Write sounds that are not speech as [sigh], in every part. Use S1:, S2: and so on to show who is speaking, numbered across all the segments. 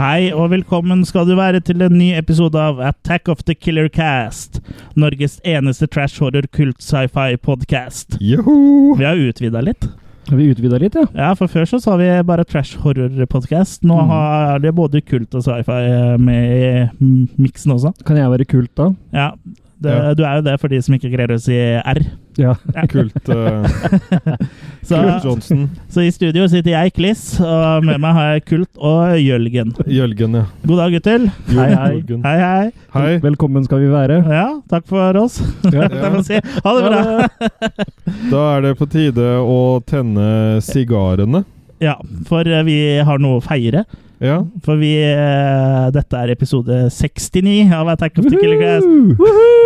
S1: Hei og velkommen skal du være til en ny episode av Attack of the Killer Cast. Norges eneste trash horror kult sci-fi podcast.
S2: Joho!
S1: Vi har utvida litt.
S3: Har vi utvida litt, ja?
S1: Ja, for før så sa vi bare trash horror podcast. Nå
S3: Mm.
S1: har det både kult og sci-fi eh, med i mm, miksen også.
S3: Kan jeg være kult da?
S1: Ja, det,
S2: Ja.
S1: du er jo det for de som ikke greier å si R.
S3: Ja.
S2: [laughs] Kult,
S1: [laughs]
S2: eh,
S1: Så,
S2: Kult Johnson.
S1: så i studio sitter jeg, Kliss, og med meg har jeg Kult og Jølgen.
S2: Jølgen, ja.
S1: God dag, gutter.
S2: Jo,
S3: Hei, hei.
S2: Jørgen.
S1: Hei, hei.
S2: Hei.
S3: Velkommen skal vi være.
S1: Ja, takk for oss.
S3: Ja.
S1: Det får jeg si. Ha det bra.
S2: Da er det på tide å tenne sigarene.
S1: Ja, for eh, vi har noe å feire.
S2: Ja.
S1: For vi eh, Dette er episode 69 av Attack of the Killer Class.
S3: Woohoo!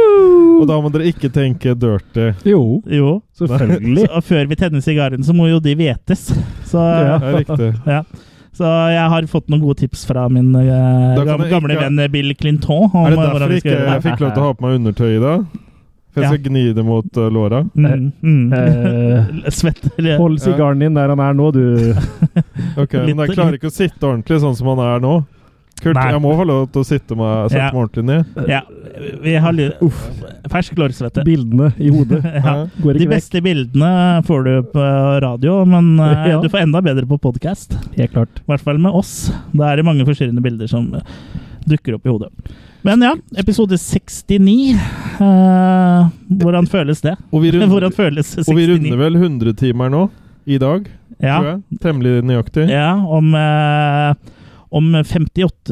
S2: Og da må dere ikke tenke dirty.
S3: Jo,
S1: Jo.
S3: selvfølgelig.
S1: Så, og før vi tenner sigaren, så må jo de hvetes. Så,
S2: Det
S3: Ja.
S2: er riktig.
S1: så jeg har fått noen gode tips fra min eh,
S2: Da kan
S1: gam-
S2: jeg
S1: gamle
S2: ikke-
S1: venn Bill Clinton. Om
S2: Er det
S1: eh,
S2: derfor
S1: hvordan vi
S2: jeg
S1: skal
S2: ikke
S1: gjøre
S2: jeg
S1: det.
S2: fikk lov til å ha på meg undertøy i dag? For jeg skal gni det mot eh, låra?
S1: Mm, mm. [laughs]
S3: Eh,
S1: Svett eller
S3: Hold sigaren din der han er
S1: [laughs]
S3: nå, du.
S2: Ok, Men jeg klarer ikke å sitte ordentlig sånn som han er nå. Kurt,
S1: Nei.
S2: jeg må få lov til å sitte meg, sette
S1: Ja.
S2: meg ordentlig ned.
S1: Ja. Vi har lyd
S3: Uff.
S1: Fersk lårsvette. [laughs]
S3: Bildene i hodet
S1: Ja.
S2: Hæ?
S3: går
S1: De
S3: ikke vekk.
S1: beste bildene får du på radio, men eh,
S3: Ja.
S1: du får enda bedre på podkast.
S3: Helt klart.
S1: I hvert fall med oss. Da er det mange forstyrrende bilder som eh, dukker opp i hodet. Men ja, episode 69. eh, hvordan føles det?
S2: Og vi runder,
S1: [laughs] Hvordan føles 69?
S2: og vi runder vel 100 timer nå. I dag, tror
S1: ja,
S2: jeg. Temmelig nøyaktig.
S1: ja, om eh, om 58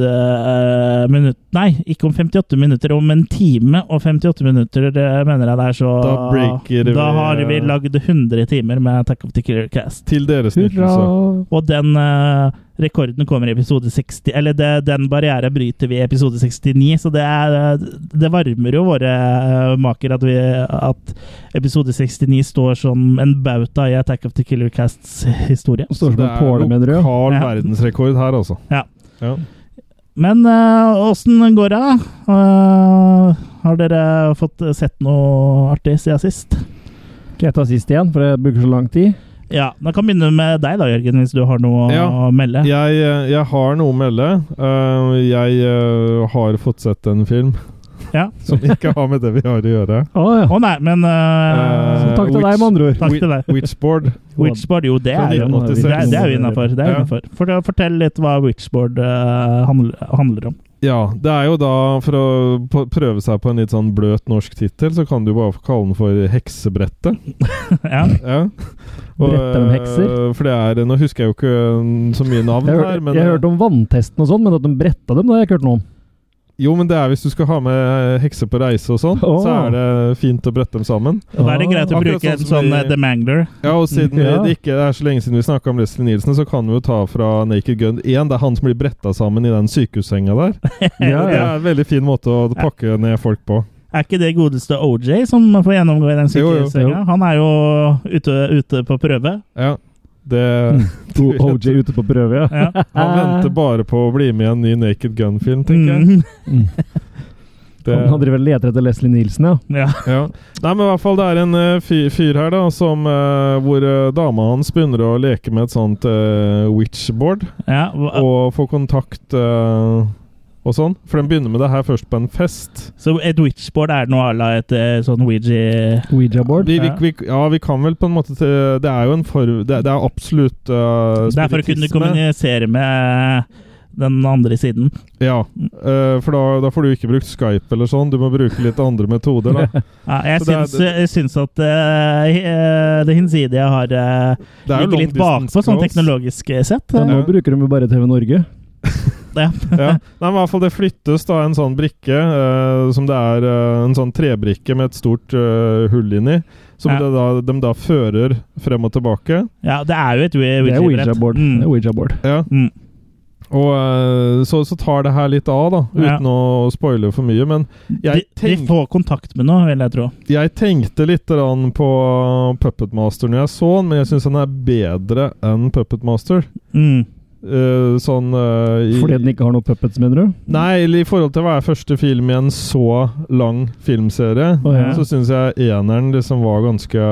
S1: minutter Nei, ikke om 58 minutter. Om en time og 58 minutter, eh, mener jeg det er, så
S2: Da breaker vi-
S1: Da har vi lagd 100 timer med Attack of the Killer Cast.
S2: Til deres
S3: Hurra!
S2: nyttelse.
S1: Og den eh, rekorden kommer i episode 60 Eller det, den barrieren bryter vi i episode 69, så det, er, eh, det varmer jo våre eh, maker at, vi, at episode 69 står som en bauta i Attack of the Killer Casts historie.
S3: Står som
S2: Det
S3: en
S2: er
S3: påle, mener du?
S2: lokal
S1: Ja.
S2: verdensrekord her, altså.
S1: Ja.
S2: Ja.
S1: Men eh, åssen går det? Eh, har dere fått sett noe artig siden sist?
S3: Skal jeg ta sist igjen, for det bruker så lang tid?
S1: Ja, Da kan vi begynne med deg, da, Jørgen, hvis du har noe
S2: Ja.
S1: å melde.
S2: Jeg, eh, jeg har noe å melde. Eh, jeg eh, har fått sett en film
S1: Ja.
S2: [laughs] som ikke har med det vi har å gjøre.
S3: Å ja.
S1: Å nei, men
S3: Så
S1: uh,
S2: Eh,
S3: takk til
S2: which-
S3: deg, med andre ord.
S1: Takk til deg.
S2: Witchboard.
S1: Witchboard, jo, det
S2: Fra
S1: er jo
S2: 1986.
S1: Det er, det er jo innafor. Det er jo
S2: Ja.
S1: innenfor. For, fortell litt hva Witchboard eh, handler, handler om. [laughs]
S2: Ja, det er jo da For å p- prøve seg på en litt sånn bløt norsk tittel, så kan du bare kalle den for Heksebrettet.
S1: ja.
S2: Ja.
S3: Brettet om hekser?
S2: eh, For det er Nå husker jeg jo ikke eh, så mye navn
S3: Jeg, hør,
S2: her, men
S3: jeg hørte om vanntesten og sånn, men at de bretta dem, det har jeg ikke hørt noe om.
S2: eh, Jo, men det er hvis du skal ha med hekser på reise og sånn,
S3: Å.
S2: så er det fint å brette dem sammen.
S1: Da er det greit å bruke
S2: Akkurat sånn
S1: en
S2: som
S1: sånn
S2: i-
S1: eh, The
S2: [laughs]
S1: Mangler.
S2: Ja, og siden vi-
S3: Ja.
S2: det ikke er så lenge siden vi snakka om Leslie Nielsen, så kan vi jo ta fra Naked Gun 1. Det er han som blir bretta sammen i den sykehussenga der.
S3: Ja,
S2: Det er en veldig fin måte å pakke ned folk på.
S1: Er ikke det godeste OJ som får gjennomgå i den
S2: Jo, jo,
S1: sykehussenga?
S3: jo.
S1: Han er jo ute, ute på prøve.
S2: [laughs] Ja,
S3: Mm.
S2: det
S3: O- OJ ute på prøve, ja.
S1: Ja.
S2: Han venter bare på å bli med i en ny Naked Gun-film, tenker jeg.
S1: Mm.
S3: Mm. Han han
S2: Det,
S3: driver og leter etter Leslie Nielsen, ja.
S1: ja.
S2: ja. Nei, men i hvert fall det er en eh, fyr, fyr her da, som, eh, hvor eh, dama hans begynner å leke med et sånt eh, witchboard.
S1: ja. hva-
S2: Og få kontakt eh, og sånn. For den begynner med det her først på en fest.
S1: Så et witchboard er noe à la et eh, sånn Ouija
S3: Ouija board.
S2: Vi,
S1: Ja.
S2: vi, vi, ja, vi kan vel på en måte til, Det er jo en form Det, det er absolutt uh,
S1: Det er for å kunne kommunisere med eh, den andre siden.
S2: Ja, eh, for da, da får du ikke brukt Skype eller sånn. Du må bruke litt andre metoder,
S1: [laughs]
S2: da.
S1: Ja, jeg,
S2: Så det er-
S1: syns, jeg syns at eh, eh, det hinsidige har eh,
S2: Det
S1: ligger
S2: er jo long
S1: litt bakpå
S2: distance
S1: sånn
S2: calls.
S1: teknologisk sett. eh.
S3: Ja, nå
S2: Ja.
S3: bruker de jo bare TV Norge.
S2: Ja. Nei, men i hvert fall Det flyttes da en sånn brikke, eh, som det er eh, en sånn trebrikke med et stort eh, hull inni,
S1: Ja.
S2: som det da, de da fører frem og tilbake.
S1: Ja, det er jo et Ouija-
S3: Det er Ouija
S1: Ouija-brett.
S3: board. Det er
S1: Mm.
S3: Ouija board.
S2: Ja.
S1: Mm.
S2: Og eh, så, så tar det her litt av, da,
S1: Ja.
S2: uten å spoile for mye. Men
S1: De,
S2: jeg
S1: de
S2: tenker
S1: får kontakt med noe, vil jeg tro.
S2: Jeg tenkte litt grann på Puppet Master når jeg så den, men jeg syns den er bedre enn Puppet Master.
S1: Mm.
S2: Eh, sånn eh, i,
S3: Fordi den ikke har noe puppets, mener du?
S2: Nei, eller i forhold til å være første film i en så lang filmserie,
S3: Å, ja.
S2: så syns jeg eneren liksom var ganske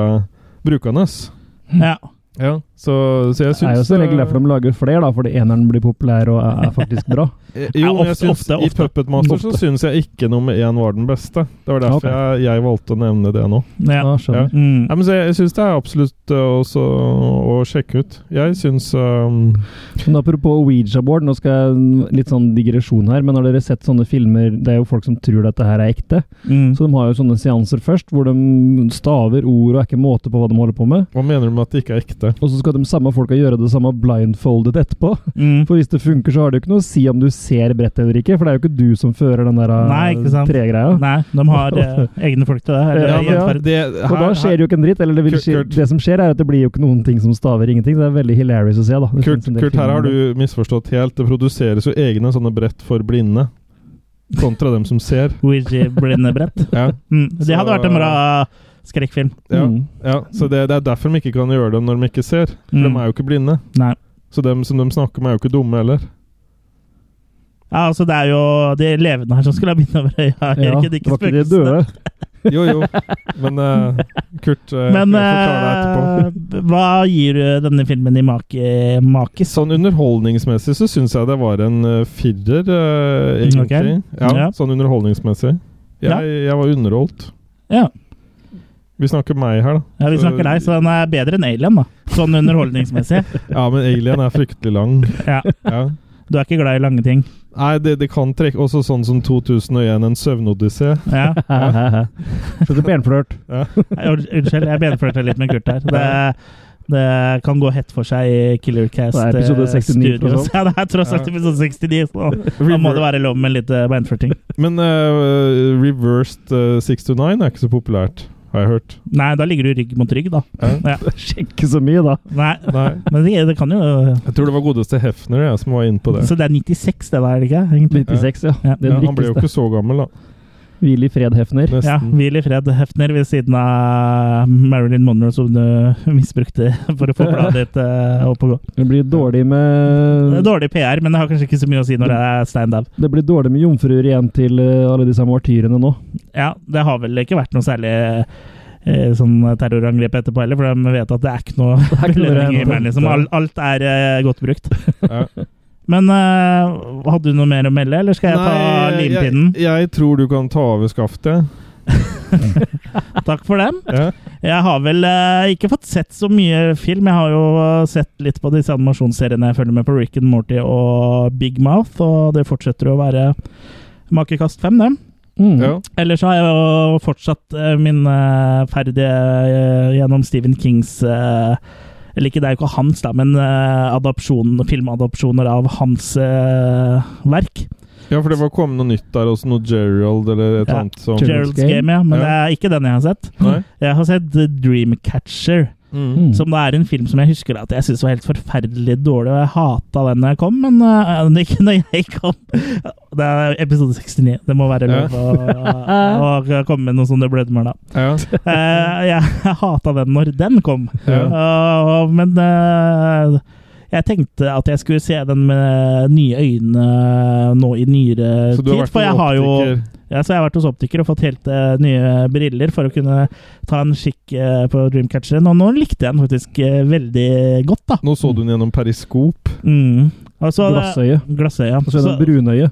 S2: brukende.
S1: Ja.
S2: Ja. Så, så jeg syns
S3: Det er jo som regel derfor de lager flere, da, fordi eneren blir populær og er faktisk bra.
S2: Eh, Jo, men
S1: ofte,
S2: jeg syns
S1: ofte,
S2: i
S1: ofte.
S2: Puppet Master så
S3: Ofte.
S2: syns jeg ikke nummer én var den beste. Det var derfor
S3: Ok.
S2: jeg, jeg valgte å nevne det nå.
S1: Ja.
S3: Da skjønner jeg.
S1: Mm.
S2: Nei, men så jeg, jeg syns det er absolutt eh, også å sjekke ut. Jeg syns um,
S3: Men apropos Ouija-board, nå skal jeg litt sånn digresjon her, men har dere sett sånne filmer Det er jo folk som tror dette her er ekte.
S1: Mm.
S3: Så de har jo sånne seanser først, hvor de staver ord og er ikke måte på hva de holder på med.
S2: Hva mener du med at det ikke er ekte?
S3: Og så skal de samme folka gjøre det samme blindfoldet etterpå.
S1: Mm.
S3: For hvis det funker, så har det jo ikke noe å si om du ser brettet eller ikke, for det er jo ikke du som fører den der
S1: Nei, ikke sant.
S3: eh, tregreia.
S1: Nei, de har eh, egne folk til det. Eller,
S3: Ja, ja.
S1: gjenferd.
S2: det,
S3: Og da skjer det jo ikke en dritt. Eller det, vil
S2: Kurt-
S3: skje,
S2: Kurt.
S3: det som skjer, er at det blir jo ikke noen ting som staver ingenting. så Det er veldig hilarious å se, da. Det
S2: Kurt,
S3: finnes en del
S2: Kurt, her
S3: filmer
S2: har
S3: om det.
S2: du misforstått helt. Det produseres jo egne sånne brett for blinde. Kontra dem som ser.
S1: Ouija-blindebrett.
S2: Ja,
S1: Mm. Det hadde vært en bra skrekkfilm.
S2: ja,
S3: Mm.
S2: ja. Så det, det er derfor de ikke kan gjøre dem når de ikke ser. For
S1: Mm.
S2: de er jo ikke blinde.
S1: Nei.
S2: Så dem som de snakker med, er jo ikke dumme
S3: [laughs]
S2: heller.
S1: Ja, altså Det er jo de levende her som skulle ha bind over øya.
S3: Ja,
S1: Erik, det er
S3: det
S1: ikke
S3: var ikke de
S1: spøkelsene.
S3: døde. [laughs]
S2: Jo, jo. Men eh, Kurt eh,
S1: Men
S2: jeg forklarer deg etterpå.
S1: eh, hva gir du denne filmen i make, makis?
S2: Sånn underholdningsmessig så syns jeg det var en eh, firer, eh,
S1: Mm, ok.
S2: egentlig. Ja,
S1: Ja.
S2: Sånn underholdningsmessig. Jeg,
S1: Ja.
S2: jeg var underholdt.
S1: Ja.
S2: Vi snakker meg her, da.
S1: ja, vi snakker deg, så den er bedre enn Alien, da. Sånn underholdningsmessig.
S2: Ja, men Alien er fryktelig lang.
S1: Ja.
S2: Ja.
S1: Du er ikke glad i lange ting.
S2: Nei, det, det kan trekke Også sånn som 2001, en søvnodyssé.
S1: Ja.
S3: Slutt å
S2: [laughs]
S3: benflørt.
S1: Nei, or- Unnskyld, jeg benflørta litt med Kurt her. Det, det kan gå hett for seg i Killercast
S3: Det er episode
S1: eh,
S3: 69 tross
S1: Studios.
S3: alt.
S1: Ja, det er tross alt
S2: Ja.
S1: episode 69, så
S2: [laughs]
S1: da må det være lov med litt eh, beinflørting.
S2: Men eh, reversed eh, 629 er ikke så populært, har jeg hørt.
S1: Nei, da ligger du rygg mot rygg, da.
S2: Ja.
S1: Ja.
S3: Sjekke så mye, da.
S1: Nei,
S2: Nei.
S1: men det, det kan jo
S2: Jeg tror det var godeste Hefner jeg, som var inne på det.
S1: Så det er 96, det der, er det ikke? Egentlig.
S3: 96, ja.
S1: Ja.
S3: Det
S2: Ja,
S3: er
S2: han ble jo
S3: riktigste.
S2: ikke så gammel, da.
S3: Hvil i fred, Hefner.
S1: Ja,
S2: Nesten.
S1: Hvil i fred, Hefner, ved siden av Marilyn Monroe, som du misbrukte for å få bladet ditt eh, opp og gå.
S3: Det blir dårlig
S1: Det er
S3: med
S1: Dårlig PR, men det har kanskje ikke så mye å si når det er stein dau.
S3: Det blir dårlig med jomfruer igjen til eh, alle disse martyrene nå.
S1: Ja, det har vel ikke vært noe særlig eh, sånn terrorangrep etterpå heller, for de vet at det er ikke noe
S3: er ikke noe
S1: belønning i
S3: rent.
S1: mer, liksom. Alt, alt er eh, godt brukt.
S2: Ja.
S1: [laughs] Men eh, hadde du noe mer å melde, eller skal jeg ta
S2: Nei,
S1: limpinnen?
S2: Jeg, jeg tror du kan ta over skaftet.
S1: Takk for dem.
S2: Ja.
S1: Jeg har vel eh, ikke fått sett så mye film. Jeg har jo eh, sett litt på disse animasjonsseriene jeg følger med på, Rick and Morty og Big Mouth, og det fortsetter å være makekast fem, det.
S3: Mm.
S2: Ja.
S1: Ellers har jeg jo fortsatt eh, min eh, ferd eh, gjennom Stephen Kings eh, Eller ikke, det er jo ikke hans, da, men eh, adopsjon, filmadopsjoner av hans eh, verk.
S2: ja, for det var kommet noe nytt der også. Noe Gerald eller et
S1: Ja.
S2: annet som
S3: Gerald.
S1: Gerald's Game, ja. Men
S2: Ja.
S1: det er ikke den jeg har sett.
S2: Nei?
S1: Jeg har sett The Dreamcatcher.
S2: Mm.
S3: Mm.
S1: Som da er en film som jeg husker at jeg syntes var helt forferdelig dårlig, og jeg hata den da jeg kom, men [laughs] øh, den ikke når jeg kom. Det er episode 69. Det må være lov å, å komme med noen sånne blødmer, da. [laughs]
S2: Ja.
S1: Eh, jeg hata den når den kom,
S2: Ja.
S1: Eh, men eh, jeg tenkte at jeg skulle se den med nye øyne eh, nå i nyere
S2: Så du
S1: tid,
S2: har vært
S1: for jeg
S2: en
S1: har jo
S2: optiker.
S1: ja, så jeg har vært hos optiker og fått helt eh, nye briller for å kunne ta en kikk eh, på Dreamcatcheren, og nå likte jeg den faktisk eh, veldig godt, da.
S2: Nå så du den gjennom periskop.
S1: Mm. Og så,
S3: Glassøye.
S1: Glassøya.
S3: Og så er det
S1: Så,
S3: brunøye.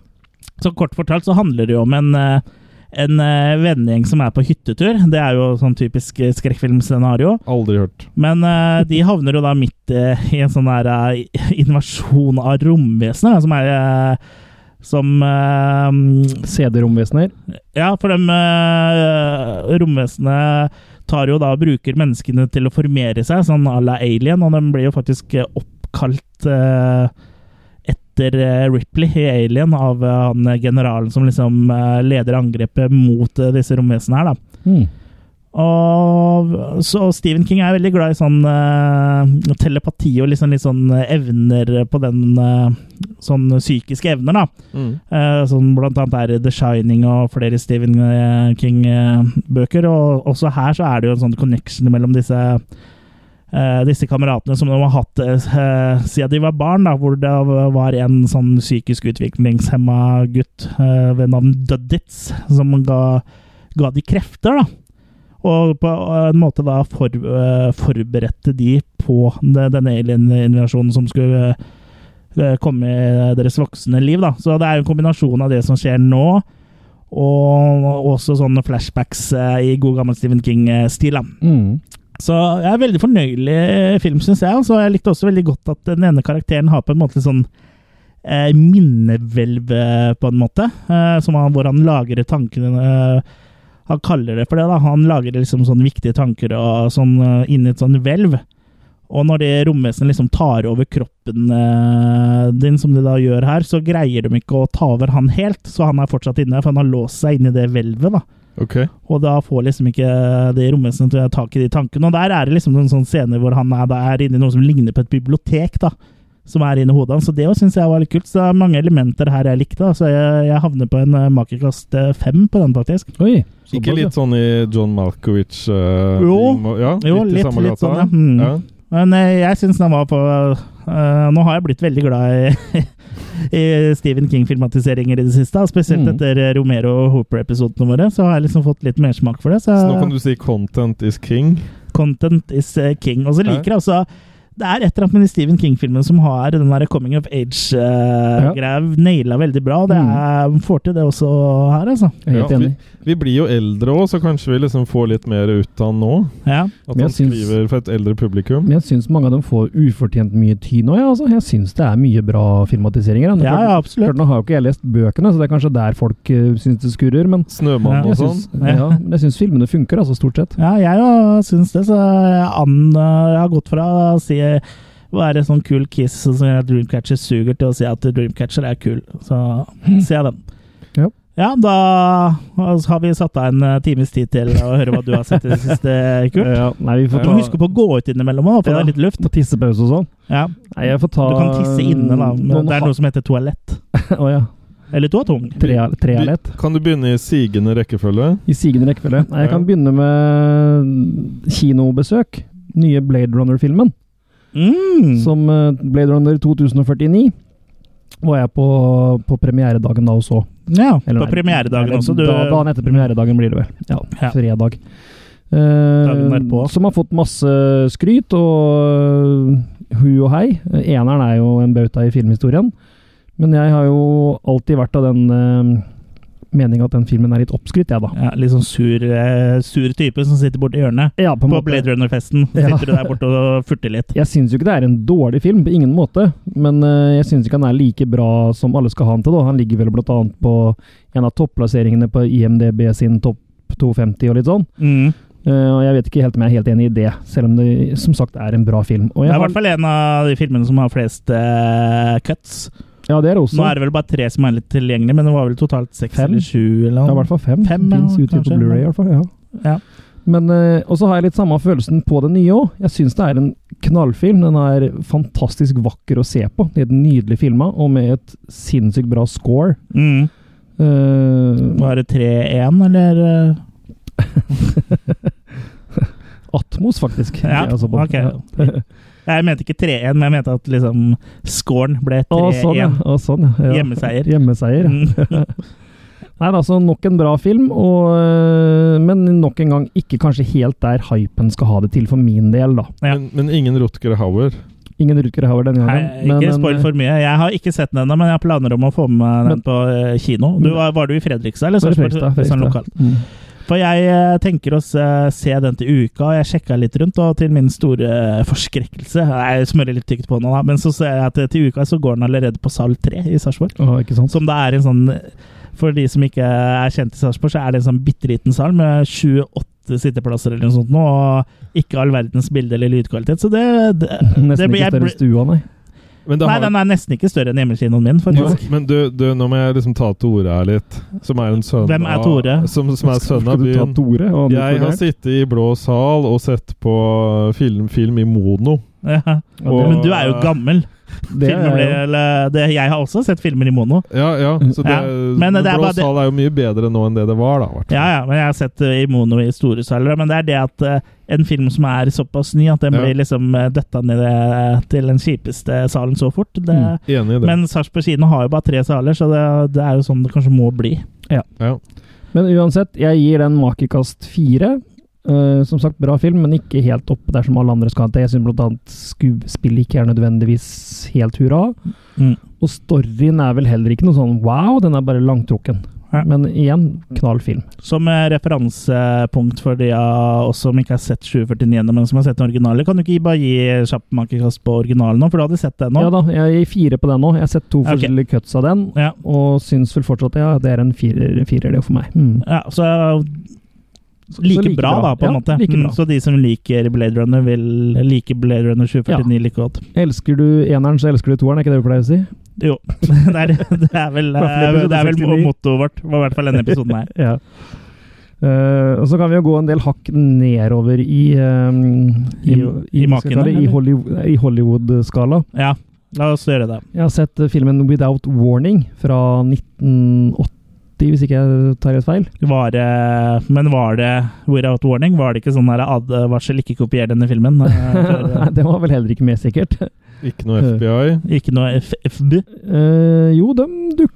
S1: så kort fortalt så handler det jo om en eh, en eh, vennegjeng som er på hyttetur. Det er jo sånn typisk eh, skrekkfilmscenario.
S2: Aldri hørt.
S1: Men eh, de havner jo da midt eh, i en sånn der eh, invasjon av romvesener, da, som er eh, Som eh,
S3: CD-romvesener.
S1: Ja, for de eh, romvesenene tar jo da og bruker menneskene til å formere seg, sånn à la Alien, og de blir jo faktisk eh, oppkalt eh, etter eh, Ripley i Alien av eh, han generalen som liksom eh, leder angrepet mot eh, disse romvesenene her, da.
S3: Mm.
S1: Og så Stephen King er veldig glad i sånn eh, telepati og liksom litt sånn evner på den eh, Sånn psykiske evner, da.
S2: Mm.
S1: Eh, som blant annet er The Shining og flere Stephen eh, King-bøker. Og også her så er det jo en sånn connection mellom disse eh, disse kameratene som de har hatt eh, siden de var barn, da, hvor det var en sånn psykisk utviklingshemma gutt eh, ved navn Duddits, som ga, ga de krefter. da. Og på en måte da for, eh, forberedte de på de- denne alien-invasjonen som skulle eh, komme i deres voksne liv. da. Så det er jo en kombinasjon av det som skjer nå, og også sånne flashbacks eh, i god gammel Stephen King-stil. da.
S3: Mm.
S1: Så jeg er veldig fornøyelig film, syns jeg. Altså, jeg likte også veldig godt at den ene karakteren har på en måte sånn eh, minnehvelv, eh, på en måte. Eh, som han, hvor han lagrer tankene eh, Han kaller det for det, da. Han lager liksom sånne viktige tanker og sånn eh, inni et sånn hvelv. Og når det romvesenet liksom tar over kroppen eh, din, som de da gjør her, så greier de ikke å ta over han helt, så han er fortsatt inne, for han har låst seg inni det hvelvet, da.
S2: Ok.
S1: Og da får liksom ikke de romvesenene til å ta tak i de tankene. Og der er det liksom en sånn scene hvor han er, da er inne i noe som ligner på et bibliotek, da. Som er inni hodet hans. Så det syns jeg var litt kult. Så det er mange elementer her jeg likte. da. Så jeg, jeg havner på en eh, makerkast eh, fem på den, faktisk.
S3: Oi.
S2: Ikke litt sånn i John Malkovich eh,
S1: Jo.
S2: ting, og- Ja,
S1: Jo,
S2: litt, i
S1: litt,
S2: samme
S1: litt
S2: gata.
S1: sånn, ja. Mm.
S2: ja.
S1: Men eh, jeg syns den var på eh, Nå har jeg blitt veldig glad i, [laughs] i Stephen King-filmatiseringer i det siste. da. Spesielt
S3: Mm.
S1: etter eh, Romero og Hooper-episodene våre. Så har jeg liksom fått litt mersmak for det. Så,
S2: Så nå kan du si 'content is king'.
S1: Content is eh, king. Og så
S2: Ja.
S1: liker jeg også Det er et eller annet med de Stephen King-filmene som har den der coming of age-greia naila veldig bra. og Det er, får til det også her, altså.
S3: Jeg er helt
S2: Ja,
S3: enig.
S2: Vi blir jo eldre òg, så kanskje vi liksom får litt mer ut av han nå.
S1: Ja.
S2: At
S3: Men jeg
S2: han
S3: syns-
S2: skriver for et eldre publikum.
S3: Men jeg syns mange av dem får ufortjent mye tid nå. Ja, altså. Jeg syns det er mye bra filmatiseringer.
S1: ja, ja, absolutt.
S3: Klart, nå har jo ikke jeg lest bøkene, så det er kanskje der folk uh, syns det skurrer. Men
S1: Ja.
S2: Snømannen og
S3: jeg
S2: sånn.
S3: syns, ja, men jeg syns filmene funker, altså, stort sett.
S1: Ja, jeg òg syns det, så jeg, an, jeg har gått fra å si være sånn kul kiss som gjør at Dreamcatcher suger, til å si at Dreamcatcher er kul. Så ser jeg den.
S3: Ja.
S1: da har vi satt av en eh, times tid til å høre hva du har sett i det siste, Kurt.
S3: Ja, nei, vi får
S1: Du
S3: ta
S1: må huske på å gå ut innimellom og få
S3: Ja.
S1: deg litt luft.
S3: på tissepause og sånn.
S1: Ja.
S3: Nei, jeg får ta
S1: Du kan tisse inne, da.
S3: noen
S1: Men det er noe som heter toalett.
S3: ha- [laughs] Å ja.
S1: Eller toatung.
S3: Tre- Tre er lett.
S2: Kan du begynne i sigende rekkefølge?
S3: I sigende rekkefølge. Nei, jeg
S2: Ja.
S3: kan begynne med mm, kinobesøk. Nye Blade Runner-filmen.
S1: Mm.
S3: Som eh, Blade Runner 2049 var jeg på, på premieredagen da også.
S1: ja,
S3: Eller
S1: på
S3: nei,
S1: premieredagen
S3: eller
S1: også. Du,
S3: Da, dagen etter premieredagen blir det vel. Ja,
S1: Ja.
S3: fredag. Eh,
S1: Dagen derpå.
S3: som har fått masse skryt og eh, hu og hei. Eneren er jo en bauta i filmhistorien. Men jeg har jo alltid vært av den uh, meninga at den filmen er litt oppskrytt, jeg, da.
S1: ja, litt sånn sur, eh, sur type som sitter borti hjørnet.
S3: Ja, på en
S1: På
S3: måte.
S1: Blade Runner-festen Så
S3: [laughs] Ja.
S1: sitter du der borte og furter litt.
S3: Jeg syns jo ikke det er en dårlig film, på ingen måte. Men eh, jeg syns ikke han er like bra som alle skal ha han til. Da. Han ligger vel blant annet på en av topplasseringene på IMDb sin topp 250 og litt sånn.
S1: Mm.
S3: Eh, og jeg vet ikke helt om jeg er helt enig i det, selv om det som sagt er en bra film. Og
S1: Det
S3: jeg
S1: er i
S3: har,
S1: hvert fall en av de filmene som har flest eh, cuts.
S3: ja, det er det
S1: Nå
S3: også.
S1: er det vel bare tre som er litt tilgjengelig, men det var vel totalt seks
S3: Fem?
S1: eller sju? Eller
S3: Det
S1: noe.
S3: er i hvert fall fem.
S1: Fem,
S3: som
S1: ja,
S3: finnes ute på
S1: kanskje.
S3: Blu-ray i hvert fall, ja.
S1: Ja.
S3: Men, eh, og så har jeg litt samme følelsen på den nye òg. Jeg syns det er en knallfilm. Den er fantastisk vakker å se på. Helt nydelig filma, og med et sinnssykt bra score.
S1: Mm.
S3: Eh,
S1: Var det 3-1, eller? eh?
S3: Atmos, faktisk.
S1: Ja,
S3: Det er altså på-
S1: ok.
S3: Ja. [laughs]
S1: Jeg mente ikke 3-1, men jeg mente at liksom scoren ble
S3: Å, sånn, ja.
S1: 3-1.
S3: Å, sånn, ja. ja.
S1: Hjemmeseier.
S3: Hjemmeseier, ja.
S1: Mm.
S3: [laughs] Nei, altså nok en bra film, og, øh, men nok en gang ikke kanskje helt der hypen skal ha det til for min del, da.
S1: Ja.
S2: Men, men ingen Rutger Hauer.
S3: Ingen Rutger Hauer denne
S1: Nei,
S3: gangen.
S1: ikke
S3: men,
S1: spoil
S3: øh,
S1: for mye. Jeg har ikke sett den ennå, men jeg har planer om å få med meg den
S3: Men-
S1: på eh, kino. Du, var, var du i Fredrikstad, eller?
S3: bare
S1: Sarpsborg?
S3: Fredrikstad,
S1: Sånn
S3: Fredrikstad.
S1: lokalt. For jeg eh, tenker oss eh, se den til uka, og jeg sjekka litt rundt, og til min store eh, forskrekkelse Jeg smører litt tykt på nå, da, men så ser jeg at eh, til uka så går den allerede på sal 3 i Sarpsborg.
S3: Mm. Å, ikke sant?
S1: Som det er en sånn For de som ikke er kjent i Sarpsborg, så er det en sånn bitte liten sal med 28 sitteplasser eller noe sånt nå, og ikke all verdens bilde eller lydkvalitet. Så det, det, det
S3: [laughs] Nesten
S1: blir-
S3: ikke
S1: jeg
S3: større
S1: blir-
S3: stua, nei.
S2: Men det
S1: Nei,
S2: har-
S1: den er nesten ikke større enn hjemmekinoen min,
S2: Jo,
S1: faktisk. [laughs]
S2: men du, du, nå må jeg liksom ta Tore her litt. Som er en sønn
S1: Hvem er
S2: av-
S1: Tore?
S2: Som, som er sønn av
S3: Skal du ta
S2: byen.
S3: Tore? og andre
S2: Jeg har
S3: Tore?
S2: sittet i blå sal og sett på film, film i mono.
S1: Ja.
S3: Ja,
S2: og-
S3: det-
S1: Men du er jo gammel.
S3: det
S1: Filmer
S3: er
S1: blir,
S3: jo-
S1: eller, det, jeg har også sett filmer i mono.
S2: Ja, ja. Så det,
S1: Ja, men det er
S2: blå
S1: bare det-
S2: sal er jo mye bedre nå enn det det var, da. hvertfall.
S1: Ja, ja, men Jeg har sett det i mono i store saler, men det er det at eh, en film som er såpass ny at den
S2: Ja.
S1: blir liksom eh, døtta ned eh, til den kjipeste salen så fort. Det,
S3: Mm.
S2: Enig i det.
S1: Men Sarpsborg kino har jo bare tre saler, så det, det er jo sånn det kanskje må bli.
S2: ja.
S3: Men uansett, jeg gir den makekast fire. Eh, som sagt, bra film, men ikke helt opp der som alle andre skal til. Jeg syns bl.a. skuespillet ikke er nødvendigvis helt hurra.
S1: Mm.
S3: Og storyen er vel heller ikke noe sånn wow, den er bare langtrukken.
S1: Ja.
S3: Men igjen, knall film.
S1: Som eh, referansepunkt for de av oss som ikke har sett 749, men som har sett den originale, kan du ikke bare gi kjapp makekast på originalen nå, for du hadde sett den nå?
S3: Ja da, jeg gir fire på den nå. Jeg har sett to
S1: Ok.
S3: forskjellige cuts av den,
S1: Ja.
S3: og syns vel fortsatt ja, det er en firer, firer det for meg. Mm.
S1: Ja, så eh,
S3: Så-
S1: like,
S3: så
S1: bra, da, på en
S3: ja,
S1: måte.
S3: Like bra.
S1: Mm, så de som liker Blade Runner, vil like Blade Runner 2049 like godt.
S3: Elsker du eneren, så elsker du toeren, er ikke det vi pleier å si?
S1: Jo. [laughs] det, er, det er vel,
S3: hvert fall
S1: eh,
S3: episode
S1: det er vel
S3: 69.
S1: mottoet vårt, i hvert fall denne episoden her.
S3: Ja. Eh, og så kan vi jo gå en del hakk nedover i eh,
S1: I- i
S3: hva skal jeg
S1: makene,
S3: kalle det? I
S1: eller?
S3: Hollywood- nei, i Hollywood-skala.
S1: Ja, la oss gjøre det.
S3: jeg har sett eh, filmen 'Without Warning' fra 1980, hvis ikke jeg tar helt feil.
S1: Var det, men var det without warning? Var det ikke sånn her advarsel, ikke kopier denne filmen? eh,
S3: Nei, [laughs]
S1: for-
S3: Den var vel heller ikke med, sikkert.
S2: Ikke noe
S1: [laughs]
S2: FBI.
S1: Ikke noe F- FB?
S3: Eh, jo, de dukker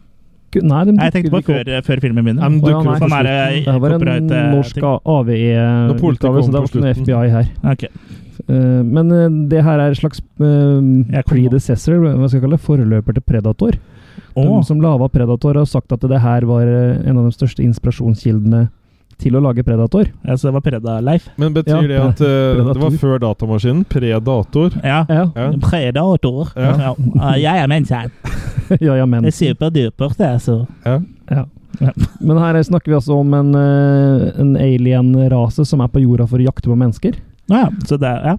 S3: Nei, de dukker
S1: Nei, jeg tenkte på
S3: ikke opp.
S1: før, før filmen
S2: Nei,
S1: begynner.
S2: men
S3: Å, ja,
S2: dukker opp
S3: nei.
S2: på
S1: Sånn er
S2: slutten.
S1: det i
S3: Det her var en
S1: copyright, eh,
S3: norsk
S1: ting.
S2: Når politiet
S3: AVE-utgave,
S2: kom
S3: så det var
S2: på
S3: sånn ikke noe
S2: slutten.
S3: FBI her.
S1: Ok.
S3: Eh, men eh, det her er en slags eh,
S1: Jeg kom-
S3: predecessor, hva skal jeg kalle det, forløper til Predator. De
S1: Å,
S3: som laga Predator, har sagt at det her var eh, en av de største inspirasjonskildene til å lage Predator.
S1: ja, så det var Preda-Leif?
S2: Men betyr
S3: Ja,
S2: det at eh,
S3: predator.
S2: det var før datamaskinen? Pre-dator?
S1: Ja.
S3: Ja,
S2: Ja.
S1: Predator.
S2: Ja.
S1: Ja. Ah, Jeg er menneske.
S3: [laughs] ja, ja men.
S1: Jeg ser på dypert, det, så
S2: Ja.
S3: Men her snakker vi altså om en, eh, en alien-rase som er på jorda for å jakte på mennesker,
S1: Ja, så det ja.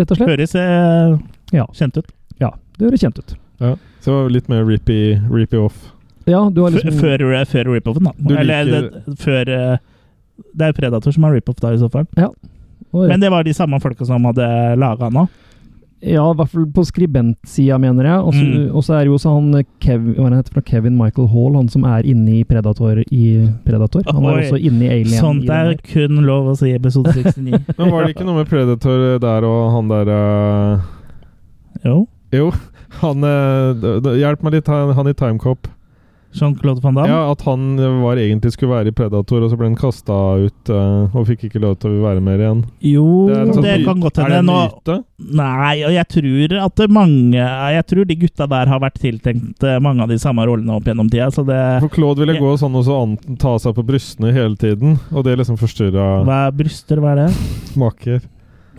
S3: rett og slett.
S1: høres eh,
S3: Ja.
S1: kjent ut.
S3: Ja, det høres kjent ut.
S2: ja. Så det var litt mer rippy, rippy off.
S3: Ja, du har
S1: F-
S3: liksom
S1: Før, eh, før rip-offen,
S2: Du
S1: da. Eller
S2: liker-
S1: det, før eh, Det er Predator som har rip-off, da, i så fall.
S3: og-
S1: Men det var de samme folka som hadde laga nå.
S3: Ja, i hvert fall på skribentsida, mener jeg. Og så
S1: Mm.
S3: og så er det jo også han eh, Kev, hva er det heter for noe? Kevin Michael Hall, han som er inne i Predator i Predator. Han er
S1: Oi. Sånn
S3: også inne i Alien. i
S1: Sånt
S3: den
S1: er
S3: her.
S1: kun lov å si i [laughs] episode 69.
S2: Men var det ikke noe med Predator der og han der eh,
S1: jo.
S2: Jo, han eh, d- d- Hjelp meg litt, han, han i Timecop.
S1: Jean-Claude van Damme.
S2: Ja, at han eh, var egentlig skulle være i Predator, og så ble han kasta ut eh, og fikk ikke lov til å være mer igjen.
S1: Jo,
S2: Det er en sånn
S1: det
S2: myte.
S1: kan godt
S2: Er det
S1: hende.
S2: en
S1: Nå,
S2: myte?
S1: nei, og jeg tror at det mange Jeg tror de gutta der har vært tiltenkt eh, mange av de samme rollene opp gjennom tida, så det
S2: For Claude ville
S1: Ja.
S2: gå sånn og så an- ta seg på brystene hele tiden, og det liksom forstyrra
S1: Hva er bryster, hva er det?
S2: maker.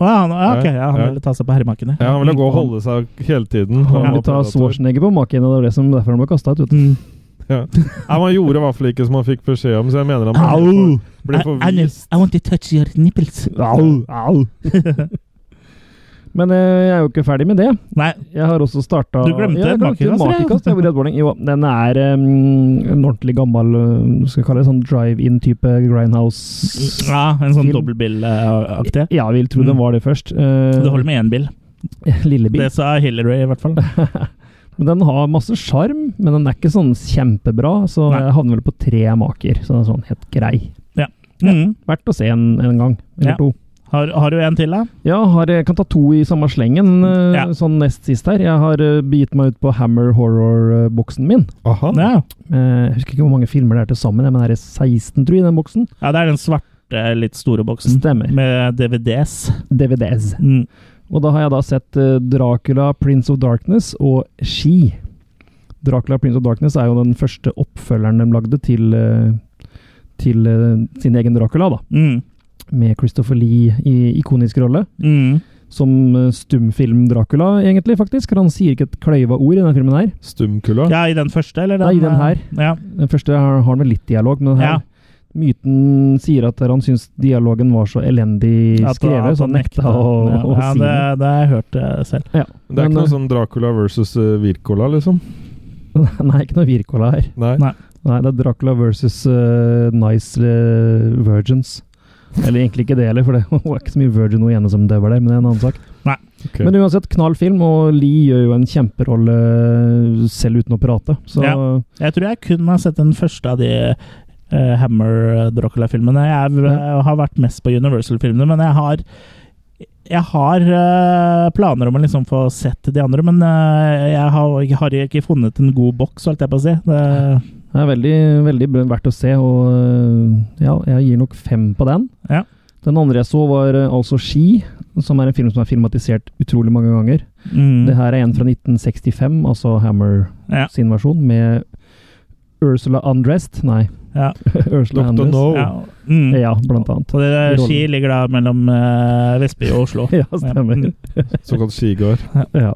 S1: Å, ja, han, ja, ok, ja, han
S2: Ja.
S1: ville ta seg på herremakene.
S2: Ja, han ville gå og holde seg hele tiden. når
S3: Han
S2: han
S3: ville
S2: var
S3: ta
S2: Predator.
S3: Schwarzenegger på maken, og det var det som derfor han ble kasta ut. vet du.
S1: Mm.
S2: Nei, man gjorde i hvert fall ikke som han fikk beskjed om, så jeg mener han ble
S1: Au!
S2: for- ble
S1: I, I,
S2: forvist.
S1: I want to touch your nipples.
S3: Au, au. [laughs] Men eh, jeg er jo ikke ferdig med det.
S1: Nei,
S3: Jeg har også starta
S1: Du glemte altså.
S3: ja, jeg
S1: makekast, ja.
S3: makekast. Jeg Red Warning. Jo, den er eh, en ordentlig gammel eh, skal jeg kalle det sånn drive-in-type Grindhouse.
S1: ja, en sånn
S3: Film.
S1: dobbeltbil-aktig.
S3: Ja, jeg vil tro den var det først. Eh,
S1: Det Mm. holder med én bil.
S3: [laughs] Lillebil.
S1: Det sa Hillary, i hvert
S2: [laughs]
S1: fall.
S3: Men den har masse sjarm, men den er ikke sånn kjempebra, så
S1: Nei.
S3: jeg havner vel på tre maker. Så den er sånn helt grei.
S1: Mm.
S3: Verdt å se en, en gang, eller
S1: Ja.
S3: to.
S1: Har, har du en til, da?
S3: Ja, har, jeg kan ta to i samme slengen, eh,
S1: Ja.
S3: sånn nest sist her. Jeg har eh, begitt meg ut på Hammer Horror-boksen min.
S2: Aha.
S1: Ja.
S3: Eh, Jeg husker ikke hvor mange filmer det er til sammen, jeg, men det er 16, tror jeg, i den boksen.
S1: ja, det er den svarte, litt store boksen.
S3: Stemmer.
S1: Med DVDs.
S3: DVDs.
S1: Mm.
S3: Og da har jeg da sett eh, Dracula, Prince of Darkness og She. Dracula, Prince of Darkness er jo den første oppfølgeren de lagde til, eh, til eh, sin egen Dracula, da.
S1: Mm.
S3: Med Christopher Lee i ikonisk rolle.
S1: Mm.
S3: Som eh, stumfilm Dracula, egentlig, faktisk. Han sier ikke et kløyva ord i denne filmen her.
S2: Stumkula.
S1: Ja, i den første, eller?
S3: Nei, i den her.
S1: Ja.
S3: Den første har, har han vel litt dialog, men den her
S1: Ja.
S3: Myten sier at han syns dialogen var så elendig
S1: At-
S3: skrevet,
S1: at
S3: så han sånn nekta å,
S1: ja,
S3: å
S1: ja,
S3: si
S1: det.
S3: det.
S1: Det har jeg hørt eh, selv.
S3: Ja.
S2: Det er ikke
S3: Men,
S2: noe sånn Dracula versus eh, Virkola, liksom?
S3: Nei, ikke noe [laughs] Wirkola her.
S2: Nei.
S1: Nei.
S3: Nei, det er Dracula versus eh, Nice eh, Virgins. Eller egentlig ikke det heller, for det [laughs] var ikke så mye Virgin hun ene som døver der, men det er en annen sak.
S2: ok.
S3: Men uansett, knall film, og Lee gjør jo en kjemperolle eh, selv uten å prate. Så
S1: Ja. Jeg tror jeg kun har sett den første av de eh, Hammer-Dracula-filmene. Jeg er,
S3: Ja.
S1: har vært mest på Universal-filmene, men jeg har jeg har eh, planer om å liksom få sett de andre, men eh, jeg har, jeg har ikke funnet en god boks, holdt jeg på å si. Det,
S3: det er veldig, veldig bra- verdt å se, og eh, ja, jeg gir nok fem på den.
S1: Ja.
S3: Den andre jeg så, var eh, altså Ski, som er en film som er filmatisert utrolig mange ganger.
S1: Mm.
S3: Det her er en fra 1965, altså Hammer
S1: Ja.
S3: sin versjon, med Ursula Undressed. Nei, [laughs]
S1: Ja.
S3: Ursula
S2: Dr.
S3: Undressed.
S2: No.
S1: ja. Mm.
S3: Ja, blant annet.
S1: Så det der
S3: Rollen.
S1: Ski ligger da mellom eh, Vestby og Oslo.
S3: [laughs] Ja, stemmer.
S1: Mm.
S2: Såkalt skigård.
S3: Ja.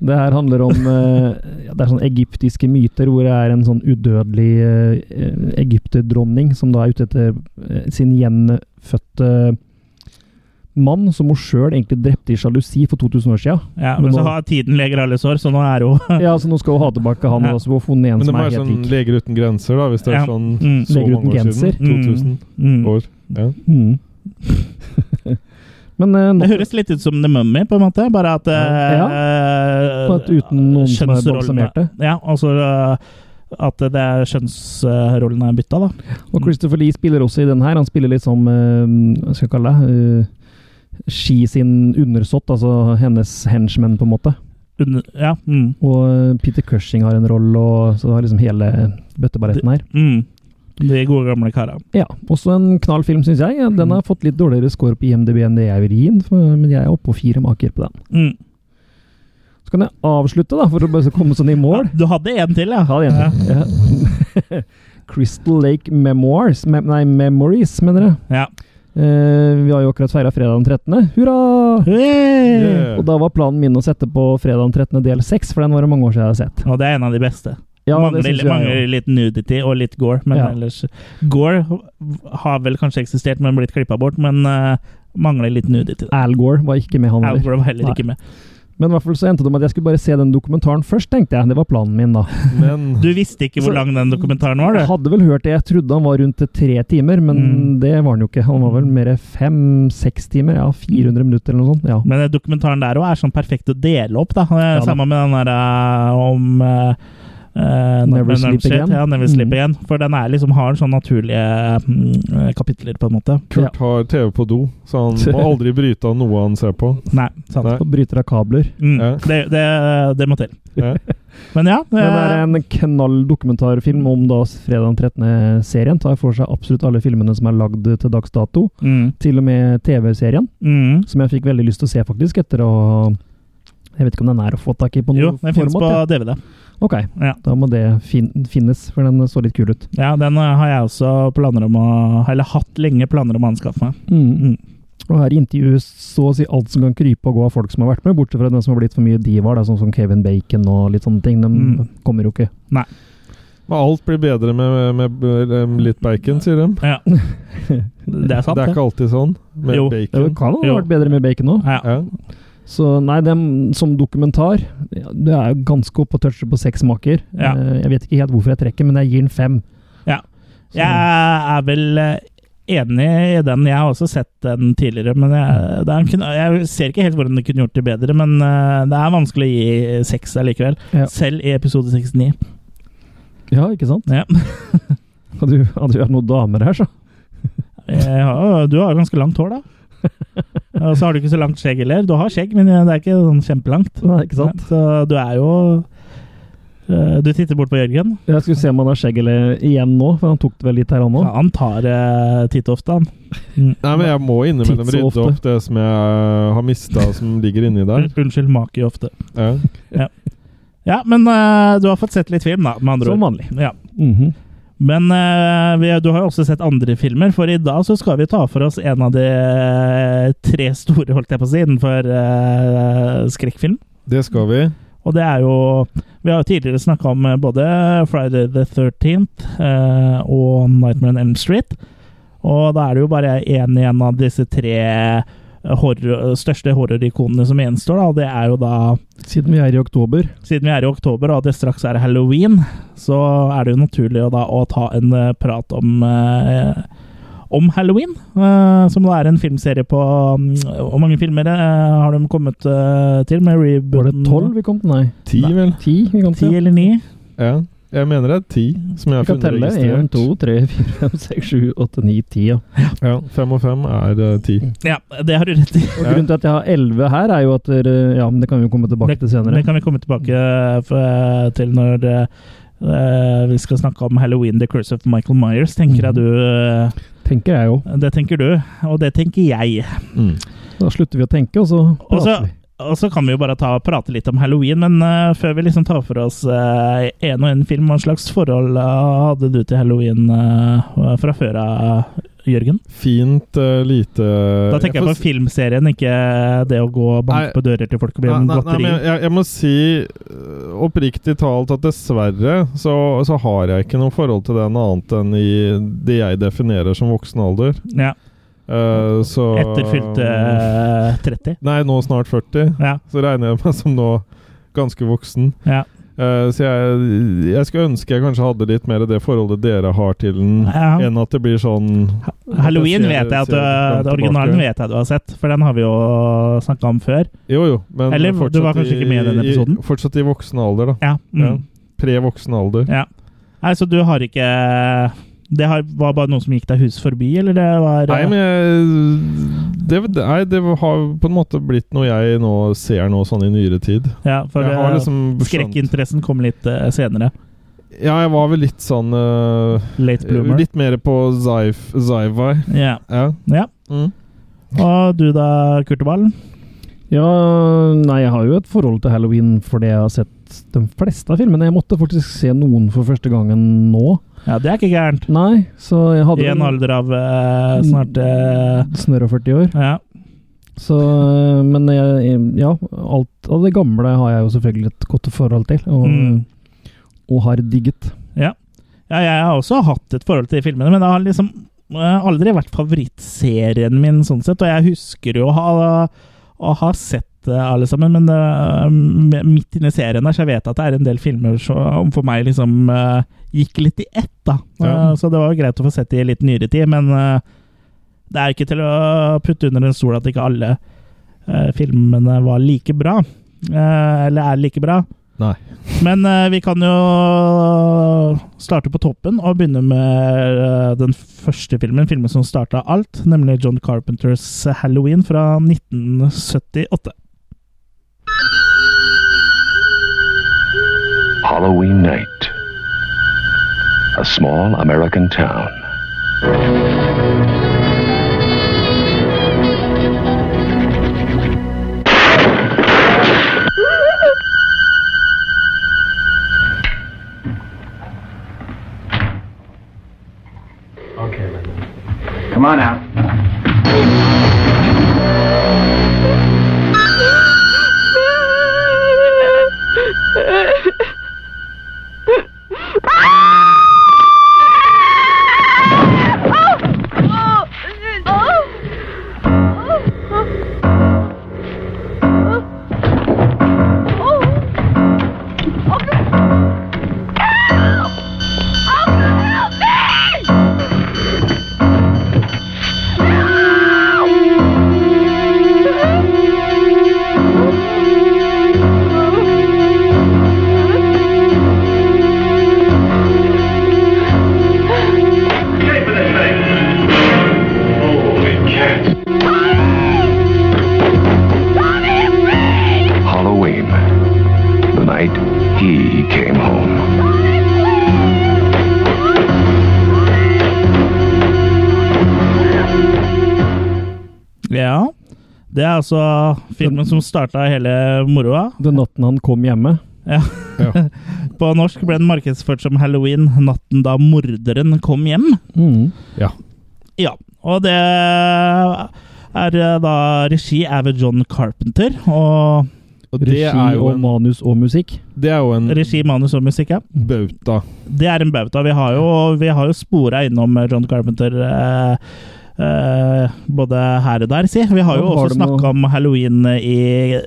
S3: Det her handler om eh, [laughs] ja, Det er sånne egyptiske myter hvor det er en sånn udødelig eh, egypterdronning som da er ute etter eh, sin gjenfødte mann, som hun sjøl egentlig drepte i sjalusi for 2000 år sia.
S1: Ja, men så har tiden leger alle sår, så nå er hun
S3: [laughs] Ja, så nå skal hun ha tilbake han
S1: Ja.
S3: og så må hun få funnet en
S2: Men det
S3: som
S2: må
S3: er
S2: være
S3: helt
S2: sånn
S3: lik.
S2: Leger uten grenser, da, hvis det er
S1: Ja.
S2: sånn
S1: [laughs] Mm.
S2: så
S3: Leger uten
S2: mange år
S3: grenser.
S2: siden. 2000
S1: Mm.
S2: år. Ja.
S3: Mm. [laughs] Men eh,
S1: Det
S3: nok
S1: høres litt ut som The Mummy, på en måte, bare at eh,
S3: på at uten noen som er
S1: kjønnsrollene-
S3: balsamerte.
S1: Ja, altså eh, at det er kjønnsrollene er bytta, da.
S3: Og Christopher Lee spiller også i den her. Han spiller litt som eh, Hva skal jeg kalle det? Eh, Ski sin undersått, altså hennes henchman, på en måte.
S1: Under, ja, mm,
S3: Og eh, Peter Cushing har en rolle, og så har liksom hele bøtteballetten her.
S1: mm. De gode gamle kara.
S3: Ja, Også en knall film, syns jeg. Den har fått litt dårligere score på IMDb enn det jeg vil gi den, for- men jeg er oppe på fire maker på den.
S1: Mm.
S3: Så kan jeg avslutte, da, for å bare komme sånn i mål.
S1: Ja, du hadde en til, ja?
S3: Ja, det er enig. Ja. [laughs] Crystal Lake Memoirs Mem Nei, Memories, mener jeg.
S1: Ja.
S3: Eh, vi har jo akkurat feira fredag den 13. Hurra!
S1: Hey!
S2: Yeah.
S3: Eh, Og da var planen min å sette på fredag den 13. del 6, for den var det mange år siden jeg hadde sett.
S1: Og det er en av de beste.
S3: Ja, det
S1: mangler,
S3: synes jeg
S1: mangler
S3: jo.
S1: litt nudity og litt gore, men
S3: Ja.
S1: ellers Gore har vel kanskje eksistert, men blitt klippa bort, men eh, mangler litt nudity.
S3: Al Gore var ikke med han
S1: Al
S3: heller.
S1: Gore var heller
S3: Nei.
S1: ikke med.
S3: Men i hvert fall så endte det med at jeg skulle bare se den dokumentaren først, tenkte jeg. Det var planen min, da.
S2: Men
S1: Du visste ikke hvor
S3: Så-
S1: lang den dokumentaren var,
S3: Jeg
S1: du?
S3: hadde vel hørt det. Jeg trodde han var rundt tre timer, men
S1: Mm.
S3: det var han jo ikke. Han var vel mer fem-seks timer. Ja, 400 minutter eller noe sånt. Ja.
S1: Men den dokumentaren der òg er sånn perfekt å dele opp, da. Eh,
S3: Ja, da.
S1: Sammen med den der eh, om eh, eh,
S3: Never
S1: Nightmare
S3: Sleep
S1: Shit.
S3: Again.
S1: Ja, Never Sleep
S3: Mm.
S1: Again. For den er liksom har sånn naturlige mm, kapitler, på en måte.
S2: Kurt har TV på do, så han må
S3: [laughs]
S2: aldri bryte av noe han ser på.
S1: Nei, sant.
S2: Nei.
S3: Og bryter av kabler.
S1: Mm.
S2: Ja.
S1: Det, det, det må til.
S2: Ja.
S1: Men ja.
S3: Men det
S1: eh,
S3: er en knall dokumentarfilm om da fredag den 13. serien. Tar for seg absolutt alle filmene som er lagd til dags dato.
S1: mm,
S3: Til og med TV-serien,
S1: mm.
S3: som jeg fikk veldig lyst til å se faktisk etter å Jeg vet ikke om den er å få tak i på noe
S1: Jo, den finnes på
S3: format?
S1: DVD.
S3: ja. Ok,
S1: Ja.
S3: da må det fin finnes, for den så litt kul ut.
S1: Ja, den eh, har jeg også planer om å Eller hatt lenge planer om å anskaffe meg. Mm.
S3: Og her intervjues så å si alt som kan krype og gå av folk som har vært med, bortsett fra den som har blitt for mye divaer, da, sånn som Kevin Bacon og litt sånne ting. De
S1: Mm.
S3: kommer jo ikke.
S2: Men alt blir bedre med, med, med eh, litt bacon, sier de.
S3: [laughs]
S1: Ja. Det er sant,
S2: Det er ikke alltid sånn med
S1: Jo.
S3: Det
S2: bacon.
S3: kan ha
S1: Jo.
S3: vært bedre med Bacon òg.
S1: Ja.
S2: Ja. sånn.
S3: Så nei, dem, som dokumentar ja, Det er jo ganske oppe å touche på seks maker.
S1: Ja.
S3: Eh, Jeg vet ikke helt hvorfor jeg trekker, men jeg gir den fem.
S1: Ja.
S3: Så-
S1: Jeg er vel eh, enig i den. Jeg har også sett den tidligere, men jeg, det er en, kun- jeg ser ikke helt hvordan det kunne gjort det bedre. Men eh, det er vanskelig å gi seks allikevel.
S3: Ja.
S1: Selv i episode 69.
S3: ja, ikke sant?
S1: Ja.
S3: [laughs] Hadde jo hadde jo vært noen damer her, så.
S1: Jeg har- Du har ganske langt
S3: [laughs]
S1: hår, da. Og så har du ikke så langt skjegg heller. Du har skjegg, men det er ikke sånn kjempelangt.
S3: Nei, ikke sant?
S1: Ja, Så du er jo eh, Du titter bort på Jørgen.
S3: Jeg skulle se om han har skjegg eller igjen nå, for han tok det vel litt her han
S1: Ja,
S3: òg.
S1: han tar eh, titt ofte, han. Mm.
S2: Nei, men jeg må innimellom
S3: Tids-
S2: rydde
S3: ofte. Mm.
S2: opp det som jeg eh, har mista, som ligger inni der.
S1: Unnskyld, maki ofte.
S2: Ja.
S1: Ja, men eh, du har fått sett litt film, da, med andre
S3: Som
S1: ord.
S3: vanlig.
S1: Ja.
S3: Mhm.
S1: Men eh, vi, du har jo også sett andre filmer, for i dag så skal vi ta for oss en av de eh, tre store, holdt jeg på å si, innenfor eh, skrekkfilm.
S2: Det skal vi.
S1: Og det er jo Vi har jo tidligere snakka om eh, både Friday the 13th eh, og Nightmare on Elm Street. Og da er det jo bare én igjen av disse tre eh, horror, største horrorikonene som gjenstår, da. Og det er jo da
S3: Siden vi er i oktober.
S1: Siden vi er i oktober, og det straks er halloween, så er det jo naturlig å, da, å ta en eh, prat om eh, om Halloween, eh, som da er en filmserie på mm, Hvor mange filmer eh, har de kommet eh, til? Med
S3: Var det
S1: rebooten?
S3: tolv vi kom til? Nei,
S2: Ti,
S1: Nei.
S2: vel?
S3: ti vi kom
S1: Ti
S3: til.
S1: eller ni?
S2: Ja. Jeg mener det er ti som jeg
S3: Vi
S2: har
S3: kan
S2: funnet
S3: telle. Én,
S2: registrert.
S3: to, tre, fire, fem, seks, sju, åtte, ni, ti. Ja.
S2: Ja, fem og fem er eh, ti.
S3: Mm.
S1: Ja, det har du rett i.
S3: Og
S2: Ja.
S3: Grunnen til at jeg har elleve her, er jo at dere- Ja, men det kan vi jo komme tilbake til senere.
S1: Det kan vi komme tilbake eh, til når
S2: Mhm.
S1: eh, vi skal snakke om Halloween The Curse of Michael Myers, tenker jeg du eh,
S3: Tenker jeg jo.
S1: Det tenker du, og det tenker jeg.
S2: Mm.
S3: Da slutter vi å tenke, og så prater
S1: så-
S3: vi.
S1: Og så kan vi jo bare ta, prate litt om halloween, men eh, før vi liksom tar for oss eh, en og en film, hva slags forhold eh, hadde du til halloween eh, fra før av, Jørgen?
S2: Fint eh, lite
S1: Da tenker jeg
S2: får
S1: på
S2: si-
S1: filmserien, ikke det å gå og banke
S2: Nei.
S1: på dører til folk og bli
S2: Nei,
S1: en
S2: nei, nei,
S1: godteri.
S2: men jeg, jeg må si øh, oppriktig talt at dessverre så, så har jeg ikke noe forhold til den annet enn i det jeg definerer som voksen alder.
S1: Ja,
S2: Eh, så
S1: etter fylte eh, 30.
S2: Nei, nå snart 40.
S1: Ja,
S2: Så regner jeg meg som nå ganske voksen.
S1: ja.
S2: Eh, så jeg, jeg skulle ønske jeg kanskje hadde litt mer det forholdet dere har til den,
S1: Ja.
S2: enn at det blir sånn
S1: Halloween
S2: ser-
S1: vet jeg at
S2: ser langt
S1: du, originalen
S2: tilbake.
S1: vet jeg du har sett, for den har vi jo snakka om før.
S2: Jo, jo, men
S1: Eller, du var
S2: fortsatt
S1: kanskje ikke med i den episoden?
S2: I, fortsatt i voksen alder, da.
S1: Ja.
S2: Ja.
S1: Mm.
S2: Pre-voksen alder.
S1: ja. Nei, så du har ikke Det har, var bare noen som gikk deg hus forbi, eller det var
S2: Nei, men jeg, det, nei, det har på en måte blitt noe jeg nå ser nå sånn i nyere tid.
S1: ja, for,
S2: jeg har
S1: eh,
S2: liksom skjønt-
S1: Skrekkinteressen kom litt eh, senere.
S2: Ja, jeg var vel litt sånn øh,
S1: Late bloomer.
S2: Litt mer på sci- sci-fi.
S1: Ja.
S2: Ja.
S1: ja.
S2: Mm.
S1: Og du da, Kurteball?
S3: Ja, nei, jeg har jo et forhold til halloween fordi jeg har sett de fleste av filmene. Jeg måtte faktisk se noen for første gangen nå.
S1: Ja, det er ikke gærent.
S3: Nei, så jeg hadde
S1: I en alder av eh, snart eh,
S3: Snørra 40 år.
S1: Ja.
S3: Så, eh, men jeg, ja, alt av det gamle har jeg jo selvfølgelig et godt forhold til, og,
S1: Mm.
S3: og har digget.
S1: Ja, jeg har også hatt et forhold til de filmene, men det har liksom eh, aldri vært favorittserien min, sånn sett. Og jeg husker jo å ha, å ha sett eh, alle sammen, men eh, m- midt inne i serien der, så jeg vet at det er en del filmer som for meg liksom eh, gikk litt i ett, da.
S2: Ja.
S1: Eh, så det var jo greit å få sett de i litt nyere tid, men eh, det er ikke til å putte under en stol at ikke alle eh, filmene var like bra. eh, eller er like bra.
S2: Nei.
S1: Men eh, vi kan jo starte på toppen og begynne med eh, den første filmen, filmen som starta alt, nemlig John Carpenters Halloween fra 1978.
S4: Halloween night. A small American town.
S5: Okay, Linda. Come on out.
S4: Halloween. The night he came home.
S1: Ja. Det er altså filmen som starta hele moroa.
S3: Den natten han kom hjemme.
S1: Ja.
S2: Ja.
S1: På norsk ble den markedsført som Halloween, natten da morderen kom hjem.
S3: Mm.
S2: Ja.
S1: Ja, og det er eh, da regi er ved John Carpenter, og
S2: Og
S3: Regi
S2: det er jo
S3: og
S2: en,
S3: manus og musikk.
S2: det er jo en
S1: regi, manus og musikk, ja.
S2: bauta.
S1: Det er en bauta. Vi har jo, vi har jo spora innom John Carpenter eh, eh, både her og der, si. Vi har jo
S3: Og har
S1: også
S3: du noe-
S1: snakka om halloween i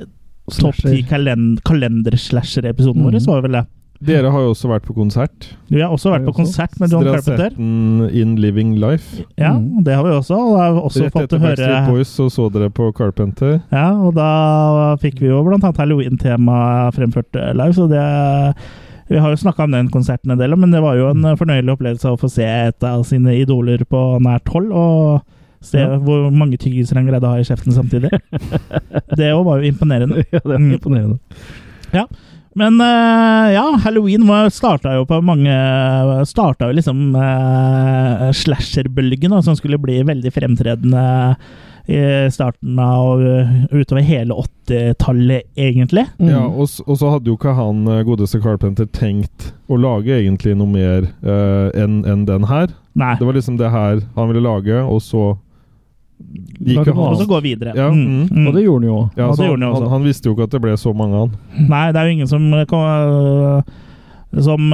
S1: topp
S3: Slasher.
S1: ti kalend kalenderslasher-episoden vår,
S3: Mhm.
S1: så var det vel det.
S2: Dere har jo også vært på konsert.
S1: Vi har også vært
S3: Har vi
S1: på
S3: også?
S1: konsert med John
S2: Dere har
S1: Carpenter.
S2: sett den In Living Life.
S1: Ja,
S3: Mhm.
S1: det har vi også. Og da har vi også
S2: Rett
S1: fått
S2: etter
S1: å høre
S2: Backstreet Boys så så dere på Carpenter.
S1: Ja, og da fikk vi jo blant annet halloween-tema fremført eh, live, så det Vi har jo snakka om den konserten en del, men det var jo en eh, fornøyelig opplevelse å få se et av sine idoler på nært hold, og se
S3: Ja.
S1: hvor mange tyggiser han greide å ha i kjeften samtidig. Det òg var jo imponerende.
S3: [laughs] ja, det er
S1: Mm.
S3: imponerende.
S1: Men eh, ja, halloween var- starta jo på mange Starta jo liksom eh, slasherbølgen, da, som skulle bli veldig fremtredende i starten av eh, utover hele 80-tallet, egentlig.
S3: Mm.
S2: Ja, og, s- og så hadde jo ikke han eh, godeste Carpenter tenkt å lage egentlig noe mer eh, enn enn den her.
S1: Nei.
S2: Det var liksom det her han ville lage, og så gikk
S3: Lage
S2: jo
S1: Og
S2: han
S1: så gå videre.
S2: Ja, mm.
S3: Og det gjorde han jo.
S2: ja,
S1: Ja, det
S2: så
S1: gjorde
S2: han,
S1: han også.
S2: han, han visste jo ikke at det ble så mange, han.
S1: Nei, det er jo ingen som kom, som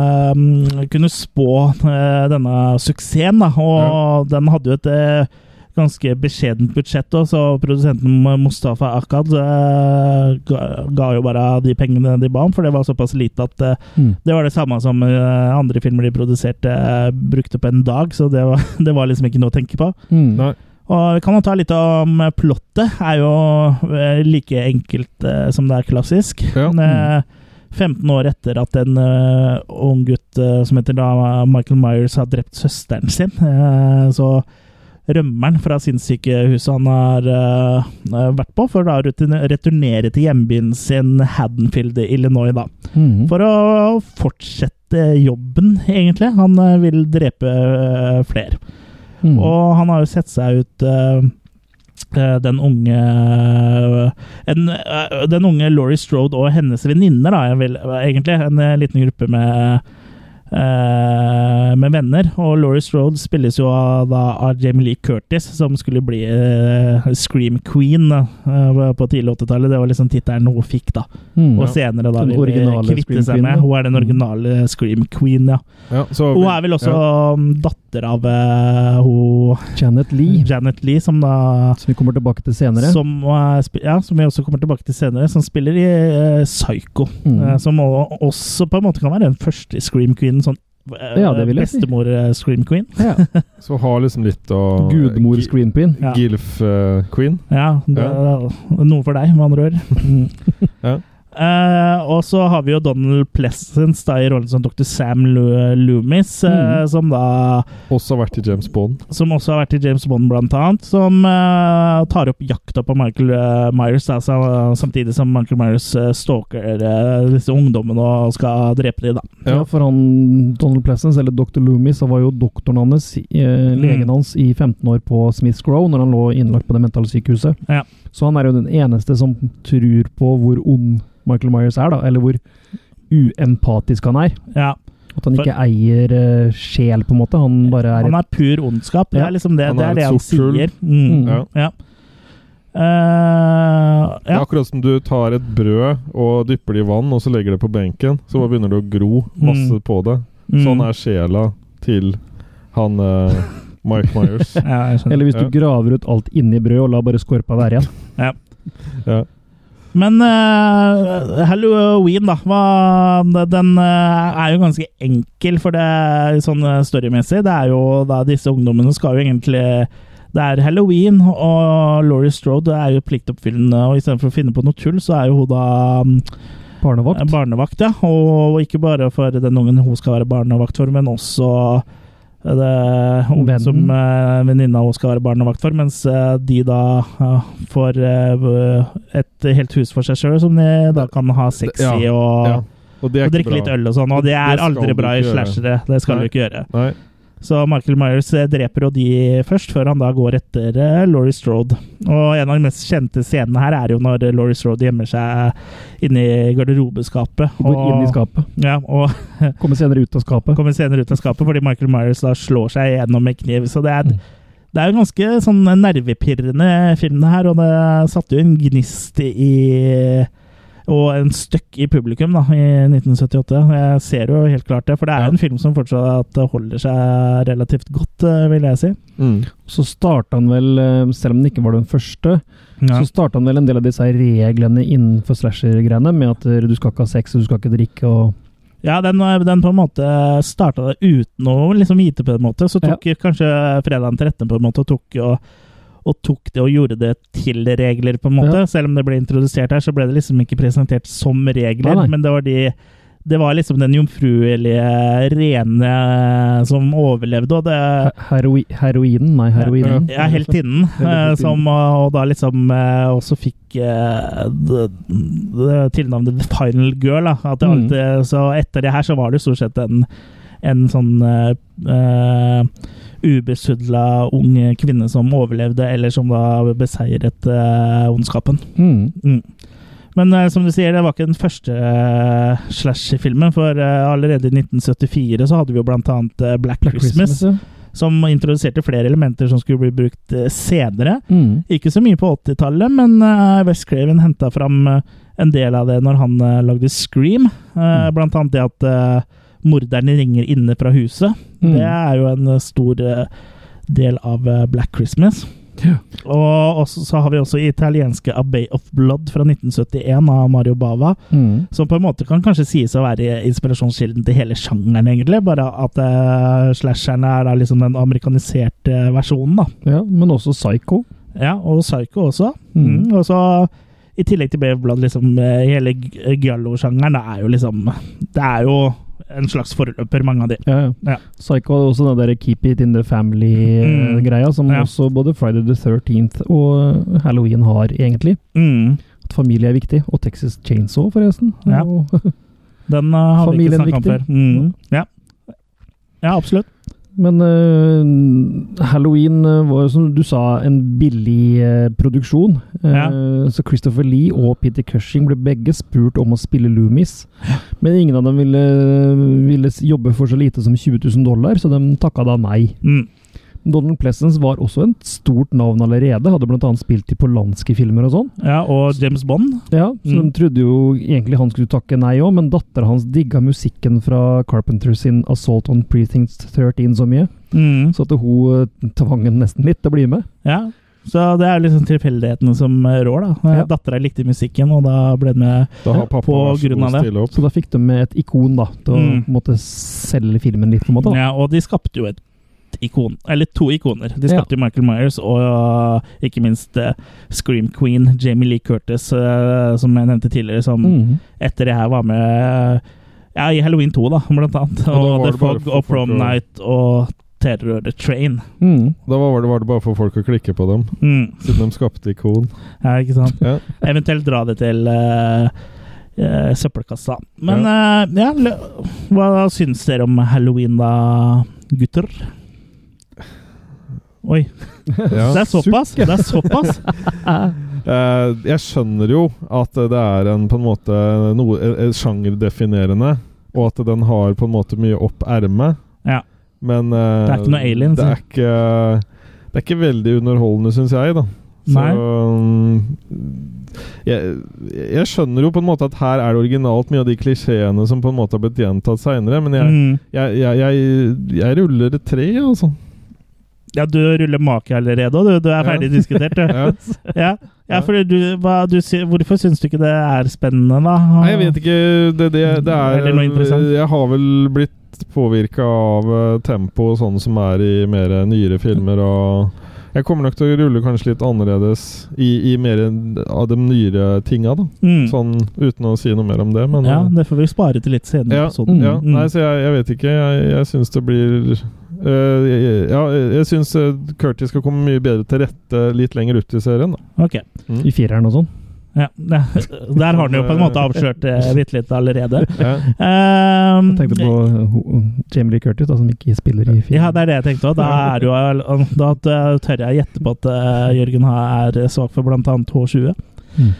S1: eh, kunne spå eh, denne suksessen, da. Og den hadde jo et eh, ganske beskjedent budsjett, også, så produsenten Mustafa Akad eh, ga, ga jo bare de pengene de ba om, for det var såpass lite at eh,
S3: Mm.
S1: det var det samme som eh, andre filmer de produserte, eh, brukte på en dag, så det var, [laughs] det var liksom ikke noe å tenke på.
S3: Mm.
S2: Nei.
S1: Og vi kan jo ta litt om eh, plottet. er jo eh, like enkelt eh, som det er klassisk.
S2: Ja.
S1: Men, eh, 15 år etter at en eh, ung gutt eh, som heter da Michael Myers har drept søsteren sin, eh, så rømmer han fra sinnssykehuset han har eh, vært på, for da å returne- returnere til hjembyen sin Haddonfield i Illinois, da.
S3: Mm.
S1: For å fortsette jobben, egentlig. Han eh, vil drepe eh, flere.
S3: Mm.
S1: Og han har jo sett seg ut eh, eh, den unge en, eh, Den unge Laurie Strode og hennes venninner, da, jeg vil, egentlig. En eh, liten gruppe med eh, med venner, og Laurie Strode spilles jo av, da, av Jamie Lee Curtis, som skulle bli eh, Scream Queen da, eh, på tidlig 80-tallet. Det var liksom tittelen hun fikk, da.
S3: Mm.
S1: Og senere da
S3: Den
S1: ville
S3: originale
S1: kvitte
S3: Scream
S1: seg
S3: Queen, Mm.
S1: med.
S3: da.
S1: Hun er den originale Scream Queen, ja.
S2: Ja, så,
S1: Hun er vel også
S2: ja.
S1: um, datter av eh, hun
S3: Janet Lee,
S1: Janet Lee, som da
S3: som vi kommer tilbake til senere.
S1: som, eh, spi- ja, som vi også kommer tilbake til senere, som spiller i eh, Psycho.
S3: Mm.
S1: eh, som o- også på en måte kan være den første Scream Queen. Sånn eh,
S3: Ja, det vil jeg si.
S1: bestemor eh, Scream Queen.
S3: Ja.
S2: så har liksom litt av
S3: Gudmor Screen Queen.
S1: Ja.
S2: Gilf-queen.
S1: Ja, det, Noe for deg, med andre ord.
S3: Mm.
S2: Ja.
S1: Eh, og så har vi jo Donald Pleasence da, i rollen som dr. Sam Lu- Loomis, eh,
S3: Mm.
S1: som da
S2: Også har vært i James Bond.
S1: som også har vært i James Bond, blant annet, som eh, tar opp jakta på Michael eh, Myers, da, sa- samtidig som Michael Myers eh, stalker eh, disse ungdommene og skal drepe dem, da.
S2: Ja.
S3: Ja, for han Donald Pleasence, eller Dr. Loomis, han var jo doktoren hans, eh,
S1: Mm.
S3: legen hans, i 15 år på Smiths Grow, når han lå innlagt på det mentale sykehuset.
S1: Ja.
S3: Så han er jo den eneste som tror på hvor ond Michael Myers er, da, eller hvor uempatisk han er.
S1: Ja,
S3: At han
S1: For-
S3: ikke eier eh, sjel, på en måte. Han bare er,
S1: han er pur ondskap. Det
S3: Ja.
S1: er liksom det
S2: Han
S1: det,
S2: er
S1: er
S2: et
S1: det han
S2: sort hull.
S1: sier. Mm.
S3: Mm.
S2: Ja.
S1: Ja. Eh,
S2: Det
S1: ja.
S2: er akkurat som du tar et brød og dypper det i vann, og så legger det på benken. Så bare begynner det å gro masse
S1: Mm.
S2: på det.
S1: Mm.
S2: Sånn er sjela til han eh, Mike Myers.
S1: [laughs] ja, jeg skjønner.
S3: Eller hvis
S2: Ja.
S3: du graver ut alt inni brødet og lar bare skorpa være igjen.
S2: ja.
S1: Men eh, Halloween, da. Hva, den eh, er jo ganske enkel for det sånn eh, storymessig. Det er jo da disse ungdommene skal jo egentlig Det er halloween, og Laurie Strode er jo pliktoppfyllende. Og istedenfor å finne på noe tull, så er jo hun da mm,
S3: Barnevakt.
S1: barnevakt. ja. Og, og ikke bare for den ungen hun skal være barnevakt for, men også eh, det ungen
S3: Vennen.
S1: som eh, venninna hun skal være barnevakt for, mens eh, de da eh, får eh, et helt hus for seg sjøl, som de da kan ha sex
S2: Ja,
S1: i og,
S2: ja. Og det er
S1: og
S2: ikke
S1: drikke
S2: bra.
S1: litt øl og sånn. Og det
S2: Det
S1: er
S2: skal du
S1: aldri bra i
S2: ikke gjøre.
S1: slashere. Det skal
S2: Nei.
S1: du ikke gjøre.
S2: Nei.
S1: Så Michael Myers eh, dreper jo de først, før han da går etter eh, Laurie Strode. Og en av de mest kjente scenene her er jo når eh, Laurie Strode gjemmer seg inni garderobeskapet.
S3: Går
S1: og-
S3: inn i skapet.
S1: ja, og
S3: Kommer senere ut av skapet.
S1: kommer senere ut av skapet fordi Michael Myers da slår seg gjennom med kniv. Så det er, det er jo ganske sånn nervepirrende film, det her. Og det satte jo en gnist i Og en støkk i publikum, da, i 1978. Jeg ser jo helt klart det. For det er
S2: Ja.
S1: en film som fortsatt holder seg relativt godt, eh, vil jeg si.
S2: Mm.
S3: Så starta han vel, eh, selv om den ikke var den første,
S1: Ja.
S3: så starta han vel en del av disse her reglene innenfor slasher-greiene, med at eh, du skal ikke ha sex, og du skal ikke drikke og
S1: Ja, den, eh, den på en måte starta det uten å liksom vite på en måte. Så tok kanskje fredagen 13 på en måte og tok, og, og tok det og gjorde det til regler, på en måte. Selv om det ble introdusert her, så ble det liksom ikke presentert som regler,
S3: Nei, nei.
S1: men det var de det var liksom den jomfruelige, rene eh, som overlevde, og det
S3: Heroi, heroinen? Nei, heroinen.
S1: ja, heltinnen, eh, som eh, og da liksom eh, også fikk eh, det- det tilnavnet The Final Girl. Da. At det
S3: Mm.
S1: alltid, så etter det her så var det stort sett en, en sånn eh, eh, ubesudla ung kvinne som overlevde, eller som da beseiret eh, ondskapen.
S3: Mm.
S1: Mm. Men eh, som du sier, det var ikke den første eh, slash-filmen, for eh, allerede i 1974 så hadde vi jo blant annet eh, Black,
S3: Black
S1: Christmas,
S3: Christmas, ja.
S1: som introduserte flere elementer som skulle bli brukt eh, senere.
S3: Mm.
S1: Ikke så mye på 80-tallet, men eh, Wes Craven henta fram eh, en del av det når han eh, lagde Scream. Eh,
S3: Mm.
S1: Blant annet det at eh, morderen ringer inne fra huset.
S3: Mm.
S1: Det er jo en eh, stor eh, del av eh, Black Christmas.
S3: Ja.
S1: Og også, så har vi også italienske A Bay of Blood fra 1971 av Mario Bava,
S3: Mm.
S1: som på en måte kan kanskje sies å være inspirasjonskilden til hele sjangeren, egentlig. Bare at eh, slasherne er da liksom den amerikaniserte eh, versjonen, da.
S3: ja, men også Psycho.
S1: Ja, og Psycho også.
S3: Mm.
S1: Mm. Og så i tillegg til Bay of Blood, liksom eh, hele g- giallo-sjangeren er jo liksom Det er jo en slags forløper, mange av de.
S3: Ja, ja.
S1: Ja.
S3: Psycho hadde også den der 'keep it in the
S1: Mm.
S3: family'-greia, som
S1: Ja.
S3: også både Friday the 13th og Halloween har, egentlig.
S1: Mm.
S3: At familie er viktig. Og Texas Chainsaw, forresten.
S1: Ja.
S3: Og-
S1: Den eh, har vi ikke
S3: Familien
S1: snakka om
S3: viktig.
S1: før. Mm. Ja. ja, absolutt.
S3: Men eh, Halloween eh, var jo, som du sa, en billig eh, produksjon. Eh,
S1: Ja.
S3: Så Christopher Lee og Peter Cushing ble begge spurt om å spille Loomis. Men ingen av dem ville, ville s- jobbe for så lite som 20 000 dollar, så de takka da nei.
S1: Mm.
S3: Donald Pleasence var også en stort navn allerede. Hadde bl.a. spilt i polanske filmer og sånn.
S1: Ja, og James Bond.
S3: Ja, så
S1: Mm.
S3: De trodde jo egentlig han skulle takke nei òg, men dattera hans digga musikken fra Carpenter sin 'Assault on Prethings 13' så mye,
S1: Mm.
S3: så at hun eh, tvang ham nesten litt til å bli med.
S1: Ja. Så det er jo liksom tilfeldighetene som eh, rår, da.
S3: Ja.
S1: Ja. Dattera likte musikken, og da ble det med
S2: Da har pappa
S1: På
S2: vært så
S1: grunn
S2: god
S1: av det.
S2: stille opp.
S3: Så da fikk de med et ikon da, til å
S1: Mm.
S3: på en måte selge filmen litt, på en måte. da.
S1: ja, Og de skapte jo et ikon. Eller to ikoner. De skapte jo Michael Myers og eh, ikke minst eh, Scream Queen, Jamie Lee Curtis, eh, som jeg nevnte tidligere, som
S3: Mm.
S1: etter det her var med eh, Ja, i Halloween 2, da, blant annet.
S2: Og da
S1: Og,
S2: var
S1: The
S2: det bare
S1: Fog
S2: for
S1: og
S2: folk
S1: Prom
S2: å-
S1: Night og Terror the Train.
S3: Mm.
S2: Da var det, var det bare for folk å klikke på dem,
S1: Mm.
S2: siden de skapte ikon.
S1: Ja, ikke sant?
S2: Ja.
S1: Eventuelt dra det til eh, eh, søppelkassa. Men eh, ja, lø- hva syns dere om halloween, da, gutter? Oi,
S2: [laughs] Ja.
S1: det er såpass! Det er
S2: [laughs]
S1: såpass.
S2: Eh, jeg skjønner jo at det er en på en måte noe eh, eh, sjangerdefinerende, og at den har på en måte mye opp ermet.
S1: Ja.
S2: Men eh,
S1: Det er ikke noe alien,
S2: Det er ikke, det er ikke veldig underholdende, syns jeg, da. Så
S1: Nei.
S2: mm, jeg, jeg skjønner jo på en måte at her er det originalt mye av de klisjeene som på en måte har blitt gjentatt seinere, men jeg,
S1: Mm.
S2: jeg, jeg, jeg, jeg ruller et tre, altså.
S1: Ja, du ruller make allerede, og du, du er ferdig diskutert,
S2: [laughs]
S1: du.
S2: Ja.
S1: [laughs] Ja, ja for du, hva, du, sy- hvorfor syns du ikke det er spennende, da?
S2: Nei, jeg vet ikke. Det, det, det er,
S1: Eller noe interessant.
S2: Jeg har vel blitt påvirka av eh, tempo og sånn som er i mer nyere filmer. Og jeg kommer nok til å rulle kanskje litt annerledes i, i mer av de nyere tinga, da.
S1: Mm.
S2: Sånn uten å si noe mer om det, men
S1: Ja,
S2: eh,
S1: det får vi spare til litt senere i
S2: ja,
S1: episoden.
S2: ja.
S1: Mm.
S2: Nei, så jeg, jeg vet ikke. Jeg, jeg syns det blir eh, jeg- Ja, jeg syns eh, Curtis skal komme mye bedre til rette litt lenger ut i serien, da.
S1: Ok.
S3: I fireren og sånn.
S1: Ja, [laughs] der har han jo på en måte avslørt
S2: [laughs]
S1: eh, bitte litt allerede.
S2: Ja.
S1: Um,
S3: Jeg tenkte på eh, ho- Jamie Lee Curtis, da, som ikke spiller i
S1: Ja,
S3: fireren.
S1: det er det jeg tenkte òg. Da, er jo, da t- tør jeg gjette på at eh, Jørgen ha- er svak for bl.a. H20.
S3: Mm.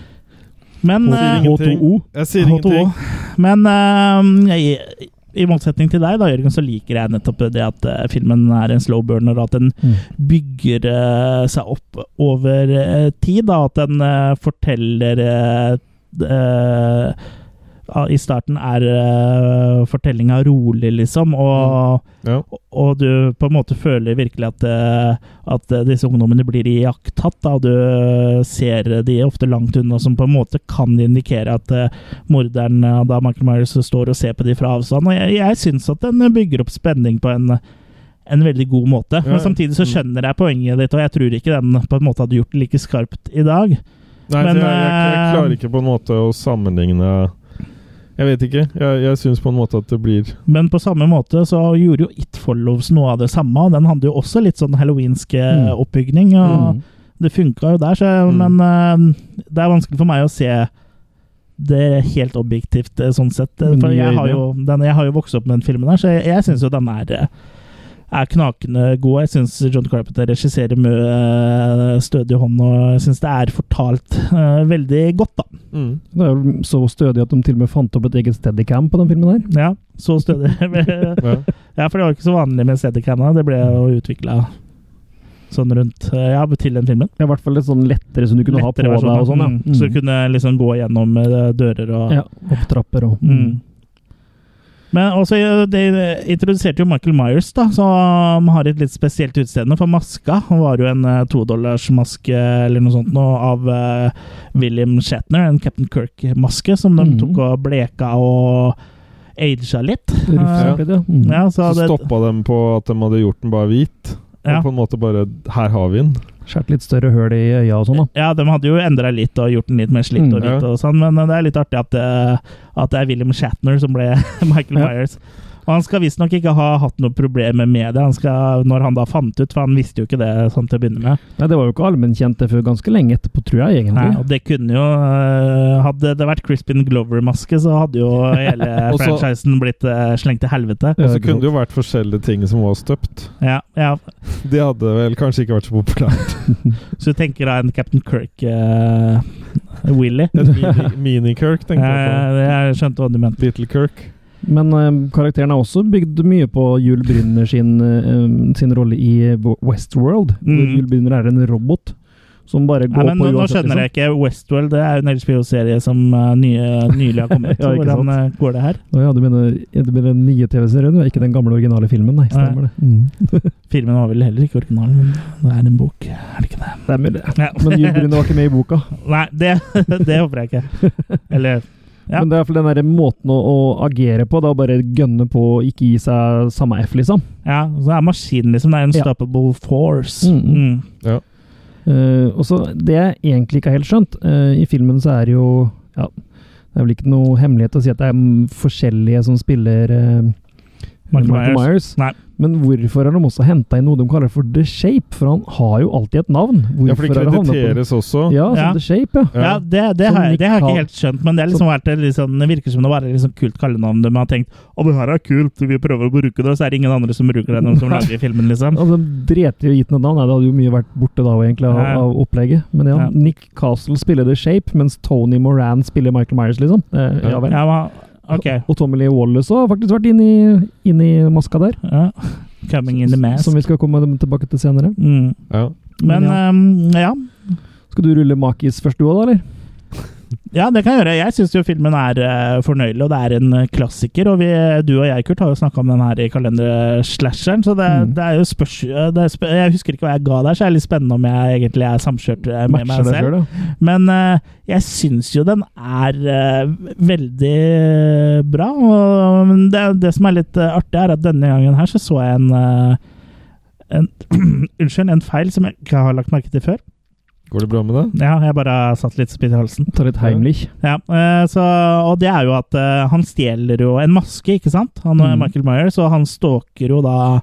S1: Men
S2: H-
S1: eh,
S2: H2O. Jeg sier ingenting.
S1: H2O. Men eh, jeg, i motsetning til deg, da, Jørgen, så liker jeg nettopp det at eh, filmen er en slow burner, og at den
S3: Mm.
S1: bygger eh, seg opp over eh, tid. Da, at den eh, forteller eh, d- eh, ah, I starten er uh, fortellinga rolig, liksom,
S2: Mm.
S1: og,
S2: Ja.
S1: og du på en måte føler virkelig at, eh, at eh, disse ungdommene blir iakttatt. da, og Du eh, ser de ofte langt unna, som på en måte kan indikere at eh, morderen eh, da Michael Myers står og ser på de fra avstand. og Jeg, jeg syns at den bygger opp spenning på en en veldig god måte.
S2: Ja,
S1: Men
S2: ja.
S1: samtidig så
S2: Mm.
S1: skjønner jeg poenget ditt, og jeg tror ikke den på en måte hadde gjort det like skarpt i dag.
S2: Nei,
S1: Men,
S2: så jeg, jeg, jeg
S1: eh,
S2: klarer ikke på en måte å sammenligne Jeg vet ikke. Jeg, jeg syns på en måte at det blir
S1: Men på samme måte så gjorde jo It Follows noe av det samme. og Den hadde jo også litt sånn halloweensk eh,
S3: Mm.
S1: oppbygning. og
S3: Mm.
S1: Det funka jo der, så, men eh, det er vanskelig for meg å se det helt objektivt eh, sånn sett. eh,
S3: Men
S1: For
S3: du gjør
S1: jeg har,
S3: det.
S1: jo, den, jeg har jo vokst opp med den filmen her, så jeg, jeg syns jo den er, eh, er knakende god. Jeg syns John Carpenter regisserer med eh, stødig hånd, og jeg syns det er fortalt eh, veldig godt, da.
S2: mm.
S3: Det er jo så stødig at de til og med fant opp et eget steadycam på den filmen her.
S1: Ja, så stødig. [laughs] ja,
S2: [laughs] ja.
S1: for det var ikke så vanlig med Steadicam. Det ble jo utvikla sånn rundt eh, Ja, til den filmen.
S3: Ja, I hvert fall litt sånn lettere som du kunne
S1: lettere
S3: ha på deg og sånn.
S1: versjoner.
S3: Ja.
S1: Mm. Så du kunne liksom gå gjennom eh, dører og
S3: ja, opp trapper og
S1: mm. Men også, eh, det introduserte jo Michael Myers, da, som har et litt spesielt utseende. For maska var jo en eh, todollarsmaske eller noe sånt nå, av eh, William Shatner, en Captain Kirk-maske, som de
S3: Mm.
S1: tok og bleka og aga litt.
S3: Rufsa
S2: Ja.
S3: litt, ja. Mm.
S1: Ja, så
S2: Så
S1: det,
S2: stoppa dem på at de hadde gjort den bare hvit.
S1: Ja.
S2: Og på en måte bare Her har vi den.
S3: Skjært litt større høl i øya og sånn, da.
S1: Ja, de hadde jo endra litt og gjort den litt mer slitt og
S3: Mm,
S2: ja.
S1: litt og sånn, men det er litt artig at det, at det er William Shatner som ble [laughs] Michael
S3: Ja.
S1: Myers. Og han skal visstnok ikke ha hatt noe problemer med det, han skal, når han da fant ut, for han visste jo ikke det sånn til å begynne med.
S3: Nei, det var jo ikke allmennkjent det før ganske lenge etterpå, tror jeg,
S1: Nei,
S3: egentlig.
S1: og det kunne jo øh, Hadde det vært Crispin Glover-maske, så hadde
S2: [laughs]
S1: jo hele
S2: Og så-
S1: franchisen blitt øh, slengt til helvete.
S2: Og
S3: Ja,
S2: så
S3: ikke
S2: kunne
S3: sant.
S2: det jo vært forskjellige ting som var støpt.
S1: Ja, ja.
S2: [laughs] Det hadde vel kanskje ikke vært så populært.
S1: Så du tenker da en Captain eh, Kirk-Willy?
S2: [laughs] [laughs] Et mini- Mini-Kirk, tenkte jeg
S1: Eh,
S2: på.
S1: jeg skjønte hva du mente.
S2: Little Kirk.
S3: Men eh, karakteren er også bygd mye på Jul Brynner sin, eh, sin rolle i Westworld. Hvor
S1: Mm.
S3: Jul Brynner er en robot som bare går
S1: Nei, men
S3: på
S1: nå, nå
S3: uansett, liksom.
S1: skjønner jeg ikke. Westworld det er jo en HBO-serie som eh, nye, nylig har kommet.
S3: [laughs] Ja, ikke
S1: Hvordan eh, går det her?
S3: Å ja, du mener, ja, du mener den nye TV-serien, du? ikke den gamle originale filmen? Nei, stemmer det. Mm. [laughs]
S1: Filmen var vel heller ikke originalen, men det er en bok. Er det ikke det?
S3: Det er mulig.
S1: [laughs] Ja.
S3: Men Jul Brynner var ikke med i boka.
S1: Nei, det, [laughs] det håper jeg ikke. Eller [laughs] Ja.
S3: Men det er i hvert fall den der måten å, å agere på, da bare gønne på og ikke gi seg samme F, liksom.
S1: Ja, så er maskinen liksom Det er en
S3: Ja.
S1: stoppable force.
S3: Mm, mm.
S1: Mm.
S3: Eh, og så Det jeg egentlig ikke har helt skjønt eh, I filmen så er det jo ja, Det er vel ikke noe hemmelighet å si at det er mm, forskjellige som spiller eh,
S1: Michael Myers. Nei.
S3: Men hvorfor har de også henta inn noe de kaller for The Shape? For han har jo alltid et navn.
S2: Ja, for de
S3: har det havnet på-
S2: krediteres også.
S3: Ja, som
S1: Ja.
S3: The Shape, ja.
S1: Ja, det, det,
S3: Som
S1: har, jeg-
S3: Nick
S1: det har jeg
S3: Cave.
S1: ikke helt skjønt, men det, er liksom vært et litt sånn- det virker som det var et litt sånn kult kallenavn. De har tenkt 'Å, det her er kult, vi prøver å bruke det', og så er det ingen andre som bruker det når
S3: [laughs]
S1: de
S3: Nei.
S1: lager filmen, liksom.
S3: Altså, de drepte jo gitt noe navn. Nei, det hadde jo mye vært borte da egentlig av,
S1: Ja.
S3: av opplegget. Men ja,
S1: Ja.
S3: Nick Castle spiller The Shape, mens Tony Moran spiller Michael Myers, liksom. Eh,
S2: Ja.
S3: ja vel.
S1: Ja, men, ok.
S3: Og Tommy Lee Wallace har faktisk vært inni inn i maska der.
S1: Ja. Coming in the mask.
S3: Som vi skal komme tilbake til senere.
S1: Mm.
S2: Ja.
S1: Men
S3: ja.
S1: ehm, ja.
S3: Skal du rulle Makis først, du òg, da? eller?
S1: ja, det kan jeg gjøre. Jeg syns jo filmen er eh, fornøyelig, og det er en eh, klassiker. Og vi, du og jeg, Kurt, har jo snakka om den her i kalenderslasheren, så det,
S3: Mm.
S1: det er jo spørs... eh, Det er sp jeg husker ikke hva jeg ga der, så det er litt spennende om jeg egentlig er samkjørt eh, med
S3: Matcher
S1: meg
S3: deg
S1: selv.
S3: selv, da.
S1: Men eh, jeg syns jo den er eh, veldig bra. Og men det, det som er litt eh, artig, er at denne gangen her så så jeg en eh, en, [clears throat] unnskyld, en feil som jeg ikke har lagt merke til før.
S2: Går det bra med det?
S1: Ja, jeg bare satt litt spytt i halsen.
S3: Ta litt Heimlich.
S1: Ja, eh, så, og det er jo at eh, han stjeler jo en maske, ikke sant? Han er
S3: Mm.
S1: Michael Myers, og han stalker jo da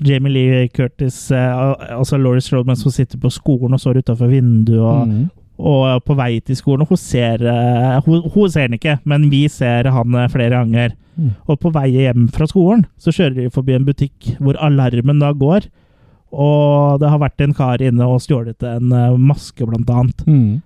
S1: Jamie Lee Curtis, eh, al- altså Laurie Strode, som sitter på skolen og står utafor vinduet. og
S3: Mm.
S1: og på vei til skolen. og Hun ser, eh, hun, hun ser han ikke, men vi ser han eh, flere ganger.
S3: Mm.
S1: Og på vei hjem fra skolen så kjører de forbi en butikk hvor alarmen da går. Og det har vært en kar inne og stjålet en eh, maske, blant annet.
S3: Mm.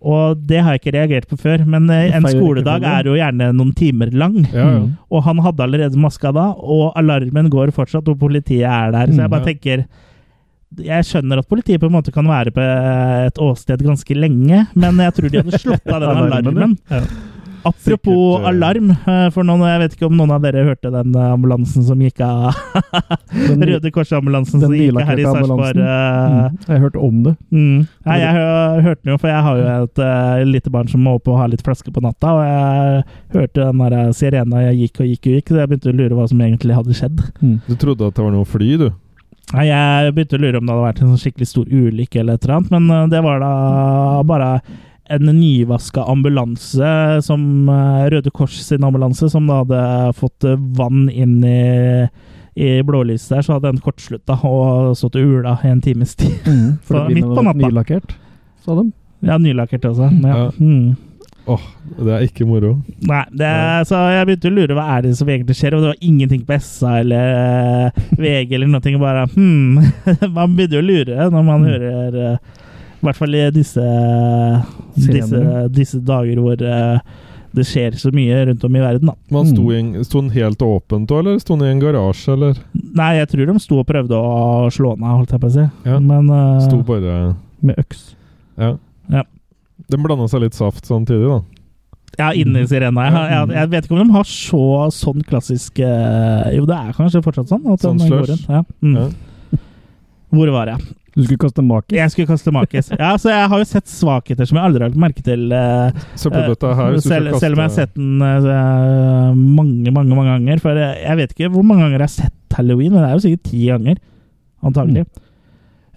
S1: Og det har jeg ikke reagert på før, men eh,
S3: Det er
S1: en
S3: feil
S1: skoledag
S3: rekkefølge.
S1: er jo gjerne noen timer lang.
S2: Ja, ja.
S3: Mm.
S1: Og han hadde allerede maska da, og alarmen går fortsatt, og politiet er der. Så jeg bare
S2: Mm,
S1: tenker Jeg skjønner at politiet på en måte kan være på et åsted ganske lenge, men jeg tror de hadde slått av den
S3: Alarmen,
S1: alarmen. Apropos
S2: Sikkert, eh,
S1: alarm, eh, for noen, jeg vet ikke om noen av dere hørte den ambulansen som gikk av
S3: Den, mm.
S1: Røde Kors-ambulansen
S3: den Mm.
S1: som gikk av her i
S3: lilakledde
S1: Sarpsborg. eh,
S3: Jeg hørte om det.
S1: Mm. Nei, jeg hø- hørte den jo, for jeg har jo et eh, lite barn som må opp og ha litt flaske på natta, og jeg hørte den der eh, sirena jeg gikk og gikk og gikk, så jeg begynte å lure hva som egentlig hadde skjedd.
S2: Du trodde at det var noe fly, du?
S1: Nei, jeg begynte å lure om det hadde vært en sånn skikkelig stor ulykke eller et eller annet, men eh, det var da bare en nyvaska ambulanse, som eh, Røde Kors sin ambulanse, som da hadde fått eh, vann inn i, i blålyset der, så hadde den kortslutta og stått og ula i en times tid. [laughs]
S3: For
S1: Så
S3: det
S1: midt på
S3: begynner å være
S1: natta.
S3: Nylakkert, sa de.
S1: Ja, nylakkert også. Ja.
S2: Ja.
S1: Mm.
S2: Det er ikke moro.
S1: Nei, det, så jeg begynte å lure hva er det som egentlig skjer, og det var ingenting på SA eller eh,
S2: [laughs]
S1: VG eller noe. Bare hmm [laughs] Man begynner å lure når
S2: Mm.
S1: man hører eh, I hvert fall i disse, eh, disse,
S3: Senere.
S1: disse dager hvor eh, det skjer så mye rundt om i verden, da.
S2: Man sto,
S3: Mm.
S2: i en, sto den helt åpent da, eller sto den i en garasje, eller?
S1: Nei, jeg tror de sto og prøvde å slå den av, holdt jeg på å si.
S2: Ja.
S1: Men eh,
S2: Sto bare
S3: Med øks.
S2: Ja.
S1: Ja.
S2: Den blanda seg litt saft samtidig, da.
S1: Ja, inni sirena. Jeg, har- jeg, jeg vet ikke om de har så sånn klassisk eh, Jo, det er kanskje fortsatt sånn. At
S2: Sånn
S1: de går
S2: slush.
S1: rundt. Ja. Mm.
S2: Ja.
S1: Hvor var jeg?
S3: Du skulle kaste makis.
S1: Jeg skulle kaste
S2: [laughs]
S1: makis. Ja, så jeg har jo sett svakheter som jeg aldri har lagt merke til. eh,
S2: Søppelbøtta er her. hvis du skal
S1: selv,
S2: kaste-
S1: selv om jeg har sett den eh, mange, mange mange ganger. For jeg, jeg vet ikke hvor mange ganger jeg har sett Halloween, men det er jo sikkert ti ganger. Antagelig.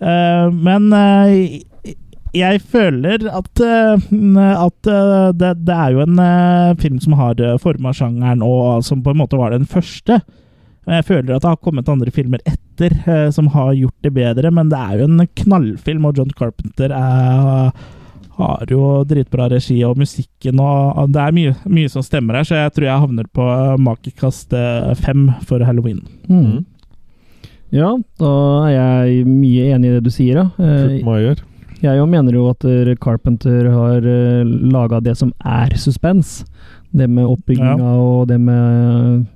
S1: Eh, men eh, jeg føler at, eh, at eh, det, det er jo en eh, film som har forma sjangeren, og eh, som på en måte var den første. Men Jeg føler at det har kommet andre filmer etter eh, som har gjort det bedre, men det er jo en knallfilm, og John Carpenter er, har jo dritbra regi og musikken og og Det er mye, mye som stemmer her, så jeg tror jeg havner på makekast eh, fem for halloween.
S3: Mm. Ja, da er jeg mye enig i det du sier, ja. Eh,
S2: Kurt Maier.
S3: Jeg jo mener jo at eh, Carpenter har laga det som er suspens. Det med oppbygginga og det med eh,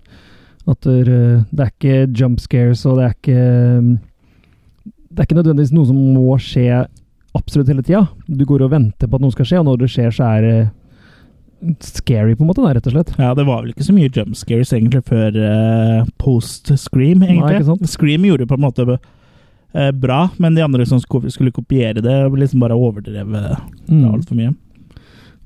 S3: at der, eh, det er ikke jump scares, og det er ikke mm, Det er ikke nødvendigvis noe som må skje absolutt hele tida. Du går og venter på at noe skal skje, og når det skjer, så er det scary, på en måte, da, rett og slett.
S1: Ja, det var vel ikke så mye jump scares egentlig før eh, post Scream,
S3: Nei,
S1: egentlig.
S3: ikke sant?
S1: Scream gjorde på en måte eh, bra, men de andre som sko- skulle kopiere det, liksom bare overdrev eh, det
S3: Mm.
S1: altfor mye.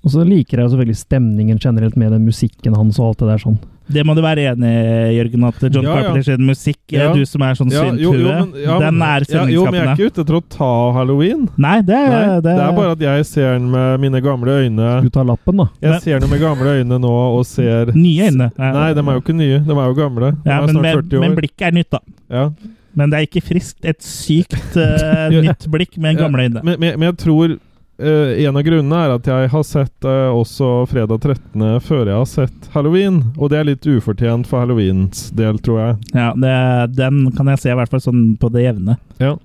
S3: Og så liker jeg jo selvfølgelig stemningen generelt med den musikken hans og alt det der sånn.
S1: Det må du være enig i, Jørgen, at John
S2: Ja, ja.
S1: Carpenter sin musikk, eh,
S2: Ja.
S1: du som er sånn synthue, den er
S2: ja, jo, men jeg er
S1: stemningsskapende.
S2: ikke ute etter å ta halloween.
S1: Nei, det,
S2: Nei,
S1: er-
S2: det er bare at jeg ser den med mine gamle øyne.
S3: Du tar lappen, da.
S2: Jeg
S1: Men-
S2: ser den med gamle øyne nå og ser
S1: Nye øyne. Ja.
S2: Nei, de er jo ikke nye. De er jo gamle. De
S1: ja,
S2: er
S1: men,
S2: snart
S1: men,
S2: 40
S1: men
S2: år.
S1: blikket er nytt, da.
S2: Ja.
S1: Men det er ikke friskt. Et sykt
S2: [laughs]
S1: eh, nytt blikk med
S2: Ja,
S1: gamle øyne.
S2: Men, men, men jeg tror eh, en av grunnene er at jeg har sett eh, også fredag 13. før jeg har sett halloween. Og det er litt ufortjent for halloweens del, tror jeg.
S1: Ja, det, den kan jeg se i hvert fall sånn på det jevne.
S3: Jeg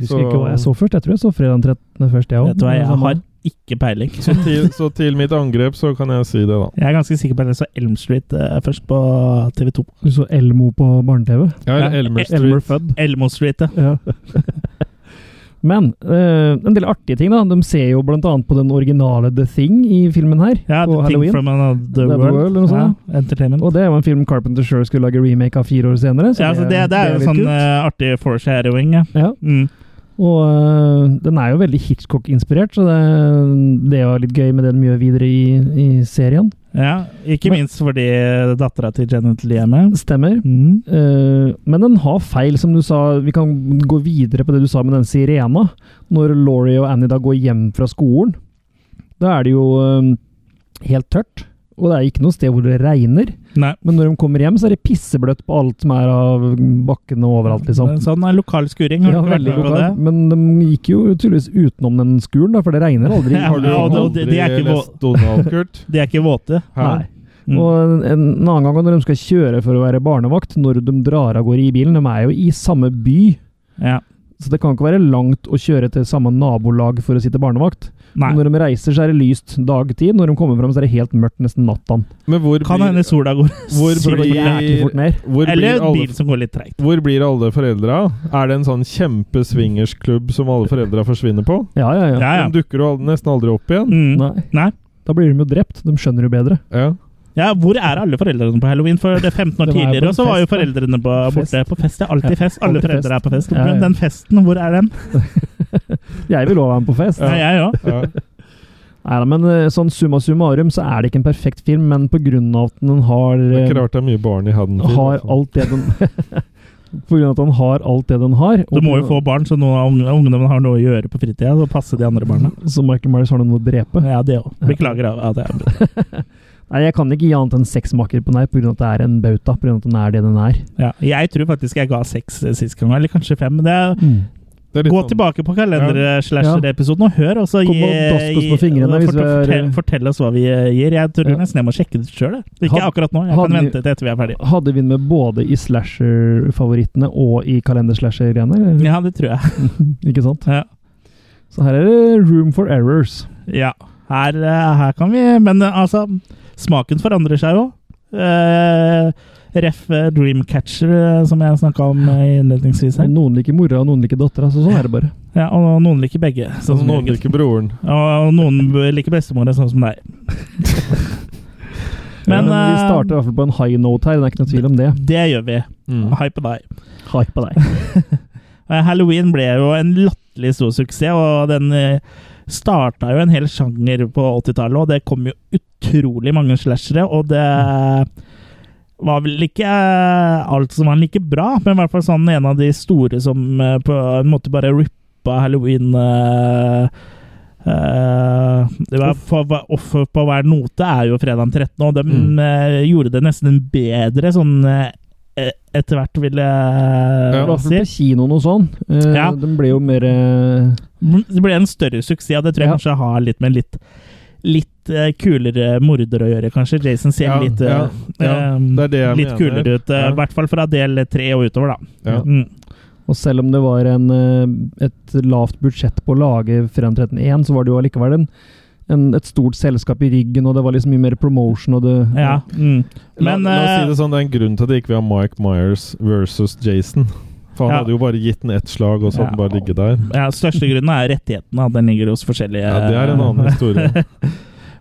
S3: husker
S2: Så-
S3: ikke hva jeg så først. Jeg tror jeg så fredag den 13. først, jeg sånn. òg.
S1: Vet du hva, jeg har ikke peiling.
S2: Så
S1: [laughs]
S2: til, så til mitt angrep så kan jeg si det, da.
S1: Jeg er ganske sikker på at jeg så Elm Street eh, først på TV2.
S3: Du så Elmo på barne-TV?
S2: Ja, eller
S1: Ja,
S2: Elmer Street.
S3: Elmer Fudd.
S1: Elmo Street, ja.
S3: Ja. [laughs] Men eh, en del artige ting, da. De ser jo blant annet på den originale The Thing i filmen her.
S1: ja
S3: på
S1: The Thing from Another
S3: The
S1: World.
S3: World, eller noe sånt,
S1: ja, entertainment.
S3: Og det er jo en film Carpenter sjøl skulle lage remake av fire år senere.
S1: ja, så det, det er jo
S3: litt
S1: sånn
S3: kult.
S1: eh, artig foreshadowing. Ja.
S3: Ja.
S1: Mm.
S3: Og eh, den er jo veldig Hitchcock-inspirert, så det, det er jo litt gøy med det de gjør videre i, i serien.
S1: ja. Ikke
S3: Men-
S1: minst fordi eh, dattera til Janet Lee er med.
S3: Stemmer.
S1: Mm.
S3: Eh, men den har feil, som du sa. Vi kan gå videre på det du sa med den sirena. Når Laurie og Annie da går hjem fra skolen, da er det jo eh, helt tørt. Og det er ikke noe sted hvor det regner.
S1: Nei.
S3: Men når de kommer hjem, så er det pissebløtt på alt som er av bakkene og overalt, liksom.
S1: Sånn er lokal skuring. Har
S3: Ja,
S1: du vært
S3: veldig
S1: med på
S3: lokalt.
S1: det?
S3: Men de gikk jo tydeligvis utenom den skolen, da, for det regner aldri.
S1: [laughs] Ja,
S2: Har du
S1: ja, og
S2: aldri
S1: det- det- det er ikke
S2: lest
S1: [laughs]
S2: Donald, Kurt?
S1: De er ikke våte.
S2: Hæ?
S3: Nei.
S1: Mm.
S3: Og en, en annen gang når de skal kjøre for å være barnevakt, når de drar av gårde i bilen De er jo i samme by
S1: Ja.
S3: Så det kan ikke være langt å kjøre til samme nabolag for å sitte barnevakt.
S1: Nei.
S3: Og Når de reiser, så er det lyst dagtid. Når de kommer fram, så er det helt mørkt nesten natten.
S2: Men hvor
S1: Kan
S2: blir-
S1: hende sola går [laughs]
S2: Hvor
S1: sykt
S2: blir-
S1: fort ned.
S3: Jæklig fort ned.
S2: Hvor
S1: Eller
S2: blir
S1: en
S2: alle,
S1: bil som går litt treigt.
S2: hvor blir alle foreldra? Er det en sånn kjempeswingersklubb som alle foreldra forsvinner på?
S3: Ja, ja, ja.
S1: Ja, ja.
S2: De dukker jo aldri, nesten aldri opp igjen.
S1: Mm.
S3: Nei.
S1: Nei.
S3: Da blir de jo drept. De skjønner jo bedre.
S2: Ja.
S1: Ja, hvor er alle foreldrene på halloween? For det er 15
S3: [laughs]
S1: år
S3: De er på
S1: tidligere og så var jo
S3: fest, da.
S1: foreldrene på,
S3: Fest.
S1: borte på fest. Det er alltid fest. Alle
S3: alltid
S1: foreldre
S3: fest.
S1: er på fest.
S3: Ja, ja.
S1: Den festen, hvor er den?
S3: Jeg vil òg være med på fest.
S1: Ja. Nei, jeg òg.
S2: Ja.
S3: Neida, men eh, sånn summa summarum så er det ikke en perfekt film, men på grunn av at den har,
S2: Det er
S3: eh,
S2: ikke rart det er mye barn i Haddonfield.
S3: har
S2: altså.
S3: alt det den [laughs] På grunn av at han har alt det den har.
S1: Du må jo få barn, så noen av ung- ungdommen har noe å gjøre på fritida. Så passe de andre barna.
S3: Så Michael Myers har noen å drepe.
S1: Ja, det òg. Beklager. av- av det.
S3: Nei, jeg kan ikke gi annet enn seks makker på nei, pga. at det er en bauta. Pga. at den er det den er.
S1: Ja. Jeg tror faktisk jeg ga seks eh, sist gang, eller kanskje fem. men Det er,
S2: Det er litt
S1: gå
S2: sånn-
S1: tilbake på eh, kalender-slasher-episoden og hør, og så
S3: Kom
S1: gi-
S3: og dask oss på
S1: gi-
S3: fingrene hvis vi
S1: fortell,
S3: er-
S1: fortell, fortell oss hva vi eh, gir. Jeg tror
S3: Ja.
S1: nesten jeg må sjekke det sjøl. Ikke
S3: Had-
S1: akkurat nå. Jeg
S3: hadde
S1: kan
S3: vi-
S1: vente til etter vi er ferdige.
S3: Hadde vi den med både i slasher-favorittene og i kalender-slasher-greiene? eller?
S1: Ja, det tror jeg.
S3: Ikke sant?
S1: Ja.
S3: Så her er det room for errors.
S1: Ja, her, eh, her kan vi Men eh, altså, smaken forandrer seg jo. Eh, ref eh, Dreamcatcher, eh, som jeg snakka om eh, innledningsvis her.
S3: Og noen liker mora, og noen liker dattera. Så sånn er det bare.
S1: Ja, og noen liker begge. Sånn som
S2: Altså, Noen
S1: jeg.
S2: liker broren.
S1: Og noen liker bestemora, sånn som
S2: [laughs]
S1: deg. Men,
S3: Men, vi
S1: eh,
S3: starter i hvert fall på en high note her. Det er ikke noe tvil om det.
S1: Det gjør vi.
S2: Mm.
S1: Hype deg.
S3: High på deg.
S1: Eh, Halloween ble jo en latterlig stor suksess, og den eh, starta jo en hel sjanger på 80-tallet, og det kom jo utrolig mange slashere, og det var vel ikke eh, alt som var like bra, men i hvert fall sånn en av de store som eh, på en måte bare rippa halloween eh, eh, det var for, for- offer på hver note er jo fredag den 13., og de
S2: Mm.
S1: eh, gjorde det nesten bedre sånn eh, etter hvert, vil jeg
S2: Ja.
S3: I hvert fall
S1: si.
S3: på kinoen og sånn. Eh,
S1: Ja.
S3: Den ble jo mer eh,
S1: Det ble en større suksess, og det tror jeg
S3: Ja.
S1: kanskje har litt med litt Litt eh, kulere morder å gjøre, kanskje. Jason ser
S2: Ja,
S1: litt, eh,
S2: ja, ja.
S1: eh,
S2: Det er det jeg
S1: litt
S2: mener.
S1: kulere ut. eh, I
S2: Ja.
S1: hvert fall fra del tre og utover, da.
S2: Ja.
S1: Mm.
S3: Og selv om det var en, eh, et lavt budsjett på å lage Fredag 13.1, så var det jo allikevel en, en, et stort selskap i ryggen, og det var liksom mye mer promotion, og det
S1: Ja, mm.
S2: La,
S1: Men,
S2: la oss si
S1: eh,
S2: det sånn, det er en grunn til at det ikke vil ha Mike Myers versus Jason. For han
S1: Ja.
S2: hadde jo bare gitt den ett slag, og så hadde den
S1: Ja.
S2: bare ligget der.
S1: ja, største grunnen er rettighetene, at den ligger hos forskjellige
S2: Ja, det er
S1: [laughs]
S2: en annen historie.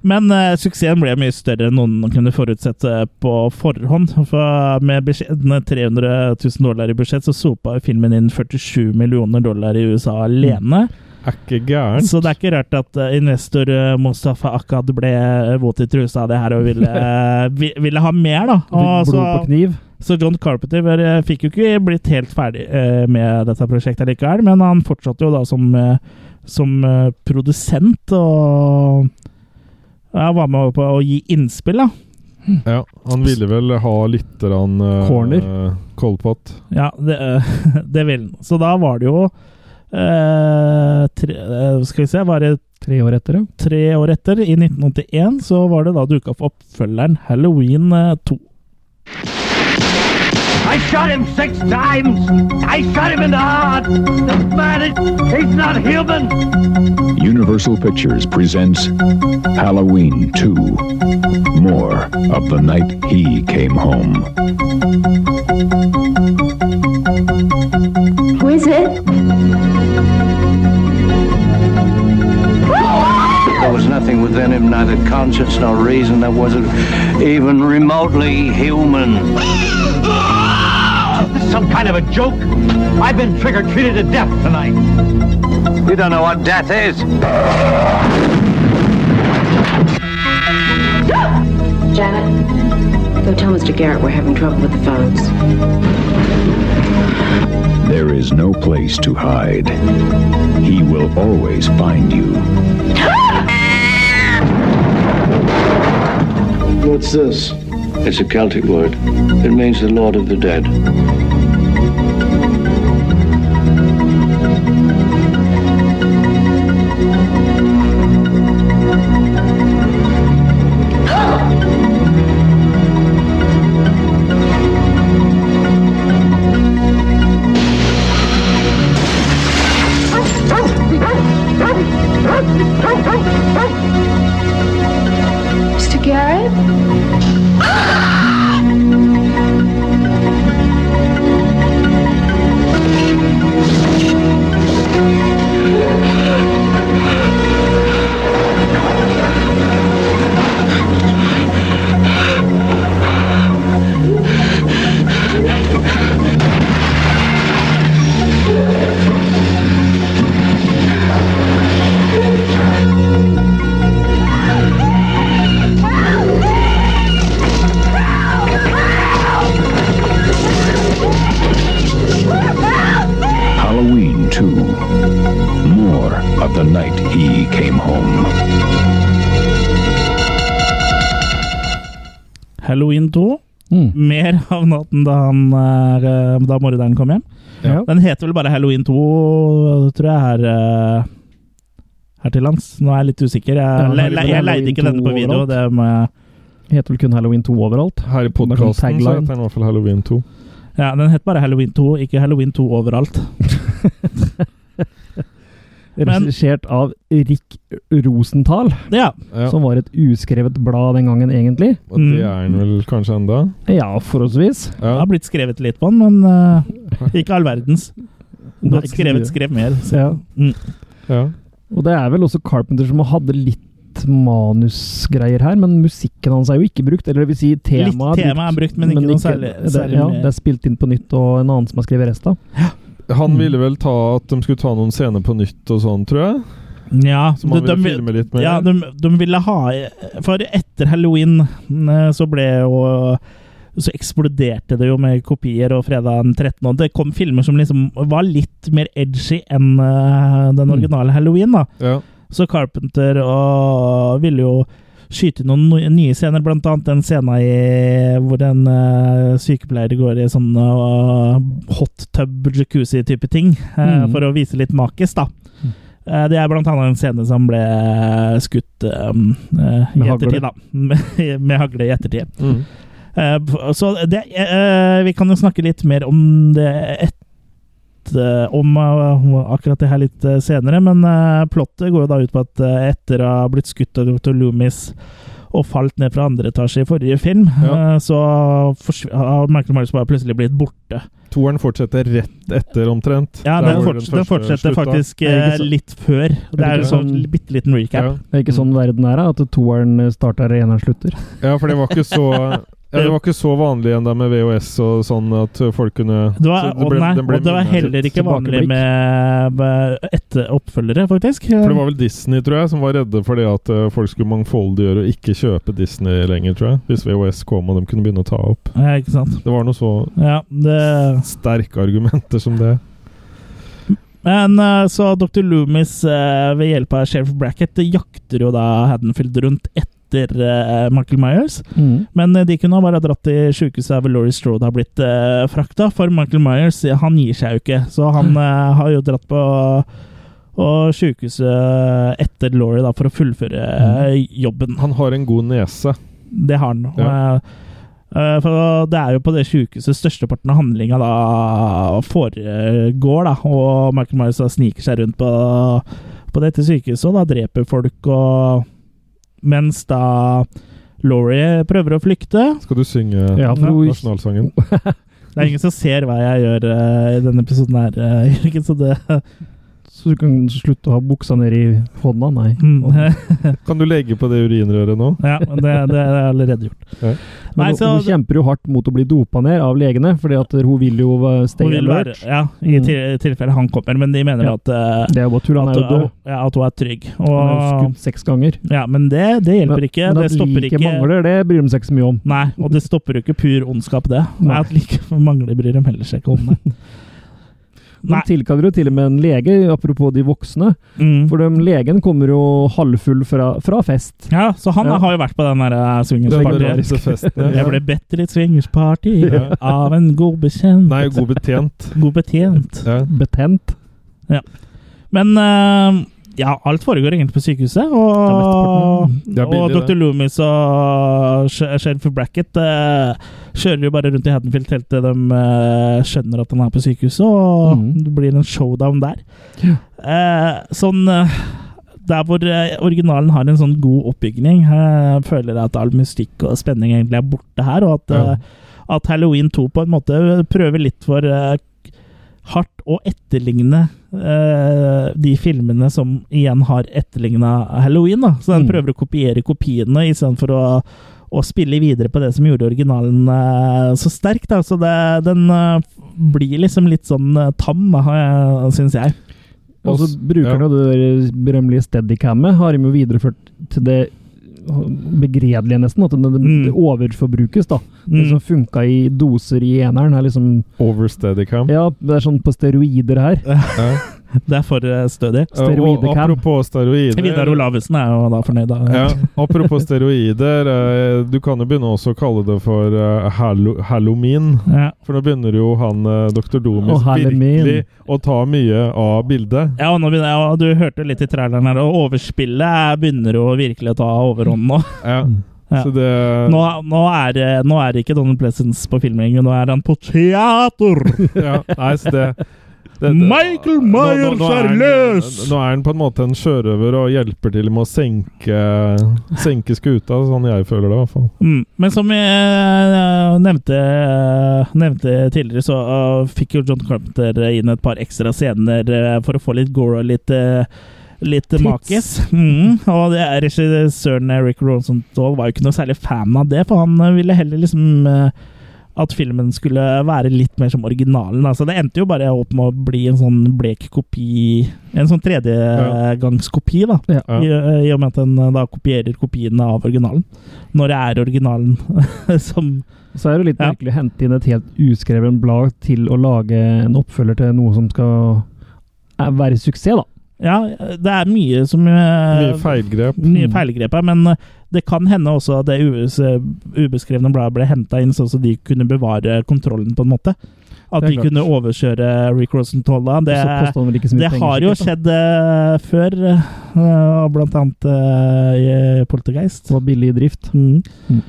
S1: Men eh, suksessen ble mye større enn noen kunne forutsette på forhånd. For med beskjedne 300 000 dollar i budsjett, så sopa filmen inn 47 millioner dollar i USA alene.
S2: Er ikke gæren.
S1: Så det er ikke rart at eh, investor eh, Mustafa Akkad ble eh, våt i trusa av det her og
S3: [laughs]
S1: ville, eh, vi- ville ha mer, da.
S3: Fikk
S1: Og altså-
S3: blod på
S1: så,
S3: kniv.
S1: så John Carpenter var, eh, fikk jo ikke blitt helt ferdig eh, med dette prosjektet likevel, men han fortsatte jo da som, eh, som eh, produsent og ja, var med på å gi innspill, da.
S2: Ja, han ville vel ha litt grann, eh,
S3: Corner.
S2: Coldpot.
S1: Ja, det, eh, [laughs] det ville han. Så da var det jo eh, tre, eh, Skal vi se, var det
S3: Tre år etter, ja.
S1: tre år etter, i 1981, så var det da duka opp oppfølgeren Halloween eh, 2.
S6: I shot him six times. I shot him in the heart. The man, is- he's not human.
S7: Universal Pictures presents Halloween 2 More of the Night He Came Home.
S8: Who is it?
S6: There was nothing within him, neither conscience nor reason, that wasn't even remotely human. This is some kind of a joke. I've been trick-or-treated to death tonight. You don't know what death is.
S8: Janet. Go tell Mr. Garrett we're having trouble with the phones.
S7: There is no place to hide. He will always find you.
S6: What's this? It's a Celtic word. It means the Lord of the Dead.
S8: Mr. Garrett?
S1: Halloween 2.
S3: Mm.
S1: Mer av natten da, han, eh, da morderen kom hjem.
S3: Ja.
S1: Den heter vel bare Halloween 2, tror jeg, her, eh, her til lands. Nå er jeg litt usikker. Jeg,
S3: Ja, den
S1: le, le,
S3: har vel
S1: jeg
S3: Halloween
S1: leide ikke denne
S3: 2
S1: på video.
S3: overalt.
S1: Det må jeg
S3: Heter vel kun Halloween 2 overalt.
S2: Her i
S3: Bare
S2: podkasten
S3: sånn
S2: så
S3: tagline.
S2: heter den i hvert fall Halloween 2.
S1: Ja, den heter bare Halloween 2, ikke Halloween 2 overalt. Men-
S3: Regissert av Rick Rosenthal,
S1: Ja,
S2: Ja,
S3: som var et uskrevet blad den gangen, egentlig.
S2: og
S1: Mm.
S2: det er den vel kanskje enda
S3: Ja, forholdsvis.
S1: det
S2: Ja.
S1: har blitt skrevet litt på den, men eh, ikke all
S3: [laughs]
S1: verdens.
S3: Nei,
S1: Godt
S3: ikke så
S1: skrevet
S3: mye.
S1: skrev mer. Så. Mm.
S3: Ja.
S2: ja.
S3: Og det er vel også Carpenter som hadde litt manusgreier her, men musikken hans er jo ikke brukt. Eller det vil si,
S1: Litt
S3: temaet
S1: tema er brukt, men ikke noe særlig.
S3: det,
S1: særlig
S3: ja,
S1: mer.
S3: det er spilt inn på nytt, og en annen som har skrevet resten.
S1: Mm.
S2: Han ville vel ta at de skulle ta noen scener på nytt og sånn, tror jeg.
S1: ja,
S2: Som han
S1: de-
S2: ville
S1: de-
S2: filme litt med.
S1: Ja, de, de ville ha For etter halloween eh, så ble jo Så eksploderte det jo med kopier og fredag den 13. Og det kom filmer som liksom var litt mer edgy enn eh, den
S3: Mm.
S1: originale halloween, da.
S2: ja.
S1: Så Carpenter og ville jo skyte noen no- nye scener, blant annet den scenen i, hvor en eh, sykepleier går i sånn eh, hot tub jacuzzi-type ting, eh,
S3: Mm.
S1: for å vise litt makis, da.
S3: Mm.
S1: Eh, det er blant annet en scene som ble skutt eh, eh, i
S3: Med hagle.
S1: ettertid, da. [laughs] Med, med hagle i ettertid.
S2: Mm.
S1: Eh, f- Så det, eh, vi kan jo snakke litt mer om det et, eh, om eh, akkurat det her litt eh, senere, men eh, plottet går jo da ut på at eh, etter å ha blitt skutt av dr. Loomis og falt ned fra andre etasje i forrige film,
S2: Ja.
S1: eh, så forsv- har Michael Myers bare plutselig blitt borte.
S2: Toeren fortsetter rett etter, omtrent.
S1: Ja,
S2: Der
S1: den,
S2: hvor
S1: forts den
S2: første
S1: fortsetter
S2: slutta.
S1: faktisk
S3: Er det
S1: eh,
S3: ikke så-
S1: litt før. og Det
S3: Er
S1: er
S3: det
S1: en
S3: ikke
S1: sånn
S3: sånn-
S1: bitte liten recap.
S2: Ja.
S3: Det er ikke sånn verden er, da, at toeren starter og eneren slutter.
S2: ja, for det var ikke
S1: [laughs]
S2: så ja, Det var ikke så vanlig ennå med VHS og sånn at folk kunne
S1: Det var,
S2: så det
S1: å
S2: ble-
S1: nei,
S2: den ble
S1: og det var
S2: mindre.
S1: heller ikke vanlig
S3: tilbakeblikk.
S1: med med etter oppfølgere, faktisk.
S2: For det var vel Disney, tror jeg, som var redde for det at eh, folk skulle mangfoldiggjøre og ikke kjøpe Disney lenger, tror jeg. Hvis VHS kom og de kunne begynne å ta opp.
S1: Ja, Eh, ikke sant.
S2: Det var noe så
S1: Ja, det
S2: sterke argumenter som det.
S1: Men eh, så Dr. Loomis eh, ved hjelp av Sheriff Brackett jakter jo da Haddonfield rundt etter eh, Michael Myers.
S3: Mm.
S1: Men eh, de kunne ha bare dratt til sjukehuset hvor Laurie Strode har blitt uh, frakta, for Michael Myers eh, han gir seg jo ikke. Så han eh, har jo dratt på og sjukehuset etter Laurie da, for å fullføre eh, jobben.
S2: Han har en god nese.
S1: Det har han.
S2: Ja.
S1: Eh, eh, For det er jo på det sjukehuset størsteparten av handlinga da foregår, da. Og Michael Myers da sniker seg rundt på, på dette sykehuset og da dreper folk og Mens da Laurie prøver å flykte.
S2: Skal du synge
S3: Ja, for hun-
S2: nasjonalsangen?
S1: Det er ingen som ser hva jeg gjør eh, i denne episoden her, eh, [laughs] Jørgen, så det
S3: Så du kan slutte å ha buksa ned i hånda, nei.
S1: mm,
S2: Kan du legge på det urinrøret nå?
S1: Ja, det, det er allerede gjort.
S3: Men
S1: Nei,
S3: hun-
S1: så-
S3: hun kjemper jo hardt mot å bli dopa ned av legene, fordi at hun vil jo eh, stay
S1: Hun vil være,
S3: alert.
S1: ja, I
S3: Mm.
S1: til- tilfelle han kommer, men de mener
S3: Ja.
S1: at eh,
S3: Det er jo bare tull, han
S1: at,
S3: er jo død.
S1: ja, at hun er trygg.
S3: Han er jo
S1: Og,
S3: skutt seks ganger.
S1: Ja, men det, det hjelper ikke.
S3: Men
S1: det stopper
S3: like
S1: ikke
S3: mangler, det bryr de seg ikke så mye om.
S1: Nei, og det stopper jo ikke pur ondskap, det. Nei,
S3: Nei.
S1: At like mangler bryr dem heller seg ikke
S3: [laughs]
S1: om. det.
S3: De
S1: Nei.
S3: tilkaller jo til og med en lege, apropos de voksne.
S1: Mm.
S3: For de, legen kommer jo halvfull fra, fra fest.
S1: Ja, så han
S3: Ja.
S1: har jo vært på den der eh, swingers
S2: Den
S1: party.
S2: rareste festen.
S1: [laughs] Jeg ble bedt til et swingers party
S3: [laughs]
S2: Ja.
S1: av en god bekjent.
S2: Nei, god betjent.
S1: God betjent.
S2: Ja.
S3: Betent.
S1: Men eh, ja, alt foregår egentlig på sykehuset, og,
S2: Det er billig,
S1: og
S2: det.
S1: Dr. Loomis og Sh- Sheriff Brackett eh, kjører jo bare rundt i Haddonfield helt til de eh, skjønner at han er på sykehuset, og
S3: Mhm.
S1: det blir en showdown der.
S3: Ja.
S1: Eh, sånn eh, der hvor eh, originalen har en sånn god oppbygning, eh, føler jeg at all mystikk og spenning egentlig er borte her, og at,
S2: Ja.
S1: eh, at Halloween 2 på en måte prøver litt for eh, hardt å etterligne eh, de filmene som igjen har etterligna Halloween. Da. Så den
S3: Mm.
S1: prøver å kopiere kopiene istedenfor å å spille videre på det som gjorde originalen eh, så sterk. Da. Så det, den eh, blir liksom litt sånn eh, tam, da, syns jeg.
S3: Og så
S2: Oss-
S3: bruker han jo det der berømmelige steadycammet. Har de jo videreført til det begredelige, nesten. At det, det,
S1: Mm.
S3: det overforbrukes, da. Det
S1: Mm.
S3: som funka i doser i eneren, er liksom
S2: Over steadycam.
S3: Ja, det er sånn på steroider her.
S2: Ja.
S1: Det er for eh, stødig.
S3: Steroidekam.
S2: Og apropos steroider
S1: Vidar Olavsen er jo da fornøyd. Da.
S2: Ja, apropos steroider, eh, du kan jo begynne også å kalle det for eh, hallo, hallomin.
S1: Ja.
S2: For nå begynner jo han eh, Dr. Domus
S3: Å, hallomin.
S2: virkelig å ta mye av bildet.
S1: Ja, og nå begynner jeg, og Du hørte litt i traileren her, og overspillet begynner jo virkelig å ta overhånd nå.
S2: Ja.
S1: Mm. Ja.
S2: Så det
S1: Nå, nå, er, det- nå er det ikke Donald Pleasence på filmingen, nå er han på teater!
S2: ja, Nei, så det, det, det
S1: Michael Myers er
S2: han-
S1: løs!
S2: Nå er han på en måte en sjørøver og hjelper til med å senke, senke skuta, sånn jeg føler det i hvert fall.
S1: Mm. Men som jeg eh, nevnte, eh, nevnte tidligere, så eh, fikk jo John Carpenter inn et par ekstra scener eh, for å få litt gore og litt eh, Litt makis. Mm. Og det er regissøren eh, Rick Ronson Dahl var jo ikke noe særlig fan av det, for han eh, ville heller liksom eh, at filmen skulle være litt mer som originalen. Altså, det endte jo bare opp med å bli en sånn blek kopi En sånn tredjegangskopi, da.
S2: Ja.
S1: I, I og med at den eh, da kopierer kopiene av originalen. Når det er originalen [laughs] som
S3: Så er det jo litt
S1: Ja.
S3: merkelig å hente inn et helt uskreven blad til å lage en oppfølger til noe som skal eh, være suksess, da.
S1: Ja, det er mye som eh,
S2: Mye feilgrep.
S3: Mm.
S1: mye feilgrep her, men eh, det kan hende også at det US, eh, ubeskrevne bladet ble henta inn sånn at de kunne bevare kontrollen, på en måte. At
S3: Det er
S1: de
S3: klart.
S1: kunne overkjøre Rick Rosenthal da. Det,
S3: Og så koster han vel ikke så mye
S1: det
S3: penger,
S1: har jo
S3: sikkert,
S1: skjedd
S3: da.
S1: eh, før, eh, blant annet eh, i Poltergeist.
S3: Det var billig i drift.
S1: Mm.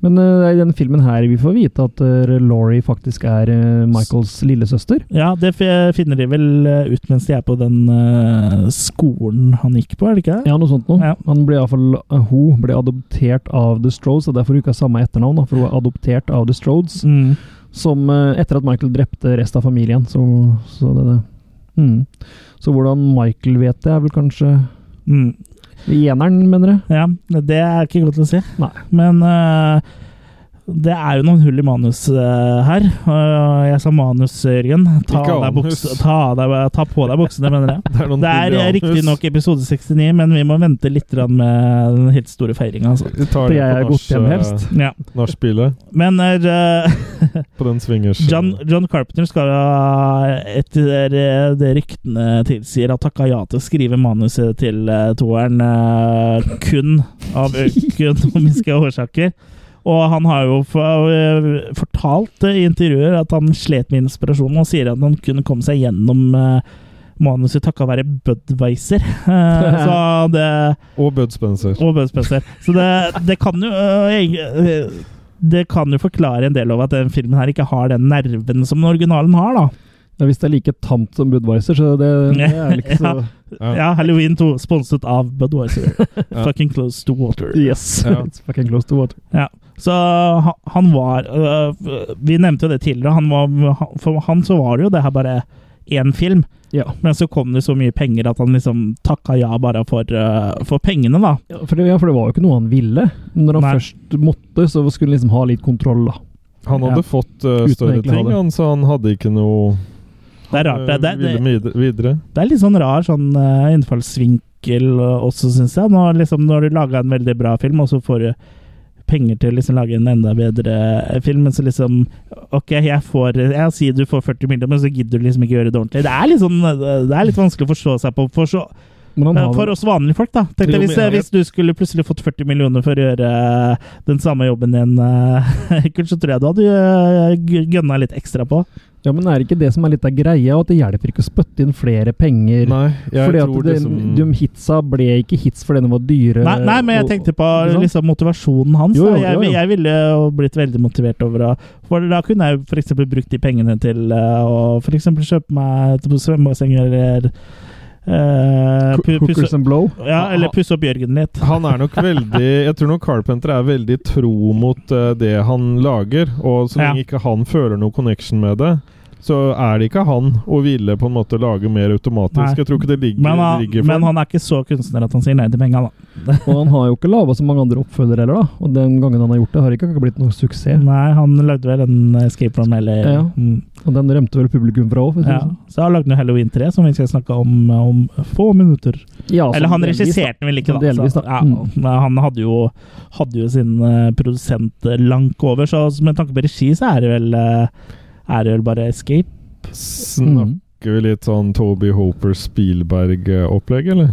S3: Men eh, det er i denne filmen her vi får vite at eh, Laurie faktisk er eh, Michaels lillesøster.
S1: Ja, det f- finner de vel eh, ut mens de er på den eh, skolen han gikk på, er det ikke det?
S3: Ja, noe sånt noe.
S1: Ja.
S3: Han ble i hvert fall, eh, hun ble adoptert av The Strodes, og derfor hun ikke har samme etternavn. Da, for hun er adoptert av The Strodes,
S1: Mm.
S3: som eh, etter at Michael drepte resten av familien. Så, så det, det. Mm. Så hvordan Michael vet det, er vel kanskje
S1: Mm.
S3: i eneren, mener jeg.
S1: Ja, det er ikke godt å si.
S3: Nei.
S1: Men eh, det er jo noen hull i manus eh, her. Eh, jeg sa manus, Jørgen. Ta,
S2: Ikke
S1: av deg
S2: anus.
S1: buks- ta, av deg, ta på deg buksene, mener
S3: [laughs]
S1: jeg.
S2: [laughs] Det er, noen
S1: Det er
S2: indianhus.
S1: riktignok episode 69, men vi må vente litt grann med den helt store feiringa. Altså.
S2: Vi tar
S3: For
S2: det
S3: jeg er
S2: på eh,
S3: gått hjem helst.
S2: nach-
S1: Ja.
S2: nachspielet.
S1: Men eh,
S2: På den swingers.
S1: John, John Carpenter skal ha, etter det ryktene tilsier, ha takka ja til å skrive manuset til eh, toeren eh, kun av økonomiske årsaker. Og han har jo for, eh, fortalt eh, i intervjuer at han slet med inspirasjonen, og sier at han kun kom seg gjennom eh, manuset takka være Budwiser. [laughs] Eh, så det
S2: Og Bud Spencer.
S1: og bønnspenser. Så det, det kan jo øh, eg- øh, Det kan jo forklare en del over at den filmen her ikke har den nerven som den originalen har, da.
S3: Ja, hvis det er like tamt som Budwiser, så det, det er vel ikke
S1: [laughs]
S3: så
S2: Ja.
S1: Ja, Halloween 2, sponset av Budwiser.
S2: [laughs] Ja.
S1: Fucking close to water.
S3: Yes!
S2: Ja.
S3: It's fucking close to water.
S1: Så ha- han var øh, Vi nevnte jo det tidligere. Han var, han- for han så var det jo det her bare én film.
S3: Ja.
S1: Men så kom det så mye penger at han liksom takka ja bare for, øh, for pengene, da.
S3: Ja, for det, ja, for det var jo ikke noe han ville. Når han
S1: Nei.
S3: først måtte, så skulle han liksom ha litt kontroll, da.
S2: Han
S1: Ja.
S2: hadde fått eh,
S3: Uten
S2: større
S3: egentlig å ha
S2: ting,
S3: det.
S2: han, så han hadde ikke noe eh,
S1: Det er rart. Det, det, det,
S2: øh, ville mide- videre.
S1: Det er litt sånn rar sånn eh, innfallsvinkel eh, også, syns jeg. Når, liksom, når du lager en veldig bra film, og så får du penger til å liksom, lage en enda bedre eh, film, men så liksom Ok, jeg får Jeg sier du får 40 millioner, men så gidder du liksom ikke gjøre det ordentlig. Det er litt sånn eh, Det er litt vanskelig å forstå seg på. For, så,
S3: Men han
S1: eh,
S3: har
S1: for oss vanlige folk, da. Tenk
S2: Jo,
S1: deg
S2: men
S1: hvis, eh,
S2: jeg-
S1: hvis du skulle plutselig fått 40 millioner for å gjøre eh, den samme jobben igjen, eh, [laughs] Kurt, så tror jeg du hadde uh, gønna litt ekstra på.
S3: Ja, men er det ikke det som er litt av greia, at det hjelper ikke å spytte inn flere penger?
S2: Nei, jeg
S3: Fordi at
S2: tror
S3: den,
S2: liksom
S3: de hitsa ble ikke hits fordi de var dyre.
S1: Nei, nei, men jeg
S3: Eh, og-
S1: tenkte på
S3: ikke sant?
S1: liksom, motivasjonen hans.
S3: Jo, jo,
S1: da. jeg,
S3: jo, jo.
S1: jeg ville jo blitt veldig motivert over å For da kunne jeg f.eks. brukt de pengene til eh, å f.eks. kjøpe meg et svømmebasseng eller eh,
S3: Cook-
S1: pu-
S3: Cookers
S1: pusse,
S3: and Blow.
S1: ja,
S3: ah.
S1: Eller pusse opp Jørgen litt.
S2: han er nok veldig Jeg tror nok Carpenter er veldig tro mot eh, det han lager. Og så
S1: Ja.
S2: lenge ikke han føler noe connection med det, så er det ikke han å ville på en måte lage mer automatisk.
S1: Nei.
S2: Jeg tror ikke det ligger,
S1: Men han,
S2: ligger for
S1: men han er ikke så kunstner at han sier nei til penga, da.
S3: Og han har jo ikke laga så mange andre oppfølgere heller, da. Og den gangen han har gjort det, har ikke blitt noe suksess.
S1: Nei, han lagde vel en Escape from eller
S3: Ja.
S1: mm,
S3: Og den rømte vel publikum fra òg.
S1: ja. Så han lagde jo Halloween 3, som vi skal snakke om om få minutter.
S3: Ja,
S1: Eller
S3: sånn
S1: han
S3: delvis, da.
S1: regisserte den vel ikke, da.
S3: Delvis, da.
S1: Så, ja,
S3: Mm.
S1: men Han hadde jo, hadde jo sin eh, produsent eh, langt altså, over, så med tanke på regi så er det vel eh, er det vel bare Escape.
S3: Mm.
S2: Snakk snakker vi litt sånn Toby Hoper Spielberg-opplegg, eller?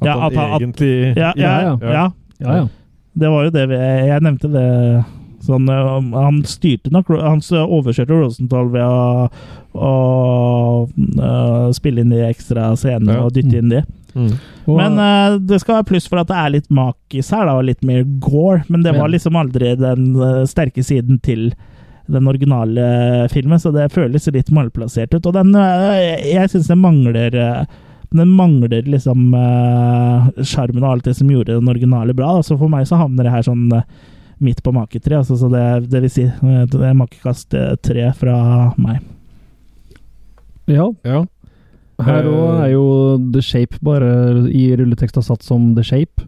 S2: At
S1: Ja,
S2: han
S1: at han- at-
S2: egentlig
S1: Ja, ja, ja,
S3: Ja,
S2: ja.
S3: Ja, ja.
S1: Det var jo det vi, Jeg nevnte det sånn um, Han styrte nok Han s- overkjørte Rosenthal ved å, å uh, spille inn de ekstra scenene
S2: Ja.
S1: og dytte inn de.
S2: Mm.
S3: Og,
S1: Men eh, det skal være pluss for at det er litt makis her, da, og litt mer gore. Men det var
S3: Ja.
S1: liksom aldri den eh, sterke siden til den originale eh, filmen, så det føles litt malplassert ut. Og den eh, Jeg syns den mangler eh, den mangler liksom eh, sjarmen og alt det som gjorde den originale bra. Da. Så for meg så havner det her sånn eh, midt på maketreet. Altså, så det, det vil si eh, det er makekast eh, tre fra meg. eh,
S3: ja,
S2: ja.
S3: her òg er jo The Shape bare i rulleteksta satt som The Shape.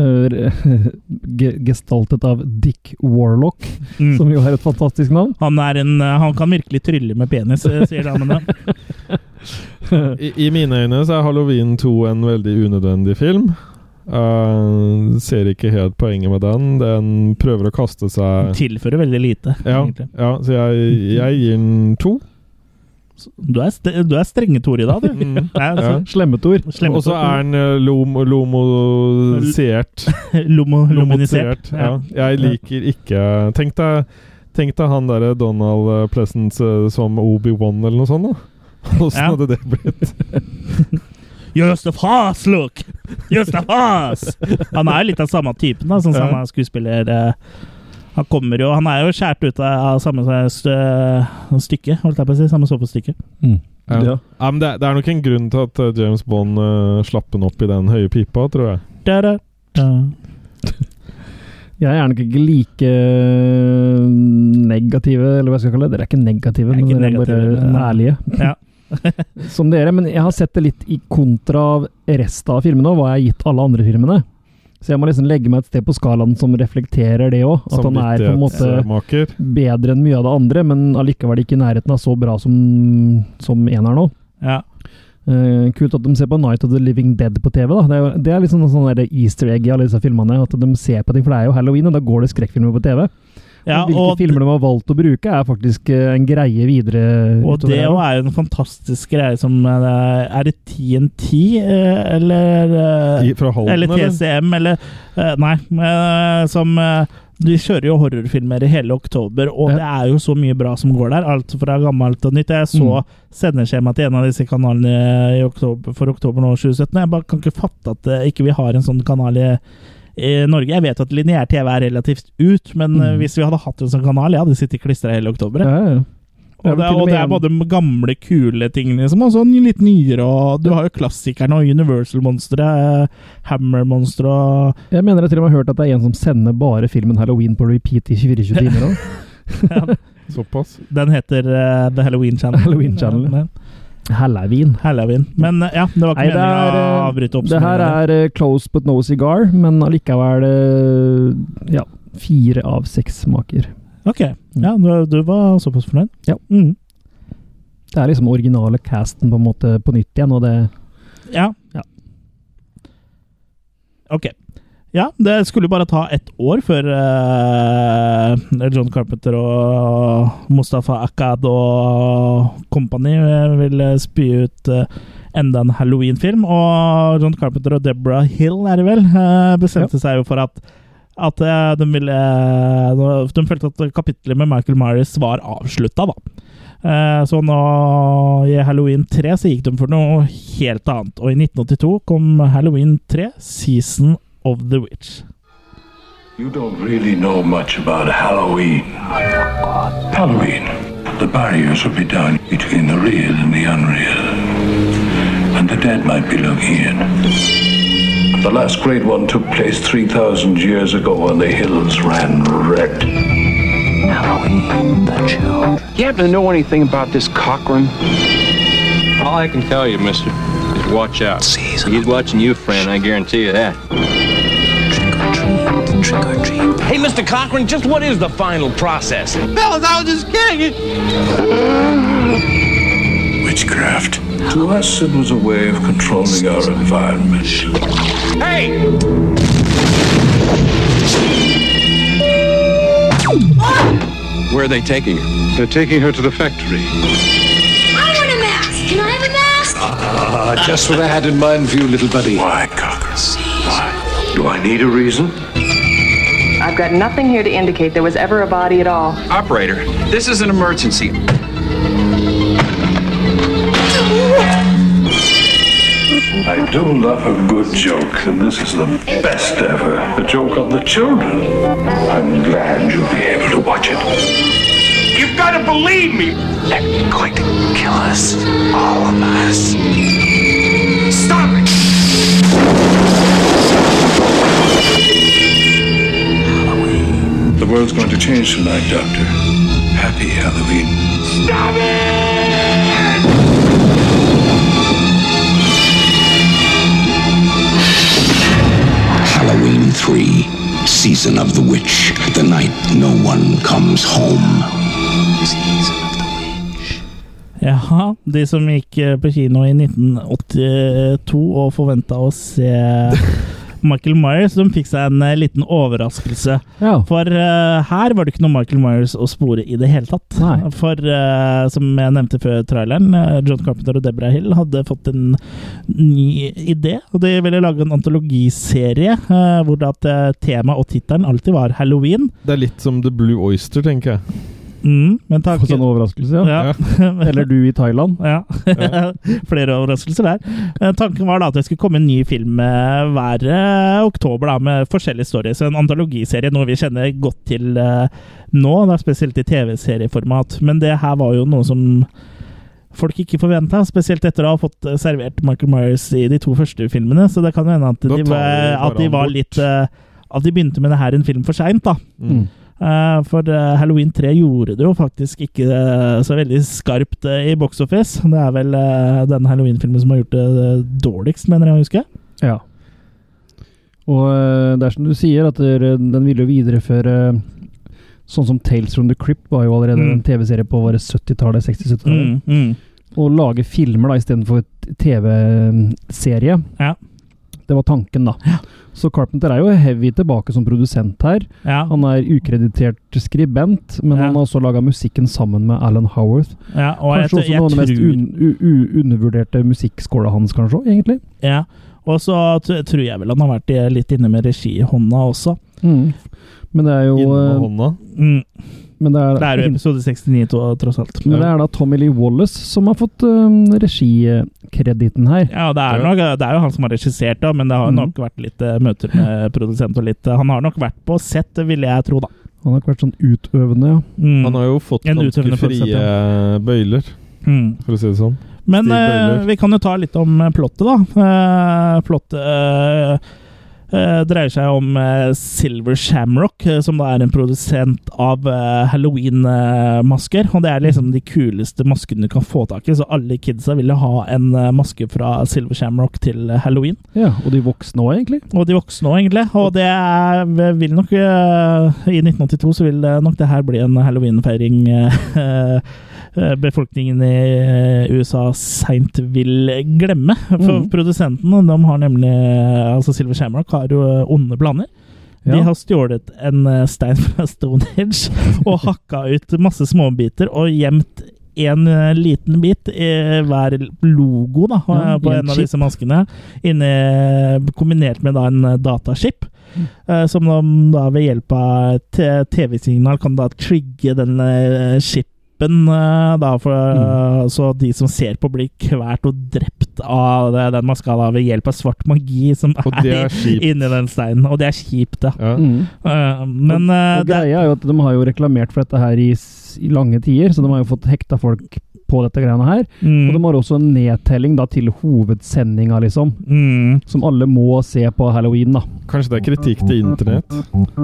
S3: Eh, [laughs] ge- Gestaltet av Dick Warlock,
S1: Mm.
S3: som jo er et fantastisk navn.
S1: Han, er en, eh, han kan virkelig trylle med penis, eh, sier damene.
S2: I, I mine øyne så er Halloween 2 en veldig unødvendig film. Eh, ser ikke helt poenget med den. Den prøver å kaste seg
S1: Tilfører veldig lite.
S2: Ja,
S1: egentlig.
S2: ja så jeg, jeg gir den to.
S1: Du er, st du er strenge, Tor, i dag, du.
S2: Mm.
S1: Nei,
S2: Ja.
S1: altså,
S3: Slemmetor.
S1: Slemme
S2: Og så er den eh, lom, lomosert.
S1: [laughs] Lomo luminisert.
S2: Lomotisert. Ja. Jeg liker ikke Tenk deg, tenk deg han derre Donald eh, Pleasence eh, som Obi-Wan eller noe sånt, da. [laughs]
S1: Ja.
S2: Åssen hadde det blitt?
S1: Just a fast look! Just a fast! Han er jo litt av samme typen, da, sånn som
S2: Ja.
S1: han er skuespiller. eh, Han kommer jo Han er jo skåret ut av av samme st stykke, holdt jeg på å si. Samme såpestykke.
S3: Mm.
S2: Ja.
S3: Ja.
S2: Ja, men det, er- det er nok en grunn til at eh, James Bond eh, slapp den opp i den høye pipa, tror jeg.
S1: Da, da, da.
S3: Jeg er nok ikke like eh, negative, eller hva skal jeg kalle det. Dere er ikke negative,
S1: Jeg er
S3: men
S1: ikke
S3: dere er
S1: negative,
S3: bare
S1: men- eh,
S3: ærlige.
S1: Ja.
S3: Som dere, men jeg har sett det litt i kontra av resten av filmene og hva jeg har gitt alle andre filmene. Så jeg må liksom legge meg et sted på skalaen som reflekterer det òg. At han er på en måte
S2: Samvittighetsmaker.
S3: bedre enn mye av det andre, men allikevel ikke i nærheten av så bra som, som eneren nå.
S1: Ja.
S3: Eh, kult at de ser på Night of the Living Dead på TV. da. Det er, jo- det er liksom en sånn der easter egg i alle disse filmene. At de ser på ting, for det er jo halloween, og da går det skrekkfilmer på TV.
S1: Ja,
S3: og hvilke
S1: og
S3: filmer de har valgt å bruke, er faktisk eh, en greie videre.
S1: Og
S3: utover
S1: det
S3: her.
S1: jo er jo en fantastisk greie som eh, Er det TNT, eh, eller eh,
S2: I- Fra Halden,
S1: Eller TCM, eller eh, Nei. eh, som eh, De kjører jo horrorfilmer i hele oktober, og
S3: Ja.
S1: det er jo så mye bra som går der. Alt fra gammelt og nytt. Jeg så
S3: Mm.
S1: sendeskjemaet til en av disse kanalene i oktober, for oktober nå 2017. og Jeg bare kan ikke fatte at eh, ikke vi har en sånn kanal i i Norge, Jeg vet at lineær-TV er relativt ut, men eh,
S3: Mm.
S1: hvis vi hadde hatt en sånn kanal, jeg hadde sittet klistra hele oktober. jeg.
S3: Ja, ja, ja.
S1: Og det, er- og det er både gamle, kule ting, liksom, og så litt nyere. Og du har jo klassikerne og Universal-monstre, Hammer-monstre
S3: [laughs]
S1: og
S3: Jeg mener jeg til og med har hørt at det er en som sender bare filmen Halloween på repeat i 24 timer. da.
S2: Såpass.
S1: Den heter eh, The Halloween Channel.
S3: Halloween Channel.
S1: Ja, men-
S3: [laughs] Halloween.
S1: Halloween. Men eh, ja, det var ikke
S3: Nei, det
S1: meningen
S3: er,
S1: å
S3: eh,
S1: avbryte opp.
S3: Det her er eh, close but no cigar, men allikevel eh, ja, fire av seks smaker.
S1: Ok.
S3: Mm.
S1: Ja, du, du var såpass fornøyd?
S3: Ja.
S1: Mm.
S3: Det er liksom originale casten på en måte på nytt igjen, og det
S1: ja.
S3: Ja.
S1: Ok. Ja, det skulle bare ta ett år før eh, John Carpenter og Mustafa Akkad og company ville spy ut eh, enda en Halloween-film. Og John Carpenter og Deborah Hill, er det vel, eh, bestemte seg jo for at at eh, de ville eh, De følte at kapitlet med Michael Myers var avslutta, da. Eh, Så nå i Halloween 3 så gikk de for noe helt annet. Og i 1982 kom Halloween 3, Season of the Witch.
S4: You don't really know much about Halloween. Halloween. The barriers will be down between the real and the unreal. And the dead might be looking in. The last great one took place 3,000 years ago when the hills ran red. Halloween, the children.
S6: You happen to know anything about this Cochrane?
S9: All I can tell you, mister, is watch out.
S4: Season.
S9: He's watching you, friend, I guarantee you that.
S4: Trick or treat, trick or treat.
S9: Hey, Mr. Cochran, just what is the final process?
S4: Witchcraft. To us, it was a way of controlling our environment.
S9: Hey! Where are they taking her?
S6: They're taking her to the factory.
S10: I want a mask! Ah, just what I had in mind for you, little buddy.
S4: Why, Cocker?
S10: Why? Do I need a reason?
S11: I've got nothing here to indicate there was ever a body at all.
S9: Operator, this is an emergency.
S4: I do love a good joke, and this is the best ever. A joke on the children. I'm glad you'll be able to watch it. You've got to believe me.
S5: They're going to kill us. All of us.
S4: Stop it! The world's going to change tonight, Doctor. Happy Halloween. Stop it!
S12: Halloween 3, Season of the Witch, the night no one comes home.
S1: Jaha, de som gikk eh, på kino i 1982 og forventa å se Michael Myers, de fikk seg en eh, liten overraskelse. For eh, her var det ikke noe Michael Myers å spore i det hele tatt. For eh, som jeg nevnte før traileren, eh, John Carpenter og Deborah Hill hadde fått en ny idé. Og de ville lage en antologiserie eh, hvor det at eh, tema og tittelen alltid var halloween.
S2: Det er litt som The Blue Oyster, tenker jeg.
S1: Mm, men takk.
S3: Fått en sånn overraskelse, ja.
S1: [laughs]
S3: Eller du i Thailand.
S1: Ja. [laughs] Flere overraskelser der. Eh, Tanken var da at det skulle komme en ny film eh, hver eh, oktober da, med forskjellige stories. En antologiserie, noe vi kjenner godt til eh, nå, da, spesielt i TV-serieformat. Men det her var jo noe som folk ikke forventa, spesielt etter å ha fått eh, servert Michael Myers i de to første filmene. Så det kan jo hende at de,
S2: Da
S1: var,
S2: tar vi bare
S1: at de
S2: han
S1: var
S2: bort.
S1: litt eh, At de begynte med det her en film for seint, da.
S2: Mm.
S1: Eh, for eh, Halloween 3 gjorde det jo faktisk ikke eh, så veldig skarpt eh, i box office. Det er vel eh, denne Halloween-filmen som har gjort det eh, dårligst, mener jeg å huske.
S3: Ja. Og eh, det er som du sier, at dere- den ville jo videreføre Sånn som Tales from the Crypt var jo allerede
S1: Mm.
S3: en TV-serie på våre 70-tallet, 60-70-tallet.
S1: Mm, mm.
S3: Å lage filmer da, istedenfor et TV-serie.
S1: Ja.
S3: Det var tanken, da. Så Carpenter er jo heavy tilbake som produsent her.
S1: Ja.
S3: Han er ukreditert skribent, men han har også laga musikken sammen med Alan Howarth.
S1: Ja, og jeg,
S3: kanskje også
S1: jeg,
S3: noen av de
S1: tror
S3: mest un u- u- undervurderte musikkskåla hans, kanskje, også, egentlig.
S1: ja. Og så t- tror jeg vel han har vært eh, litt inne med regihånda også.
S3: Mm. Men det er jo
S2: Med
S3: eh,
S2: hånda.
S1: Mm.
S3: men det er,
S1: Det er jo episode 69, to, tross alt.
S3: Men det er da Tommy Lee Wallace som har fått eh, regikreditten her.
S1: Ja, det er, nok, det er jo han som har regissert, da, men det har
S3: Mm.
S1: nok vært litt eh, møter med produsent og litt eh, Han har nok vært på sett, ville jeg tro, da.
S3: Han har ikke vært sånn utøvende, ja.
S1: Mm.
S2: Han har jo fått
S1: En
S2: ganske
S1: utøvende produsent,
S2: frie bøyler,
S1: Mm.
S2: for å si det sånn.
S1: Men
S2: Stig
S1: eh,
S2: Bøhler.
S1: vi kan jo ta litt om eh, plottet, da. Eh, plottet eh, eh, dreier seg om eh, Silver Shamrock, eh, som da er en produsent av eh, halloween-masker. Og det er liksom de kuleste maskene du kan få tak i, så alle kidsa ville ha en eh, maske fra Silver Shamrock til eh, halloween.
S3: ja. Og de voksne òg, egentlig.
S1: Og de voksne òg, egentlig. Og det er, vil nok eh, I 1982 så vil det nok det her bli en halloweenfeiring [laughs] eh, eh, befolkningen i eh, USA seint vil glemme. For
S3: Mhm.
S1: produsentene, de har nemlig Altså Silver Shamrock har jo eh, onde planer. De
S3: Ja.
S1: har stjålet en eh, stein fra [laughs] Stonehenge og hakka ut masse småbiter og gjemt en eh, liten bit i hver logo da, eh,
S3: Ja,
S1: på
S3: i en
S1: en av
S3: chip.
S1: disse maskene, inne, kombinert med da, en eh, datachip,
S3: Mm.
S1: eh, som de da ved hjelp av et eh, TV-signal kan da trigge den eh, chipen, eh, da, for,
S3: Mm.
S1: eh, så de som ser på blir kvært og drept av det, den maska da, ved hjelp av svart magi som
S2: Og det er
S1: er,
S2: kjipt.
S1: inni den steinen. Og det er kjipt, da.
S2: Ja.
S3: Mm.
S1: Eh, Men eh,
S3: Og
S1: det,
S3: greia er jo at de har jo reklamert for dette her i, s- i lange tider, så de har jo fått hekta folk på dette greiene her.
S1: Mm.
S3: Og de har også en nedtelling da til hovedsendinga, liksom.
S1: mm,
S3: Som alle må se på halloween, da.
S2: Kanskje det er kritikk til internett?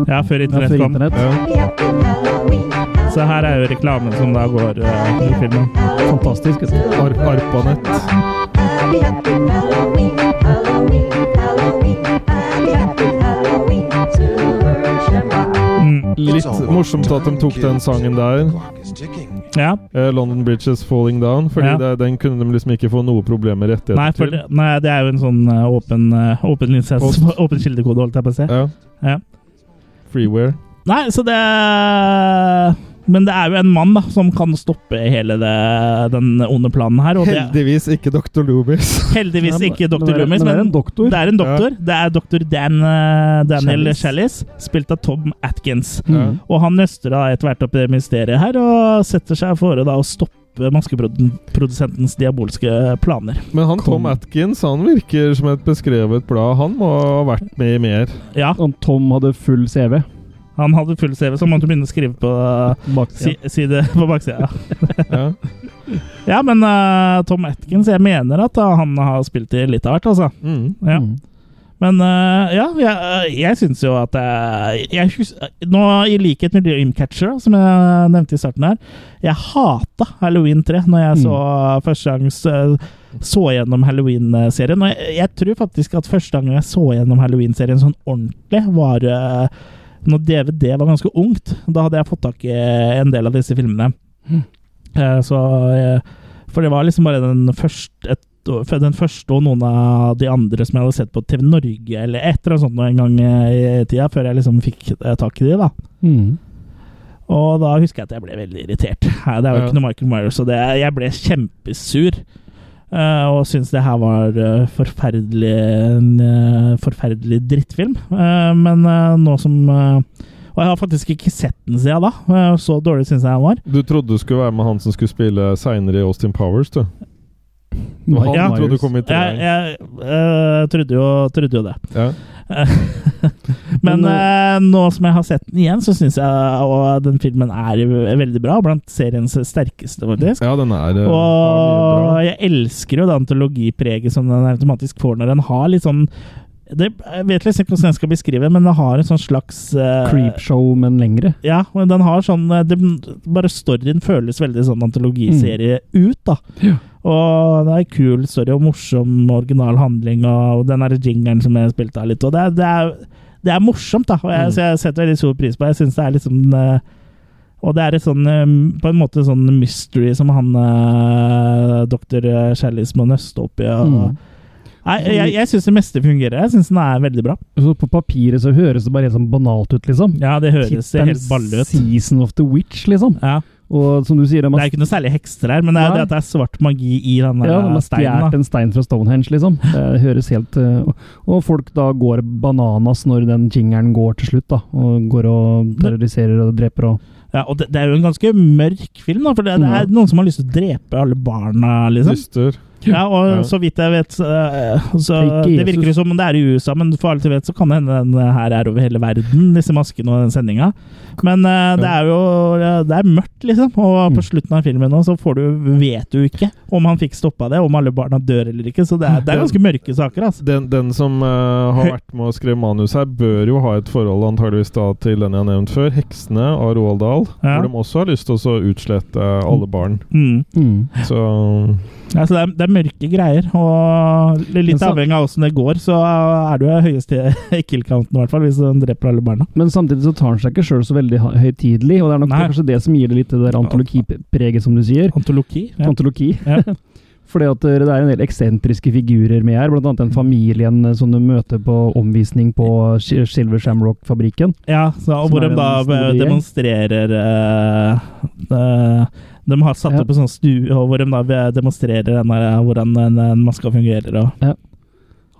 S1: ja, før
S3: Det er
S1: internett
S3: for
S1: kom.
S3: internett.
S1: Så her er jo reklamen som da går eh, i filmen.
S3: Fantastisk.
S2: Ar Arpanett.
S1: Mm.
S2: Litt morsomt at de tok den sangen der.
S1: Ja.
S2: eh, London Bridges Falling Down. Fordi
S1: Ja.
S2: det, den kunne de liksom ikke få noe problem med rettigheter
S1: Nei, for, det- nei, det er jo en sånn eh, åpen, eh, åpen lisens,
S2: Post.
S1: [laughs] åpen kildekode, holdt jeg på å si.
S2: til. Ja.
S1: Ja.
S2: Freeware.
S1: Nei, så det Men det er jo en mann da, som kan stoppe hele det, den onde planen her. Og det,
S2: Heldigvis ikke Dr. Loomis.
S1: heldigvis
S3: Ja, men-
S1: ikke
S3: men det
S1: Dr.
S3: er-
S1: Loomis,
S3: men det er en doktor.
S1: Det er en doktor. Det er doktor Dan, eh, Daniel
S3: Challis.
S1: Challis, spilt av Tom Atkins.
S3: Mm.
S1: Og han nøster da etter hvert opp i det mysteriet her, og setter seg fore da å stoppe maskeprodusentens diabolske planer.
S2: [laughs] Men han Tom Atkins han virker som et beskrevet blad. Han må ha vært med i mer.
S1: Ja,
S3: Om Tom hadde full CV.
S1: han hadde full CV, så han måtte begynne å skrive på eh, si,
S3: Baksida.
S1: side [laughs] på baksida.
S2: Ja.
S1: Ja, men eh, Tom Atkins, jeg mener at eh, han har spilt i litt av hvert, altså.
S2: Mm.
S1: Ja.
S3: Mm.
S1: Men eh, ja, jeg, jeg syns jo at jeg, jeg hus- Nå, I likhet med Dreamcatcher, som jeg nevnte i starten her, jeg hata Halloween 3 når jeg så eh, første gang så, så gjennom Halloween-serien. Og jeg, jeg tror faktisk at første gang jeg så gjennom Halloween-serien sånn ordentlig, var eh, når DVD var ganske ungt. Da hadde jeg fått tak i en del av disse filmene. Eh, Så, eh, for det var liksom bare den første, et, for den første og noen av de andre som jeg hadde sett på TV Norge, eller et eller annet sånt en gang eh, i tida, før jeg liksom fikk eh, tak i de, da.
S3: Mm.
S1: Og da husker jeg at jeg ble veldig irritert. Nei, Det er jo
S2: Ja.
S1: ikke noe Michael Myers, så det, jeg ble kjempesur. eh, og syntes det her var eh, forferdelig en eh, forferdelig drittfilm. Eh, men eh, nå som eh, Og jeg har faktisk ikke sett den siden da. eh, så dårlig syns jeg den var.
S2: Du trodde du skulle være med han som skulle spille seinere i Austin Powers, du. Det var han
S1: Ja.
S2: du trodde kom i
S1: Jeg,
S2: treeren.
S1: jeg eh, trodde, jo, trodde jo det.
S2: Ja.
S1: [laughs] Men
S3: Men,
S1: eh, nå som jeg har sett den igjen, så syns jeg og den filmen er veldig bra. Blant seriens sterkeste, faktisk.
S2: ja, den er eh, har mye
S1: Og
S2: bra.
S1: jeg elsker jo det antologipreget som den automatisk får når den har litt sånn det, Jeg vet liksom ikke hvordan jeg skal beskrive men den har en sånn slags eh,
S3: Creepshow, men lengre.
S1: Ja, men den har sånn eh, det, Bare storyen føles veldig sånn antologiserie ut, da.
S3: Ja.
S1: Og det er en kul story og morsom original handling, og den der jingeren som jeg spilte av litt, og det er, det er, det er morsomt, da. Og jeg,
S2: Mm.
S1: så jeg setter veldig stor pris på det. Jeg syns det er liksom eh, og det er et sånn, eh, på en måte sånn mystery som han eh, doktor Shallis må nøste opp i. Og,
S3: Mm.
S1: Nei, jeg, jeg syns det meste fungerer. Jeg syns den er veldig bra.
S3: Så på papiret så høres det bare helt sånn banalt ut, liksom.
S1: Ja, det høres
S3: Tittelen
S1: helt balle ut.
S3: Season of the Witch, liksom.
S1: Ja.
S3: Og som du sier, de
S1: Det
S3: har,
S1: er ikke noe særlig hekser her, men det er jo
S3: Nei.
S1: det at det er svart magi i den der
S3: ja, de har
S1: steinen.
S3: stjålet en stein fra Stonehenge, liksom. Det høres helt eh, og- Og folk da går bananas når den jingeren går til slutt, da. Og går og terroriserer og dreper og
S1: Da. Ja, og det, det er jo en ganske mørk film, da, for det, det
S3: Mm.
S1: er noen som har lyst til å drepe alle barna, liksom.
S2: Dyster.
S1: Ja, og
S2: Ja.
S1: så vidt jeg vet, så, eh, så
S3: Tenk
S1: Det
S3: Jesus.
S1: virker jo som om det er i USA, men for alt jeg vet, så kan det hende den eh, her er over hele verden, disse maskene og den sendinga. Men eh, det er jo Det er mørkt, liksom.
S3: Mm.
S1: Og på slutten av filmen nå, så får du Vet du ikke om han fikk stoppa det, om alle barna dør eller ikke. Så det
S3: [laughs]
S1: er, det er ganske mørke saker, altså.
S2: Den, den som eh, har vært med og skrevet manus her, bør jo ha et forhold antageligvis da til den jeg har nevnt før, 'Heksene' av Roald Dahl.
S1: Ja.
S2: Hvor de også har lyst til å så utslette eh, alle barn.
S1: Mm.
S3: mm.
S2: Så
S1: Ja, så Altså, det, er, det er mørke greier, og
S3: Men
S1: litt
S3: så-
S1: avhengig av åssen det går, så er du jo høyeste [laughs] kill-counten, i hvert fall, hvis den dreper alle barna.
S3: Men samtidig så tar han seg ikke sjøl så veldig ha- høytidelig, og det er nok
S1: Nei.
S3: kanskje det som gir det litt det der antologipreget, som du sier.
S1: Antologi. Ja.
S3: Antologi.
S1: Ja.
S3: [laughs] Fordi at eh, det er en del eksentriske figurer med her, blant annet den familien eh, som du møter på omvisning på Sh- Silver Shamrock-fabrikken.
S1: ja så, og
S3: Som
S1: hvor
S3: er
S1: de da eh,
S3: en stor
S1: demonstrerer
S3: gjeng.
S1: eh, eh, De har satt
S3: Ja.
S1: opp en sånn stue, og hvor de da eh, demonstrerer den der, eh, hvordan en, en maske fungerer. Og.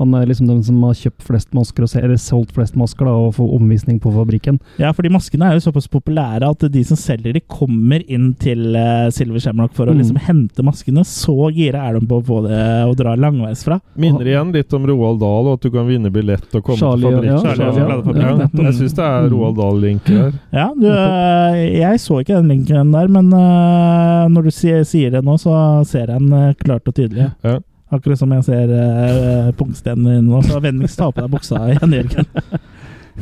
S3: Han er liksom den som har kjøpt flest masker, og se- eller solgt flest masker, da, og får omvisning på fabrikken.
S1: Ja, fordi maskene er jo såpass populære at de som selger de, kommer inn til eh, Silver Shamrock for å
S3: Mm.
S1: liksom hente maskene. Så gira er de på å få det og dra langveisfra.
S2: minner igjen litt om Roald Dahl, og at du kan vinne billett og komme
S3: Charlie,
S2: til fabrikken.
S3: ja,
S1: Charlie, ja,
S2: ja.
S1: nettopp.
S2: Jeg syns det er Roald Dahl-linker her.
S1: Ja, du, øh, jeg så ikke den linken der, men øh, når du sier, sier det nå, så ser jeg den øh, klart og tydelig.
S2: Ja.
S1: Akkurat som jeg ser øh, pungstenen din nå, så vennligst ta på deg buksa igjen,
S2: [laughs]
S1: Jørgen.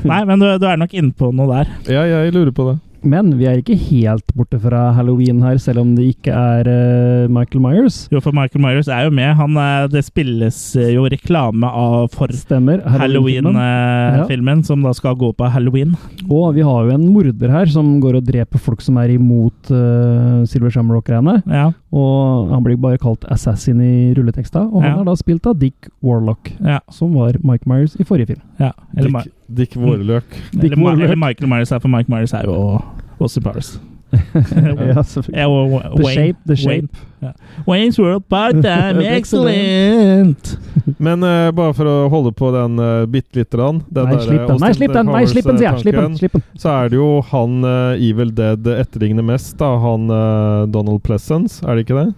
S1: Nei, men du, du er nok inne på noe der.
S2: Ja, jeg lurer på det.
S3: Men vi er ikke helt borte fra halloween her, selv om det ikke er eh, Michael Myers.
S1: Jo, for Michael Myers er jo med. Han, øh, det spilles øh, jo reklame av for
S3: Stemmer. Halloween-filmen. Ja.
S1: Halloween-filmen, som da skal gå på halloween.
S3: Og vi har jo en morder her som går og dreper folk som er imot eh, Silver Shamrock-greiene.
S1: Ja,
S3: Og han blir bare kalt Assassin i rulleteksta, og han
S1: Ja.
S3: er da spilt av Dick Warlock,
S1: ja,
S3: som var Mike Myers i forrige film.
S1: ja. Eller,
S2: Dick, Dick Vårløk.
S1: Ma- eller, Ma-
S3: Warlock.
S1: eller Michael Myers er, for Michael Myers er jo Austin Powers.
S3: [laughs] Ja, selvfølgelig.
S1: Ja, og Wa-
S3: The
S1: Wayne.
S3: Shape, The Shape.
S1: Wayne. Ja. Wayne's World
S3: [laughs]
S1: Part-Time Excellent!
S2: Men eh, bare for å holde på den eh, bitte lite grann den
S3: Nei,
S2: der, eh,
S3: slipp den. eh, Nei, slipp den. Nei, slipp den, sier jeg. Slipp den,
S2: ostentakstanken,
S3: slipp den.
S2: Så er det jo han eh, Evil Dead etterligner mest, da. Han eh, Donald Pleasence, er det ikke det?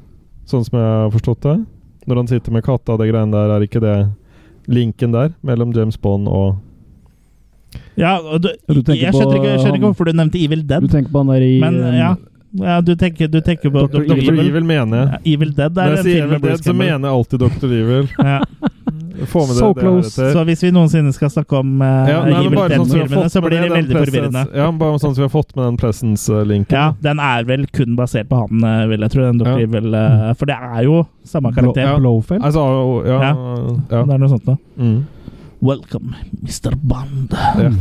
S2: Sånn som jeg har forstått det? Når han sitter med katta og det greiene der, er ikke det linken der mellom James Bond og
S1: Ja, og du,
S3: Du tenker
S1: jeg skjønner
S3: på
S1: ikke, jeg skjønner ikke
S3: han-
S1: hvorfor du nevnte Evil Dead.
S3: Du tenker på han der i
S1: Men
S3: eh,
S1: ja, ja du, tenker, du tenker på
S2: Dr. Evil, mener jeg.
S1: Ja, Evil Dead
S2: Når
S1: er
S2: jeg
S1: en
S2: sier
S1: film
S2: Evil
S1: med Bruce
S2: Dead, så
S1: Campbell.
S2: mener jeg alltid Dr. Evil. [laughs]
S1: Ja.
S2: Få med dere
S3: So
S2: det
S3: close.
S2: heretter.
S1: Så hvis vi noensinne skal snakke om eh,
S2: Ja, nei, men
S1: Evil
S2: bare sånn som vi har
S1: Dead-filmene,
S2: fått
S1: så
S2: med
S1: blir det
S2: den
S1: veldig
S2: Pleasence-
S1: forvirrende.
S2: Ja, bare sånn som vi har fått med den Pleasence-linken.
S1: Ja, den er vel kun basert på han, eh, vil jeg tro. Den Dr.
S2: Ja.
S1: Evil, eh, for det er jo samme karakter.
S2: Ja.
S3: Blowfell?
S2: Altså, ja, ja. ja.
S1: Det er noe sånt da.
S2: Mm.
S1: Welcome, Mr. Bond.
S2: Ja.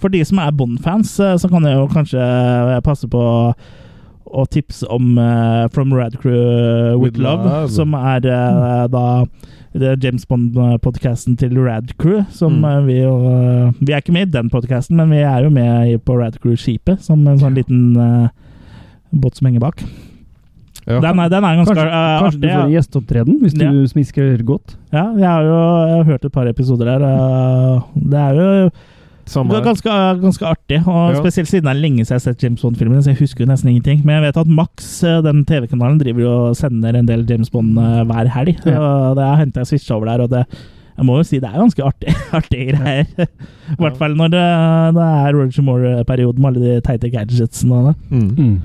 S1: For de som er Bond-fans, eh, så kan jeg jo kanskje eh, passe på å tipse om eh, From Rad Crew eh, With
S2: With
S1: Love,
S2: Love.
S1: som er eh, da det er James Bond-podkasten til Rad Crew. Som
S2: Mm.
S1: eh, vi jo eh, Vi er ikke med i den podkasten, men vi er jo med i- på Rad Crew-skipet, som en sånn liten eh, båt som henger bak.
S2: Ja.
S1: Den, er, den er ganske
S3: Kanskje,
S1: eh,
S3: kanskje du
S1: artig. ja.
S3: får gjesteopptreden hvis du
S1: Ja.
S3: smisker godt?
S1: Ja, jeg har jo jeg har hørt et par episoder her. og Det er jo
S2: Samme
S1: det er
S2: her.
S1: ganske, ganske artig, og
S2: Ja.
S1: spesielt siden det er lenge siden jeg har sett James Bond-filmene. så jeg husker jo nesten ingenting. Men jeg vet at Max, eh, den TV-kanalen, driver jo og sender en del James Bond eh, hver helg.
S3: Ja.
S1: Og det har hentet jeg switcha over der, og det jeg må jo si det er ganske artig, [laughs] artige greier. I hvert fall når det, det er Roger Moore-perioden med alle de teite gadgetsene. og det.
S2: Mm.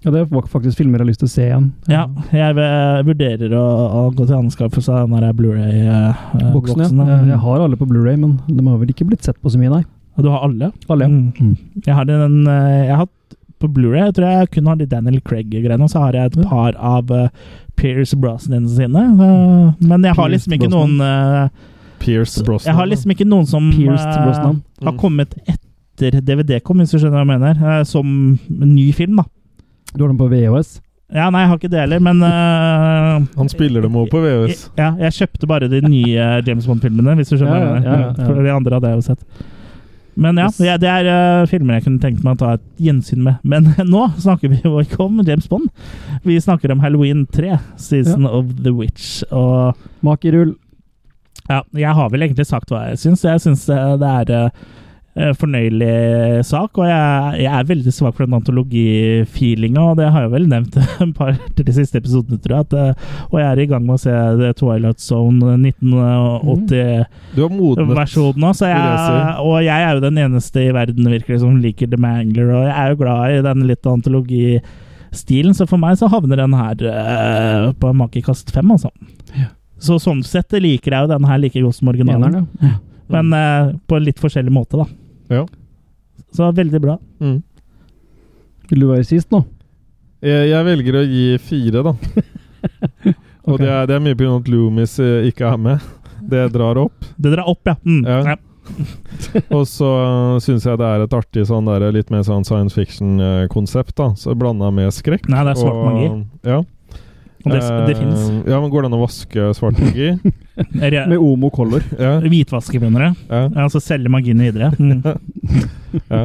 S3: Ja, det var faktisk filmer jeg har lyst til å se igjen.
S1: Ja, jeg eh, vurderer å, å gå til anskaffelse av den der eh,
S3: Eh, Boksen,
S1: Blu-ray-boksen.
S3: ja. Jeg- Jeg har alle på Blu-ray, men de har vel ikke blitt sett på så mye, nei.
S1: Og du har alle?
S3: Alle, ja.
S1: Mm. Jeg har en eh, Jeg har hatt på Blu-ray Jeg tror jeg kun har de Daniel Craig-greiene, og så har jeg et par av eh, Pierce Brosnan sine. eh, men jeg har
S3: Pierce
S1: liksom ikke
S3: Brosnan.
S1: noen eh,
S2: Pierce Brosnan.
S1: Jeg har liksom ikke noen som eh,
S3: Pierce Brosnan.
S1: har
S2: Mm.
S1: kommet etter DVD kom, hvis du skjønner hva jeg mener. eh, som ny film, da.
S3: Du har dem på VHS.
S1: Ja, nei, jeg har ikke det heller, men eh,
S2: Han spiller dem òg på VØS.
S1: ja, jeg kjøpte bare de nye James Bond-filmene, hvis du skjønner.
S3: Ja, ja,
S1: hva jeg mener.
S3: ja, ja.
S1: For de andre hadde jeg jo sett. Men ja, ja det er eh, filmer jeg kunne tenkt meg å ta et gjensyn med. Men [laughs] nå snakker vi jo ikke om James Bond. Vi snakker om Halloween 3, Season of the Witch. Og
S3: Makerull.
S1: ja, jeg har vel egentlig sagt hva jeg syns. Jeg syns eh, det er eh, fornøyelig sak, og jeg, jeg er veldig svak for den antologifeelinga, og det har jeg vel nevnt [laughs] en par til de siste episodene, tror jeg. At, eh, og jeg er i gang med å se The Twilight Zone eh, 1980-versjonen
S2: Du har modnet.
S1: nå, så jeg,
S2: vil jeg
S1: og jeg er jo den eneste i verden virkelig som liker The Mangler, og jeg er jo glad i den litt antologistilen, så for meg så havner den her eh, på makekast fem, altså. Så sånn sett liker jeg jo den her like godt som originalen.
S3: Eneren, ja.
S1: Men eh, på en litt forskjellig måte, da.
S2: Ja.
S1: Så veldig bra.
S2: Mm.
S3: Vil du være sist nå?
S2: Jeg, jeg velger å gi fire,
S1: [laughs]
S2: da. Og
S3: Ok.
S2: det, er, det er mye pga. at Loomis eh, ikke er med. Det drar opp.
S1: Det drar opp, ja. Mm.
S2: Ja.
S1: ja.
S2: Og så uh, syns jeg det er et artig sånn der, litt mer sånn science fiction-konsept. da Så Blanda med skrekk.
S1: Nei, det er svart
S2: og-
S1: magi.
S2: Ja.
S1: Og det, det
S2: Eh,
S1: fins.
S2: Ja, men Går det an å vaske svart magi?
S1: [laughs]
S3: Med Omo Color.
S2: ja,
S1: Hvitvaske, mener du?
S2: ja,
S1: Ja, Altså selge magien videre.
S2: [laughs]
S1: Mm.
S2: ja.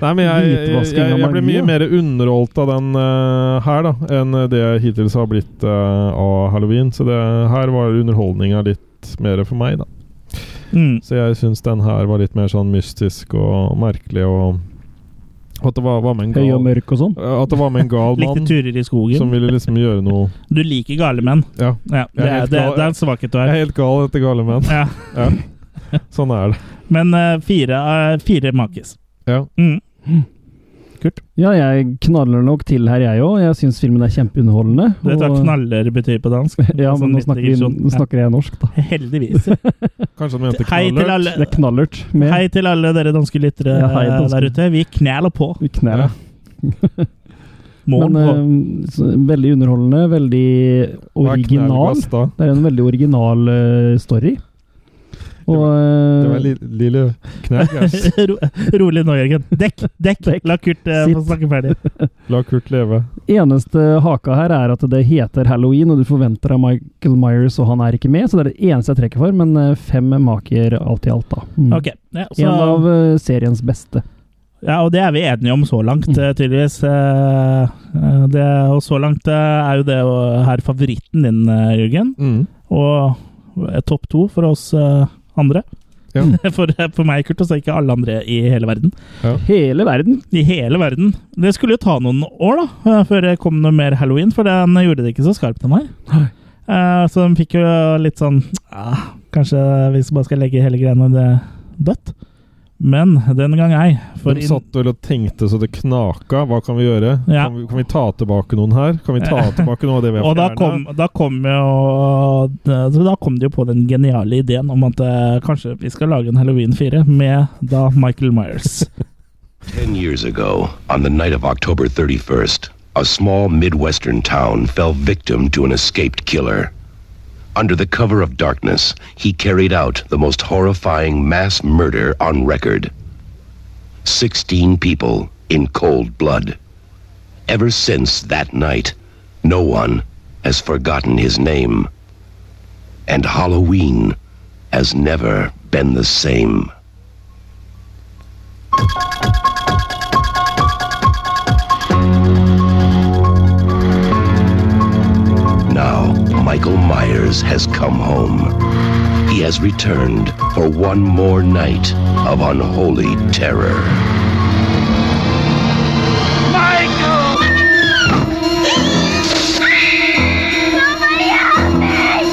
S2: Nei, men jeg, jeg,
S3: Hvitvasking av
S2: jeg, jeg ble
S3: magi,
S2: mye
S3: ja.
S2: mer underholdt av den eh, her da enn det jeg hittil har blitt eh, av halloween. Så det her var underholdninga litt mer for meg, da.
S1: Mm.
S2: Så jeg syns den her var litt mer sånn mystisk og merkelig og og At det var, var med en
S3: Høy og
S2: gal
S3: mørk og sånn.
S2: At det var med en gal
S1: Likte
S2: mann
S1: turer i skogen.
S2: som ville liksom gjøre noe
S1: Du liker gale menn.
S2: Ja.
S1: Ja,
S2: Jeg
S1: det,
S2: er
S1: er,
S2: helt
S1: det,
S2: gal.
S1: det er en svakhet du
S2: Jeg
S1: har.
S2: er helt gal etter gale menn.
S1: Ja.
S2: [laughs] Ja. Sånn er det.
S1: Men eh, fire, eh, fire makis.
S2: Ja.
S1: Mm.
S3: Ja, jeg knaller nok til her, jeg òg. Jeg syns filmen er kjempeunderholdende.
S1: Du vet hva
S3: og-
S1: knaller betyr på dansk?
S3: [laughs]
S1: [laughs]
S3: Ja,
S1: Sånn
S3: men nå
S1: litt
S3: snakker, vi,
S1: digresjon.
S3: nå snakker jeg norsk, da.
S1: ja.
S2: [laughs]
S1: Heldigvis.
S2: Kanskje han mente
S1: Hei til alle,
S3: Det er knallert med
S1: hei til alle dere danske lyttere
S3: Ja, hei,
S1: eh,
S3: danske.
S1: der ute. Vi kneler på.
S3: i knærne.
S1: Mål
S3: Men
S1: på.
S3: eh, så, veldig underholdende, veldig original.
S2: Hva er knallgass da?
S3: Det er en veldig original eh, story. Og
S2: Det var
S3: eh,
S2: li lille knellgass.
S1: [laughs] Ro, rolig nå, Jørgen. Dekk! dekk.
S3: Dekk.
S1: La Kurt eh, få
S3: Sitt.
S1: snakke ferdig.
S2: La Kurt leve.
S3: [laughs] Eneste haka her er at det heter halloween, og du forventer av Michael Myers, og han er ikke med, så det er det eneste jeg trekker for, men eh, fem maker alt i alt, da. Mm.
S1: Ok. Ja,
S3: En
S1: så,
S3: av eh, seriens beste.
S1: Ja, og det er vi enige om så langt,
S3: Mm.
S1: eh, tydeligvis. Eh, eh, Det, og så langt eh, er jo det å- her favoritten din, eh, Jørgen.
S2: Mm.
S1: Og eh, topp to for oss eh, andre. [laughs] for, for meg, Kurt, og så ikke alle andre i hele verden.
S3: Hele verden?
S1: I hele verden. Det skulle jo ta noen år da, eh, før det kom noe mer halloween, for den gjorde det ikke så skarpt, den her. Eh, Så de fikk jo litt sånn ah, Kanskje vi bare skal legge hele greiene det- dødt? Men den gang ei. for
S2: De
S1: inn-
S2: satt vel og tenkte så det knaka. Hva kan vi gjøre?
S1: Ja.
S2: Kan, vi, kan vi ta tilbake noen her? Kan vi ta
S1: Ja.
S2: tilbake noe av det vi har
S1: [laughs] Og da
S2: fjernet?
S1: kom, da kom jo eh, så Da kom de jo på den geniale ideen om at eh, kanskje vi skal lage en Halloween 4 med da Michael Myers.
S13: Ten years ago, on the night of October 31st, a small Midwestern town fell victim to an escaped killer. Under the cover of darkness, he carried out the most horrifying mass murder on record 16 people in cold blood. Ever since that night, no one has forgotten his name. And Halloween has never been the same. Now, Michael Myers has come home. He has returned for one more night of unholy terror.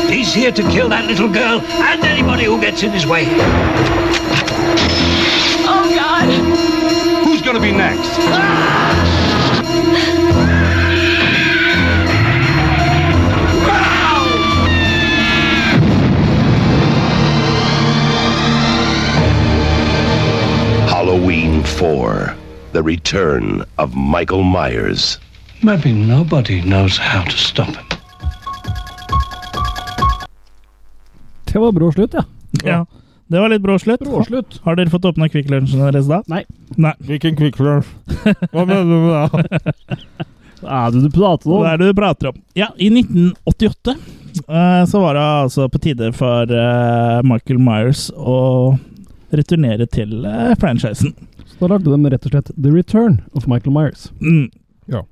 S14: He's here to kill that little girl and anybody who gets in his way.
S5: Oh, God!
S14: Who's gonna be next?
S13: Halloween 4 The Return of Michael Myers.
S10: Maybe nobody knows how to stop him.
S3: Det var brå slutt, ja.
S1: Ja. Det var litt brå slutt. Har dere fått åpna Kvikk Lunsjen deres da?
S3: Nei.
S2: Hvilken Kvikk Lunsj? Hva mener du med
S1: [laughs]
S2: det?
S3: Hva er det du prater om?
S1: Hva er det du prater om? Ja, i 1988 eh, så var det altså på tide for eh, Michael Myers å returnere til eh, franchisen.
S3: Så da lagde de rett og slett The Return of Michael Myers.
S1: Mm.
S2: Ja.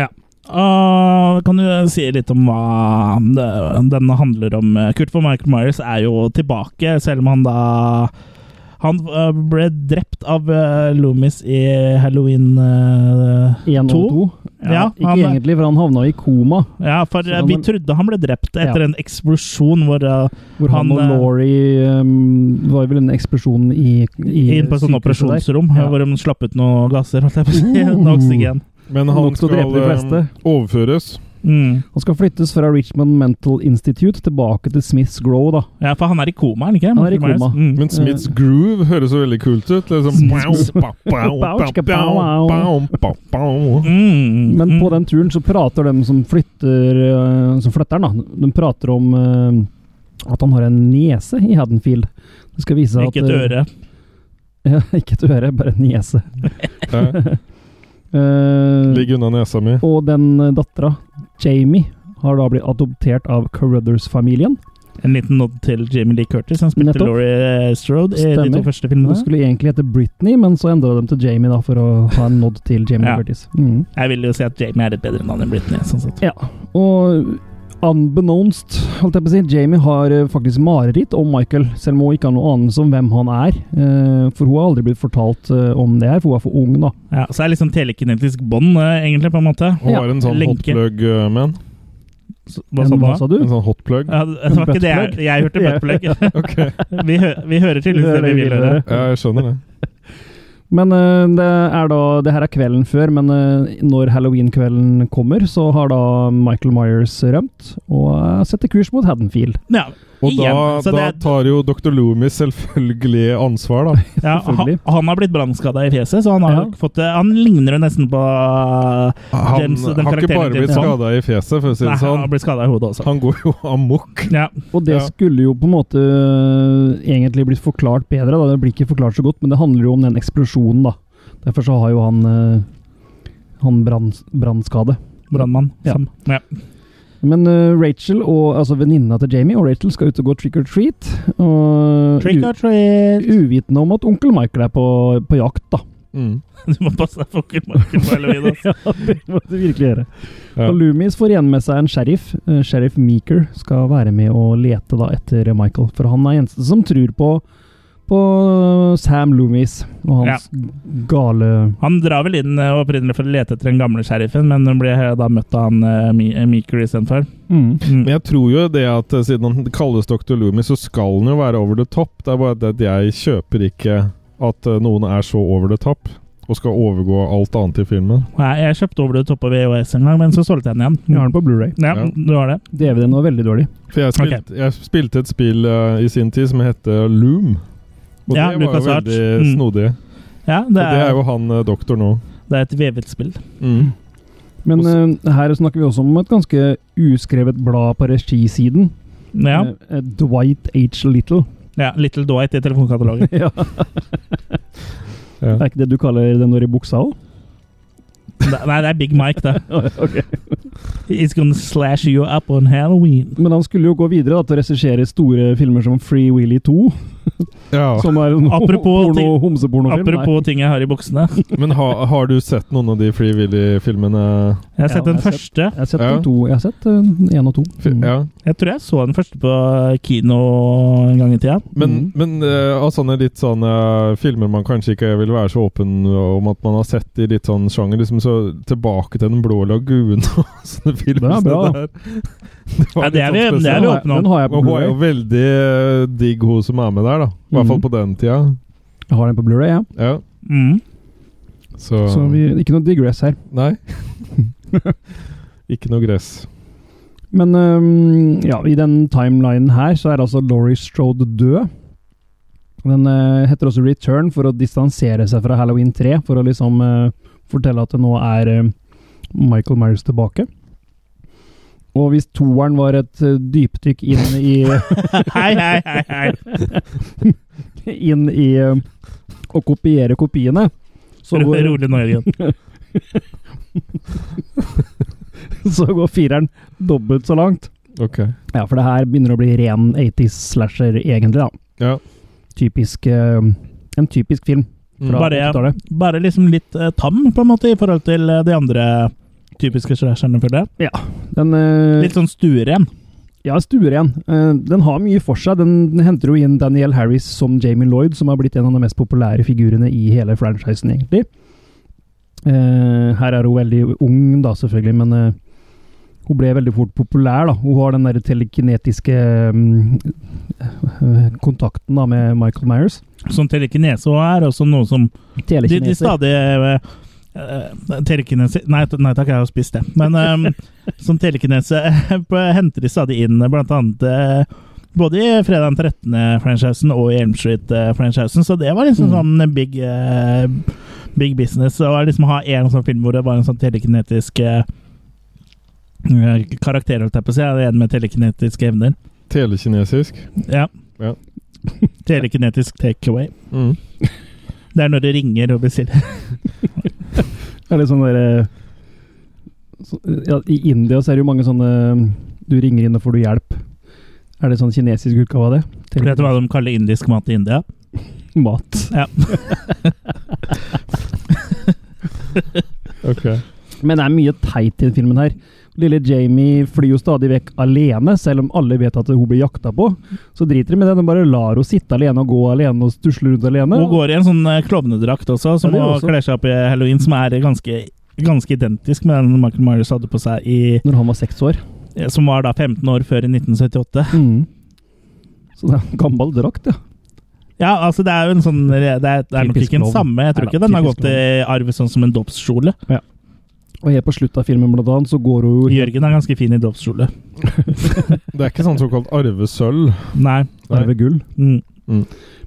S1: Ja. Og kan du eh, si litt om hva det- den handler om? Kurt for Michael Myers er jo tilbake, selv om han da Han eh, ble drept av eh, Loomis i Halloween eh,
S3: 1 og 2.
S1: 2. Ja,
S3: ikke
S1: han- eh,
S3: egentlig, for han havna i koma.
S1: Ja, for
S3: Så
S1: eh,
S3: han-
S1: vi trodde han ble drept etter
S3: Ja.
S1: en eksplosjon hvor, eh,
S3: Hvor han,
S1: eh,
S3: og Laurie um, var vel en eksplosjon i, i
S1: inn på et sånt
S3: sykehuset der.
S1: operasjonsrom [laughs]
S3: Ja. Uh.
S1: hvor de slapp ut noen gasser, holdt jeg på å si. [laughs] Noe oksygen.
S2: Men han
S3: Nok til å
S2: skal
S3: drepe de fleste.
S2: eh, overføres.
S1: Mm.
S3: Han skal flyttes fra Richmond Mental Institute tilbake til Smiths Grove, da.
S1: Ja, for han er i koma, er han ikke?
S3: Han er i
S1: Michael Myers?
S3: koma.
S1: Mm.
S2: Men Smiths groove høres jo veldig kult ut. Liksom. [laughs] Bow,
S1: [laughs]
S2: bow, bow, bow, bow, bow, bow.
S1: Mm. Mhm.
S3: Men på den turen så prater de som flytter eh, Som flytter den, da. De prater om eh, at han har en nese i Haddonfield. Det skal vise seg
S1: Ikke
S3: at,
S1: et
S3: eh,
S1: øre.
S3: [laughs] Ja, ikke et øre, bare en niese.
S2: Ja.
S3: [laughs] Eh,
S2: Ligg unna nesa mi.
S3: og den eh, dattera, Jamie, har da blitt adoptert av Carruthers-familien.
S1: En liten nod til Jamie Lee Curtis, som spilte
S3: Nettopp.
S1: Laurie eh, Strode i de to første filmene.
S3: Hun skulle egentlig hete Britney, men så endra de til Jamie da, for å ha en nod til Jamie
S1: Ja.
S3: Curtis. Mm.
S1: Jeg vil jo si at Jamie er et bedre navn enn Britney. Sånn sett.
S3: Ja, og unbeknownst, holdt jeg på å si, Jamie har eh, faktisk mareritt om Michael, selv om hun ikke har noe anelse om hvem han er. Eh, For hun har aldri blitt fortalt eh, om det her, for hun er for ung, da.
S1: Ja, så er det litt sånn telekinetisk bånd, eh, egentlig, på en måte.
S2: Og har en sånn hotplug-man.
S1: Hva sa du? nå?
S2: En sånn hotplug.
S1: Ja, det var ikke det jeg, jeg
S2: [laughs]
S1: hørte buttplug. [laughs] vi, hø vi hører
S3: Vi
S1: tydeligvis
S3: hører
S1: det vi
S3: det
S1: vil
S3: vi vil
S1: høre.
S3: høre.
S2: Ja, jeg skjønner det.
S3: Men eh, det er da Det her er kvelden før, men eh, når halloween-kvelden kommer, så har da Michael Myers rømt og eh, setter kurs mot Haddonfield.
S1: Ja,
S2: Og da,
S1: igjen, så
S2: da
S1: det,
S2: tar jo dr. Loomis selvfølgelig ansvar, da.
S1: ja, han,
S2: selvfølgelig.
S1: han har blitt brannskada i fjeset, så han har
S2: Ja.
S1: jo fått det. Han ligner jo nesten på eh,
S2: Han
S1: James, den
S2: har ikke
S1: karakteren
S2: bare
S1: i
S2: blitt
S1: James Bond.
S2: skada i fjeset, for å si
S1: Nei,
S2: det
S1: han
S2: sånn.
S1: har blitt skada i hodet også.
S2: Han går jo amok.
S1: Ja.
S3: Og det
S2: Ja.
S3: skulle jo på en måte eh, egentlig blitt forklart bedre. Da. Det blir ikke forklart så godt, men det handler jo om den eksplosjonen, da. Derfor så har jo han eh, Han brann- brannskade.
S1: Brannmann.
S3: Ja.
S1: Sam. Ja.
S3: Men eh, Rachel, og, altså venninna til Jamie og Rachel, skal ut og gå trick or treat. Og
S1: Trick or
S3: u- Uvitende om at onkel Michael er på, på jakt, da.
S1: [laughs] Du må passe deg for Marken på Halloween. Altså.
S3: ja, det [laughs] må du virkelig gjøre.
S2: Ja.
S3: Og Loomis får igjen med seg en sheriff. Eh, Sheriff Meeker skal være med å lete da etter Michael, for han er eneste som tror på, på Sam Loomis og hans gale
S1: Han drar vel inn eh, opprinnelig for å lete etter den gamle sheriffen, men han blir eh, da møtt av han eh, Mi- eh, Meeker istedenfor.
S3: Mm.
S1: Mm.
S2: Men jeg tror jo det at eh, siden han kalles Dr. Loomis, så skal han jo være over the top. Det er bare det at jeg kjøper ikke at eh, noen er så over the top og skal overgå alt annet i filmen.
S1: Nei, Jeg kjøpte over det toppe VHS en gang, men så solgte jeg den
S3: Jeg har
S1: igjen.
S3: den på Blu-ray.
S1: Ja,
S2: Ja.
S1: du har det.
S3: DVD-en var veldig dårlig.
S2: For jeg spilte, jeg spilte et spill eh, i sin tid som heter Loom. Og
S1: Ja,
S2: det var
S1: Lucas
S2: jo
S1: Arts.
S2: veldig
S1: Mm.
S2: snodig.
S1: Ja,
S2: Og
S1: det
S2: det er
S1: er,
S2: jo han eh, doktor nå.
S1: det er et vevet spill.
S2: Mm.
S3: Men eh, her snakker vi også om et ganske uskrevet blad på regisiden.
S1: Ja.
S3: Eh, eh, Dwight H. Little.
S1: ja. Little Dwight i telefonkatalogen.
S3: [laughs] ja.
S2: Ja.
S3: Er ikke det du kaller den når i buksa [laughs] òg?
S1: Det- Nei, det er Big Mike, da.
S3: Ok.
S1: It's gonna slash you up on Halloween.
S3: Men han skulle jo gå videre da, til å regissere store filmer som Free Willy 2.
S2: Ja.
S3: Som er en
S1: Apropos
S3: porno,
S1: ting-
S3: homsepornofilm. Nei.
S1: Apropos ting jeg har i buksene.
S2: Men ha, har du sett noen av de Free Willy-filmene?
S1: Jeg har sett
S3: Ja,
S1: den
S3: jeg har
S1: første.
S3: Jeg har sett
S2: Ja.
S3: de to. Jeg har sett eh, en og to.
S2: Fi-
S3: Mm.
S2: Ja.
S1: Jeg tror jeg så den første på kino en gang i tida.
S2: Men,
S3: Mm.
S2: men eh, av sånne litt sånne eh, filmer man kanskje ikke vil være så åpen om at man har sett i litt sånn sjanger, liksom så tilbake til Den blå lagunen og [laughs] sånne filmer.
S3: Det er bra.
S2: som det der. [laughs] Det var
S1: Ja, det er
S2: litt sånn
S1: vi- det
S2: spesielt.
S1: er
S3: Den
S1: vi
S3: har jeg-
S1: åpne om.
S3: Den har jeg på
S2: Men hun er jo
S3: Blu-ray. Mm.
S2: veldig eh, digg, hun som er med der, da. I hvert fall på den tida.
S3: Jeg har den på Blu-ray, ja.
S2: Ja,
S1: Mm.
S3: [laughs]
S2: så,
S3: Så vi, ikke noe digress her. [laughs]
S2: Nei. ikke noe gress.
S3: Men øhm, ja, i den timelinen her så er altså Laurie Strode død. Den øh, heter også Return for å distansere seg fra Halloween 3, for å liksom øh, fortelle at det nå er øh, Michael Myers tilbake. Og hvis toeren var et øh, dypdykk inn i
S1: Hei, hei, hei, hei.
S3: [laughs] Inn i øh, å kopiere kopiene, så går,
S1: Rolig nå, Jørgen.
S3: [laughs] så går fireren dobbelt så langt.
S2: Ok.
S3: Ja, for det her begynner å bli ren 80s slasher, egentlig, da.
S2: Ja.
S3: typisk eh, En typisk film
S2: Mm.
S3: fra
S1: Bare-
S3: 80-tallet.
S1: Bare liksom litt eh, tam, på en måte, i forhold til eh, de andre typiske slasherne, føler jeg.
S3: Den eh,
S1: Litt sånn stueren.
S3: Ja, stueren. Eh, den har mye for seg. Den, den henter jo inn Daniel Harris som Jamie Lloyd, som har blitt en av de mest populære figurene i hele franchisen, egentlig. Eh, her er hun veldig ung, da, selvfølgelig, men eh, hun ble veldig fort populær. da. Hun har den der telekinetiske mm, eh, kontakten da med Michael Myers.
S1: Som telekinese også er, og som noe som De, de
S3: Telekineser.
S1: stadig eh, eh, telekinese nei, t- nei takk, jeg har spist det. Men eh, som telekinese på- henter de stadig inn eh, blant annet eh, både i Fredag den 13.-franchisen og i Elm Street-franchisen, så det var liksom sånn big, eh, big business. Å liksom ha en sånn film hvor det var en sånn telekinetisk eh, eh, karakter, holdt jeg på å si. Ja, det er En med telekinetiske evner.
S2: Telekinesisk.
S1: Ja.
S2: Ja.
S1: [laughs] Telekinetisk takeaway.
S2: Mm.
S1: Det er når det ringer og bestiller.
S3: Det er litt sånn derre så, ja, I India så er det jo mange sånne mm, Du ringer inn og får du hjelp. Er det sånn kinesisk utgave av det?
S1: Vet du hva de kaller indisk mat i India?
S3: Mat.
S1: Ja.
S2: Ok.
S3: Men det er mye teit i den filmen her. Lille Jamie flyr jo stadig vekk alene, selv om alle vet at hun blir jakta på. Så driter de med det. De bare lar henne sitte alene og gå alene og stusle rundt alene.
S1: Hun går i en sånn eh, klovnedrakt også, som
S3: Ja, det er
S1: hun
S3: også.
S1: kler seg opp i halloween, som er ganske, ganske identisk med den Michael Myers hadde på seg i eh,
S3: Når han var seks år.
S1: Som var da 15 år før i 1978.
S3: Mm. Så det er en gammel drakt, ja.
S1: Ja, altså, det er jo en sånn Det er, det er nok
S3: Typisk
S1: ikke den
S3: klovn.
S1: samme. Jeg tror
S3: Nei
S1: ikke
S3: da,
S1: den har
S3: typisk
S1: gått i arv sånn som en dopskjole.
S3: Og helt på slutten av filmen, blant annet, så går hun
S1: Jørgen er ganske fin i dopskjole.
S2: Det er ikke sånn såkalt arvesølv.
S1: Nei.
S2: Nei.
S3: over gull.
S1: Mm.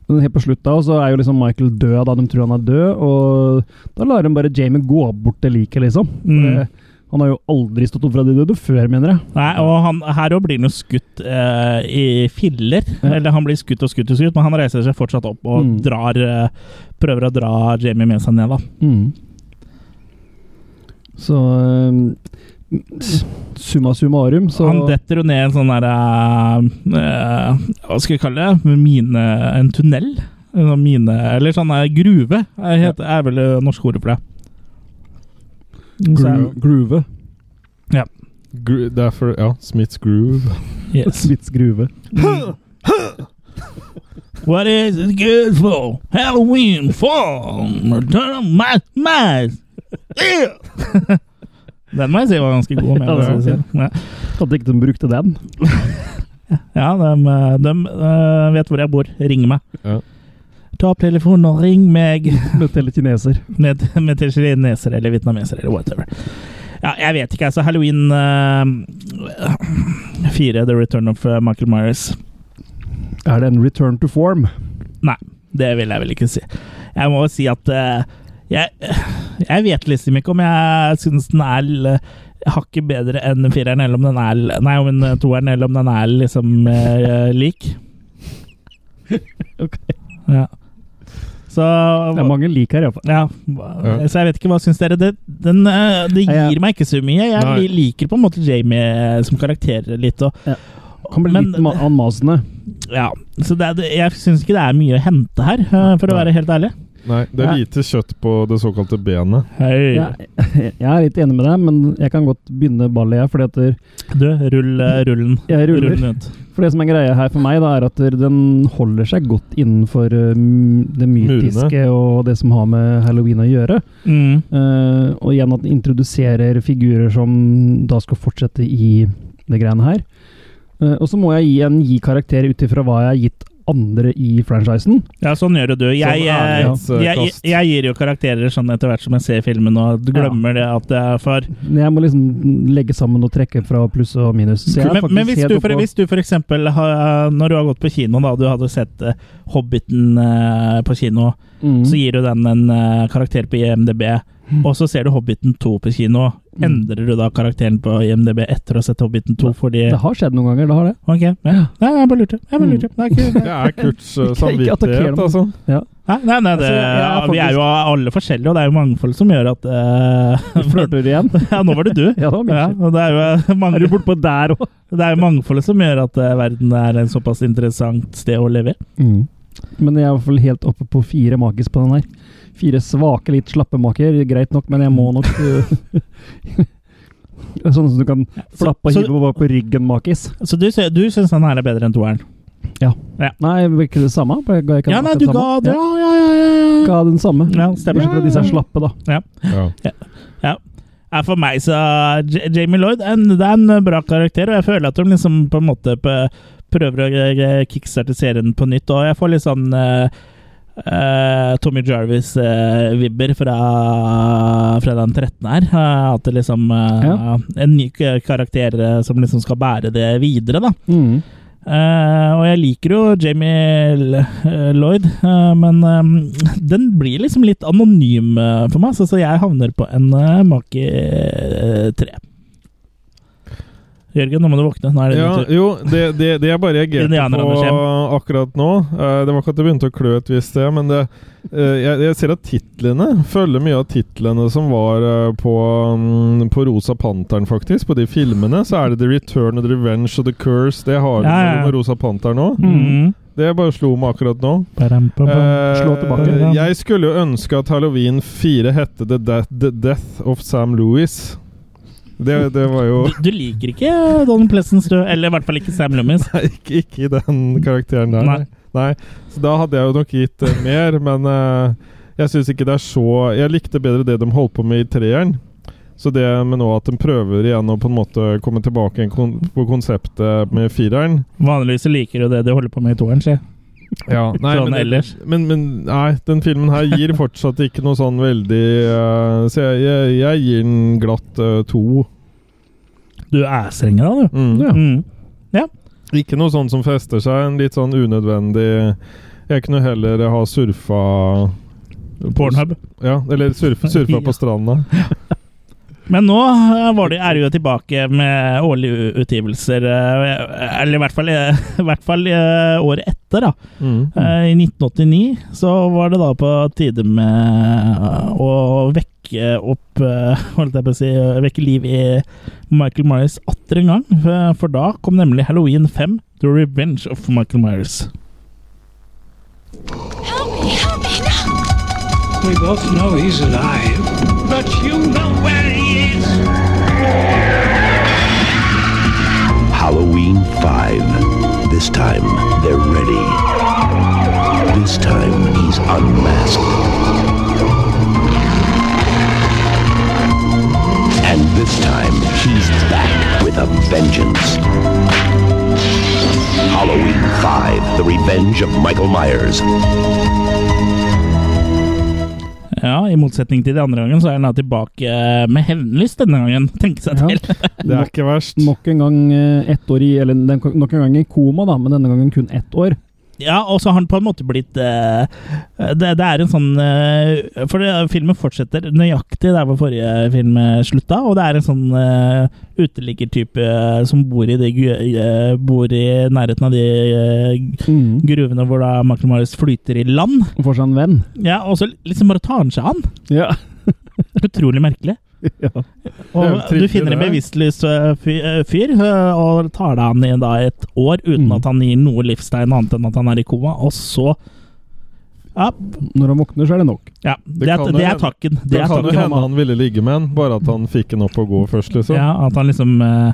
S3: Men helt på slutt da, så er jo liksom Michael død, da de tror han er død, og da lar de bare Jamie gå bort til liket, liksom. For
S1: Mm.
S3: det- Han har jo aldri stått opp fra de døde før, mener jeg.
S1: Nei, og han, her òg blir han jo skutt eh, i filler.
S3: Ja.
S1: Eller han blir skutt og skutt og skutt, men han reiser seg fortsatt opp og
S3: Mm.
S1: drar eh, prøver å dra Jamie med seg ned, da.
S3: Mm. Så øhm, s- summa summarum, så
S1: Han detter jo ned eh, en sånn derre Hva skal vi kalle det? Mine En tunnel. En sånn mine Eller sånn eh, gruve er, heter, er vel det norske ordet for det. Så er-
S15: Groove.
S1: Ja.
S2: Gru, det er for Ja, Smiths groove.
S1: Yes.
S3: Smiths groove.
S1: What is it good for? Halloween form. Return of my mice. Yeah! [laughs] den må jeg si var ganske god. Med,
S3: Ja, det var
S1: det,
S3: fint. Hadde ikke de brukte den?
S1: ja, de, eh, de eh, vet hvor jeg bor. Ring meg.
S2: Ja.
S1: Ta opp telefonen og ring meg.
S3: Med telekineser.
S1: med, med til kineser eller vietnameser eller whatever. Ja, jeg vet ikke. Altså, Halloween eh, 4, The Return of eh, Michael Myers.
S3: Er det en return to form?
S1: Nei, det vil jeg vel ikke si. Jeg må jo si at eh, jeg, jeg vet liksom ikke om jeg syns den er l- hakket bedre enn fireren, eller om den er l- Nei, om en eh, toeren, eller om den er liksom eh, lik.
S3: Ok.
S1: Ja. Så
S3: Det er mange lik her, iallfall.
S1: Ja,
S3: Ja.
S1: Så jeg vet ikke, hva syns dere? Det, den, eh, det
S3: Nei,
S1: gir
S3: jeg-
S1: meg ikke så mye. Jeg
S3: Nei.
S1: liker på en måte Jamie eh, som karakter litt. Og,
S3: Kan bli
S1: Men-
S3: litt ma- anmasende.
S1: ja, så det, er- det, jeg syns ikke det er mye å hente her, eh, for å være helt ærlig.
S2: Nei, det er
S3: Nei.
S2: lite kjøtt på det såkalte
S3: [laughs]
S2: benet.
S1: Hei.
S3: Jeg, jeg er litt enig med deg, men jeg kan godt begynne ballet, jeg. Fordi at der-
S1: Du, rull eh, rullen.
S3: jeg ruller.
S1: Rull den ut.
S3: For det som er greia her for meg, da, er at der den holder seg godt innenfor eh, m- det mytiske og det som har med halloween å gjøre.
S1: Mm.
S3: Eh, og igjen at den introduserer figurer som da skal fortsette i det greiene her. Eh, og så må jeg igjen gi karakter ut ifra hva jeg har gitt andre i franchisen.
S1: Ja, sånn gjør jo du. Jeg,
S3: Sånn
S1: eh,
S2: ærlighetskast.
S1: jeg, jeg, jeg gir jo karakterer sånn etter hvert som jeg ser filmen, og du glemmer det at det er for
S3: Men Jeg må liksom legge sammen og trekke fra pluss og minus. Så jeg er
S1: men, men
S3: faktisk
S1: hvis
S3: helt
S1: du, for,
S3: oppå-
S1: hvis du for eksempel har, eh, Når du har gått på kino, da, du hadde sett eh, Hobbiten eh, på kino,
S3: Mhm.
S1: så gir du den en eh, karakter på IMDb, og så ser du Hobbiten 2 på kino.
S3: Mm.
S1: Endrer du da karakteren på IMDb etter å ha sett Hobbiten 2 fordi
S3: Det har Mm. skjedd noen ganger, det har
S1: [laughs]
S3: det.
S1: Ok, ja. Nei, jeg bare lurte. Jeg bare lurte. Nei, ikke,
S3: [laughs]
S2: Det er Kurts eh,
S3: Ikke- ikke attakker
S2: samvittighet,
S3: dem.
S2: altså.
S3: Ja.
S1: Nei, nei, nei det,
S3: Altså, jeg er
S1: vi er jo alle forskjellige, og det er jo mangfold som gjør at eh,
S3: Du [laughs] Flørter igjen?
S1: [laughs] Ja, nå var det du.
S3: Ja, det var min
S1: Ja,
S3: skyld.
S1: og det er jo eh,
S3: Er du
S1: mange,
S3: bortpå der òg?
S1: [laughs] det er jo mangfoldet som gjør at eh, verden er en såpass interessant sted å leve i.
S3: Men jeg er i hvert fall helt oppe på fire makis på den her. Fire svake, litt slappe maker, greit nok, men jeg må nok [laughs] øh, Sånn som du kan flappe og
S1: så-
S3: hive på, på ryggen, makis.
S1: Så du, sy- du syns den her er bedre enn toeren?
S3: Nei, det var ikke det samme? for Jeg ga ikke
S1: Ja, nei,
S3: akkurat
S1: du
S3: det
S1: ga
S3: samme.
S1: det. Ja, ja, ja. ja,
S3: Ja,
S1: ja.
S3: ga den samme.
S1: Ja, stemmer.
S3: Bortsett fra at disse er slappe, da.
S1: Ja.
S2: Ja.
S1: Ja. Ja, for meg så eh, J Jamie Lloyd er en, det er en bra karakter, og jeg føler at de liksom på en måte p- prøver å eh, kickstarte serien på nytt. Og jeg får litt sånn eh, eh, Tommy Jarvis-vibber fra, fra den 13. her. eh, at det liksom eh,
S3: Ja.
S1: En ny k- karakter eh, som liksom skal bære det videre, da.
S3: Mm.
S1: Eh, og jeg liker jo Jamie L eh, Lloyd, eh, men eh, den blir liksom litt anonym eh, for meg, så, så jeg havner på en uh, make eh, tre. Jørgen, nå må du våkne. Nå er det
S2: Ja,
S1: din tur.
S2: jo, det, det, det jeg bare reagerte
S1: Indianer,
S2: på
S1: Anders Hjem.
S2: akkurat nå eh, Det var ikke at det begynte å klø et visst sted, men det, eh, jeg, jeg ser at titlene følger mye av titlene som var eh, på, mm, på Rosa Panteren, faktisk. På de filmene så er det The Return of the Revenge og The Curse. Det har vi
S1: Ja, ja, ja.
S2: med Rosa Panteren nå.
S1: Mm.
S2: Det bare slo meg akkurat nå.
S1: Badam, bam, bam.
S2: Eh,
S3: Slå tilbake.
S2: Jeg skulle jo ønske at Halloween 4 hette The Death, The Death of Sam Lewis. Det, det var jo [laughs]
S1: Du, du liker ikke eh, Don Pleasence, du? Eller i hvert fall ikke Sam Lummis.
S2: Nei, ikke, ikke i den karakteren der.
S1: Nei.
S2: Nei. Så da hadde jeg jo nok gitt eh, mer, men eh, jeg syns ikke det er så Jeg likte bedre det de holdt på med i treeren. Så det med nå at de prøver igjen å på en måte komme tilbake igjen kon på konseptet med fireren
S1: Vanligvis så liker du det de holder på med i toeren, si.
S2: ja, nei,
S1: Sånn
S2: men,
S1: ellers.
S2: Men, men nei, den filmen her gir fortsatt ikke noe sånn veldig eh, Så jeg, jeg, jeg gir den glatt eh, to.
S1: Du er streng, da, du.
S2: Mm.
S3: Ja.
S1: Mm.
S2: Ikke noe sånn som fester seg. En litt sånn unødvendig Jeg kunne heller ha surfa
S1: Pornhub.
S2: Ja, eller surf, surfa på stranda.
S1: Men nå eh, var det, er det jo tilbake med årlige u- utgivelser, eh, eller i hvert fall, eh, [laughs] i hvert fall eh, året etter. da.
S2: Mm.
S1: Eh, I 1989 så var det da på tide med eh, å vekke opp eh, [laughs] Holdt jeg på å si eh, vekke liv i Michael Myers atter en gang. eh, For da kom nemlig Halloween 5, The Revenge of Michael Myers.
S5: Help
S14: Help me now. We both know he's alive, but you know where he is.
S13: Halloween 5. This time, they're ready. This time, he's unmasked. And this time, he's back with a vengeance. Halloween 5. The Revenge of Michael Myers.
S1: Ja, I motsetning til de andre gangen, så er han da tilbake eh, med hevnlyst denne gangen. [laughs] Tenke seg til.
S3: Ja.
S2: Det er ikke verst.
S3: Nok en gang eh, ett år i Eller den- nok en gang i koma, da, men denne gangen kun ett år.
S1: Ja, og så har han på en måte blitt eh, det, det er en sånn eh, For det, filmen fortsetter nøyaktig der hvor forrige film eh, slutta, og det er en sånn eh, uteliggertype eh, som bor i, de, gu- eh, bor i nærheten av de eh,
S3: Mm.
S1: gruvene hvor da Michael Myers flyter i land.
S3: Og får seg en venn.
S1: Ja, og så liksom bare tar han seg an.
S3: Ja.
S1: Utrolig
S2: [laughs]
S1: merkelig.
S2: Det er
S1: Og
S2: jo
S1: du
S2: trivelig,
S1: finner en
S2: det.
S1: bevisstløs eh, fy- eh, fyr, eh, og tar deg han i da et år uten
S2: Mm.
S1: at han gir noe livstegn annet enn at han er i koma, og så Ja,
S3: Når han våkner, så er det nok.
S1: ja det, er-
S2: kan jo
S1: det er
S2: hende-
S1: takken. Det
S2: Det
S1: er
S2: kan jo
S1: takken.
S2: hende han ville ligge med en, bare at han fikk en opp og gå først, liksom.
S1: Ja, at han liksom eh,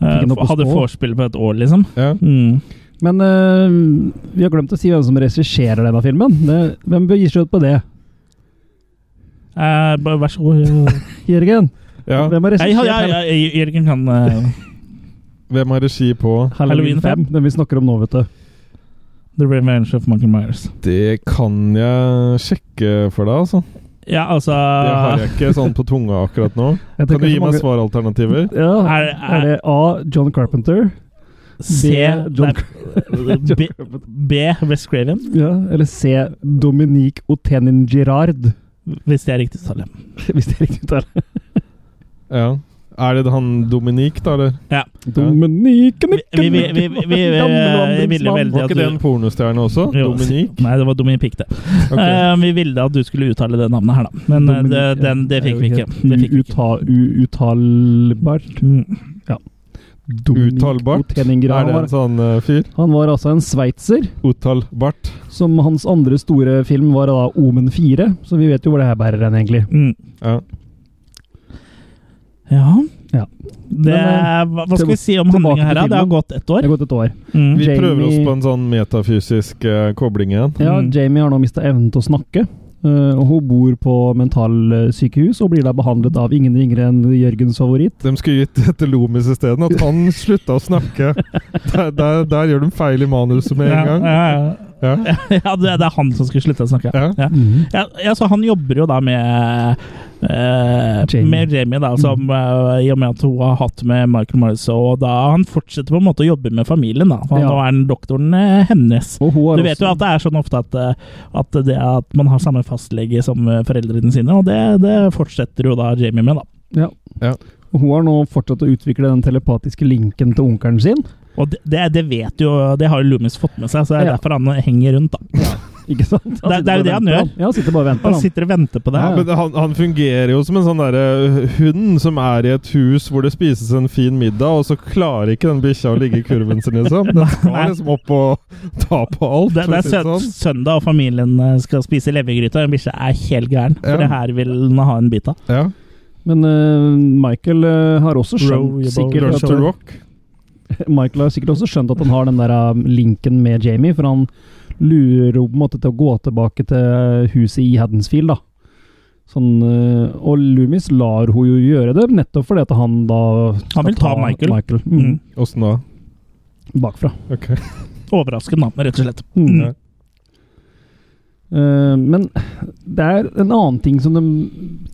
S1: eh,
S3: Fikk han opp på
S1: hadde
S3: stå.
S1: vorspiel på et år, liksom.
S2: Ja.
S1: Mm.
S3: Men eh, vi har glemt å si hvem som regisserer denne filmen. Det, hvem bør gi seg ut på det?
S1: Eh, bare vær så
S2: [laughs]
S1: god.
S3: Jørgen?
S2: Ja.
S3: Hvem har
S1: Ja,
S3: regissert
S1: ja, ja, Jørgen kan eh,
S2: Hvem har regi på?
S1: Halloween 5?
S3: Den vi snakker om nå, vet du.
S1: The Revenge of Michael Myers.
S2: Det kan jeg sjekke for deg, altså.
S1: Ja, altså
S2: Det har jeg ikke sånn på tunga akkurat nå.
S3: Jeg
S2: Kan
S3: tenker
S2: du gi
S3: så
S2: meg
S3: mange-
S2: svaralternativer?
S3: Ja, er,
S1: Er- er-
S3: det A. John Carpenter?
S1: C
S3: B. John
S1: nei,
S2: [laughs]
S1: B, B. West Craven,
S3: Ja, eller C. Dominique Otenin Girard,
S1: hvis det er riktig tall.
S3: [laughs] hvis det er riktig uttale.
S2: Ja. Er det han Dominique, da, eller?
S1: Ja.
S3: Dominique
S1: Vi, vi, vi, vi, vi, vi, eh, vi ville veldig
S2: Var
S1: at
S2: ikke det en
S1: du
S2: pornostjerne også?
S1: Jo.
S2: Dominique?
S1: Nei, det var Dominique, det.
S2: Ok.
S1: [laughs] Eh, vi ville at du skulle uttale det navnet her, da. Men eh, det, den, det fikk vi ikke. Det fikk vi ikke.
S3: Uuttalbart.
S1: Mm.
S3: Dominique
S2: Uttalbart?
S3: Otenin
S2: Er
S3: Girard.
S2: det
S3: var-
S2: en sånn eh, fyr?
S3: Han var altså en sveitser,
S2: Uttalbart.
S3: som hans andre store film var da Omen 4, så vi vet jo hvor det her bærer hen, egentlig.
S1: Mm.
S2: Ja.
S1: Ja
S3: Ja.
S1: det,
S3: Men,
S1: Hva hva skal vi si om
S3: tilbake
S1: handlinga
S3: til
S1: her, da? Det har
S3: filmen.
S1: gått ett
S3: Det
S1: år.
S3: har gått et år.
S1: Mm.
S2: Vi
S3: Jamie-
S2: prøver oss på en sånn metafysisk eh, kobling igjen.
S3: Ja,
S1: Mm.
S3: Jamie har nå mista evnen til å snakke. eh, og hun bor på mentalsykehus og blir da behandlet av ingen ringere enn Jørgens favoritt.
S2: De skulle gitt dette Lomis isteden, at han slutta å snakke.
S1: [laughs]
S2: Der, der, der gjør de feil i manuset med en gang.
S1: Ja, ja,
S2: Ja.
S1: ja. [laughs] ja det, det er han som skulle slutte å snakke.
S2: Ja.
S1: Ja. Ja, ja, så han jobber jo da med eh,
S3: Jamie. Mm.
S1: Med Jamie, da, som, eh, i og med at hun har hatt med Michael Myers. Og da han fortsetter på en måte å jobbe med familien, da. For
S3: Ja.
S1: nå er han doktoren eh, hennes.
S3: Og hun har
S1: Du vet jo at det er sånn ofte at, eh, at det at man har samme fastlege som eh, foreldrene sine, og det, det fortsetter jo da Jamie med, da.
S3: ja.
S2: Ja.
S3: Og hun har nå fortsatt å utvikle den telepatiske linken til onkelen sin.
S1: Og det, det, det vet jo Det har jo Loomis fått med seg, så det er
S3: Ja.
S1: derfor han henger rundt, da.
S3: Ikke sant? Han
S1: Det- det er jo
S3: sitter bare og
S1: det han
S3: venter,
S1: gjør.
S3: Ja, han sitter bare og venter,
S1: Han
S3: han.
S1: sitter og venter på det.
S2: Ja, men han, han fungerer jo som en sånn derre hund som er i et hus hvor det spises en fin middag, og så klarer ikke den bikkja å ligge i kurven sin, liksom. Den skal
S1: Nei.
S2: liksom opp og ta på alt.
S1: Det,
S2: for
S1: det
S2: å
S1: er
S2: si det
S1: sø
S2: sånn.
S1: søndag, og familien eh, skal spise levergryte. og Den bikkja er helt gæren, for
S2: Ja.
S1: det her vil den ha en bit av.
S2: Ja.
S3: Men eh, Michael eh, har også skjønt
S1: Row your boat.
S3: sikkert
S2: Lunch
S3: at
S2: to rock.
S3: [laughs] Michael har sikkert også skjønt at han har den der eh, linken med Jamie, for han lurer jo på en måte til å gå tilbake til eh, huset i Haddensfield, da. Sånn, eh, og Loomis lar hun jo gjøre det, nettopp fordi at han da skal
S1: vil ta Michael.
S3: mm,
S1: Mm.
S2: Åssen da?
S3: Bakfra.
S2: Ok.
S1: Overraskende, da, rett og slett.
S3: Mm.
S2: Ja.
S3: Eh, men det er en annen ting som de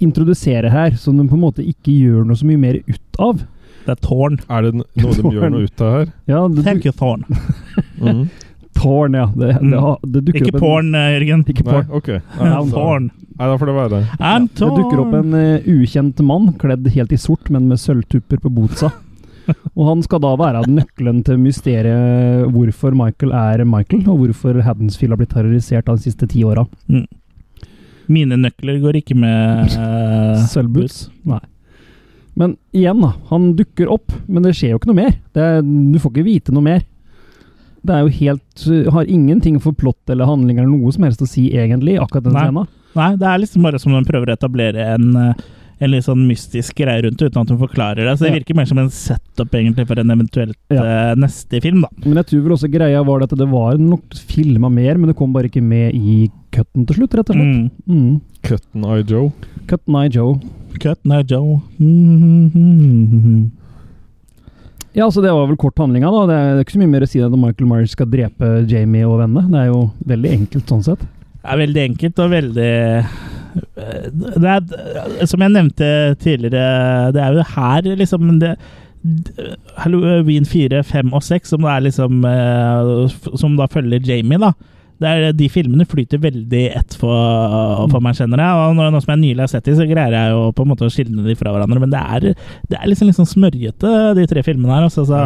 S3: introduserer her, som de på en måte ikke gjør noe så mye mer ut av.
S1: Det er tårn.
S2: Er det n- noe de gjør noe ut av her?
S3: Ja, det,
S1: Thank you, Thorn.
S2: Mm.
S3: Tårn, ja. Det, det,
S1: Mm.
S3: det dukker
S1: Ikke
S3: opp en,
S1: porn, eh, Jørgen.
S3: Ikke
S2: Nei,
S3: porn.
S2: ok. Nei,
S1: I'm
S2: da-
S1: Thorn.
S2: nei, da får det være.
S1: I'm
S3: Det dukker opp
S1: Thorn.
S3: en eh, ukjent mann, kledd helt i sort, men med sølvtupper på botsa. Og han skal da være nøkkelen til mysteriet hvorfor Michael er Michael, og hvorfor Haddensfield har blitt terrorisert av de siste ti åra.
S1: Mine nøkler går ikke med eh,
S3: Sølvboots? Nei. Men igjen, da. Han dukker opp, men det skjer jo ikke noe mer. Det er, du får ikke vite noe mer. Det er jo helt Har ingenting for plott eller handling eller noe som helst å si, egentlig, akkurat den
S1: Nei.
S3: scenen.
S1: Nei, det er liksom bare som de prøver å etablere en, eh, en litt sånn mystisk greie rundt det, uten at hun forklarer det. Så det
S3: Ja.
S1: virker mer som en setup egentlig for en eventuelt eh, neste film, da.
S3: Men jeg tror vel også greia var det at det var nok filma mer, men det kom bare ikke med i cutten til slutt, rett og slett. Mm.
S2: Cutten Eye Joe.
S3: Cutten Eye Joe.
S1: Cutten Eye Joe. Mhm.
S3: Ja, altså Det var vel kort handlinga. da. Det er ikke så mye mer å si enn at Michael Myers skal drepe Jamie og vennene. Det er jo veldig enkelt sånn sett.
S1: Det er veldig enkelt og veldig eh, det er, eh, Som jeg nevnte tidligere, det er jo her liksom det, Halloween 4, 5 og 6, som, det er liksom, eh, f- som da følger Jamie, da. Det er, de filmene flyter veldig ett for, for meg, kjenner jeg. Og nå, nå som jeg nylig har sett de, så greier jeg jo på en måte å skille de fra hverandre. Men det er, det er liksom, liksom smørjete, de tre filmene her. Altså, så,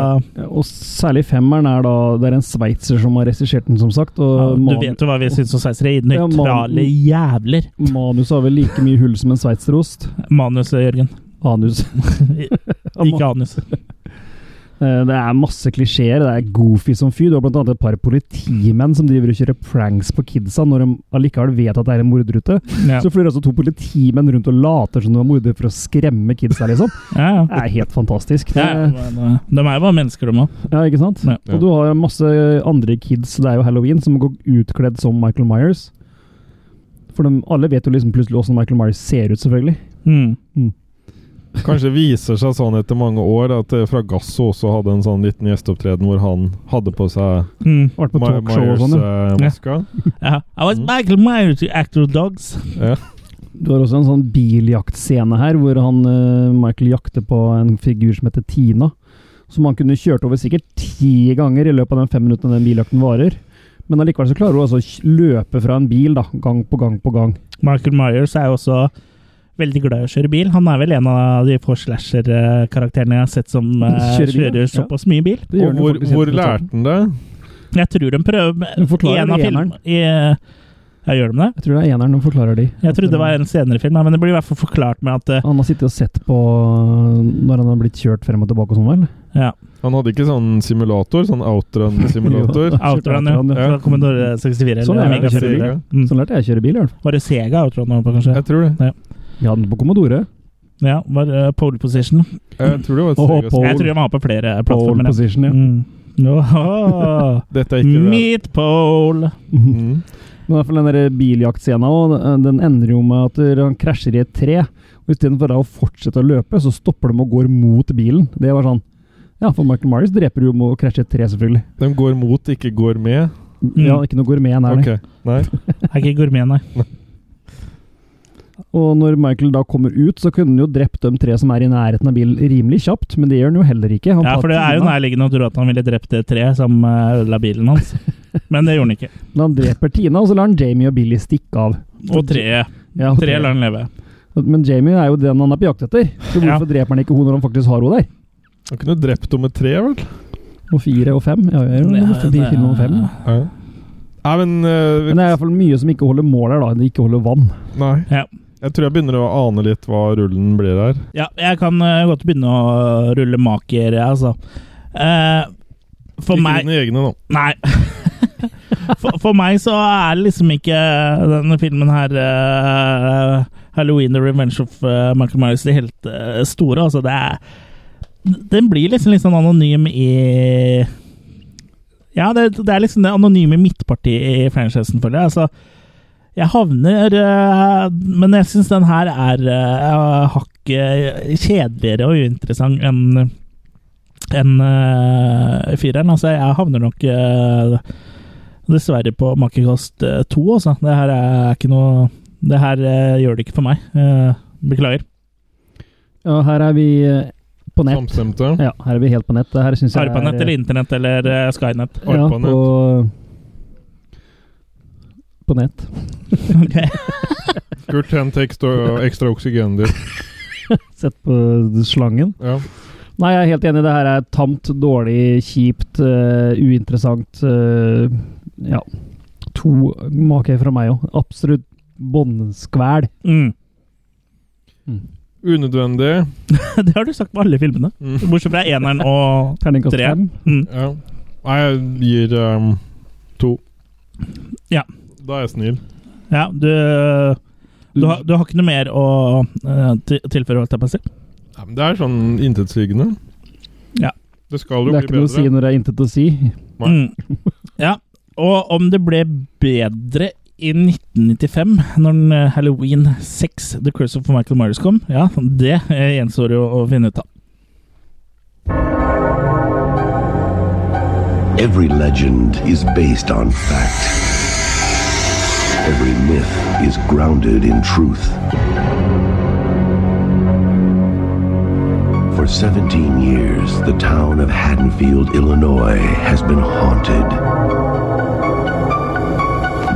S3: Og særlig femmeren er da Det er en sveitser som har regissert den, som sagt. Og
S1: ja, du
S3: manu-
S1: vet jo hva vi syns om seisere.
S3: Ja, man-
S1: Nøytrale jævler.
S3: Manuset har vel like mye hull som en sveitserost.
S1: Manuset, Jørgen.
S3: Anus.
S1: Ikke anus.
S3: [laughs] Eh, Det er masse klisjeer. Det er goofy som fyr. Du har blant annet et par politimenn som driver og kjører pranks på kidsa når de allikevel vet at det er en mordrute.
S1: Ja.
S3: Så flyr altså to politimenn rundt og later som de er mordere for å skremme kidsa, liksom.
S1: Ja,
S3: Det
S1: ja.
S3: er helt fantastisk. Det,
S1: Ja, ja, men, eh, de er jo bare mennesker, de òg.
S3: ja, ikke sant?
S1: Ja.
S3: Og du har masse andre kids, det er jo halloween, som går utkledd som Michael Myers. For de, alle vet jo liksom plutselig åssen Michael Myers ser ut, selvfølgelig.
S1: Mm.
S2: Kanskje viser seg sånn etter mange år at eh, Fragasso også hadde en sånn liten gjesteopptreden hvor han hadde på seg
S1: Mm.
S3: Vært på
S2: Ma- eh,
S3: talkshow og sånn, ja.
S2: Myers-maska.
S1: Ja. I
S3: Mm.
S1: was Michael Myers, you actual dogs.
S2: ja.
S3: Du har også en sånn biljaktscene her, hvor han, eh, Michael jakter på en figur som heter Tina. Som han kunne kjørt over sikkert ti ganger i løpet av den fem minuttene den biljakten varer. Men allikevel så klarer hun altså å kj- løpe fra en bil, da. Gang på gang på gang.
S1: Michael Myers er jo også veldig glad i å kjøre bil. Han er vel en av de få slasher-karakterene jeg har sett som eh,
S3: [laughs] Kjører
S1: kjører,
S3: bil, ja.
S1: såpass mye bil.
S3: Det gjør
S2: Og
S3: den
S2: hvor,
S3: faktisk helt
S2: hvor
S3: på toppen.
S2: lærte han det?
S1: Jeg tror de prøver
S3: Du forklarer
S1: i en av
S3: det i
S1: filmene. I, eh, ja, gjør de det?
S3: Jeg tror det er eneren som forklarer de.
S1: Jeg trodde det var en senere film, ja, men det blir i hvert fall forklart med at eh,
S3: [laughs] Han har sittet og sett på eh, når han har blitt kjørt frem og tilbake og sånn, vel? [laughs]
S1: ja,
S2: Han hadde ikke sånn simulator? Sånn outrun-simulator?
S1: Outrun, [laughs] ja.
S3: Outrun, ja.
S1: Fra Commodore 64.
S3: Sånn
S1: eller
S3: er det å
S1: Amiga
S3: kjøre bil.
S1: 400.
S3: Sånn lærte jeg å kjøre bil, i hvert fall.
S1: Var det Sega Outrun, kanskje?
S2: Jeg tror det.
S3: Vi hadde den på Commodore.
S1: Ja, var eh, pole position.
S2: Jeg tror det var
S3: Og
S2: et
S3: på-
S2: Sega.
S1: Jeg tror de har på flere eh,
S3: Pole
S1: plattformer. ja.
S3: position, ja. [laughs]
S1: Mm. Åh.
S2: Dette er ikke det.
S1: Meatpole!
S2: Mm.
S3: [laughs] Men i hvert fall den der biljaktscena også, den ender jo med at han krasjer i et tre. Og Istedenfor da å fortsette å løpe, så stopper de og går mot bilen. Det var sånn Ja, for Michael Myers dreper jo med å krasje i et tre, selvfølgelig.
S2: De går mot, ikke går med.
S3: Ja, Ikke noe gourmet der. nei.
S2: Ok, nei.
S1: Er ikke gourmet, nei.
S3: Og når Michael da kommer ut, så kunne han jo drept de tre som er i nærheten av bilen rimelig kjapt, men det gjør han jo heller ikke. Han
S1: Ja,
S3: tar
S1: for det er jo
S3: Tina,
S1: nærliggende å tro at han ville drept det treet som eh, ødela bilen
S3: [laughs]
S1: hans. Men det gjorde han ikke.
S3: men han dreper Tina, og så lar han Jamie og Billy stikke av.
S1: Og treet.
S3: Ja, og
S1: Treet lar han leve.
S3: Men Jamie er jo den han er på jakt etter, så
S1: Ja.
S3: hvorfor dreper han ikke henne når han faktisk har henne der?
S2: Han kunne drept henne med tre, vel?
S3: Og fire og fem? Ja, jeg er jo
S1: Ja,
S3: forbi
S1: det-
S3: film nummer fem. da.
S2: Ja. Nei, men eh,
S3: Men det er i hvert fall mye som ikke holder mål her, da. Det ikke holder vann.
S2: Nei.
S1: Ja.
S2: Jeg tror jeg begynner å ane litt hva rullen blir her.
S1: Ja, jeg kan eh, godt begynne å rulle maker, jeg, altså. Eh, for
S2: ikke
S1: meg
S2: dine egne, nå.
S1: Nei. [laughs] For, for meg så er det liksom ikke denne filmen her eh, Halloween The Revenge of eh, Michael Myers det helt eh, store. Altså, det er Den blir liksom litt sånn anonym i Ja, det, det er liksom det anonyme midtpartiet i franchisen, føler jeg. Altså, jeg havner eh, Men jeg syns den her er eh, hakket kjedeligere og uinteressant enn enn eh, fireren. Altså, jeg havner nok eh, dessverre på Makerkost 2, altså. Det her er ikke noe Det her eh, gjør det ikke for meg. Eh, beklager.
S3: Ja, her er vi eh, på nett.
S2: Samstemte.
S3: Ja, her er vi helt på nett. Det Her synes jeg
S1: Arpanett
S3: er,
S1: eller Internett eller eh, Skynet. [laughs]
S3: Ja,
S2: Arpanett.
S3: på, på nett.
S1: Ok.
S2: Kurt, hent ekstra, ekstra oksygen ditt.
S3: Sett på slangen.
S2: Ja.
S3: Nei, jeg er helt enig. Det her er tamt, dårlig, kjipt, eh, uinteressant. eh, ja. To maker fra meg òg. Absolutt båndskvæl.
S1: Mm. [laughs]
S2: Unødvendig.
S1: Det har du sagt på alle filmene.
S2: Mm.
S1: Bortsett fra eneren og
S3: Terningkast
S1: Tre.
S3: fem.
S1: mm.
S2: Ja. Nei, jeg gir um, to.
S1: Ja.
S2: Da er jeg snill.
S1: Ja, du Du, har, du har ikke noe mer å eh, til- tilføre, holdt jeg på å si?
S2: Ja, men det er sånn intetsigende.
S1: Ja.
S2: Det skal jo bli
S3: Det er ikke noe
S2: bedre.
S3: å si når det er intet å si.
S1: Mm. Ja, og om det ble bedre i 1995, når den, eh, Halloween 6, The Curse of Michael Myers, kom, ja, det eh, gjenstår jo å finne ut av.
S13: Every legend is based on fact. Every myth is grounded in truth. For 17 years, the town of Haddonfield, Illinois has been haunted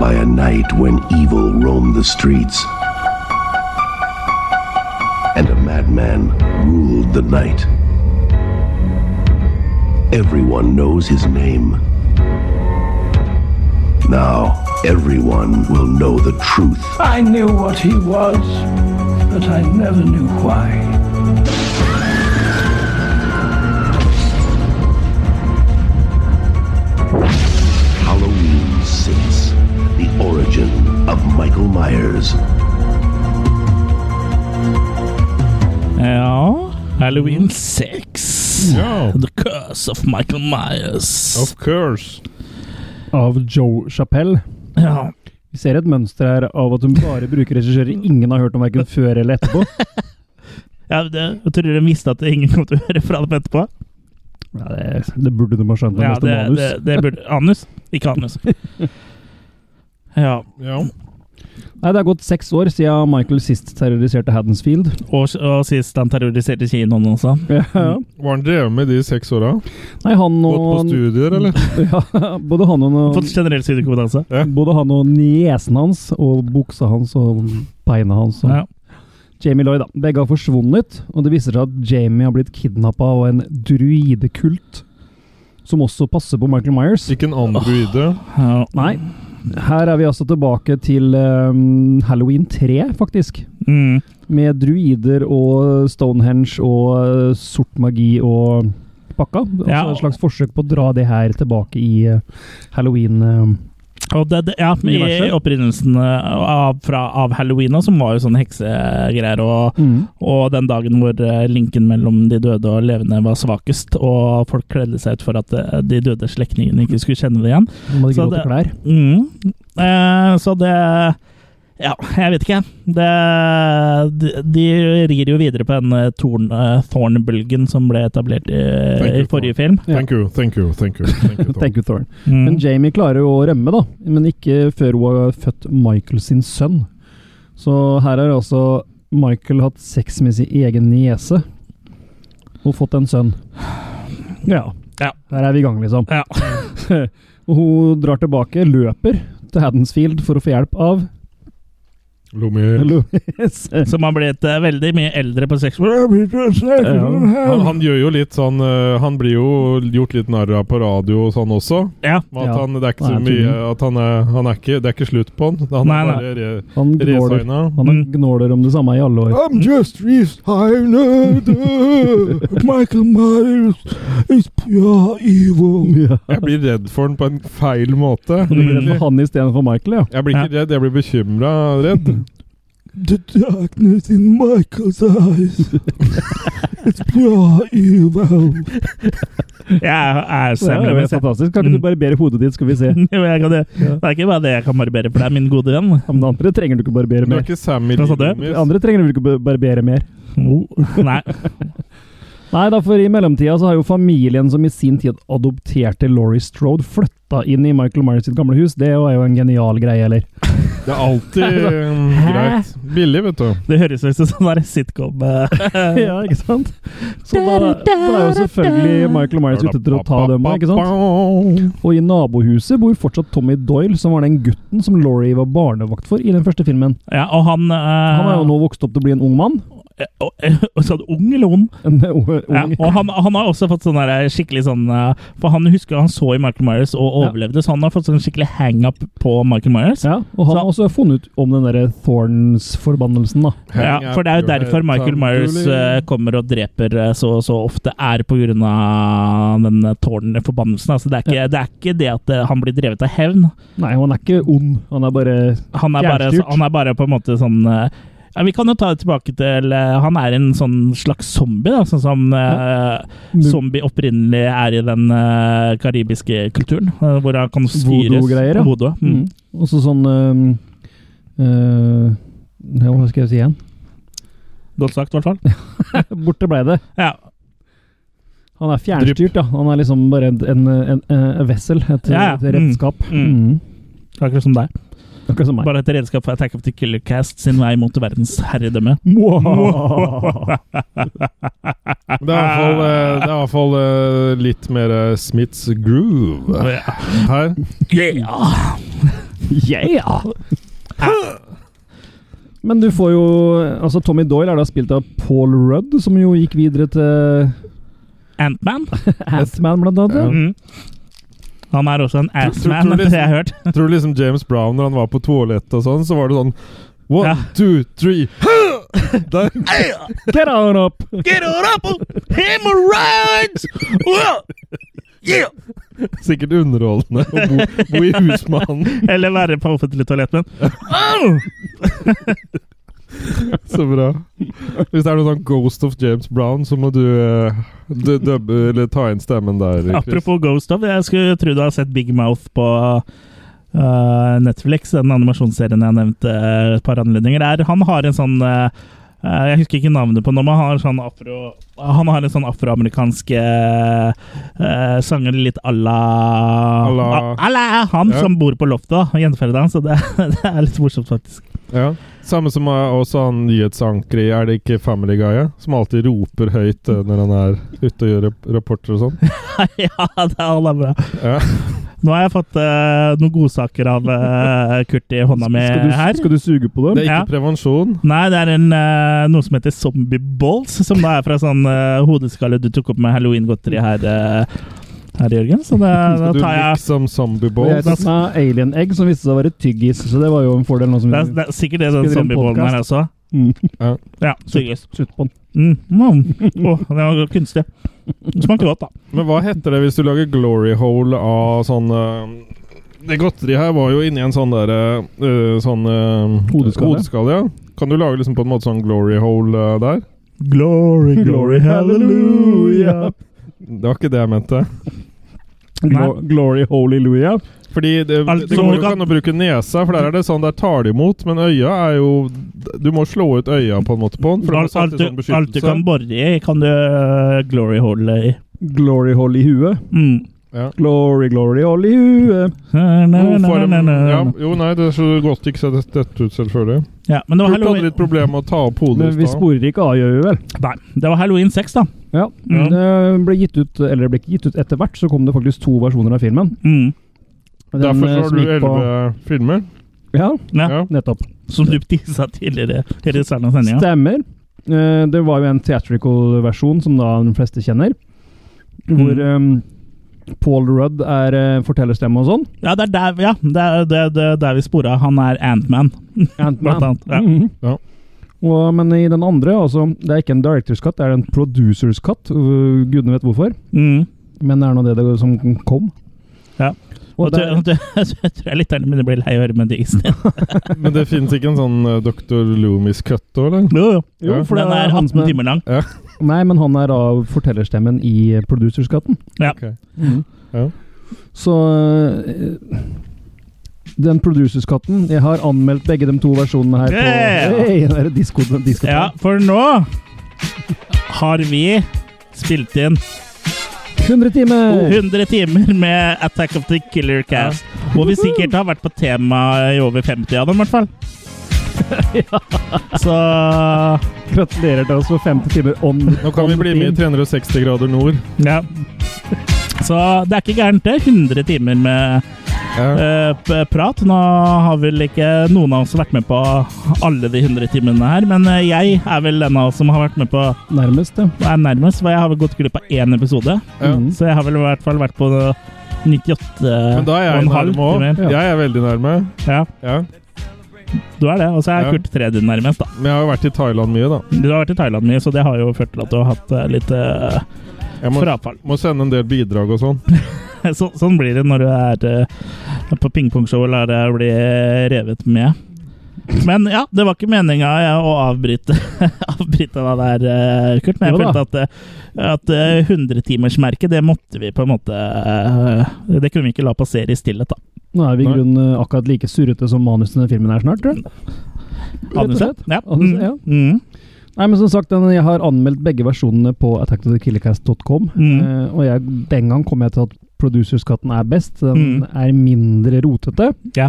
S13: by a night when evil roamed the streets and a madman ruled the night. Everyone knows his name. Now, everyone will know the truth.
S10: I knew what he was, but I never knew why.
S13: Halloween 6 The Origin of Michael Myers.
S1: Ja Halloween 6.
S2: Ja.
S1: The Curse of Michael Myers.
S2: Of course.
S3: Av Joe Chapell.
S1: Ja.
S3: Vi ser et mønster her av at hun bare bruker regissører ingen har hørt om verken før eller etterpå.
S1: Ja, det, jeg tror de visste at ingen kom til å høre fra dem etterpå.
S3: Ja, det, det burde de ha skjønt fra
S1: Ja,
S3: neste
S1: det,
S3: manus.
S1: det, det burde Anus? Ikke anus. Ja.
S3: Nei, det er gått seks år siden Michael sist terroriserte Haddensfield.
S1: Og, og sist han terroriserte Kinoen også.
S3: Ja.
S2: Var han drevet med de seks åra?
S3: Nei, han og
S2: Gått på studier, eller?
S3: [laughs] Ja, både han og
S1: Fått generell studiekompetanse.
S3: Både han og niesen hans, og buksa hans og beina hans. Og.
S1: Ja.
S3: Jamie Lloyd, da. Begge har forsvunnet, og det viser seg at Jamie har blitt kidnappa av en druidekult som også passer på Michael Myers.
S2: Ikke en
S3: Ah.
S2: androide.
S1: Ja.
S3: Nei. Her er vi altså tilbake til ehm, Halloween 3, faktisk.
S1: Mm.
S3: Med druider og Stonehenge og eh, sort magi og pakka. Altså
S1: Ja.
S3: Et slags forsøk på å dra det her tilbake i eh, Halloween. eh,
S1: Og det, det, ja, i
S3: Universet?
S1: opprinnelsen eh, av, fra, av Halloween, også, som var jo sånne heksegreier, og, og den dagen hvor eh, linken mellom de døde og levende var svakest, og folk kledde seg ut for at eh, de døde slektningene ikke skulle kjenne det igjen.
S3: De hadde gråte klær.
S1: Mm, eh, så det Ja, jeg vet ikke. Det, de, de rir jo videre på den eh, torn, eh, thornbølgen som ble etablert i,
S2: Thank you,
S1: i forrige film.
S2: Thank you, thank you, thank you. Thank you, Tom.
S3: Thank you, Thorn.
S1: Mm.
S3: Men Jamie klarer jo å rømme, da. Men ikke før hun har født Michael sin sønn. Så her har altså Michael hatt sex med sin egen niese og fått en sønn. Ja.
S1: Ja.
S3: Her er vi i gang, liksom. [laughs] og hun drar tilbake, løper til Haddensfield for å få hjelp av
S2: Lommer.
S3: Louis.
S1: [laughs]
S3: [laughs]
S1: Som har blitt eh, veldig mye eldre på sex...
S2: Han, han gjør jo litt sånn eh, Han blir jo gjort litt narr av på radio og sånn også.
S1: Ja.
S2: At han, det er ikke
S3: Nei,
S2: så
S3: jeg tror
S2: mye at han er, han er ikke, Det er ikke slutt på han. Han
S1: Nei,
S2: er
S1: nei.
S2: bare re,
S3: Han gnåler,
S2: resigna.
S3: han
S1: Mm.
S3: gnåler om det samme i alle år.
S2: I'm just resigned. Michael Myers is pure evil.
S3: [laughs] Ja.
S2: Jeg blir redd for han på en feil måte.
S1: Mm.
S3: Du blir redd for han istedenfor Michael, ja.
S2: Jeg blir ikke redd, jeg blir bekymra redd.
S14: The darkness in Michael's eyes.
S1: [laughs]
S14: it's pure evil.
S1: Jeg er
S3: Det er
S1: semler
S3: jo
S1: med
S3: helt fantastisk.
S1: Mm.
S3: Kan ikke du barbere hodet ditt, skal vi se?
S1: Jo, [laughs] jeg kan det. det er ikke bare det jeg kan barbere for deg, min gode venn.
S3: Ja, Men det andre trenger du ikke
S2: Du
S3: barbere
S2: er
S3: mer.
S2: ikke Sammy
S1: Hva sa du?
S2: Lee
S3: Det
S2: Loomis.
S3: andre trenger du ikke bar- barbere mer.
S1: Oh, nei.
S3: Nei, da, for i mellomtida så har jo familien som i sin tid adopterte Laurie Strode, flytta inn i Michael Myers sitt gamle hus. Det er jo en genial greie, eller?
S2: Det er alltid um,
S1: [laughs] Hæ?
S2: greit. Billig, vet du.
S1: Det høres ut som sånn der sitcom [laughs] eh.
S3: [laughs] ja, ikke sant? Så da, da er jo selvfølgelig Michael Myers ute etter å ta dem, ikke sant? Og i nabohuset bor fortsatt Tommy Doyle, som var den gutten som Laurie var barnevakt for i den første filmen.
S1: Ja, og han, eh,
S3: Ah. [laughs] Han er jo nå vokst opp til å bli en ung mann.
S1: og- og Sånn ung eller ond? Ja, og han, han har også fått sånn der skikkelig sånn eh, For han husker han så i Michael Myers og overlevde, så han har fått sånn skikkelig hangup på Michael Myers.
S3: Ja, Og han har også funnet ut om den derre Thorns-forbannelsen, da.
S1: Ja, for det er jo derfor Michael Myers eh, kommer og dreper eh, så og så ofte, er på grunn av den eh, tårnforbannelsen. Altså, det, er ikke, det er ikke det at eh, han blir drevet av hevn.
S3: Nei, han er ikke ond. Han er bare
S1: Han er bare,
S3: fjernstyrt.
S1: han er bare på en måte sånn eh, ja, Vi kan jo ta det tilbake til eh, Han er en sånn slags zombie, da, sånn som eh, zombie opprinnelig er i den eh, karibiske kulturen. eh, hvor han kan styres.
S3: Voodoo-greier, ja.
S1: Voodoo, mm.
S3: Og så sånn um, uh, ja, Hva skal jeg si igjen? [laughs]
S1: Godt sagt, i hvert fall.
S3: Borte ble det. Han er fjernstyrt, ja. Han er liksom bare en, en, en, en vessel, et,
S1: Ja, ja.
S3: et redskap.
S1: Mm. Mm. Akkurat som deg.
S3: Akkurat som meg.
S1: Bare et redskap for Attack of the Killer Cast sin vei mot verdens herredømme.
S3: [laughs]
S2: Det er i hvert fall, eh, det er i hvert fall eh, litt mer eh, Smiths groove
S1: Ja.
S2: her.
S1: Yeah!
S3: Yeah! Men du får jo Altså, Tommy Doyle er da spilt av Paul Rudd, som jo gikk videre
S1: [laughs]
S3: til
S1: Antman.
S3: Ant-Man, blant annet. ja.
S1: Mm. Han er også en
S2: Tror-
S1: assman,
S2: tror du
S1: etter det jeg har hørt.
S2: liksom- Tror du liksom James Brown, når han var på toalettet og sånn, så var det sånn One, two, three Der.
S3: [laughs] Get on up!
S1: Get on up! Hemorrhoids! Whoa! Yeah!
S2: Sikkert underholdende å bo, bo i hus med han.
S1: [laughs] Eller være på offentlig toalett, men Au!
S2: Så bra. Hvis det er noe sånn Ghost of James Brown, så må du, eh, du dubbe eller ta inn stemmen der. Chris.
S1: Apropos Ghost of, jeg skulle tro du har sett Big Mouth på øh, Netflix, den animasjonsserien jeg nevnte øh, et par anledninger. Der. Han har en sånn øh, øh, jeg husker ikke navnet på noe, men han har, sånn afro, han har en sånn afroamerikansk øh, øh, sanger litt à la
S2: la-
S1: à la han
S2: Ja.
S1: som bor på loftet, da, gjenferdet hans. Så det, [laughs] det er litt morsomt, faktisk. [laughs]
S2: Ja. Samme som eh, også han nyhetsankeret i Er det ikke Family Guy? ja? Som alltid roper høyt eh, når han er ute og gjør rap- rapporter og sånn.
S1: ja, det er alle bra.
S2: Ja.
S1: Nå har jeg fått øh, noen godsaker av øh, Kurt i hånda mi
S3: Skal du,
S1: her.
S3: skal du suge på
S2: Det
S3: dem?
S2: er ikke
S1: Ja.
S2: prevensjon.
S1: Nei, det er en, eh, noe som heter Zombie Balls, som da er fra sånn eh, hodeskalle du tok opp med halloween-godteri her, eh, her, Jørgen. Så det, da
S2: Skal du
S1: tar jeg
S2: liksom zombie
S3: Og jeg
S2: balls?
S3: tok meg alien egg, som viste seg å være tyggis, så det var jo en fordel. Nå som
S1: det er, det er sikkert det den
S3: Spiller en
S1: zombieballen her
S3: podcast.
S1: også.
S3: Mm.
S2: Ja.
S1: Ja, sikkert.
S3: Slutt på den.
S1: Mm. Mm. Åh, det var kunstig. Det smakte godt, da.
S2: Men hva heter det hvis du lager glory hole av sånn eh, Det godteri her var jo inni en sånn der eh, sånn eh, ja.
S3: Hodeskalle.
S2: Kan du lage liksom på en måte sånn glory hole eh, der?
S1: Glory, glory, hallelujah.
S2: Det var ikke det jeg mente.
S3: Glo glory holy louia.
S2: Fordi det,
S1: Altså,
S2: det går jo
S1: kan-
S2: ikke an å bruke nesa, for der er det sånn der tar de imot, men øya er jo Du må slå ut øya på en måte på den, for den har
S1: Alt,
S2: satt
S1: alt,
S2: i sånn
S1: du, alt du
S2: beskyttelse.
S1: kan bore i, kan du eh, glory hole i.
S3: Glory hole i huet.
S1: Mm.
S2: Ja.
S3: Glory, glory hole i huet.
S1: Na, na,
S2: Jo,
S1: na,
S2: Oh, for-
S1: na, na,
S2: ja,
S1: na.
S2: jo, nei, det er så godt ikke så dette dette ut, selvfølgelig.
S1: Ja, men det var
S2: Kurt hadde
S1: halloween
S2: litt problem med å ta opp hodet
S3: Men
S2: i
S3: vi
S2: stad.
S3: sporer ikke av, gjør vi vel?
S1: Nei, det var halloween 6, da.
S3: Ja.
S1: Mm.
S3: Det ble gitt ut, eller det ble ikke gitt ut etter hvert, så kom det faktisk to versjoner av filmen.
S1: Mm.
S3: Den,
S2: Derfor
S3: eh,
S2: så har
S3: som
S2: du
S3: gikk på-
S2: elleve filmer.
S3: Ja,
S1: Ja,
S2: Ja.
S3: nettopp.
S1: Som du tisa tidligere i det særlige sendinga.
S3: Stemmer. Eh, Det var jo en theatrical-versjon som da de fleste kjenner, hvor
S2: Mm.
S3: eh, Paul Rudd er eh, fortellerstemme og sånn.
S1: Ja, det er der, ja, det er, det, det, er der vi spora. Han er Antman. Blant
S3: Ant-Man.
S1: annet, ja.
S3: Mhm.
S2: Ja.
S3: Og, men i den andre, altså, det er ikke en director's cut, det er en producer's cut. øh, Gudene vet hvorfor,
S1: Mm.
S3: men det er nå det, det som kom.
S1: Ja.
S3: Og
S1: Og
S3: der-
S1: tror- tror- [laughs] Jeg tror jeg lytterne mine blir lei av å høre med det i sted.
S2: Men det fins ikke en sånn eh, Dr. Loomis-cut òg, eller?
S1: Jo, jo.
S3: jo, for det
S1: Den er
S3: han
S1: 18
S3: som er-
S1: timer lang.
S3: øh, Nei, men han er av fortellerstemmen i producer's cutten.
S1: Ja.
S2: Ok.
S3: Mhm.
S2: Ja.
S3: Så øh, den producer's cutten Jeg har anmeldt begge de to versjonene her
S1: Yeah!
S3: på hey, den der disco, disco
S1: ja, for nå har vi spilt inn
S3: 100 timer!
S1: 100 timer med Attack of the Killer Cast. Hvor vi sikkert har vært på tema i over 50 av dem, i hvert
S3: [laughs]
S1: fall. Så
S3: Gratulerer til oss for 50 timer on
S2: Nå kan vi bli med i 360 grader nord.
S1: Ja. Så det er ikke gærent, det. 100 timer med eh, p- prat. Nå har vel ikke noen av oss vært med på alle de 100 timene her, men eh, jeg er vel den av oss som har vært med på
S3: Nærmest, ja.
S1: er nærmest, for jeg har vel gått glipp av én episode. Så jeg har vel i hvert fall vært på 98
S2: Mm. Men da er
S1: og
S2: jeg
S1: en halv
S2: nærme òg.
S1: timer.
S2: Jeg er veldig nærme.
S1: Ja.
S2: Ja.
S1: Du er det, og så er
S2: Ja.
S1: Kurt tredje nærmest, da.
S2: Men jeg har jo vært i Thailand mye, da.
S1: Du har vært i Thailand mye, så det har jo ført til at du har hatt eh, litt eh,
S2: Jeg må,
S1: frafall.
S2: må sende en del bidrag og sånn. [laughs]
S1: [laughs] Så, sånn blir det når du er eh, på pingpongshow og lar deg bli revet med. Men ja, det var ikke meninga å avbryte, [laughs] avbryte deg der, eh, Kurt. Men jeg
S3: Jo da.
S1: følte at, eh, at eh, 100-timersmerket, det måtte vi på en måte eh, Det kunne vi ikke la passere i stillhet, da.
S3: Nå er vi i
S2: Nei.
S3: grunnen eh, akkurat like surrete som manuset i denne filmen er snart, tror jeg. Rett og
S1: Anelse?
S3: slett.
S1: Ja.
S3: Anelse, ja.
S1: Mm.
S3: Nei, men som sagt, den- jeg har anmeldt begge versjonene på attackofthekillercast.com.
S1: Mm.
S3: Eh, og jeg, den gang kom jeg til at producerskatten er best. Den
S1: Mm.
S3: er mindre rotete.
S1: Ja.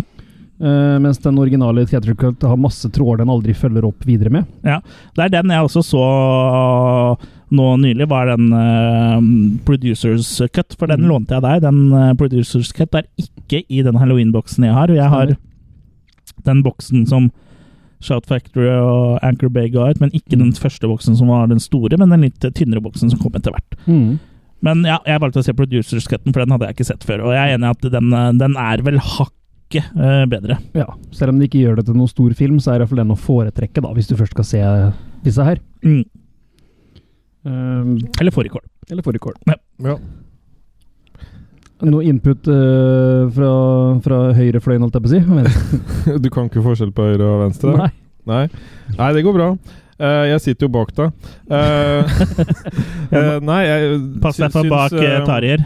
S3: Eh, mens den originale Theatre Cult har masse tråder den aldri følger opp videre med.
S1: Ja, det er den jeg også så uh, nå nylig, var den eh, Producers Cut, for den
S3: Mm.
S1: lånte jeg deg. Den eh, Producers Cut er ikke i den Halloween-boksen jeg har. og Jeg har den boksen som Shout Factory og Anchor Bay ga ut, men ikke den første boksen som var den store, men den litt tynnere boksen som kom etter hvert.
S3: Mm.
S1: Men ja, jeg valgte å se Producers Cutten, for den hadde jeg ikke sett før. Og jeg er enig i at den, eh, den er vel hakket eh, bedre.
S3: Ja, Selv om de ikke gjør det til noen stor film, så er iallfall den å foretrekke, da, hvis du først skal se disse her.
S1: Mm.
S3: Eh,
S1: Eller fårikål.
S3: eller fårikål.
S2: Ja.
S3: Noe input eh, fra, fra høyrefløyen, holdt jeg [laughs] på å si? Venstre.
S2: Du kan ikke forskjell på høyre og venstre?
S3: Nei.
S2: Nei, Nei, det går bra. Eh, jeg sitter jo bak deg.
S1: [laughs]
S2: Eh, eh, nei, jeg
S1: Pass deg for
S2: syns-
S1: bak eh,
S2: eh,
S1: Tarjer.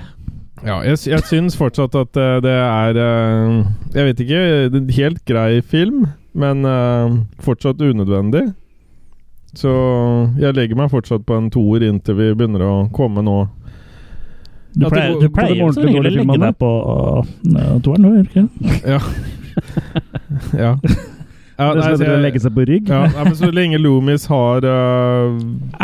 S2: Ja, jeg, sy- jeg syns fortsatt at eh, det er eh, Jeg vet ikke. det er En helt grei film, men eh, fortsatt unødvendig. Så jeg legger meg fortsatt på en toer inntil vi begynner å komme nå.
S1: Du
S2: At det
S1: pleier,
S2: går-
S1: du
S2: på
S1: pleier
S3: den
S1: jo som regel å
S3: ordentlig dårlige
S1: legge
S3: filmen,
S1: deg på uh, toeren, gjør du ikke? det?
S2: Ja. [laughs] ja. ja
S3: Det
S2: nei,
S3: som
S2: så
S3: heter å legge
S2: jeg,
S3: seg på rygg.
S2: ja, nei, men så lenge Loomis har eh,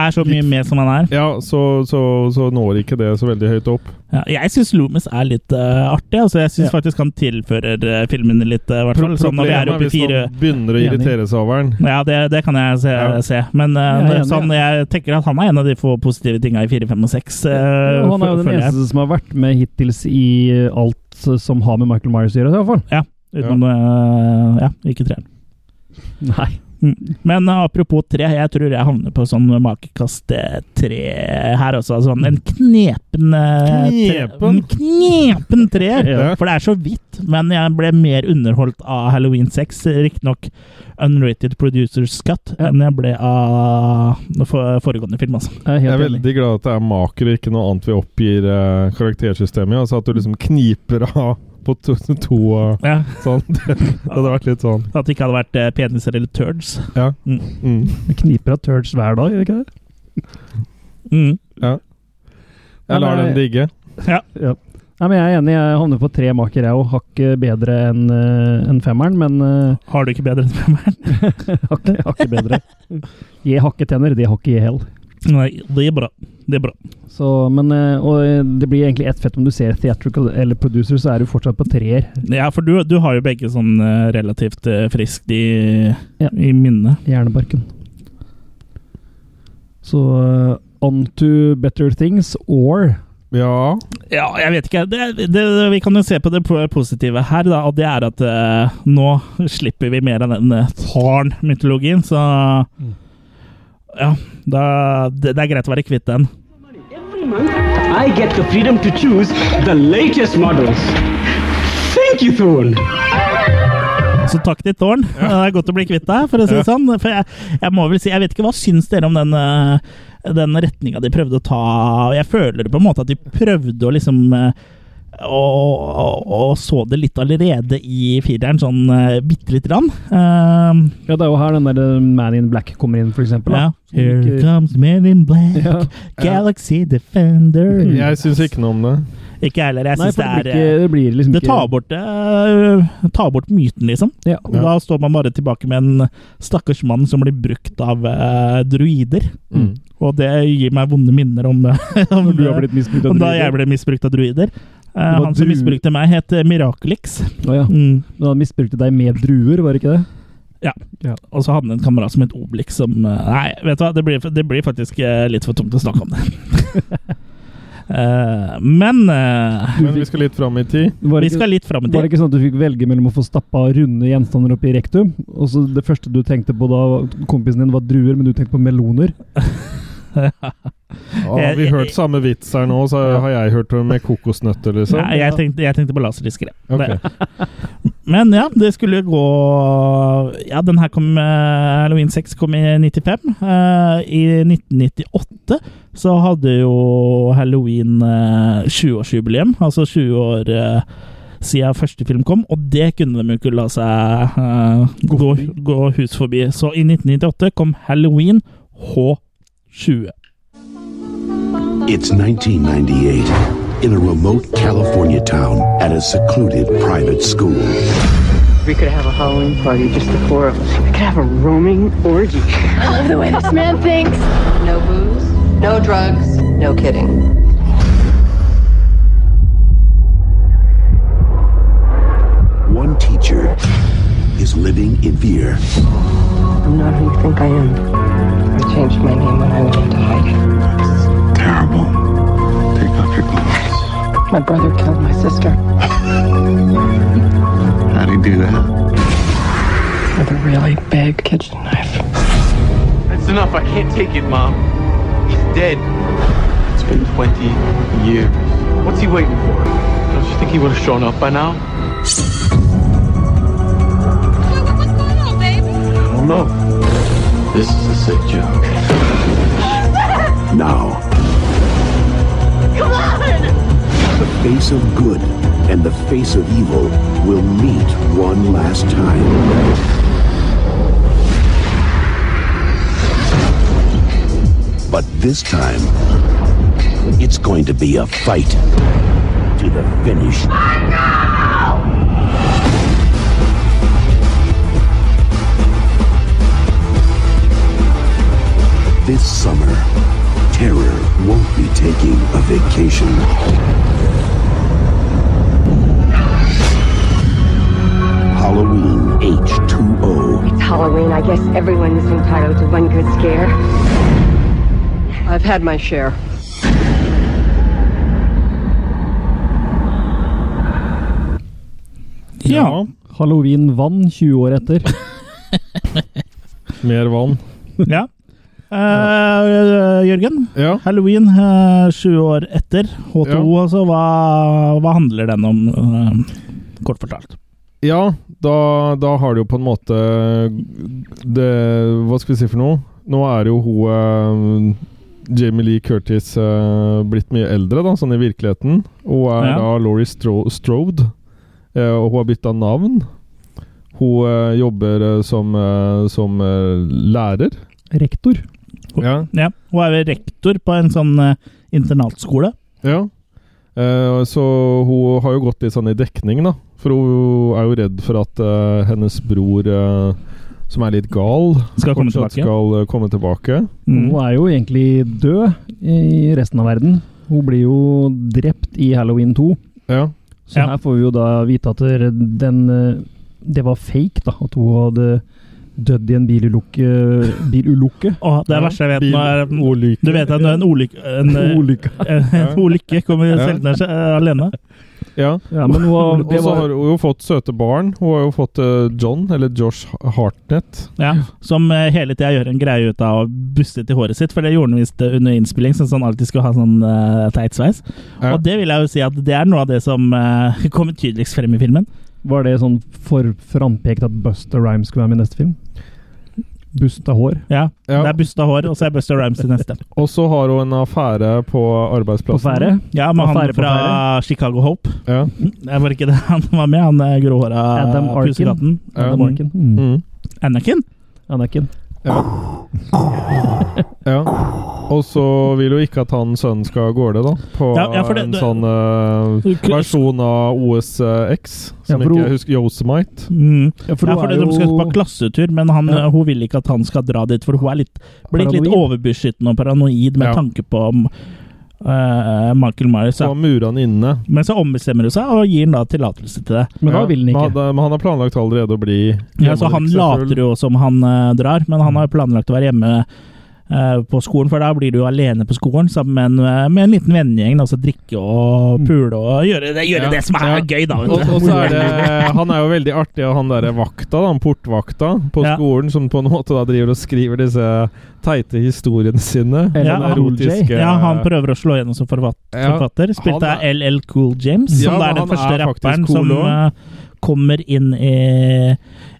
S1: Er så mye med som han er.
S2: Ja, så, så, så når ikke det så veldig høyt opp.
S1: Ja, jeg syns Loomis er litt uh, artig. Altså, jeg syns
S3: Ja.
S1: faktisk han tilfører uh, filmene litt, uh, i hvert fall. Sånn når vi er oppe i
S2: hvis
S1: fire
S2: man begynner å
S3: Enig.
S2: irritere seg over den.
S1: Ja, det, det kan jeg se.
S2: Ja.
S1: se. Men uh,
S3: Jeg er enig,
S1: sånn, jeg tenker at han er en av de få positive tinga i fire, fem og seks. Uh,
S3: og han er jo
S1: fø-
S3: den
S1: føler jeg.
S3: eneste som har vært med hittils i eh, alt som har med Michael Myers å gjøre, i hvert fall.
S1: Utenom uh, Ja, ikke treeren.
S3: Nei.
S1: Men uh, apropos tre, jeg tror jeg havner på sånn makekast uh, tre her også. Altså, en knepen uh, tre-
S2: Knepen?
S1: en knepen treer!
S2: [laughs] Ja.
S1: For det er så vidt. Men jeg ble mer underholdt av Halloween 6, riktignok unrated producers cut, enn jeg ble av for- foregående film, altså.
S3: Jeg er
S2: Jeg er
S3: helt enig.
S2: veldig glad at det er maker og ikke noe annet vi oppgir eh, karaktersystemet i. Altså at du liksom kniper av på to, to eh,
S1: Ja,
S2: sånn. [laughs] Det, hadde vært litt sånn.
S1: at det ikke hadde vært eh, peniser eller turds.
S2: Ja.
S1: Mm.
S2: Mm.
S3: Vi kniper av turds hver dag, gjør vi ikke det?
S1: Mm.
S2: Jeg lar den ligge.
S3: Ja. Nei, men Jeg er enig, jeg havner på tre maker, jeg òg. Hakket bedre enn eh, enn femmeren, men eh,
S1: Har du ikke bedre enn [laughs] femmeren?
S3: [laughs] hakket, hakket [laughs] bedre. Gi hakketenner, det har ikke gi hell.
S1: Nei, det er bra. Det er bra.
S3: Så, men, eh, og det blir egentlig ett fett om du ser theatrical eller producer, så er du fortsatt på treer.
S1: Ja, for du, du har jo begge sånn eh, relativt eh, friskt i,
S3: Ja.
S1: i minnet.
S3: Hjernebarken. Så eh, on to better things or
S2: Ja.
S1: Ja, jeg vet ikke. Det, det, vi kan jo se på det po- positive her, da, og det er at eh, nå slipper vi mer av den eh, Thorn-mytologien, så Ja, da, det, det er greit å være kvitt den.
S15: Every month, I get the freedom to choose the latest models. Thank you, Thorn.
S1: Så takk til Tårn. Det er godt å bli kvitt deg, for å si det sånn. For jeg, jeg må vel si, jeg vet ikke, Hva syns dere om den, eh, den retninga de prøvde å ta? Jeg føler det på en måte at de prøvde å liksom eh, og, og, og så det litt allerede i fireren, sånn uh, bitte lite grann. Eh,
S3: Ja, det er jo her den der eh, Man in Black kommer inn, for eksempel.
S1: ja.
S3: Da.
S1: Here comes men in black,
S3: [laughs] Sånn Ja.
S1: Galaxy Defender.
S2: Jeg syns ikke noe om det.
S1: Ikke jeg heller. Jeg
S3: Nei,
S1: syns
S3: for
S1: det er
S3: det blir,
S1: eh,
S3: ikke, det blir liksom
S1: Det tar
S3: ikke
S1: bort, eh, tar bort myten, liksom.
S3: Ja.
S1: Og Da står man bare tilbake med en stakkars mann som blir brukt av eh, druider.
S2: Mm.
S1: Og det gir meg vonde minner om, [laughs] eh, om,
S3: Når du har blitt misbrukt
S1: eh,
S3: av
S1: om da jeg
S3: druider.
S1: ble misbrukt av druider. Eh, Eh,
S3: var
S1: han som
S3: dru-
S1: misbrukte meg, het eh, Miraculix.
S3: Å ja.
S1: Mm.
S3: Men han misbrukte deg med druer, var det ikke det?
S1: Ja. Og så hadde han en kamerat som het Obelix som eh, Nei, vet du hva, det blir, det blir faktisk eh, litt for tungt å snakke om det.
S3: [laughs]
S1: Eh, men eh,
S2: Men vi skal litt fram i tid.
S3: Var det
S1: vi
S3: ikke-
S1: skal litt fram i
S3: Var det
S1: tid.
S3: ikke sånn at du fikk velge mellom å få stappa runde gjenstander opp i rektum, og så det første du tenkte på da kompisen din var druer, men du tenkte på meloner?
S2: Ah, Har vi hørt samme vits her nå, så har jeg hørt det med kokosnøtter,
S1: [laughs]
S2: liksom.
S1: Nei, jeg tenkte, jeg tenkte på laserdisker. jeg.
S2: Ok.
S1: Det- Men ja, det skulle gå Ja, den her kom eh, Halloween 6 kom i 95. Eh, I 1998 så hadde jo Halloween eh, 20-årsjubileum, altså 20 år eh, siden første film kom, og det kunne de jo ikke la seg eh, gå, gå hus forbi. Så i 1998 kom Halloween H20.
S13: It's 1998 in a remote California town at a secluded private school.
S11: We could have a Halloween party, just the four of us. We could have a roaming orgy.
S16: I love the way this man thinks. No booze, no drugs, no kidding.
S13: One teacher is living in fear.
S11: I'm not who you think I am. I changed my name when I went into hiding.
S13: Terrible. Take off your clothes.
S11: My brother killed my sister
S13: How'd he do that?
S11: with a really big kitchen knife.
S17: That's enough. I can't take it, Mom. He's dead. It's been 20 years. What's he waiting for? Don't you think he would have shown up by now?
S18: I don't know.
S13: This is a sick joke. Now,
S18: Come on!
S13: the face of good and the face of evil will meet one last time. But this time, it's going to be a fight to the finish. This summer, terror won't be taking a vacation. Halloween H2O.
S19: It's Halloween. I guess everyone is entitled to one good scare.
S11: I've had my share.
S1: Ja.
S3: Halloween vann 20 år [laughs] etter.
S2: Mer vann.
S1: Ja. Eh, Jørgen, Halloween eh, sju år etter H2,
S2: Ja.
S1: altså. Hva, hva handler den om, eh, kort fortalt?
S2: Ja, da, da har du jo på en måte det, Hva skal vi si for noe? Nå er jo hun eh, Jamie Lee Curtis eh, blitt mye eldre, da, sånn i virkeligheten. Hun er
S1: Ja.
S2: da Laurie Stro Strode, eh, og hun har bytta navn. Hun eh, jobber eh, som, eh, som eh, lærer.
S3: Rektor.
S2: Ja.
S1: Ja, hun er vel rektor på en sånn eh, internatskole.
S2: Ja. Eh, så hun har jo gått litt sånn i dekning, da. For hun er jo redd for at eh, hennes bror, eh, som er litt gal,
S1: Skal komme
S2: fortsatt
S1: tilbake. Mm.
S2: skal eh, komme tilbake.
S3: Hun er jo egentlig død i resten av verden. Hun blir jo drept i Halloween 2.
S2: Ja.
S3: Så her får vi jo da vite at det- den eh, Det var fake, da. At hun hadde dødd i en eh, bilulykke. bilulykke.
S1: Å, det er verste jeg vet nå er Du vet at når en ulykke En, eh,
S3: Ulykke.
S1: [laughs] en ulykke kommer
S2: Ja.
S1: sjeldnere seg, eh, alene.
S2: Ja.
S3: Ja, men hun [laughs] har-
S2: og
S3: det
S2: så
S3: var-
S2: har hun jo fått søte barn. Hun har jo fått eh, John, eller Josh Hartnett.
S1: Ja, som eh, hele tida gjør en greie ut av å buste til håret sitt, for det gjorde han visst eh, under innspilling, sånn at han alltid skulle ha sånn eh, teit sveis.
S2: Ja.
S1: Og det vil jeg jo si at det er noe av det som eh, [laughs] kommer tydeligst frem i filmen.
S3: Var det sånn for frampekt at Busta Rhymes skulle være med i neste film? Busta hår.
S1: Ja,
S2: Ja.
S1: Det er busta hår, og så er Busta Rhymes til neste.
S2: Og så har hun en affære på arbeidsplassen.
S3: På fære?
S1: Mm. Ja, med han
S3: Affære på
S1: fra
S3: affære.
S1: Chicago Hope.
S2: Ja.
S1: Det var ikke det han var med, han eh, gråhåra
S3: Adam Arkin.
S1: pusekatten.
S3: Adam Arkin. Mm.
S2: Mm.
S1: Anakin?
S3: Anakin.
S2: Ja. ja. Og så vil hun ikke at han sønnen skal av gårde, da. På
S1: Ja, ja, for det-
S2: en
S1: det-
S2: sånn eh,
S1: Du kunne-
S2: versjon av OSX,
S1: Ja,
S2: som
S1: for
S2: ikke
S1: hun-
S2: jeg husker Yosemite.
S1: Mm.
S3: Ja,
S1: Ja,
S3: for
S1: for,
S3: hun er
S1: det,
S3: jo-
S1: de skal på klassetur, men han,
S3: Ja.
S1: hun vil ikke at han skal dra dit, for hun er litt, blitt litt
S3: Paranoid.
S1: overbeskyttende og paranoid med
S2: Ja.
S1: tanke på om eh, Michael Myers.
S2: Så
S1: Da.
S2: han murer han inne.
S1: Men så ombestemmer hun seg og gir han da tillatelse til det.
S3: Men da vil han ikke.
S2: Men han, men han har planlagt allerede å bli
S1: Ja, så han later jo som han eh, drar, men han har jo planlagt å være hjemme eh, på skolen, for da blir du jo alene på skolen sammen med en, eh, med en liten vennegjeng. Altså drikke og pule og gjøre det, gjøre
S2: Mm. Ja,
S1: det som er
S2: ja.
S1: gøy, da. vet
S2: Og,
S1: du.
S2: og så er det, eh, han er jo veldig artig, og han derre vakta, da, han portvakta på
S1: Ja.
S2: skolen, som på en måte da driver og skriver disse teite historiene sine.
S1: [laughs] Ja,
S2: Sånne
S1: han-
S2: erotiske-
S1: ja, han prøver å slå gjennom som forfat-
S2: eh, Ja,
S1: forfatter. Spilt
S2: han
S1: av LL Cool James,
S2: Ja,
S1: som da
S2: men
S1: er den
S2: han
S1: første
S2: er faktisk
S1: rapperen
S2: cool
S1: som
S2: også.
S1: eh, kommer inn i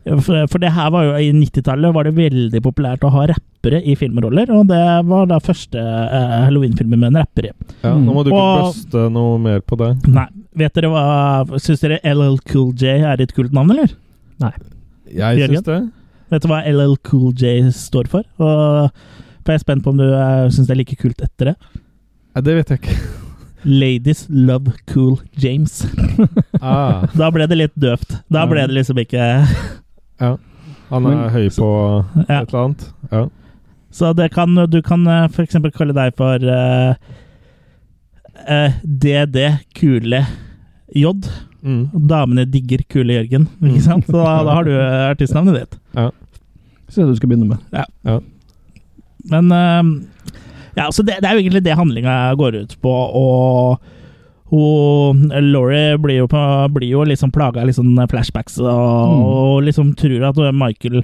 S1: For, for det her var jo i 90-tallet var det veldig populært å ha rappere i filmroller, og det var da første eh, Halloween-filmen med en rapper i.
S2: Ja, nå må du ikke
S1: Og-
S2: buste noe mer på det.
S1: Nei. Vet dere hva Syns dere LL Cool J er et kult navn, eller?
S3: Nei.
S2: Jeg
S1: Jørgen?
S2: syns det.
S1: Vet du hva LL Cool J står for? Og for jeg er spent på om du eh, syns det er like kult etter det.
S2: Nei, det vet jeg ikke.
S1: Ladies love cool James.
S2: [laughs] Ah,
S1: Da ble det litt døvt. Da ble det liksom ikke
S2: ja. Han er
S1: Men-
S2: høy på
S1: Ja.
S2: et eller annet. Ja.
S1: Så det kan, du kan f.eks. kalle deg for eh, eh, DD Kule J.
S2: Mm.
S1: Damene digger Kule Jørgen, ikke sant? Så da, da har du eh, artistnavnet ditt.
S2: Ja.
S3: Så det du skal begynne med.
S1: Ja.
S2: Ja.
S1: Men eh, ja, så det, det er jo egentlig det handlinga går ut på, og og Laurie blir jo, på, blir jo liksom plaga av litt sånn flashbacks og, og liksom tror at Michael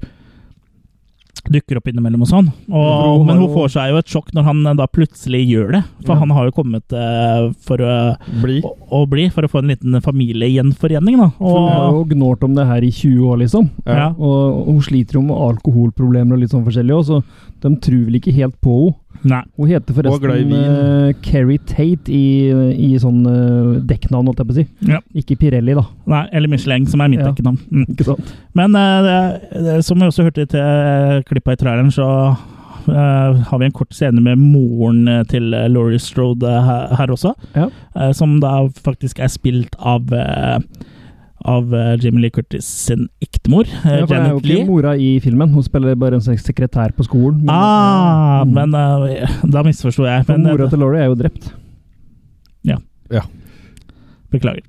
S1: dukker opp innimellom og sånn. Og,
S2: hun har
S1: men hun
S2: jo-
S1: får seg jo et sjokk når han eh, da plutselig gjør det. For
S2: Ja.
S1: han har jo kommet eh, for å,
S2: Bli.
S1: å, å bli, for å få en liten familiegjenforening, da.
S3: For hun har
S1: Og,
S3: jo gnålt om det her i 20 år, liksom.
S1: Ja.
S3: Og hun sliter jo med alkoholproblemer og litt sånn forskjellig også, så de tror vel ikke helt på henne.
S1: nei,
S3: Hun
S2: Og
S3: heter
S2: er glad i
S3: forresten
S2: vin.
S3: eh, Carrie Tate i, i sånn eh, dekknavn, holdt jeg på å si.
S1: Ja.
S3: Ikke Pirelli, da. [laughs]
S1: nei, eller Michelin, som er mitt
S3: Ja.
S1: ekkenavn. Mm.
S3: Ikke sant?
S1: Men eh, det, det, som vi også hørte til klippet i traileren, så eh, har vi en kort scene med moren eh, til eh, Laurie Strode eh, her, her også.
S3: Ja.
S1: eh, som da faktisk er spilt av eh, av eh, Jamie Lee Curtis sin ektemor, eh,
S3: Ja, for det er jo
S1: Janet
S3: ikke
S1: Lee.
S3: mora i filmen, hun spiller bare en sek- sekretær på skolen. Men,
S1: Ah,
S3: Mm.
S1: men eh, da misforsto jeg.
S3: For
S1: Men, eh,
S3: mora til Laurie er jo drept.
S1: beklager.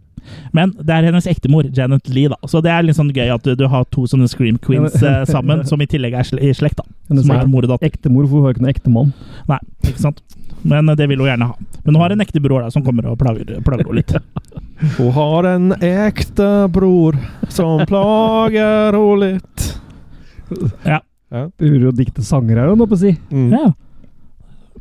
S1: Men det er hennes ektemor, Janet Lee, da. Så det er litt sånn gøy at du, du har to sånne Scream Queens eh, sammen, som i tillegg er sle i slekt, da.
S3: Hennes
S1: Som er mor og datter.
S3: Ektemor, for hun har jo ikke noen ektemann.
S1: Nei, ikke sant? Men eh, det vil hun gjerne ha. Men hun har en ekte bror da, som kommer og plager, plager henne litt.
S3: [laughs]
S2: Hun har en ekte bror
S1: [laughs]
S2: som plager henne litt.
S1: Ja.
S3: Du hører jo dikte sanger her, holdt jeg på å si.
S2: Mm.
S1: ja.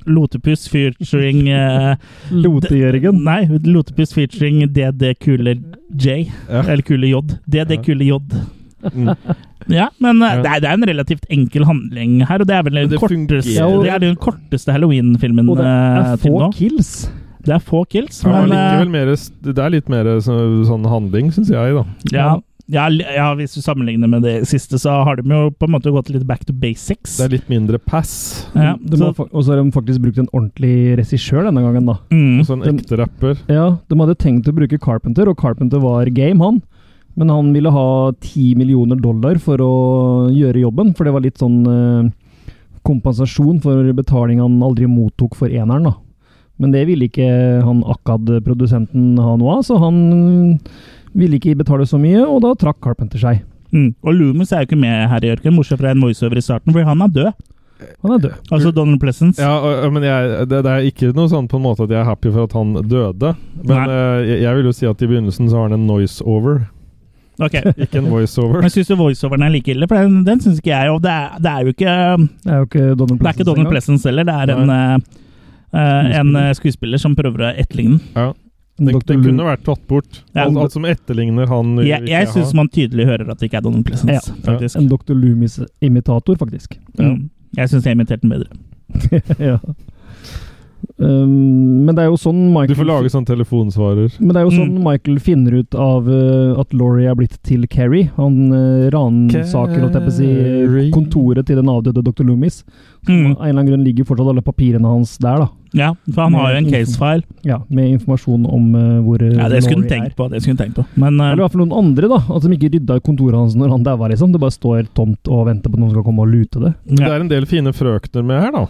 S1: Lotepus featuring
S3: [laughs]
S1: eh,
S3: Lote-Jørgen.
S1: Nei, Lotepus featuring DD Kule J.
S2: Ja.
S1: Eller Kule J. DD
S2: Ja.
S1: Kule J.
S2: Mm.
S1: Ja, men eh,
S2: Ja.
S1: det, er, det er en relativt enkel handling her, og det er vel den
S2: det
S1: korteste,
S2: fungerer.
S1: det er den korteste Halloween-filmen
S3: Og det er
S1: eh, til
S3: få
S1: nå.
S3: kills.
S1: Det er få kills,
S2: Ja, men
S1: men eh,
S2: likevel mer, det er litt mer så, sånn handling, syns jeg, da.
S1: Ja, ja, li- ja, hvis du sammenligner med det siste, så har de jo på en måte gått litt back to basics.
S2: Det er litt mindre pass.
S1: Ja,
S3: De har
S1: så,
S3: fa- Og så har de faktisk brukt en ordentlig regissør denne gangen, da.
S1: mm,
S2: Og så en sånn ekte rapper.
S3: Ja, De hadde tenkt å bruke Carpenter, og Carpenter var game, han. Men han ville ha 10 millioner dollar for å gjøre jobben, for det var litt sånn eh, kompensasjon for betaling han aldri mottok for eneren, da. Men det ville ikke han Akkad-produsenten ha noe av, så han ville ikke betale så mye, og da trakk Carpenter seg.
S1: mm. Og Loomis er jo ikke med her i Jørgen, bortsett fra en voiceover i starten, for han er død.
S3: Han er død.
S1: Altså Donald Pleasence.
S2: Ja, og- og- men jeg, det, det er ikke noe sånn på en måte at jeg er happy for at han døde. Men
S1: Nei.
S2: eh, jeg, jeg vil jo si at i begynnelsen så har han en noise-over,
S1: Ok.
S2: ikke en voice-over.
S1: [laughs] Men syns du voiceoveren er like ille? For den, den syns ikke jeg. Og det er, det er jo ikke um,
S3: Det er jo ikke Donald
S1: Det er ikke
S3: Pleasence
S1: Donald
S3: engang.
S1: Pleasence heller, det er en, eh, eh, en eh, skuespiller som prøver å etterligne den.
S2: Ja. Den,
S3: Dr.
S2: den
S3: Lou.
S2: kunne vært tatt bort.
S1: Ja.
S2: Alt, alt som etterligner han. vil
S1: Jeg,
S2: ikke
S1: jeg
S2: ha.
S1: syns man tydelig hører at det ikke er Donald Pleasence,
S2: Ja.
S1: faktisk.
S3: En Dr. Loomis-imitator, faktisk.
S1: Mm. Jeg syns jeg imiterte den bedre.
S3: [laughs] ja. Um, men det er jo sånn Michael
S2: Du får lage sånn telefonsvarer.
S3: Men det er jo sånn
S1: Mm.
S3: Michael finner ut av eh, at Laurie er blitt til Carrie. Han uh, ransaker holdt jeg på å si,
S2: Carrie.
S3: kontoret til den avdøde dr. Loomis.
S1: Mm.
S3: Av en eller annen grunn ligger fortsatt alle papirene hans der, da.
S1: Ja, for han har jo en casefile.
S3: Ja, Med informasjon om eh, hvor eh,
S1: Ja, det skulle hun
S3: Laurie
S1: tenkt
S3: er.
S1: på. det skulle hun tenkt på. Men eh,
S3: Eller i hvert fall noen andre, da. At de ikke rydda i kontoret hans når han daua, liksom. Det bare står tomt og venter på at noen skal komme og lute det.
S2: Men
S1: ja.
S2: Det er en del fine frøkner med her, da.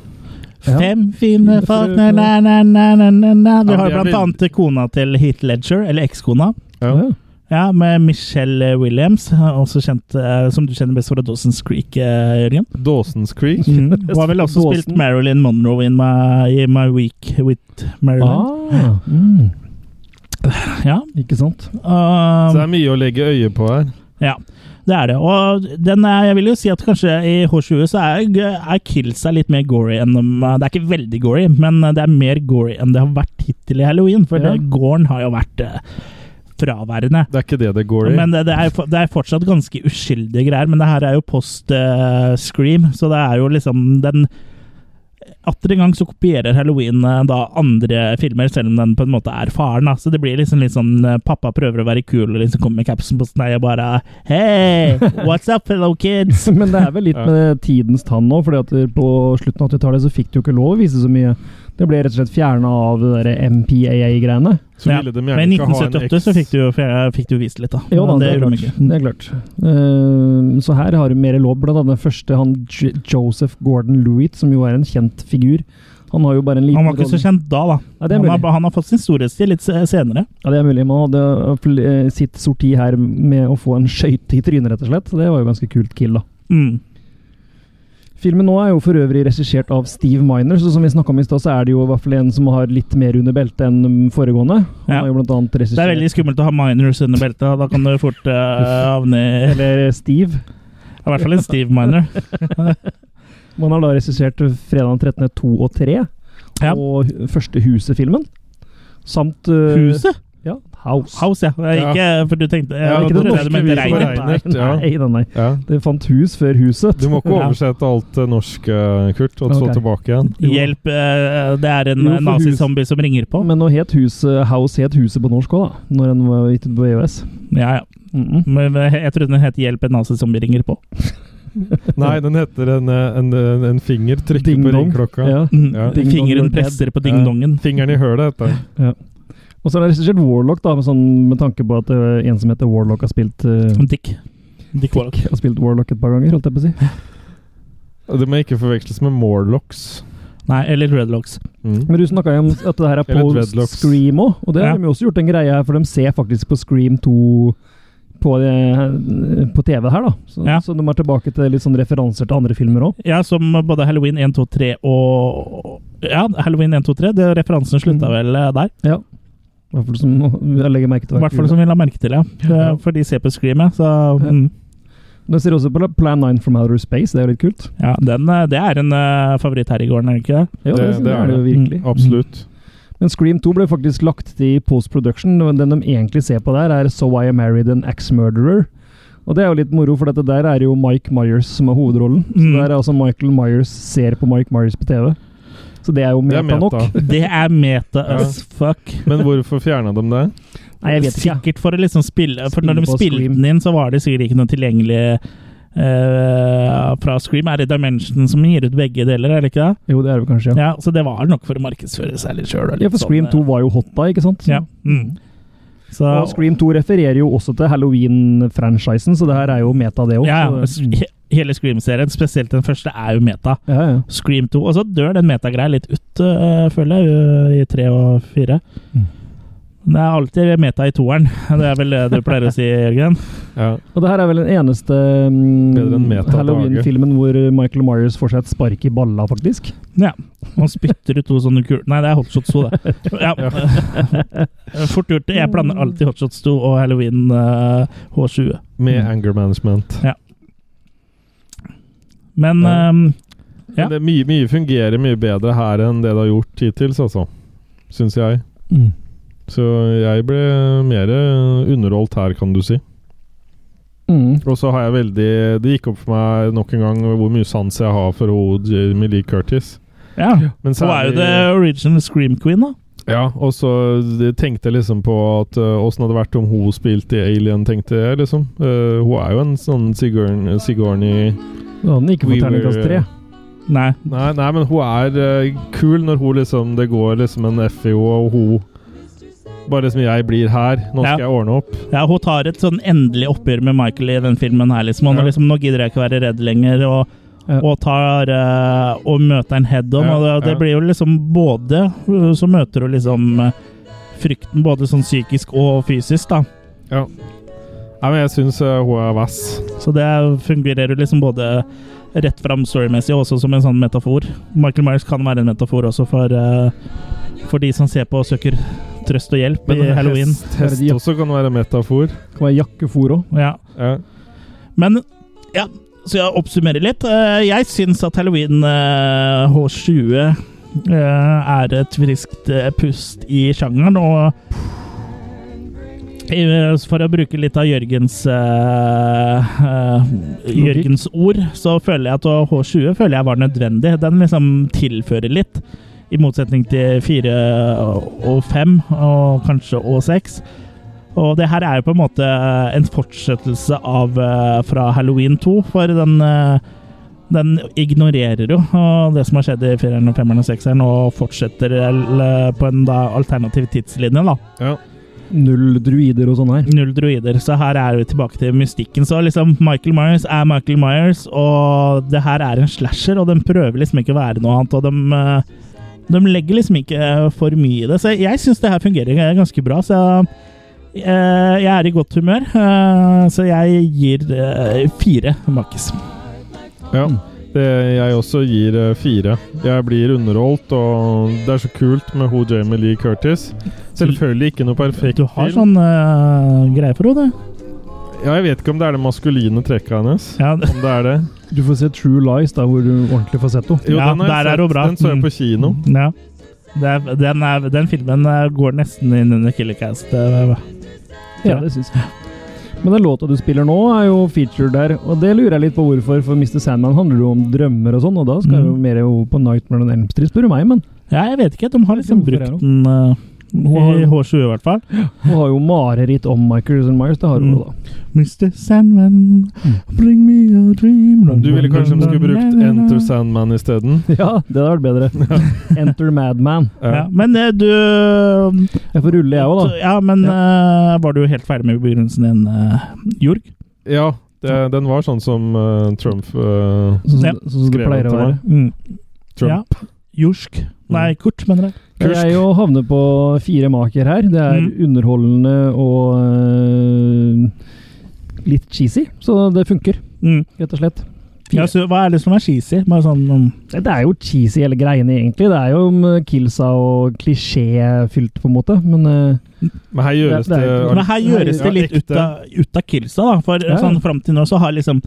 S1: Fem fine folk na, na, na, na, na, na, na. Vi
S2: Ja,
S1: har
S2: det er
S1: blant annet kona til Heath Ledger, eller ekskona.
S2: Ja.
S1: Ja, med Michelle Williams, også kjent, eh, som du kjenner best fra Dawson's Creek, eh, Jørgen.
S2: Dawson's Creek.
S1: Mm. Hun har vel også spilt Marilyn Monroe in my, in my Week with Marilyn.
S3: Ah, mm,
S1: Ja.
S3: ikke sant?
S1: Um,
S2: Så det er mye å legge øye på her.
S1: Ja, det er det. Og den er, jeg vil jo si at kanskje i H20 så er, er Kills er litt mer gory enn de- Det er ikke veldig gory, men eh, det er mer gory enn det har vært hittil i halloween. For
S2: Ja.
S1: det, gården har jo vært eh, fraværende.
S2: Det er ikke det det går i.
S1: Men det, det, er, for- det er fortsatt ganske uskyldige greier. Men det her er jo post eh, Scream, så det er jo liksom den Atter en gang så kopierer halloween eh, da andre filmer, selv om den på en måte er faren. da. Så det blir liksom litt sånn eh, pappa prøver å være kul og liksom kommer med capsen på snei og bare Hey, what's up, fellow
S2: [laughs]
S1: kids?
S3: [laughs] Men det er vel litt med tidens tann nå, fordi at på slutten av 80-tallet så fikk du jo ikke lov å vise så mye. Det ble rett og slett fjerna av det der MPAA-greiene.
S2: Så ville de
S1: Men i
S2: gjerne ikke ha en
S1: 1978
S2: eks
S1: så fikk du jo fikk du vist litt, da.
S3: Jo da,
S1: Men
S3: det er
S1: gjorde de
S3: klart.
S1: ikke.
S3: Det er klart. Eh, så her har du mer lov, blant annet den første, han J Joseph Gordon-Lewitt, som jo er en kjent figur. Han har jo bare en liten
S1: Han var ikke så
S3: rolle.
S1: kjent da, da.
S3: Nei, det er
S1: han, har,
S3: mulig.
S1: han har fått sin storhetstid litt se- senere.
S3: Ja, det er mulig. Man hadde eh, fl- eh, sitt sorti her med å få en skøyte i trynet, rett og slett. Så det var jo ganske kult kill, da.
S1: Mm.
S3: Filmen nå er jo for øvrig regissert av Steve Miner, så som vi snakka om i stad, så er det jo i hvert fall en som har litt mer under beltet enn mm, foregående. Han
S1: Ja.
S3: har jo blant annet
S1: Det er
S3: regissert
S1: veldig skummelt å ha minors under beltet. Da kan du fort eh, havne i
S3: Eller Steve.
S1: I hvert fall en Steve minor.
S3: Man har da regissert 'Fredag den 13. 2 og 3',
S1: Ja.
S3: og hu- første Huset-filmen. Samt eh,
S1: Huset?
S3: Ja, House.
S1: House, ja. Det er Ikke, for du tenkte
S2: Ja,
S1: jeg
S2: ikke
S1: trodde
S2: det
S1: du
S2: norske
S1: mente
S2: vi
S1: regnet.
S2: får regnet. ja.
S3: Nei, nei, nei.
S2: Ja.
S3: Det fant hus før huset.
S2: Du må ikke
S3: Ja.
S2: oversette alt det norske, Kurt, og så
S3: Ok.
S2: tilbake igjen.
S1: [laughs] Hjelp, eh, det er en
S3: Jo, for
S1: nazizombie som ringer på.
S3: Men nå het huset House het huset på norsk òg, da. Når den var gitt ut på E EØS.
S1: Ja, ja.
S3: Mm -mm.
S1: Men eh, jeg trodde den het 'Hjelp, en nazizombie ringer på'.
S2: Nei, den heter en, eh, en, en, en finger trykker
S3: Ding
S2: på
S3: dong.
S2: ringklokka.
S3: Ja.
S1: Mm.
S2: Ja.
S3: Ding
S1: Fingeren
S3: dong, you're
S1: presser på
S2: Ja.
S1: dingdongen.
S2: Fingeren i hølet heter den.
S3: Ja. Og så er det regissert Warlock, da, med, sånn, med tanke på at eh, en som heter Warlock har spilt eh,
S1: Dick. Dick Warlock.
S3: har spilt Warlock et par ganger, holdt jeg på å si.
S2: Og Det må ikke forveksles med Morlocks.
S1: Nei, eller Redlocks.
S2: Mm.
S3: Men du snakka jo om at det her er
S2: Eller
S3: på
S2: dreadlocks.
S3: Scream òg, og det har
S1: Ja.
S3: de jo også gjort en greie her, for de ser faktisk på Scream 2 på, eh, på TV her, da. Så,
S1: Ja.
S3: så de er tilbake til litt sånn referanser til andre filmer òg.
S1: Ja, som både Halloween 1, 2, 3 og Ja, Halloween 1, 2, 3. Det, referansen slutta vel eh, der.
S3: Ja. I hvert fall som jeg legger merke til.
S1: I
S3: hver
S1: hvert fall
S3: kule.
S1: som vi la merke til, ja.
S3: Ja.
S1: Det- For de ser på Screamet, så
S3: Ja.
S1: mm.
S3: De ser også på Plan 9 from Outer Space, det er jo litt kult.
S1: Ja, den, eh, det er en eh, favoritt her i gården, er det ikke det?
S3: Jo, det,
S2: Det- det
S3: er
S2: er
S3: det jo virkelig.
S2: Absolutt.
S3: Men Scream 2 ble faktisk lagt til i post-production. og Den de egentlig ser på der, er So I Am Married an Axe Murderer. Og det er jo litt moro, for dette der er jo Mike Myers som er hovedrollen. Så
S1: Mm.
S3: der er altså Michael Myers ser på Mike Myers på TV. Så det er jo
S2: Det er
S3: meta, nok.
S2: meta.
S1: Det er meta
S2: Ja.
S1: as fuck.
S2: Men hvorfor fjerna de det?
S3: Nei, jeg vet ikke.
S1: Sikkert for å liksom spille For når de
S3: Spille på
S1: spilte
S3: Scream.
S1: den inn, så var det sikkert ikke noe tilgjengelig eh, fra Scream. Er det Dimension som gir ut begge deler, er det ikke det?
S3: Jo, det er det kanskje.
S1: Ja,
S3: Ja,
S1: Så det var nok for å markedsføre seg litt sånn, sjøl.
S3: ja for Scream 2 var jo hot da, ikke sant?
S1: Ja. Mm. Så,
S3: Og Scream 2 refererer jo også til Halloween-franchisen, så det her er jo meta, det òg.
S1: ja, ja. he- Hele Scream-serien, spesielt den første, er jo meta.
S3: Ja, ja.
S1: Scream 2. Og så dør den metagreia litt ut, øh, føler jeg, øh, i tre og fire.
S3: Mm.
S1: Det er alltid meta i toeren. [laughs] Det er vel det du pleier å si, Jørgen?
S2: Ja.
S3: Og det her er vel den eneste
S2: Bedre enn
S3: mm,
S2: meta på
S3: Halloween-filmen hvor Michael Myers får seg et spark i balla, faktisk.
S1: Ja. Man spytter ut to sånne kuler Nei, det er hotshots 2, det. Ja. [laughs] Fort gjort. det. Jeg blander alltid hotshots 2 og halloween øh, H20.
S2: Med
S3: Mm.
S2: anger management.
S1: Men ehm,
S2: Ja.
S1: øhm, Ja.
S2: Men Det er mye, mye fungerer mye bedre her enn det det har gjort hittils, altså. Syns jeg.
S3: Mm.
S2: Så jeg ble mer eh, underholdt her, kan du si.
S3: Mm.
S2: Og så har jeg veldig Det gikk opp for meg nok en gang hvor mye sans jeg har for hun Jamie Lee Curtis.
S1: ja.
S2: Men
S1: Hun er jo the original Scream Queen, da.
S2: Ja, og så tenkte jeg liksom på at åssen hadde det vært om hun spilte i Alien, tenkte jeg liksom. Eh, hun er jo en sånn Sigourn, Sigourney
S3: Da hadde den ikke
S2: We
S3: fått terningkast
S2: were-
S3: tre.
S1: Nei.
S2: Nei, nei, men hun er eh, kul når hun liksom Det går liksom en FIO, og hun Bare liksom Jeg blir her. Nå
S1: Ja.
S2: skal jeg ordne opp.
S1: Ja, hun tar et sånn endelig oppgjør med Michael i den filmen her, liksom. Og nå,
S2: Ja.
S1: liksom, nå gidder jeg ikke være redd lenger, og, og, tar, eh, og møter en head on.
S2: Ja,
S1: og det, det
S2: ja.
S1: blir jo liksom både Så møter du liksom eh, frykten både sånn psykisk og fysisk, da.
S2: Ja. Nei, men jeg syns hun er vass.
S1: Så det fungerer jo liksom både rett fram storymessig og også som en sånn metafor. Michael Myers kan være en metafor også for, eh, for de som ser på og søker trøst og hjelp
S2: Men
S1: i halloween.
S2: hest, hest også kan være metafor.
S3: Kan være jakkefor òg.
S1: Ja.
S2: Ja.
S1: Men ja, så jeg oppsummerer litt. Eh, Jeg syns at halloween eh, H20 eh, er et friskt eh, pust i sjangeren, og eh, for å bruke litt av Jørgens eh, eh, Jørgens ord, så føler jeg at H20 føler jeg var nødvendig. Den liksom tilfører litt, i motsetning til 4 og 5, og kanskje og 6. Og det her er jo på en måte eh, en fortsettelse av eh, fra Halloween 2, for den, eh, den ignorerer jo eh, det som har skjedd i 4-eren, 5-eren og 6-eren, og fortsetter eh, på en da, alternativ tidslinje, da.
S3: Null druider og sånn her.
S1: Null druider, så her er vi tilbake til mystikken. Så liksom, Michael Myers er Michael Myers, og det her er en slasher, og den prøver liksom ikke å være noe annet, og de, eh, de legger liksom ikke eh, for mye i det. Så jeg syns det her fungerer eh, ganske bra, så eh, jeg er i godt humør. eh, Så jeg gir eh, fire makkis.
S2: Ja.
S1: Mm.
S2: Det jeg også gir eh, fire. Jeg blir underholdt, og det er så kult med hun Jamie Lee Curtis. Selvfølgelig ikke noe perfekt
S1: Du har
S2: film.
S1: sånn uh, greie for henne, du.
S2: Ja, jeg vet ikke om det er det maskuline trekket hennes. Om det er det.
S3: Du får se True Lies, da hvor du ordentlig får sett henne.
S2: Jo, den
S1: der
S2: har jeg
S1: er
S2: sett.
S1: hun bra.
S2: Den så jeg på kino.
S1: Ja. Det er, den, er, den filmen eh, går nesten inn under Killer Cast. eh,
S3: Ja, det syns jeg. Men den låta du spiller nå, er jo feature der, og det lurer jeg litt på hvorfor. For Mr. Sandman handler jo om drømmer og sånn, og da skal
S1: Mm.
S3: jo mer over på Nightmare on Elm Street, spør du meg, men
S1: Ja, jeg vet ikke. De har liksom
S3: Jeg vet ikke
S1: brukt den eh, i H20 i hvert fall.
S3: hun har jo mareritt om Michael Myers, det har
S1: Mm.
S3: hun jo da.
S1: Mr. Sandman, bring me a dream
S2: Du ville kanskje de skulle brukt Enter Sandman isteden?
S3: Ja, det hadde vært bedre. [laughs] Enter Madman.
S1: Ja, men eh, du
S3: Jeg får rulle, jeg òg, da.
S1: Ja, men eh, var du helt ferdig med begrunnelsen din, eh, Jorg?
S2: Ja, det, den var sånn som eh, Trump eh,
S3: Sånn som,
S1: Ja.
S3: sånn som det
S2: Skrevet
S3: pleier å
S2: til
S3: være.
S2: meg.
S1: Mm.
S2: Trump. Mm.
S1: Ja. Jorsk. Nei, Kurt, mener jeg.
S3: Jeg jo havner på fire maker her. Det
S1: Mm.
S3: er underholdende og øh, litt cheesy, så det funker,
S1: Mm.
S3: rett og slett.
S1: Ja, så, hva er det som er cheesy? Bare sånn um,
S3: Det det er jo cheesy hele greiene, egentlig. Det er jo om eh, killsa og klisjéfylt, på en måte. Men eh,
S2: Men her gjøres det,
S3: Det- det er jo ikke-
S1: Men her gjøres det litt ut av, ut av killsa, da. For
S3: Ja.
S1: sånn fram til nå så har liksom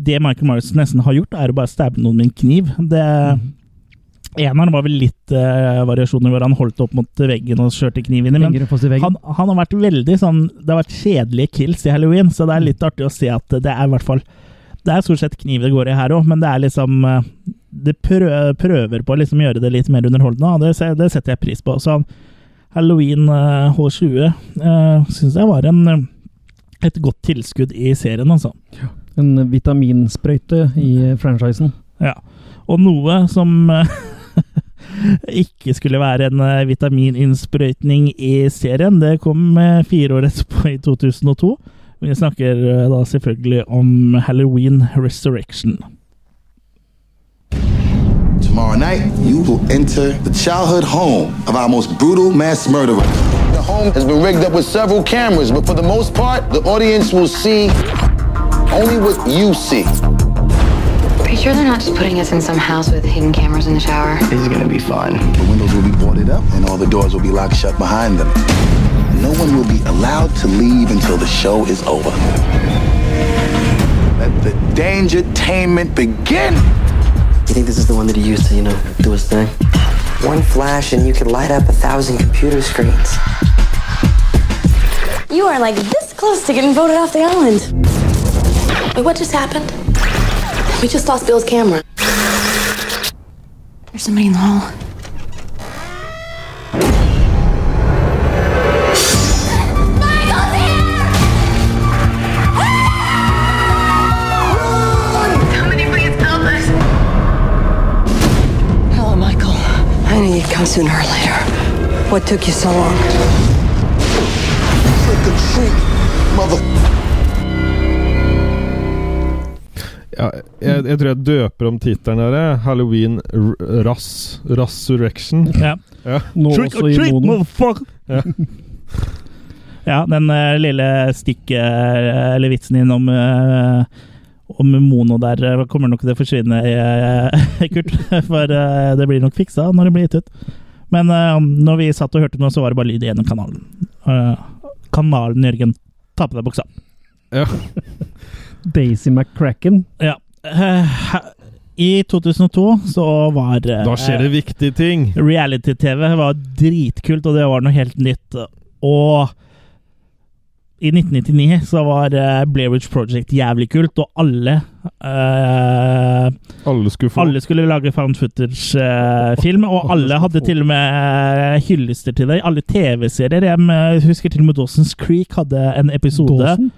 S1: Det Michael Myers nesten har gjort, er å bare stabbe noen med en kniv. Det
S3: Mhm.
S1: Eneren var vel litt eh, variasjoner hvor han holdt opp mot veggen og kjørte kniv inn i, men
S3: fingeren fast i
S1: han,
S3: veggen.
S1: han har vært veldig sånn Det har vært kjedelige kills i halloween, så det er litt artig å se at det er i hvert fall Det er stort sett kniv det går i her òg, men det er liksom eh, Det prø- prøver på å liksom gjøre det litt mer underholdende, og det, se- det setter jeg pris på. Så han- halloween eh, H20 syns jeg var en eh, et godt tilskudd i serien, altså.
S3: En vitaminsprøyte i eh, franchisen.
S1: Ja. Og noe som eh, [laughs] ikke skulle være en eh, vitamininnsprøytning i serien, det kom eh, fire år etterpå, i 2002. Vi snakker eh, da selvfølgelig om Halloween Resurrection.
S20: Tomorrow night, you will enter the childhood home of our most brutal mass murderer. The home has been rigged up with several cameras, but for the most part, the audience will see only what you see.
S11: Are you sure they're not just putting us in some house with hidden cameras in the shower?
S20: This is gonna be fun. The windows will be boarded up, and all the doors will be locked shut behind them. No one will be allowed to leave until the show is over. Let the dangertainment begin.
S21: You think this is the one that he used to, you know, do his thing? One flash and you could light up a thousand computer screens.
S11: You are like this close to getting voted off the island. Wait, what just happened? We just lost Bill's camera. There's somebody in the hall.
S5: Somebody please help us.
S11: Hello, Michael. I knew you'd come sooner or later. What took you so long?
S20: Trick or treat, mother.
S2: jeg, jeg, jeg tror jeg døper om tittelen her. jeg. Halloween R- Rass Rassurrection.
S1: Ja.
S2: Ja.
S3: Nå også i moden.
S1: motherfucker!
S2: Ja.
S1: Ja, den eh, lille stikket eh, eller vitsen din om, eh, om Mono der eh, kommer nok til å forsvinne, eh, [laughs] Kurt. For eh, det blir nok fiksa når det blir gitt ut. Men eh, når vi satt og hørte noe, så var det bare lyd i ene kanalen. Eh, kanalen, Jørgen. Ta på deg buksa.
S2: Ja.
S3: Daisy McCracken.
S1: Ja. Eh, hæ- I 2002 så var eh,
S2: Da skjer det viktige ting!
S1: Reality-TV var dritkult, og det var noe helt nytt. Og i 1999 så var eh, Blair Witch Project jævlig kult, og alle eh,
S2: Alle skulle få.
S1: Alle skulle lage found footage-film, og alle hadde til og med eh, hyllester til det. i Alle TV-serier. Jeg eh, husker til og med Dawson's Creek hadde en episode
S3: Dawson?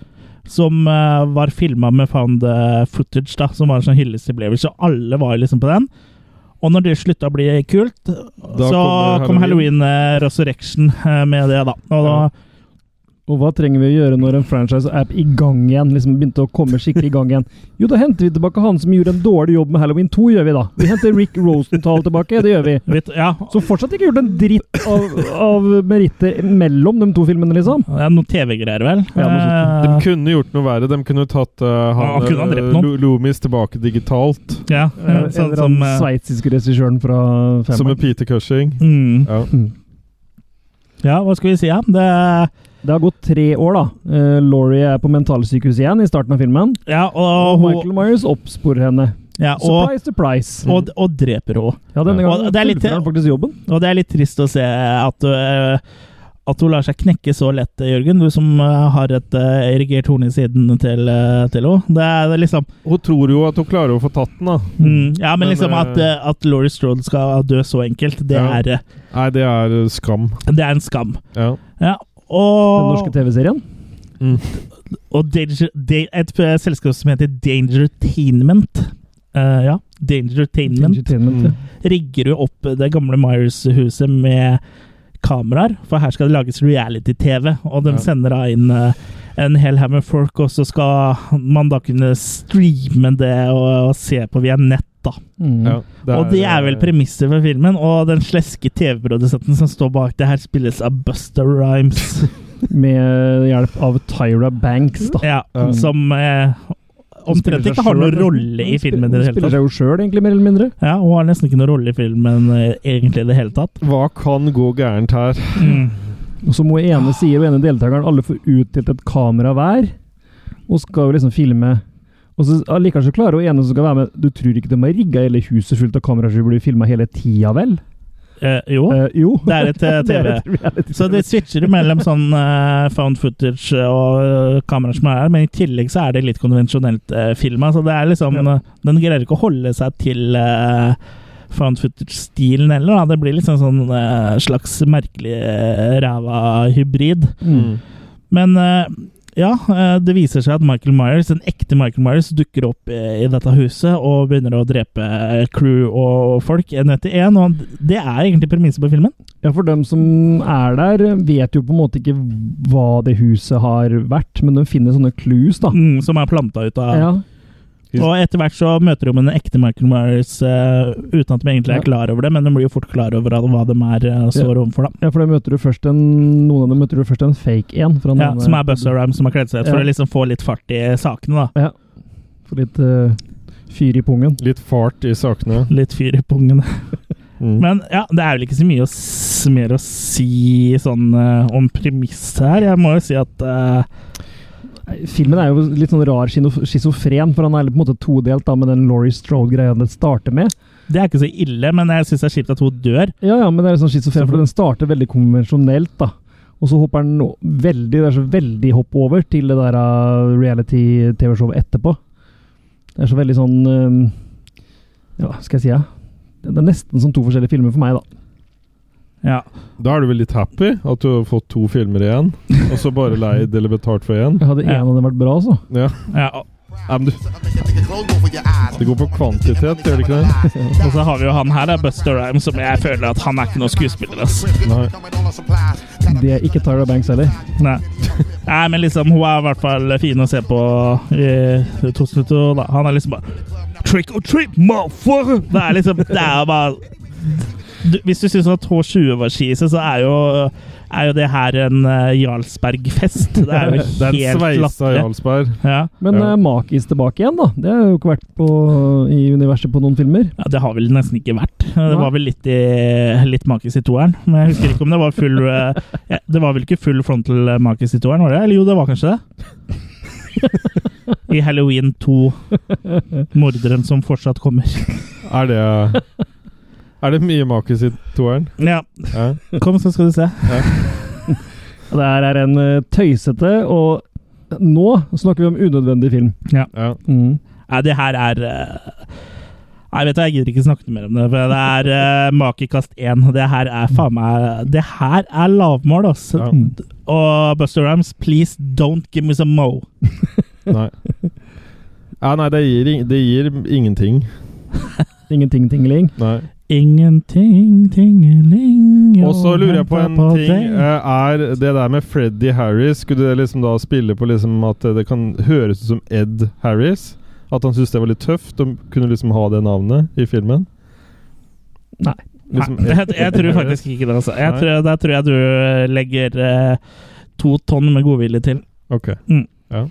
S1: som eh, var filma med found eh, footage, da, som var en sånn hyllest til Blair Witch, og alle var liksom på den. Og når det slutta å bli kult, så
S2: kommer
S1: kom Halloween eh, Resurrection eh, med det, da. Og da
S3: Og hva trenger vi å gjøre når en franchise er i gang igjen? Liksom begynte å komme skikkelig i gang igjen. Jo, da henter vi tilbake han som gjorde en dårlig jobb med Halloween 2, gjør vi da. Vi henter Rick Rosenthal tilbake, det gjør vi.
S1: Vet- ja,
S3: Så fortsatt ikke gjort en dritt av, av meritter mellom de to filmene, liksom.
S1: det er noen TV-greier, vel?
S3: Ja, noe sånt.
S1: Eh,
S2: De kunne gjort noe verre. De kunne tatt eh, han,
S1: Ja, kunne han drept
S2: eh,
S1: noen?
S2: Lu- Loomis tilbake digitalt.
S1: ja, eh,
S3: Eller
S1: sånn
S3: han
S1: som eh,
S3: sveitsiske regissøren fra
S2: Som
S3: Femmeren.
S2: med Peter Cushing.
S1: mm.
S2: Ja.
S1: Ja, hva skal vi si? Ja? Det,
S3: Det har gått tre år, da. Eh, Laurie er på mentalsykehus igjen i starten av filmen.
S1: ja,
S3: Og
S1: og,
S3: Michael Myers oppsporer henne.
S1: ja, og,
S3: Surprise, surprise.
S1: og, og dreper henne.
S3: ja, denne
S1: og
S3: gangen
S1: det er litt-
S3: fullfører han faktisk jobben.
S1: Og det er litt trist å se at, øh, at hun lar seg knekke så lett, Jørgen. Du som øh, har et øh, erigert horn i siden til, øh, til henne. Det er det er liksom
S2: Hun tror jo at hun klarer å få tatt den, da.
S1: mm, Ja, men
S2: Men,
S1: liksom at,
S2: øh,
S1: øh, at Laurie Strode skal dø så enkelt, det,
S2: Ja.
S1: er, øh,
S2: Nei, det er eh, skam.
S1: det er en skam.
S2: Ja.
S1: Ja,
S3: Den norske
S1: og
S3: TV-serien.
S1: og Danger, da- et øh, selskap som heter Dangertainment. Uh, ja, Dangertainment.
S3: Entertainment,
S2: Mm.
S3: ja.
S1: rigger du opp det gamle Myers-huset med kameraer, for her skal det lages reality-TV, og de
S2: Ja.
S1: sender da inn eh, en hel haug med folk, og så skal man da kunne streame det og, og se på via nett, da.
S3: Mm.
S2: Ja,
S1: og det er vel
S2: eh,
S1: premisset for filmen, og den sleske TV-produsenten som står bak det her, spilles av Buster Rhymes,
S3: Med hjelp av Tyra Banks, da.
S1: ja,
S2: Ja.
S1: som eh, omtrent Mm. ikke har noen rolle i filmen i det hele tatt.
S3: Spiller seg jo sjøl, egentlig, mer eller mindre.
S1: Ja, hun har nesten ikke noen rolle i filmen eh, egentlig i det hele tatt.
S2: Hva kan gå gærent her?
S3: Mm. Og så må ene side og ene deltakeren alle få utdelt et kamera hver, og skal jo liksom filme. Og så allikevel så klarer hun ene som skal være med Du tror ikke de har rigga hele huset fullt av kameraer så de blir filma hele tida, vel?
S1: Eh, jo.
S3: Eh, jo.
S1: Det er et eh,
S3: [laughs] Det er
S1: TV.
S3: et reality.
S1: Så det switcher mellom sånn eh, found footage og eh, kameraer som er her, men i tillegg så er det litt konvensjonelt uh, filma. Så det er liksom
S3: Ja.
S1: eh, Den greier ikke å holde seg til eh, found footage-stilen heller. Da. Det blir liksom sånn eh, slags merkelig eh, ræva hybrid.
S3: Mm.
S1: Men eh, ja, eh, det viser seg at Michael Myers, en ekte Michael Myers, dukker opp eh, i dette huset og begynner å drepe eh, crew og folk en etter en, og det er egentlig premisset på filmen.
S3: Ja, for dem som er der, vet jo på en måte ikke hva det huset har vært, men de finner sånne clues, da.
S1: Mm, som er planta ut av
S3: Ja.
S1: Og etter hvert så møter de en ekte Michael Myers eh, uten at de egentlig er klar over det, men de blir jo fort klar over at- hva de er eh, står overfor, da.
S3: ja, for da møter du først en Noen av dem møter du først en fake en. Fra
S1: Ja,
S3: noen-
S1: som er Buzzer Rhyme som har kledd seg ut, for å
S3: Ja.
S1: liksom få litt fart i sakene, da.
S3: Får litt eh, fyr i pungen.
S2: Litt fart i sakene.
S1: Litt fyr i pungen.
S2: Mm.
S1: Men ja, det er vel ikke så mye å s mer å si sånn eh, om premisset her. Jeg må jo si at eh,
S3: Nei, Filmen er jo litt sånn rar skino- schizofren, for han er litt på en måte todelt da, med den Laurie Strode-greia det starter med.
S1: det er ikke så ille, men jeg syns det er kjipt at hun dør.
S3: Ja, ja, men det er sånn schizofren, for den starter veldig konvensjonelt, da. Og så hopper den o- veldig, det er så veldig hopp over til det der eh, reality-TV-showet etterpå. Det er så veldig sånn eh, Ja, hva skal jeg si? Ja? Det det er nesten som to forskjellige filmer for meg, da.
S1: Ja.
S2: Da er du vel litt happy at du har fått to filmer igjen, og så bare leid eller betalt for én?
S3: Jeg hadde en
S1: Ja.
S3: av dem vært bra, altså.
S2: Ja.
S1: ja.
S2: Ja, men du,
S5: Take a close over your eyes.
S2: Det går på kvantitet, gjør det ikke det?
S1: Og så har vi jo han her, da, Buster Rhyme, som jeg føler at han er ikke noen skuespiller. altså. ass.
S3: Det er ikke Tyra Banks heller.
S1: Nei. Nei, men liksom, hun er i hvert fall fin å se på i 2002. Da. Han er liksom bare Trick or treat, motherfucker! Det er liksom Det er jo bare du, Hvis du syns at H20 var skise, så er jo er jo det her en eh, Jarlsberg-fest. Det er jo
S2: [laughs] Det er en
S1: helt
S2: sveisa
S1: latterlig.
S2: Jarlsberg.
S1: Ja.
S3: Men
S2: Ja.
S3: eh, Makis tilbake igjen, da. Det har jo ikke vært på, i universet på noen filmer.
S1: Ja, det har vel nesten ikke vært. Det var vel litt, i, litt makis i toeren. Men jeg husker ikke om det var full eh, ja, Det var vel ikke full frontal eh, makis i toeren, var det? Eller jo, det var kanskje det? I Halloween 2, 'Morderen som fortsatt kommer'.
S2: Er det Er det mye makis i toeren?
S1: Ja.
S2: Ja.
S1: Kom, så skal du se.
S3: Det her er en eh, tøysete og Nå snakker vi om unødvendig film.
S1: Ja.
S2: Ja.
S3: Mm.
S1: Nei, det her er eh, Nei, vet du, jeg gidder ikke snakke mer om det. For det er uh, makekast én. Det her er faen meg Det her er lavmål, altså.
S2: Ja.
S1: Og Buster Rams, please don't give me some mo.
S2: Nei. Ja, nei, det gir, ing- det gir ingenting.
S3: Ingenting tingling.
S2: Nei.
S1: Ingenting, tingeling
S2: Og så lurer jeg på en
S1: venter
S2: ting.
S1: deg.
S2: eh, Er det der med Freddy Harris Skulle det liksom da spille på liksom at det kan høres ut som Ed Harris? At han syntes det var litt tøft? De kunne liksom ha det navnet i filmen?
S3: Nei.
S2: Liksom
S1: Nei,
S2: Ed-
S1: jeg, [laughs] jeg tror faktisk ikke det. Altså. Jeg
S2: Nei.
S1: tror, der tror jeg du legger eh, to tonn med godvilje til.
S2: Ok.
S1: Mm.
S2: Ja.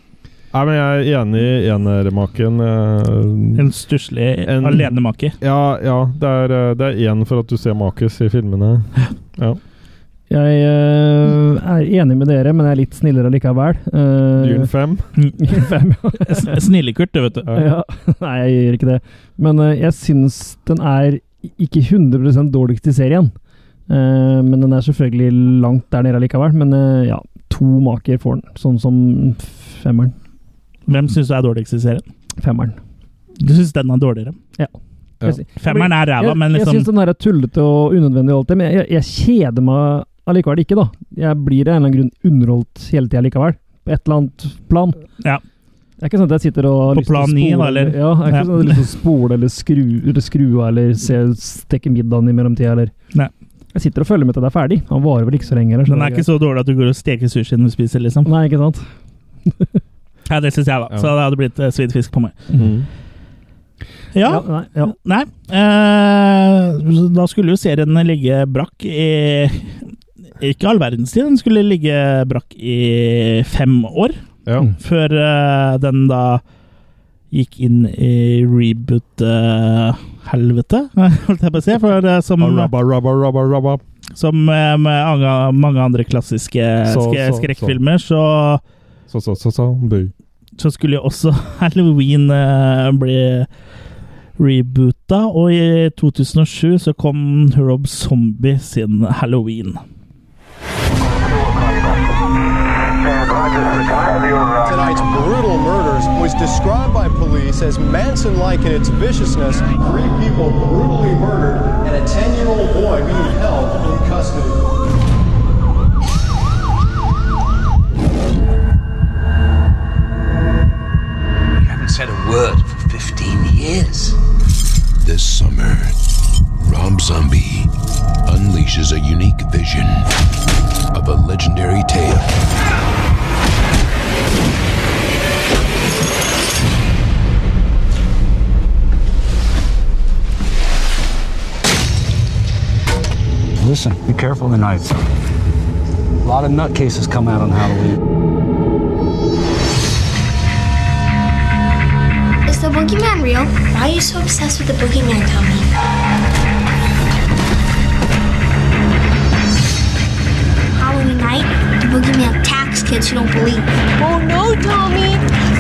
S2: Nei, men jeg er enig i enermaken. eh,
S1: En stusslig
S2: En-
S1: alenemake.
S2: Ja, ja. Det er, eh, det er én for at du ser makis i filmene. Ja.
S3: Jeg eh, er enig med dere, men jeg er litt snillere likevel. Eh, [laughs]
S2: Dune 5.
S3: Dune fem, [laughs] ja.
S1: S- Snillekurt, det, vet du.
S2: Ja.
S3: ja. [laughs] Nei, jeg gjør ikke det. Men eh, jeg syns den er ikke 100 dårligst i serien. Eh, men den er selvfølgelig langt der nede likevel. Men eh, ja, to maker får den. Sånn som femmeren.
S1: Hvem syns du er dårligst i serien?
S3: Femmeren.
S1: Du syns den er dårligere?
S3: Ja.
S2: Ja.
S3: Jeg sy-
S1: Femmeren er ræva,
S3: Jeg,
S1: men
S3: jeg
S1: liksom
S3: syns den her er tullete og unødvendig, og alt det, men jeg, jeg kjeder meg allikevel ikke, da. Jeg blir av en eller annen grunn underholdt hele tida likevel. På et eller annet plan.
S1: Ja.
S3: Det er ikke sånn at jeg sitter og har
S1: På
S3: lyst til å
S1: plan ni,
S3: spole-
S1: da, eller?
S3: Ja, det er ikke
S1: Ja.
S3: sånn at jeg har lyst til å spole eller skru, eller skru av eller se, stekke middagen i mellomtida, eller
S1: Nei.
S3: Jeg sitter og følger med til det er ferdig. Han varer vel ikke så lenge, eller? sånn
S1: Den er ikke så dårlig at du går og steker sushi når du spiser, liksom.
S3: Nei, ikke sant?
S1: Ja, det syns jeg, da. Så det hadde blitt uh, svidd fisk på meg.
S2: Mm.
S1: Ja,
S3: nei, ja.
S1: Nei. eh, da skulle jo serien ligge brakk i Ikke all verdens tid, den skulle ligge brakk i fem år.
S2: Ja.
S1: Før eh, den da gikk inn i reboot-helvete, [laughs] holdt jeg på å si. For eh, som,
S2: Arabba, rabba, rabba, rabba.
S1: som eh, med anga, mange andre klassiske ske-
S2: Så, så, så.
S1: skrekkfilmer, så
S2: Så, så, så, så. Bøy.
S1: så skulle jo også [laughs] Halloween eh, bli reboota, og i 2007 så kom Rob Zombie sin Halloween.
S22: Tonight's brutal murders was described by police as Manson like in its viciousness. Three people brutally murdered and a 10 year old boy being held in custody.
S5: You haven't said a word for 15 years.
S12: This summer, Rob Zombie unleashes a unique vision of a legendary tale.
S23: Listen, be careful tonight. A lot of nutcases come out on Halloween.
S18: Is the boogeyman real? Why are you so obsessed with the boogeyman, Tommy? Halloween night, the boogeyman attacks kids who don't believe. Oh no, Tommy!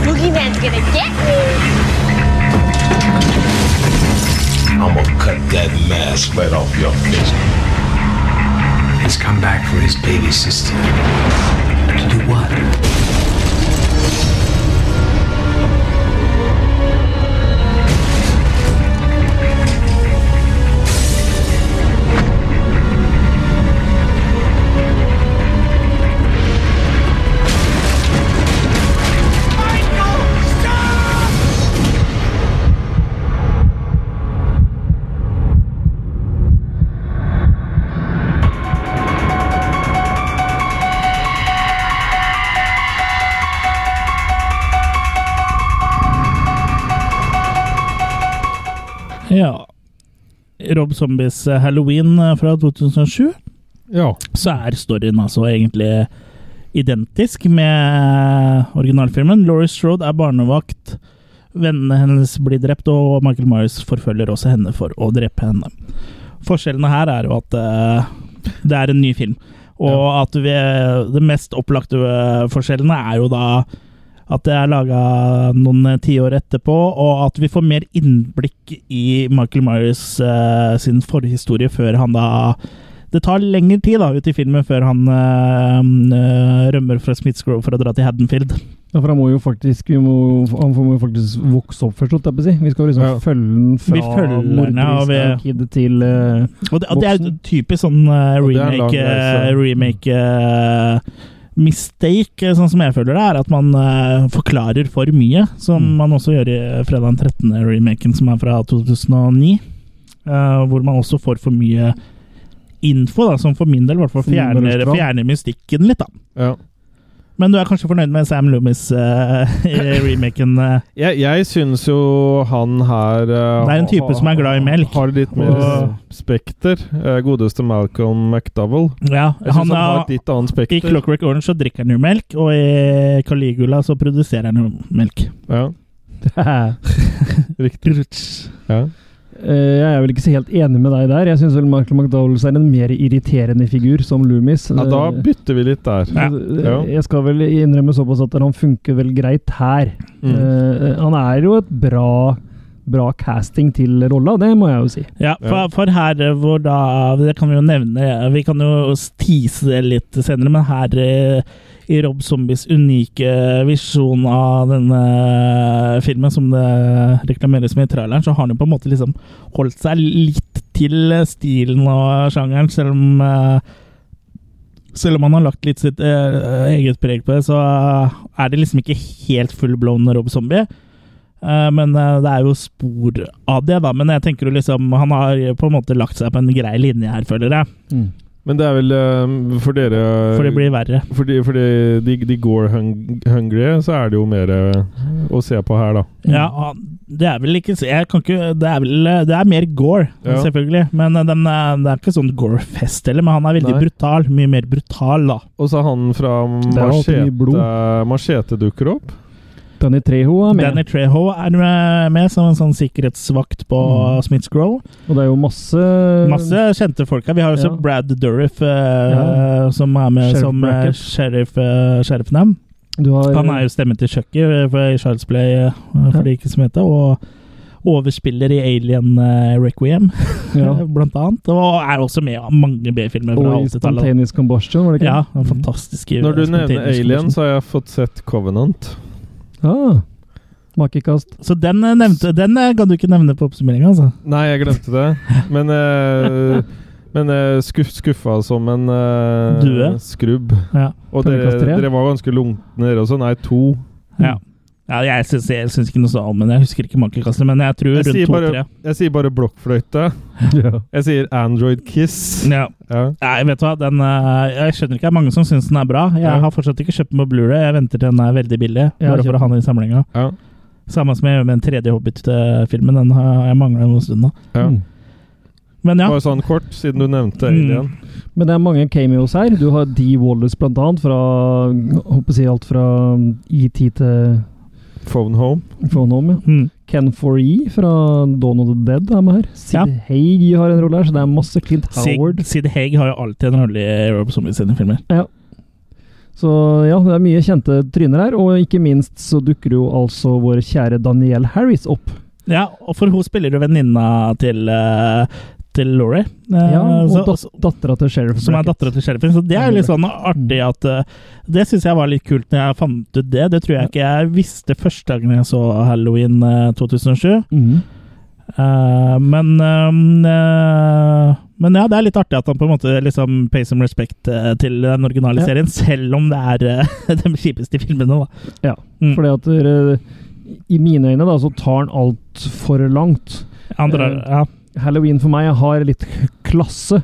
S18: Boogeyman's gonna get me!
S12: I'm gonna cut that mask right off your face.
S23: He's come back for his baby sister. To do what?
S1: Ja. Rob Zombies eh, Halloween eh, fra 2007. Så er storyen altså egentlig identisk med originalfilmen. Laurie Strode er barnevakt. Vennene hennes blir drept, og Michael Myers forfølger også henne for å drepe henne. Forskjellene her er jo at eh, det er en ny film. Og at vi, det mest opplagte eh, forskjellene er jo da at det er laga noen eh, tiår etterpå, og at vi får mer innblikk i Michael Myers eh, sin forhistorie før han da Det tar lengre tid da ut i filmen før han eh, eh, rømmer fra Smiths Grove for å dra til Haddonfield.
S3: Ja, for han må jo faktisk vi må, Han må jo faktisk vokse opp først, holdt jeg på å si. Vi skal jo liksom
S1: Ja.
S3: følge den fra
S1: Vi følger den, ja, og vi-
S3: morderisk kid til eh, [laughs]
S1: Og det, og det er jo
S3: voksen.
S1: typisk sånn eh,
S3: Og det er en lang
S1: remake, eh,
S3: reise. Mm.
S1: remake eh, mistake, eh, sånn som jeg føler det, er at man eh, forklarer for mye. Som
S3: Mm.
S1: man også gjør i fredag den 13. remaken, som er fra 2009. eh, hvor man også får for mye info, da, som for min del i hvert fall
S2: Som går
S1: fjerner,
S2: øst fra.
S1: fjerner mystikken litt. da. Men du er kanskje fornøyd med Sam Loomis eh, [laughs] i remaken? eh?
S2: Jeg, jeg syns jo han her eh,
S1: Det er en type
S2: ha-
S1: som er glad i melk.
S2: Har litt mer
S1: Og-
S2: spekter. Eh, Godeste Malcolm McDowell.
S1: Ja,
S2: Jeg synes han,
S1: er-
S2: har et litt annet spekter.
S1: I Clockwork Orange så drikker han jo melk, og i Caligula så produserer han jo melk.
S2: Ja.
S1: Riktig.
S2: Ja.
S3: Eh, jeg er vel ikke så helt enig med deg der. Jeg syns vel Michael McDowells er en mer irriterende figur som Loomis.
S2: ja, da bytter vi litt der.
S3: Eh,
S2: Ja.
S3: Jeg skal vel innrømme såpass at han funker vel greit her.
S2: Mm.
S3: Eh, han er jo et bra, bra casting til rolla, det må jeg jo si.
S1: Ja, for, for her eh, hvor da Det kan vi jo nevne. eh, Vi kan jo tease det litt senere, men her eh, i Rob Zombies unike eh, visjon av denne filmen, som det reklameres med i traileren, så har han jo på en måte liksom holdt seg litt til eh, stilen og sjangeren, selv om eh, selv om han har lagt litt sitt eh, eget preg på det, så er det liksom ikke helt full-blown Rob Zombie. Eh, men eh, det er jo spor av det, da. Men jeg tenker jo liksom Han har på en måte lagt seg på en grei linje her, føler jeg.
S2: Men det er vel eh, for dere
S1: For det blir verre.
S2: Fordi, fordi de, de går hung hungry, så er det jo mer eh, å se på her, da.
S3: Mm.
S1: Ja, han- det er vel ikke Jeg kan ikke Det er vel eh, Det er mer gore,
S2: Ja.
S1: selvfølgelig. Men eh, den, er- det er ikke sånn gore-fest heller. Men han er veldig
S2: Nei.
S1: brutal. Mye mer brutal, da.
S2: Og så han fra
S1: er alltid mye
S2: Machete, machete dukker opp.
S3: Danny Treho er med.
S1: Danny Treho er med, med som en sånn sikkerhetsvakt på
S3: Mm.
S1: Smiths Grove.
S3: Og det er jo masse
S1: Masse kjente folk her. Vi har jo også
S3: Eh, Ja.
S1: Brad Dourif, eh, som er med
S3: Sheriff
S1: som eh,
S3: Brackett.
S1: sheriff, eh, sheriffen dem.
S3: Du har,
S1: Han er jo stemmen til Chucky eh, for- i Child's Play, eh, for de ikke som heter, og overspiller i Alien eh, Requiem, [laughs]
S3: Ja.
S1: blant annet. Og er også med i mange B-filmer fra
S3: Og i
S1: 80-tallet.
S3: Spontaneous Mhm. Combustion, sånn var det ikke
S1: Ja,
S3: det?
S1: den fantastiske
S2: Når du nevner
S1: Spontaneous
S2: Alien,
S1: Combustion.
S2: så har jeg fått sett Covenant.
S3: Ah,
S1: [laughs]
S3: Makekast.
S1: Så den, eh, nevnte, den eh, kan du ikke nevne på oppsummeringa, altså.
S2: Nei, jeg glemte
S1: [laughs]
S2: det. Men, eh, men eh, skuff, skuffa som en eh,
S1: Due.
S2: skrubb.
S1: Ja.
S2: Og dere,
S1: Terningkast tre.
S2: dere var ganske lunkne, dere også. Nei, to.
S3: Mhm.
S1: Ja. ja jeg syns jeg syns ikke noe så om den. Jeg husker ikke Mankelkassen, men jeg tror
S2: Jeg sier,
S1: rundt
S2: bare,
S1: to-tre.
S2: jeg sier bare blokkfløyte. Jeg sier Android Kiss.
S1: Ja. Nei, vet du hva? Den, eh, jeg skjønner ikke det er mange som syns den er bra. Jeg
S2: Ja.
S1: har fortsatt ikke kjøpt den på Blu-ray. Jeg venter til den er veldig billig,
S3: Ja,
S1: bare
S3: kjøp
S1: for å ha den i samlinga.
S2: Ja.
S1: Samme som jeg gjør med den tredje Hobbit-filmen. Den har jeg mangla en god stund nå.
S2: Ja.
S1: Men Mm. ja.
S2: Bare sånn kort, siden du nevnte
S1: Mm.
S2: Alien.
S3: Men det er mange cameos her. Du har Dee Wallace blant annet, fra jeg håper å si alt fra ET til
S2: Phone Home.
S3: Phone Home. Ja.
S1: Mm.
S3: Ken Foree fra Dawn of the Dead er med her. Sid Haig har en rolle her, så det er masse Clint Howard.
S1: Sig, Sid Haig har jo alltid en rolle i Rob Zombie sine filmer.
S3: Ja. Så ja, det er mye kjente tryner her, og ikke minst så dukker jo altså vår kjære Danielle Harris opp.
S1: Ja, og for hun spiller jo venninna til eh, til Laurie. Eh,
S3: Ja, og
S1: så-
S3: dat dattera til Mm. Sheriff.
S1: som er
S3: Brackett.
S1: dattera til sheriffen. Så det er jo litt sånn artig at eh, Det syns jeg var litt kult når jeg fant ut det. Det tror jeg ikke jeg visste første gangen jeg så Halloween eh, 2007.
S3: Mhm.
S1: Eh, men ehm, eh, Men ja, det er litt artig at han på en måte liksom pay some respect eh, til den originale
S3: Ja.
S1: serien, selv om det er eh, [laughs] de kjipeste filmene, da. Mm.
S3: Ja, fordi at dere- i mine øyne da, så tar han alt for langt.
S1: Han drar-
S3: Eh, Halloween for meg har litt klasse,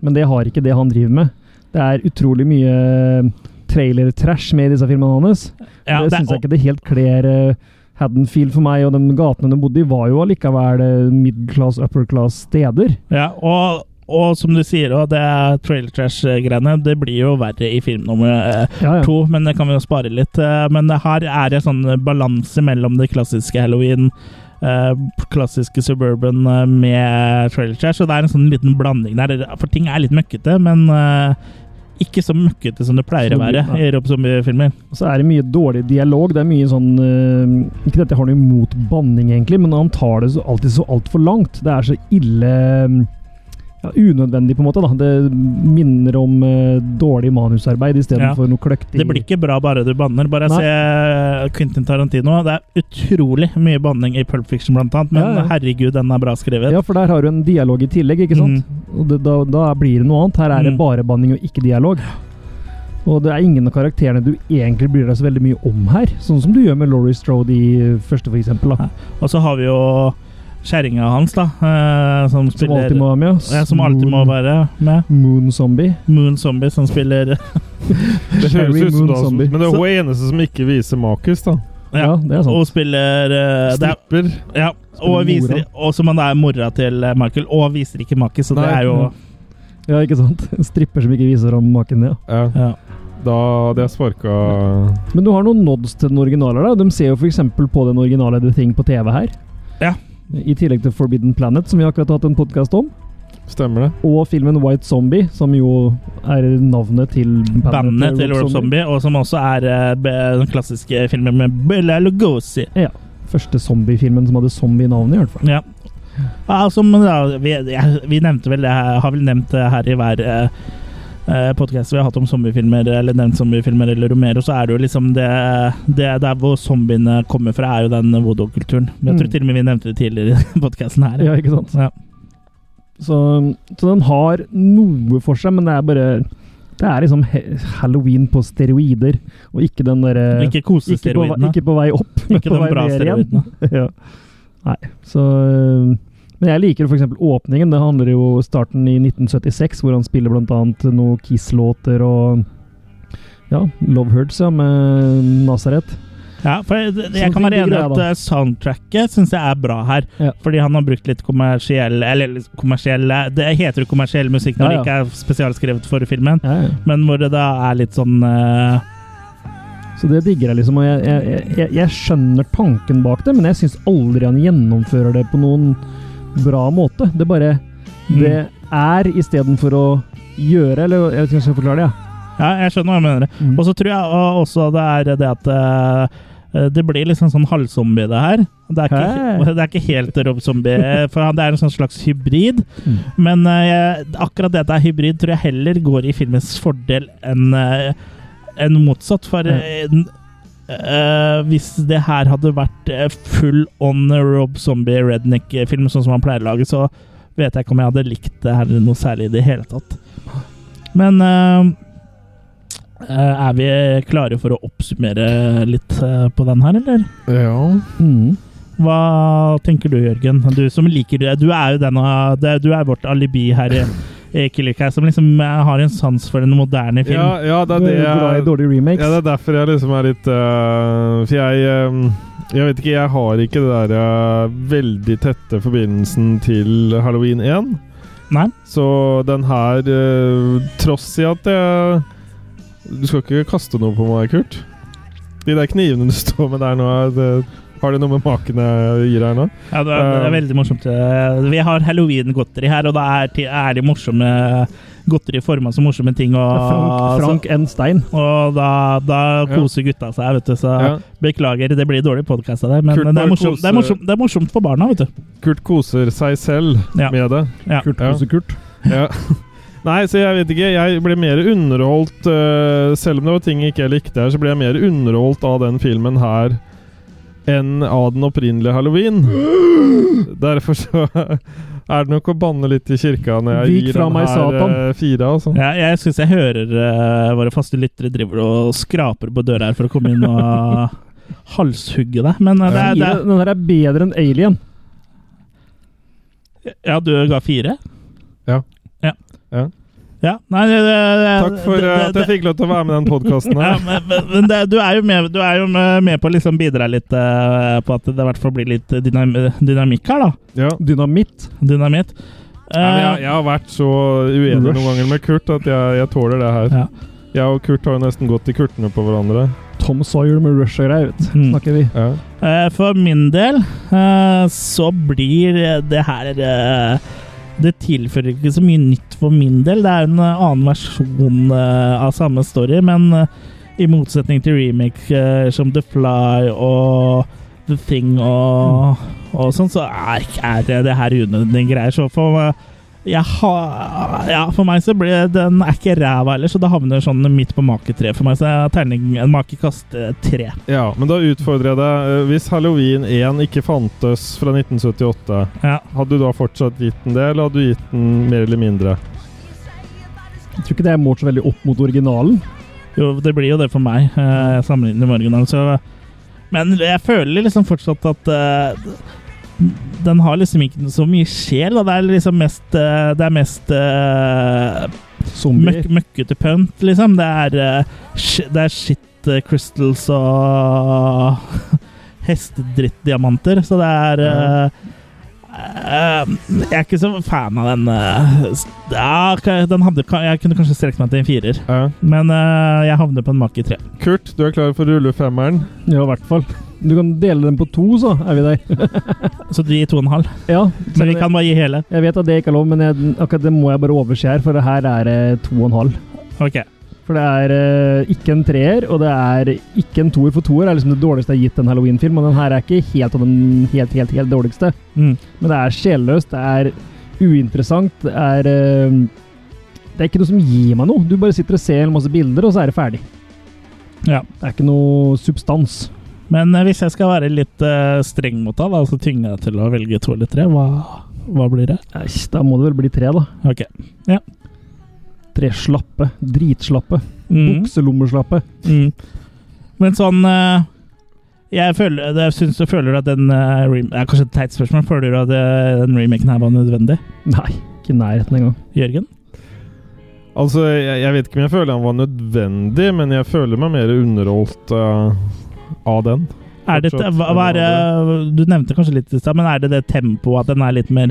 S3: men det har ikke det han driver med. Det er utrolig mye trailer-trash med i disse filmene hans.
S1: Ja,
S3: det
S1: det er-
S3: syns jeg ikke det helt kler eh, Haddonfield for meg og de gatene de bodde i, var jo allikevel middelklass, upper class steder.
S1: Ja, og, og som du sier, og det er trailer trash-greiene. Det blir jo verre i film nummer eh,
S3: Ja, ja.
S1: to, men det kan vi jo spare litt. Eh, men her er det sånn balanse mellom det klassiske halloween, eh, klassiske suburban eh, med trailer trash, og det er en sånn liten blanding der. For ting er litt møkkete, men eh, ikke så møkkete som det pleier
S3: Som
S1: å
S3: det
S1: være
S3: blir, nei.
S1: i Rob Zombie-filmer.
S3: Og så er det mye dårlig dialog. Det er mye sånn eh, Ikke dette jeg har noe imot banning, egentlig, men han tar det så, alltid så altfor langt. Det er så ille mm, ja, Unødvendig, på en måte. da. Det minner om eh, dårlig manusarbeid
S1: Ja.
S3: istedenfor noe kløktig
S1: Det blir ikke bra bare du banner. Bare
S3: Nei.
S1: se eh, Quentin Tarantino. Det er utrolig mye banning i Pulp Fiction, blant annet, men
S3: Ja, ja.
S1: herregud, den er bra skrevet.
S3: Ja, for der har du en dialog i tillegg, ikke sant? Og det, da, da blir det noe annet. Her er det
S1: Mm.
S3: bare banning og ikke dialog. Og det er ingen av karakterene du egentlig bryr deg så veldig mye om her, sånn som du gjør med Laurie Strode i eh, første, for eksempel. Da.
S1: Og så har vi jo kjerringa hans, da. eh, Som, spiller,
S3: alltid må være med, ass.
S1: Ja, som alltid må
S3: Moon-
S1: være med.
S3: Moon Zombie.
S1: Moon Zombie, som spiller
S2: Det
S3: Cherry
S2: høres ut som
S3: Moon
S2: da, som-
S3: Zombie.
S2: men det er
S1: Så-
S2: hun eneste som ikke viser makis, da.
S3: Ja, det er sant.
S1: Og spiller eh, det er-
S2: Stripper.
S1: Ja, og,
S2: Spiller
S1: viser, og som han er mora til eh, Michael, og viser ikke make, så det
S2: Nei.
S1: er jo
S3: Ja, ikke sant? En stripper som ikke viser om maken, ja.
S2: Ja.
S1: Ja.
S2: Da hadde jeg sparka
S3: Men du har noen nods til den originale, da. De ser jo f.eks. på den originale The Thing på TV her.
S1: Ja.
S3: I tillegg til Forbidden Planet, som vi akkurat har hatt en podkast om.
S2: Stemmer det?
S3: Og filmen White Zombie, som jo er navnet til
S1: bandet til Rob
S3: Rob
S1: Zombie, og som også er eh, be- den klassiske filmen med Bella Lugosi.
S3: Ja. Første zombiefilmen som hadde zombie i navnet, i hvert fall.
S1: Ja. Ja, altså, men da, vi, jeg, vi nevnte vel det her, har vel nevnt det her i hver eh, podkast vi har hatt om zombiefilmer, eller nevnt zombiefilmer eller Romero, så er det jo liksom det, det Der hvor zombiene kommer fra, er jo den voodoo-kulturen. Men Jeg tror
S3: Mm.
S1: til og med vi nevnte det tidligere i podkasten her.
S3: Ja, ikke sant?
S1: Ja.
S3: Så, så den har noe for seg, men det er bare Det er liksom he- halloween på steroider, og ikke den eh, derre
S1: Ikke
S3: ikke, på vei-
S1: kosesteroidene.
S3: ikke på vei opp, men
S1: Ikke de
S3: på vei
S1: bra
S3: ned igjen.
S1: steroidene.
S3: [laughs] ja. Nei, så øh, Men jeg liker f.eks. åpningen. Det handler jo om starten i 1976, hvor han spiller bl.a. noen Kiss-låter og Ja, Love Hurts, ja, med Nazareth.
S1: Ja, for jeg,
S3: Som
S1: jeg kan
S3: fikk de
S1: være enig i
S3: greia,
S1: at
S3: da.
S1: eh, soundtracket syns jeg er bra her.
S3: Ja.
S1: Fordi han har brukt litt kommersiell Eller kommersiell Det heter jo kommersiell musikk når
S3: Ja,
S1: det
S3: ja.
S1: ikke er spesialskrevet for filmen,
S3: Ja, ja.
S1: men hvor det da er litt sånn eh,
S3: Så det digger jeg, liksom. Og jeg, jeg, jeg, jeg skjønner tanken bak det, men jeg syns aldri han gjennomfører det på noen bra måte. Det bare
S1: mm.
S3: Det er istedenfor å gjøre, eller jeg vet ikke om jeg skal forklare det. Ja.
S1: Ja, jeg skjønner hva jeg mener. Og så tror jeg og- også det er det at eh, det blir liksom sånn halvzombie, det her. Det er ikke,
S3: Hæ?
S1: [laughs] det er ikke helt Rob Zombie, for han- det er en sånn slags hybrid. Men eh, jeg- akkurat det at det er hybrid, tror jeg heller går i filmens fordel enn eh, enn motsatt. For eh, n- eh, hvis det her hadde vært eh, full on Rob Zombie redneck-film, sånn som han pleier å lage, så vet jeg ikke om jeg hadde likt det her noe særlig i det hele tatt. Men eh, Eh, Er vi klare for å oppsummere litt eh, på den her, eller?
S2: Ja.
S3: Mm.
S1: Hva tenker du, Jørgen? Du som liker det. Du er jo den av- det- Du er vårt alibi her i, i Killer Cast, som liksom eh, har en sans for en moderne film.
S2: Ja, ja, det er
S3: Du
S2: det
S3: er glad i
S2: jeg
S3: dårlige remakes.
S2: ja, Det er derfor jeg liksom er litt øh, For jeg øh, Jeg vet ikke, jeg har ikke det der øh, veldig tette forbindelsen til Halloween 1.
S1: Nei?
S2: Så den her øh, Tross i at jeg Du skal ikke kaste noe på meg, Kurt. De der knivene du [laughs] står med der nå, er det, har det noe med maken jeg gir her nå?
S1: Ja, det, er, det er veldig morsomt. Eh, Vi har halloween-godteri her, og da er, ti- er de morsomme godteri forma som morsomme ting. Og,
S3: Ah,
S2: altså-
S3: Frank, Frank N. Stein.
S1: Så, og da, da koser gutta seg, vet du. Så
S2: Ja.
S1: beklager, det blir dårlig podkast av deg, men
S2: Kurt
S1: det er,
S2: bare
S1: morsomt, det, er
S2: koser-
S1: morsomt, det er morsomt for barna, vet du.
S2: Kurt koser seg selv
S1: Ja.
S2: med det.
S1: Ja.
S3: Kurt
S2: Ja.
S3: Kose Kurt. [laughs]
S2: Ja. Nei, så jeg vet ikke. Jeg ble mer underholdt øh, Selv om det var ting jeg ikke likte her, så ble jeg mer underholdt av den filmen her enn av den opprinnelige
S3: [gasps]
S2: halloween. Derfor så [laughs] er det nok å banne litt i kirka når jeg
S3: Vik
S2: gir
S3: fra
S2: den
S3: meg,
S2: her
S3: Satan.
S2: øh, fire. Altså.
S1: Ja, jeg syns jeg hører eh, våre faste lyttere driver og skraper på døra her for å komme inn og
S2: [laughs]
S1: halshugge deg. Men eh, det er, det
S3: Fire. Den her er bedre enn Alien.
S1: er Ja, du ga fire?
S2: Ja.
S1: Ja.
S2: Ja.
S1: Ja, nei, det, det,
S2: Takk for
S1: det-
S2: eh, at jeg
S1: det-
S2: fikk lov til å være med i den podkasten
S1: ja,
S2: her.
S1: men, men- men det, du er jo med, du er jo med, med på å liksom bidra litt eh, på at det i hvert fall blir litt dynam, dynamikk her, da. Eh,
S3: Dynamitt.
S1: Dynamitt.
S2: Nei, men jeg, jeg har vært så uenig noen ganger med Kurt at jeg, jeg tåler det her. Jeg og Kurt har jo nesten gått i kurtene på hverandre.
S3: Tom Sawyer med Rush og greier,
S2: Mm.
S3: vet du,
S1: mm.
S3: snakker vi.
S2: Ja.
S1: Eh, For min del eh, så blir det her eh, Det tilfører ikke så mye nytt for min del. Det er en eh, annen versjon eh, av samme story, men eh, i motsetning til remake eh, som The Fly og The Thing og, og sånn, så er, er det, det her unødvendige greier. Så for, eh, jeg har- ja, for meg så blir den er ikke ræva heller, så det havner sånn midt på maketreet for meg. Så jeg har terning, en makekast eh, tre.
S2: Ja, men da utfordrer jeg deg. Eh, Hvis Halloween 1 ikke fantes fra 1978, hadde du da fortsatt gitt den det, eller hadde du gitt den mer eller mindre?
S3: Jeg tror ikke det er målt så veldig opp mot originalen.
S1: Jo, det blir jo det for meg, eh, sammenlignet med originalen. Så. Men jeg føler liksom fortsatt at eh, den har liksom ikke så mye sjel. Da. Det er liksom mest eh, Det er mest eh,
S3: Zombier.
S1: møkk- møkkete pønt, liksom. Det er, eh, sh- det er shit eh, crystals og [laughs] hestedrittdiamanter, så det er eh, eh, jeg er ikke så fan av den eh, s- ja, ka- den hadde, ka- Jeg kunne kanskje strekt meg til en firer, men eh, jeg havner på en make i tre.
S2: Kurt, du er klar for å rulle femmeren?
S3: Ja, i hvert fall. Du kan dele den på to, så er vi der.
S1: så du gir to og en halv?
S3: Ja.
S1: Men vi kan bare gi hele?
S3: Jeg vet at det ikke er lov, men jeg, akkurat det må jeg bare overse her, for det her er eh, to og en halv.
S1: Ok.
S3: For det er eh, ikke en treer, og det er ikke en toer, for toer er liksom det dårligste jeg har gitt en Halloween-film, og den her er ikke helt av den helt, helt, helt dårligste.
S1: Mm.
S3: Men det er sjelløst, det er uinteressant, det er eh, Det er ikke noe som gir meg noe. Du bare sitter og ser en masse bilder, og så er det ferdig.
S1: Ja.
S3: Det er ikke noe substans.
S1: Men eh, hvis jeg skal være litt eh, streng mot deg, da, så tvinger jeg til å velge to eller tre. Hva, hva blir det?
S3: Eish, da må det vel bli tre, da.
S1: Ok. Ja.
S3: Tre slappe. Dritslappe.
S1: Mm.
S3: Bukselommeslappe.
S1: Mm. Men sånn eh, Jeg føler jeg synes du føler at den eh, rem- det er Kanskje et teit spørsmål. Føler du at eh, den remaken her var nødvendig?
S3: Nei, ikke i nærheten engang.
S1: Jørgen?
S2: Altså, jeg, jeg vet ikke om jeg føler han var nødvendig, men jeg føler meg mer underholdt eh, av den.
S1: Er det,
S2: Fortsatt.
S1: hva, hva er, det- du nevnte kanskje litt i stad, men er det det tempoet at den er litt mer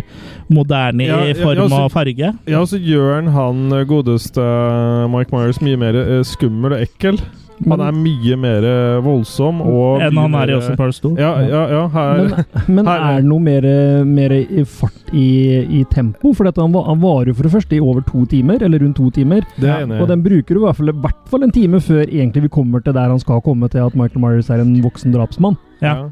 S1: moderne
S2: Ja, altså-
S1: i
S2: ja,
S1: form
S2: ja, så-
S1: og farge?
S2: Ja, og så gjør han han eh, godeste eh, Mike Myers mye mer eh, skummel og ekkel. Han er mye mer eh, voldsom og
S1: Enn
S2: mye
S1: han er i
S2: mer-
S1: Austin Powers 2.
S2: Ja, ja, ja her.
S3: Men, men er det noe mer, mer i fart i, i tempo? For han, va- han varer jo for det første i over to timer, eller rundt to timer.
S2: Det er jeg enig i.
S3: Og den bruker du i hvert fall, i hvert fall en time før egentlig vi kommer til der han skal komme til at Michael Myers er en voksen drapsmann.
S1: Ja.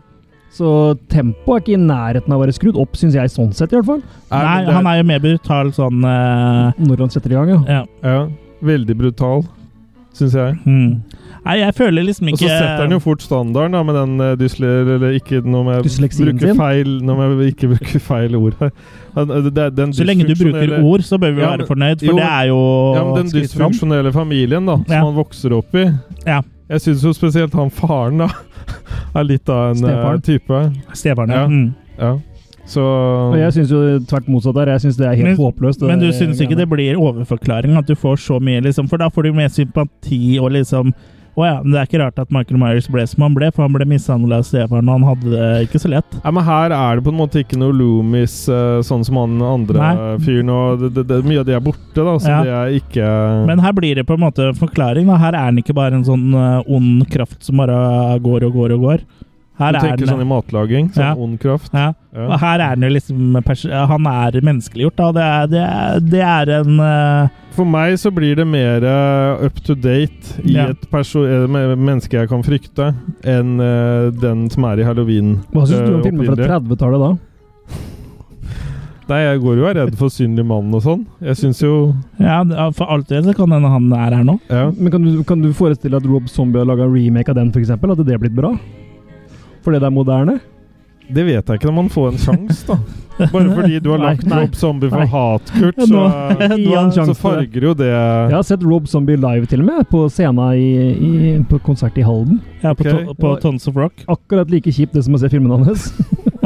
S3: Så tempoet er ikke i nærheten av å være skrudd opp, syns jeg, sånn sett i hvert fall.
S1: Nei, han er jo mer brutal sånn eh,
S3: Når han setter i gang, ja.
S1: ja.
S2: Ja, veldig brutal, syns jeg.
S1: hmm. Nei, jeg føler liksom
S2: Og så
S1: ikke
S2: setter han jo fort standarden da, med den eh, dysle... Eller ikke Nå må jeg
S1: Dysleksien
S2: bruke
S1: sin.
S2: feil, nå må jeg ikke bruke feil ord her. Han- eh, det er den
S1: Så lenge du bruker
S2: dysfunksjonelle-
S1: ord, så bør vi
S2: Ja,
S1: være
S2: men-
S1: fornøyd, for det er jo
S2: Ja, men Den
S1: skritt fram.
S2: dysfunksjonelle familien da, som
S1: Ja.
S2: han vokser opp i.
S1: Ja.
S2: Jeg syns jo spesielt han faren da, [laughs] er litt av en eh,
S3: Stefaren.
S2: type.
S1: Stefaren, ja.
S2: ja.
S1: Mm.
S2: ja. Så
S3: Og jeg syns jo tvert motsatt der. Jeg syns det er helt håpløst. det
S1: Men du
S3: der
S1: syns
S3: greiene.
S1: ikke det blir overforklaring at du får så mye, liksom? For da får du mer sympati og liksom Å ja, men det er ikke rart at Michael Myers ble som han ble, for han ble mishandla av stefaren, og han hadde det ikke så lett.
S2: Ja, men Her er det på en måte ikke noe Loomis, eh, sånn som han andre
S1: Nei.
S2: fyren. og det, det, det, Mye av det er borte, da, så
S1: Ja.
S2: det er ikke
S1: Men her blir det på en måte forklaring. Da. Her er han ikke bare en sånn eh, ond kraft som bare går og går og går. Her
S2: Du
S1: er
S2: tenker
S1: den-
S2: sånn i matlaging? Sånn
S1: Ja.
S2: ond kraft?
S1: Ja.
S2: Ja.
S1: Og her er han jo liksom pers Han er menneskeliggjort, da. Det er, det er, det er en eh,
S2: For meg så blir det mer eh, up to date i
S1: Ja.
S2: et perso eh, me- menneske jeg kan frykte, enn eh, den som er i halloween.
S3: Hva syns du om
S2: eh,
S3: filmer fra
S2: opprinnelig.
S3: 30-tallet da?
S2: Nei, jeg går jo og er redd for synlig mann og sånn. Jeg syns jo
S1: Ja, for alt det så kan hende han er her nå.
S3: Men kan du, kan du forestille at Rob Zombie har laga remake av den, f.eks.? Hadde det blitt bra? Fordi det er moderne?
S1: [laughs]
S2: Det vet jeg ikke om man får en sjanse, da. Bare fordi du har lagt
S3: Nei, nei,
S2: Rob Zombie for
S3: nei.
S2: hat, Kurt,
S3: Ja,
S1: [laughs]
S2: så,
S3: nå- gi han
S2: så
S3: sjansen.
S2: farger jo det
S3: Jeg har sett Rob Zombie live, til og med, på scenen i, i, på konsert i Halden.
S1: Ja, på, to, på Tons of Rock.
S3: Akkurat like kjipt det som å se filmene
S1: [laughs]
S3: hans.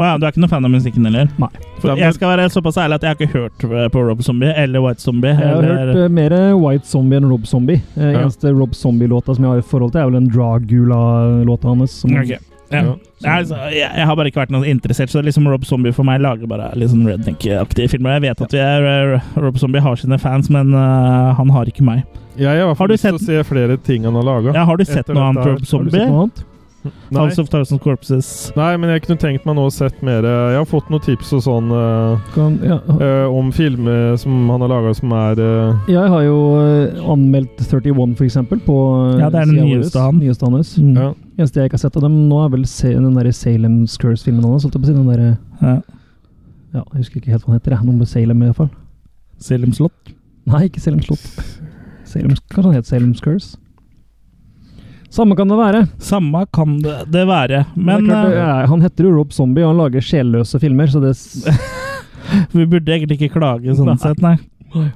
S1: Å ja, du er ikke noen fan av musikken heller?
S3: Nei.
S1: For jeg skal være såpass ærlig at jeg har ikke hørt eh, på Rob Zombie eller White Zombie.
S3: Jeg har
S1: eller,
S3: hørt eh, mer White Zombie enn Rob Zombie. Eh,
S1: Ja.
S3: Eneste Rob Zombie-låta som jeg har i forhold til, er vel den Dragula-låta hans. Som,
S1: Ok. eh, Ja. Nei, altså, jeg, jeg har bare ikke vært noe interessert, så liksom Rob Zombie for meg lager bare litt sånn redneck-aktige filmer. Jeg vet at vi er, eh, Rob Zombie har sine fans, men eh, han har ikke meg.
S2: Jeg har i hvert
S1: Har
S2: fall
S1: du
S2: lyst til å se flere ting han har laga.
S1: Ja, har du sett noe annet Rob Zombie?
S2: Nei.
S1: House of Thousand Corpses.
S2: Nei, men jeg kunne tenkt meg nå å sett mer eh, Jeg har fått noen tips og sånn eh,
S3: Kan, ja.
S2: eh, om filmer som han har laga som er eh,
S3: Jeg har jo eh, anmeldt 31, for eksempel, på eh,
S1: Ja, det er den
S3: siden vår.
S1: nyeste han. Mm.
S3: Nyeste hans.
S2: ja.
S3: Eneste jeg ikke har sett av dem nå, er vel se, den der Salem's Curse-filmen hans. holdt jeg på å si, Den der,
S1: Ja.
S3: ja, jeg husker ikke helt hva den heter. jeg. Noe med Salem, i hvert fall. [laughs]
S1: Salem Slott?
S3: Nei, ikke Salem Slott. Salem, kanskje han heter Salem's Curse? Samme kan det være.
S1: Samme kan det, det være, men eh,
S3: Men, det er klart, det er, han heter jo Rob Zombie, og han lager sjelløse filmer, så det
S1: [laughs]
S3: s-
S1: eh, vi burde egentlig ikke klage sånn
S3: Nei.
S1: sett, nei.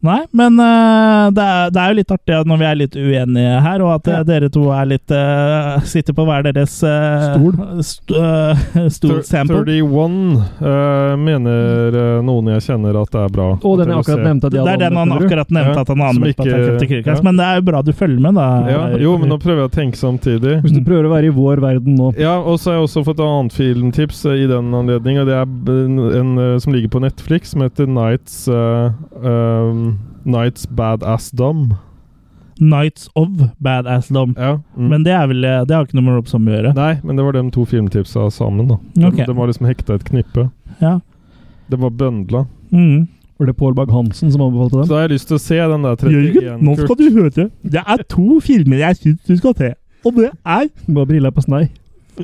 S1: Nei, men eh, det, er, det er jo litt artig at når vi er litt uenige her, og at eh, dere to er litt eh, sitter på hver deres eh, St eh, stol
S2: Thir-
S1: sample.
S2: 31 eh, mener eh, noen jeg kjenner at det er bra.
S3: Og den
S2: Til
S3: jeg
S2: å
S3: akkurat
S2: se.
S3: nevnte at
S1: Det
S3: jeg hadde
S1: er den han
S3: anmeldt, mener du?
S1: akkurat nevnte
S2: Ja,
S1: at han har
S2: som
S1: anmeldt på
S2: ikke-
S1: Attack of the Kyrkas,
S2: ja.
S1: men det er jo bra du følger med, da.
S2: ja, jo, men nå prøver jeg å tenke samtidig.
S3: [laughs]
S1: Mm.
S3: Hvis du prøver å være i vår verden nå
S2: Ja, og så har jeg også fått et annet filmtips eh, i den anledning, og det er b- en, en eh, som ligger på Netflix, som heter Nights eh, um, Nights Badass Dum.
S1: Nights of Badass Dom. Men det er vel eh, Det har ikke noe med Rob Zombie
S3: [laughs]
S1: å gjøre.
S2: Mm. Nei, men det var de to filmtipsa sammen,
S3: Mm,
S2: da. De,
S1: Ok.
S2: de var liksom hekta i et knippe.
S1: Ja.
S2: De var bøndla.
S1: Mm.
S3: Var det Pål Bag-Hansen som anbefalte
S2: Så
S3: den?
S2: da har jeg lyst til å se den der 31 Kurt.
S1: du høre. Det er to filmer jeg syns du skal se, og det er
S3: Bare brilla på snei.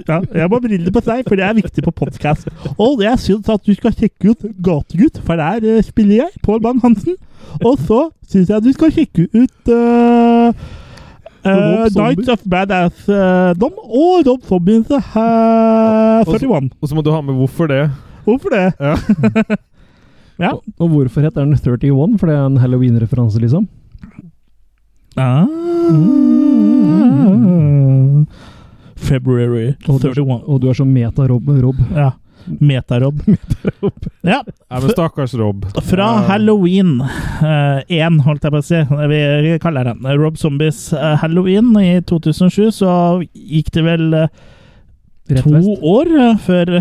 S1: Ja, jeg må brille på deg, for det er viktig på podkast. Og jeg syns at du skal sjekke ut Gategutt, for der eh, spiller jeg, Pål Bang-Hansen. Og så syns jeg du skal sjekke ut eh, eh,
S2: Rob Zombie.
S1: Nights of Badass-dom og Rob Zombies eh, 41.
S2: Og så må du ha med hvorfor det.
S1: Hvorfor det?
S2: Ja.
S1: Ja.
S3: Og, og hvorfor heter den 31? For det er en Halloween-referanse, liksom?
S1: Ah. February
S3: Og du, er,
S1: 31.
S3: og du er så meta-Rob. Rob.
S1: Ja.
S2: [laughs]
S1: Meta-Rob. Ja.
S2: Nei, men stakkars Rob.
S1: Fra Halloween eh, 1, holdt jeg på å si. Vi kaller den Rob Zombies eh, Halloween i 2007, så gikk det vel eh,
S3: Rett
S1: to
S3: vest.
S1: år eh, før,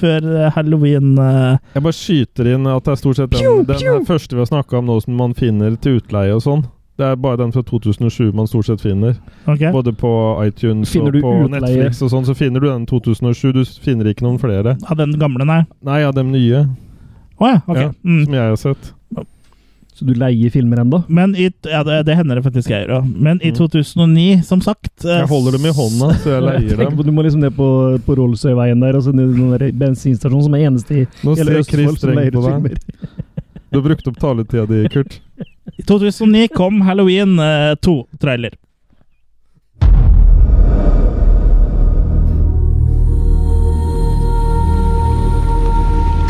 S1: før [laughs] halloween eh,
S2: Jeg bare skyter inn at det er stort sett den, den her første vi har snakka om nå som man finner til utleie og sånn. Det er bare den fra 2007 man stort sett finner.
S1: Ok.
S2: Både på iTunes
S3: Finner
S2: og
S3: du
S2: på
S3: utleie?
S2: Netflix og sånn, så finner du den 2007. Du finner ikke noen flere.
S1: Av den gamle, nei?
S2: Nei, av dem nye.
S3: Mm.
S1: Å ja, ok.
S2: Ja,
S1: Mm.
S2: Som jeg har sett.
S3: Så du leier filmer enda?
S1: Men i, ja, det, det hender det faktisk jeg gjør òg. Men i 2009, som sagt eh,
S2: Mm. Jeg holder dem i hånda, så jeg
S3: [laughs] Jeg
S2: leier
S3: tenker
S2: dem.
S3: på, du må liksom ned på, på Rollsøyveien der, og så ned til den der bensinstasjonen som er eneste i
S2: Nå
S3: hele
S2: ser Chris
S3: Østfold som
S2: strengt
S3: leier
S2: på deg.
S3: filmer.
S2: Du har brukt opp taletida di, Kurt.
S1: I 2009 kom Halloween eh, 2-trailer.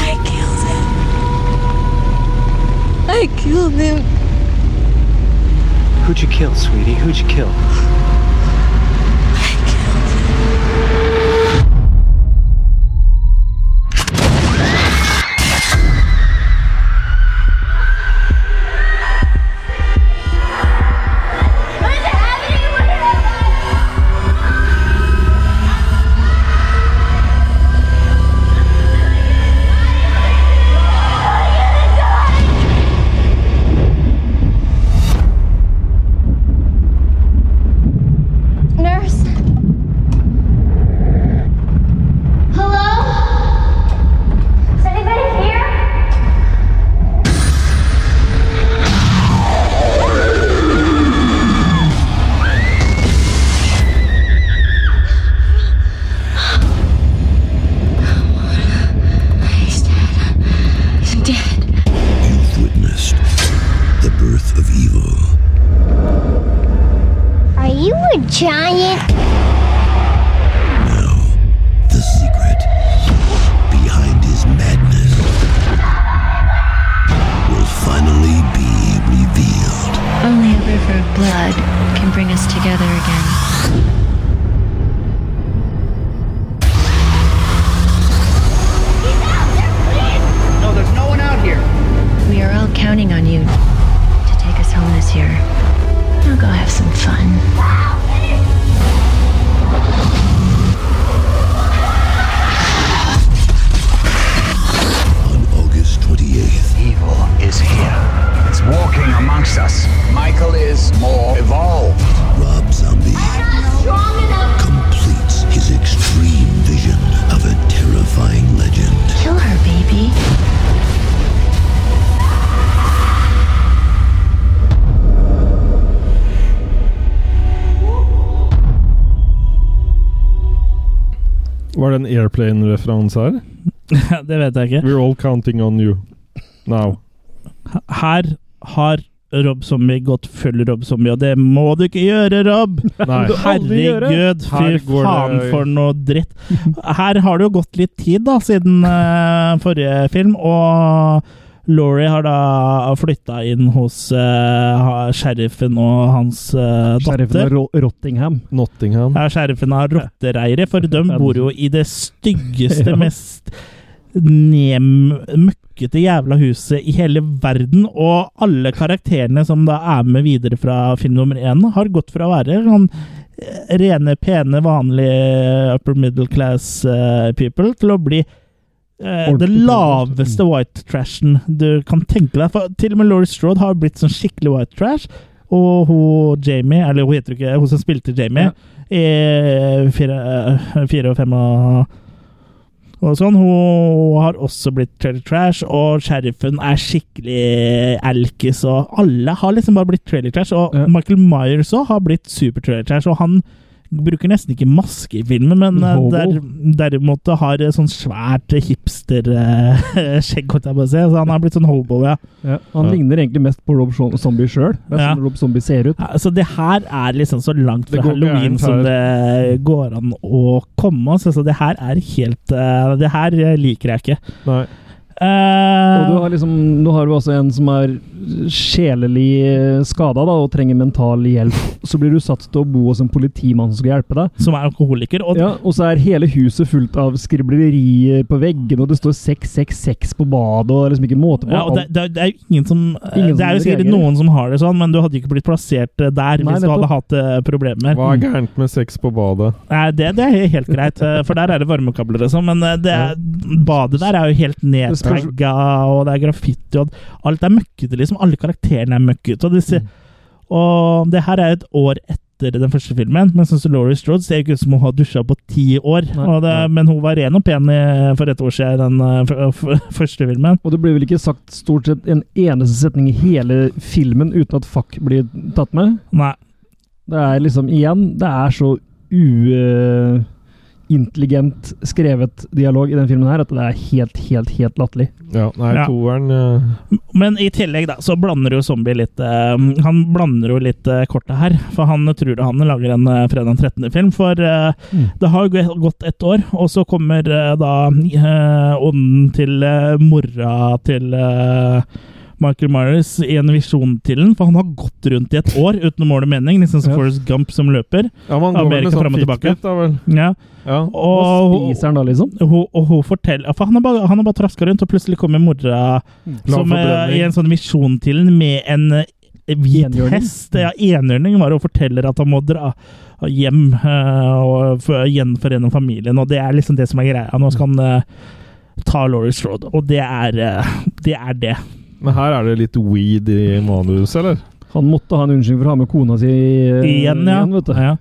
S11: I killed him.
S18: I killed him.
S23: Who'd you kill, sweetie? Who'd you kill?
S6: Nurse. Hello? Is anybody here?
S18: He's dead. He's dead.
S5: You've witnessed the birth of evil.
S6: Are you a giant?
S5: The secret behind his madness.
S7: blood can bring us together again.
S9: No, there's no one out here.
S7: We are all counting on you to take us home this year. Now go have some fun.
S12: August 28th.
S9: Evil is here. It's walking amongst us. Michael is more evolved.
S12: Rob Zombie completes his extreme vision of a terrifying legend.
S7: Kill her, baby.
S2: Var det en Airplane-referanse her?
S1: [laughs] det vet jeg ikke.
S2: We're all counting on you. Now.
S1: Her har Rob Zombie gått full Rob Zombie, og det må du ikke gjøre, Rob! [laughs]
S2: Nei.
S3: Du aldri gjøre.
S1: Herregud, fy
S2: Her går
S1: faen
S2: det-
S1: for noe dritt. Her har det jo gått litt tid da, siden eh, forrige film, og Laurie har da flytta inn hos eh, ha- sheriffen og hans eh,
S3: Sheriffen av
S1: datter.
S3: Ro- Rottingham.
S2: Nottingham.
S1: Ja, sheriffen av rottereiret, for de bor jo i det styggeste,
S3: [laughs] Ja.
S1: mest nem, møkkete jævla huset i hele verden. Og alle karakterene som da er med videre fra film nummer én, har gått fra å være sånn eh, rene, pene, vanlige upper middle class eh, people til å bli Eh, det
S3: Ordentlig altså. Mm.
S1: laveste white trashen du kan tenke deg. For til og med Laurie Strode har blitt sånn skikkelig white trash. Og hun Jamie, eller hun heter jo ikke hun som spilte Jamie i fire, eh, fire og fem og, og sånn, hun har også blitt trailer trash. Og sheriffen er skikkelig alkis, og alle har liksom bare blitt trailer trash. Og
S3: Ja.
S1: Michael Myers òg har blitt super trailer trash, og han bruker nesten ikke maske i filmen, men men eh,
S3: Hobo.
S1: der, derimot har eh, sånn svært [laughs] hipster-skjegg, holdt jeg på å si. Så han har blitt sånn hobo, ja.
S3: Ja, han
S2: Ja.
S3: ligner egentlig mest på Rob Zo- Zombie sjøl. Det er
S1: Ja.
S3: sånn Rob Zombie ser ut.
S1: Ja, Så Altså, det her er liksom så langt
S2: Det
S1: fra
S2: går
S1: halloween
S2: gærent
S1: som
S2: her.
S1: det går an å komme. altså. Så, så det her er helt eh, Det her eh, liker jeg ikke.
S2: Nei.
S1: Eh,
S3: Og du har liksom, nå har du også en som er sjelelig skada og trenger mental hjelp. Så blir du satt til å bo hos en politimann som skal hjelpe deg.
S1: som er alkoholiker. Og
S3: Ja, og så er hele huset fullt av skriblerier på veggene, og det står 666 på badet, og det er liksom ikke måte på.
S1: Ja, og det, det, er- det er jo ingen som eh,
S3: Ingen
S1: Det er jo
S3: som
S1: sikkert
S3: reagerer.
S1: noen som har det sånn, men du hadde jo ikke blitt plassert eh, der
S3: Nei,
S1: hvis du hadde hatt
S3: nettopp.
S1: eh, problemer.
S2: Hva er gærent med sex på badet?
S1: Nei, det, det er helt greit, eh, for der er det varmekabler og sånn, men eh, det er, badet der er jo helt
S3: spørs-
S1: nedtagga, og det er graffiti, og alt er møkkete, liksom. Alle karakterene er møkkete. Og,
S3: Mm.
S1: disse, og det her er et år etter den første filmen, men sånn som Laurie Strode ser ikke ut som hun har dusja på ti år.
S3: Nei.
S1: Og det, men hun var ren og pen i, for et år siden i den eh, f- f- første filmen.
S3: Og det blir vel ikke sagt stort sett en eneste setning i hele filmen uten at fuck blir tatt med.
S1: Nei.
S3: Det er liksom, igjen, det er så uintelligent skrevet dialog i den filmen her at det er helt, helt, helt latterlig.
S2: Ja, nei,
S1: Ja.
S2: toeren eh,
S1: Men i tillegg da, så blander jo Zombie litt eh, Han blander jo litt eh, kortet her. For han tror han lager en eh, fredag den 13. film. For eh,
S3: Mm.
S1: det har jo gå- gått ett år, og så kommer eh, da eh, ånden til eh, mora til eh, Michael Myers i en visjon til den, for han har gått rundt i et år uten mål og mening. Liksom som
S3: Ja.
S1: Forrest Gump som løper.
S2: Ja, man går vel
S1: Amerika
S2: med
S1: frem
S2: sånn
S1: og tilbake.
S2: fitbit, da vel.
S1: Ja.
S2: Ja.
S3: Og
S1: Og,
S3: spiser han da, liksom?
S1: hun, og hun forteller ja, For han har bare, han har bare traska rundt, og plutselig kommer mora som, eh,
S2: forbrenning.
S1: i en sånn visjon til den med en eh, hvit
S3: Enhjørning.
S1: hest. Ja, enhjørning var det hun forteller at han må dra hjem eh, og f- gjenforene familien, og det er liksom det som er greia. Nå skal han eh, ta Laurie Strode, og det er eh, det. Er det.
S2: Men her er det litt weed i manus, eller?
S3: Han måtte ha en unnskyldning for å ha med kona si eh,
S1: Igjen, ja.
S3: vet du.
S1: ja.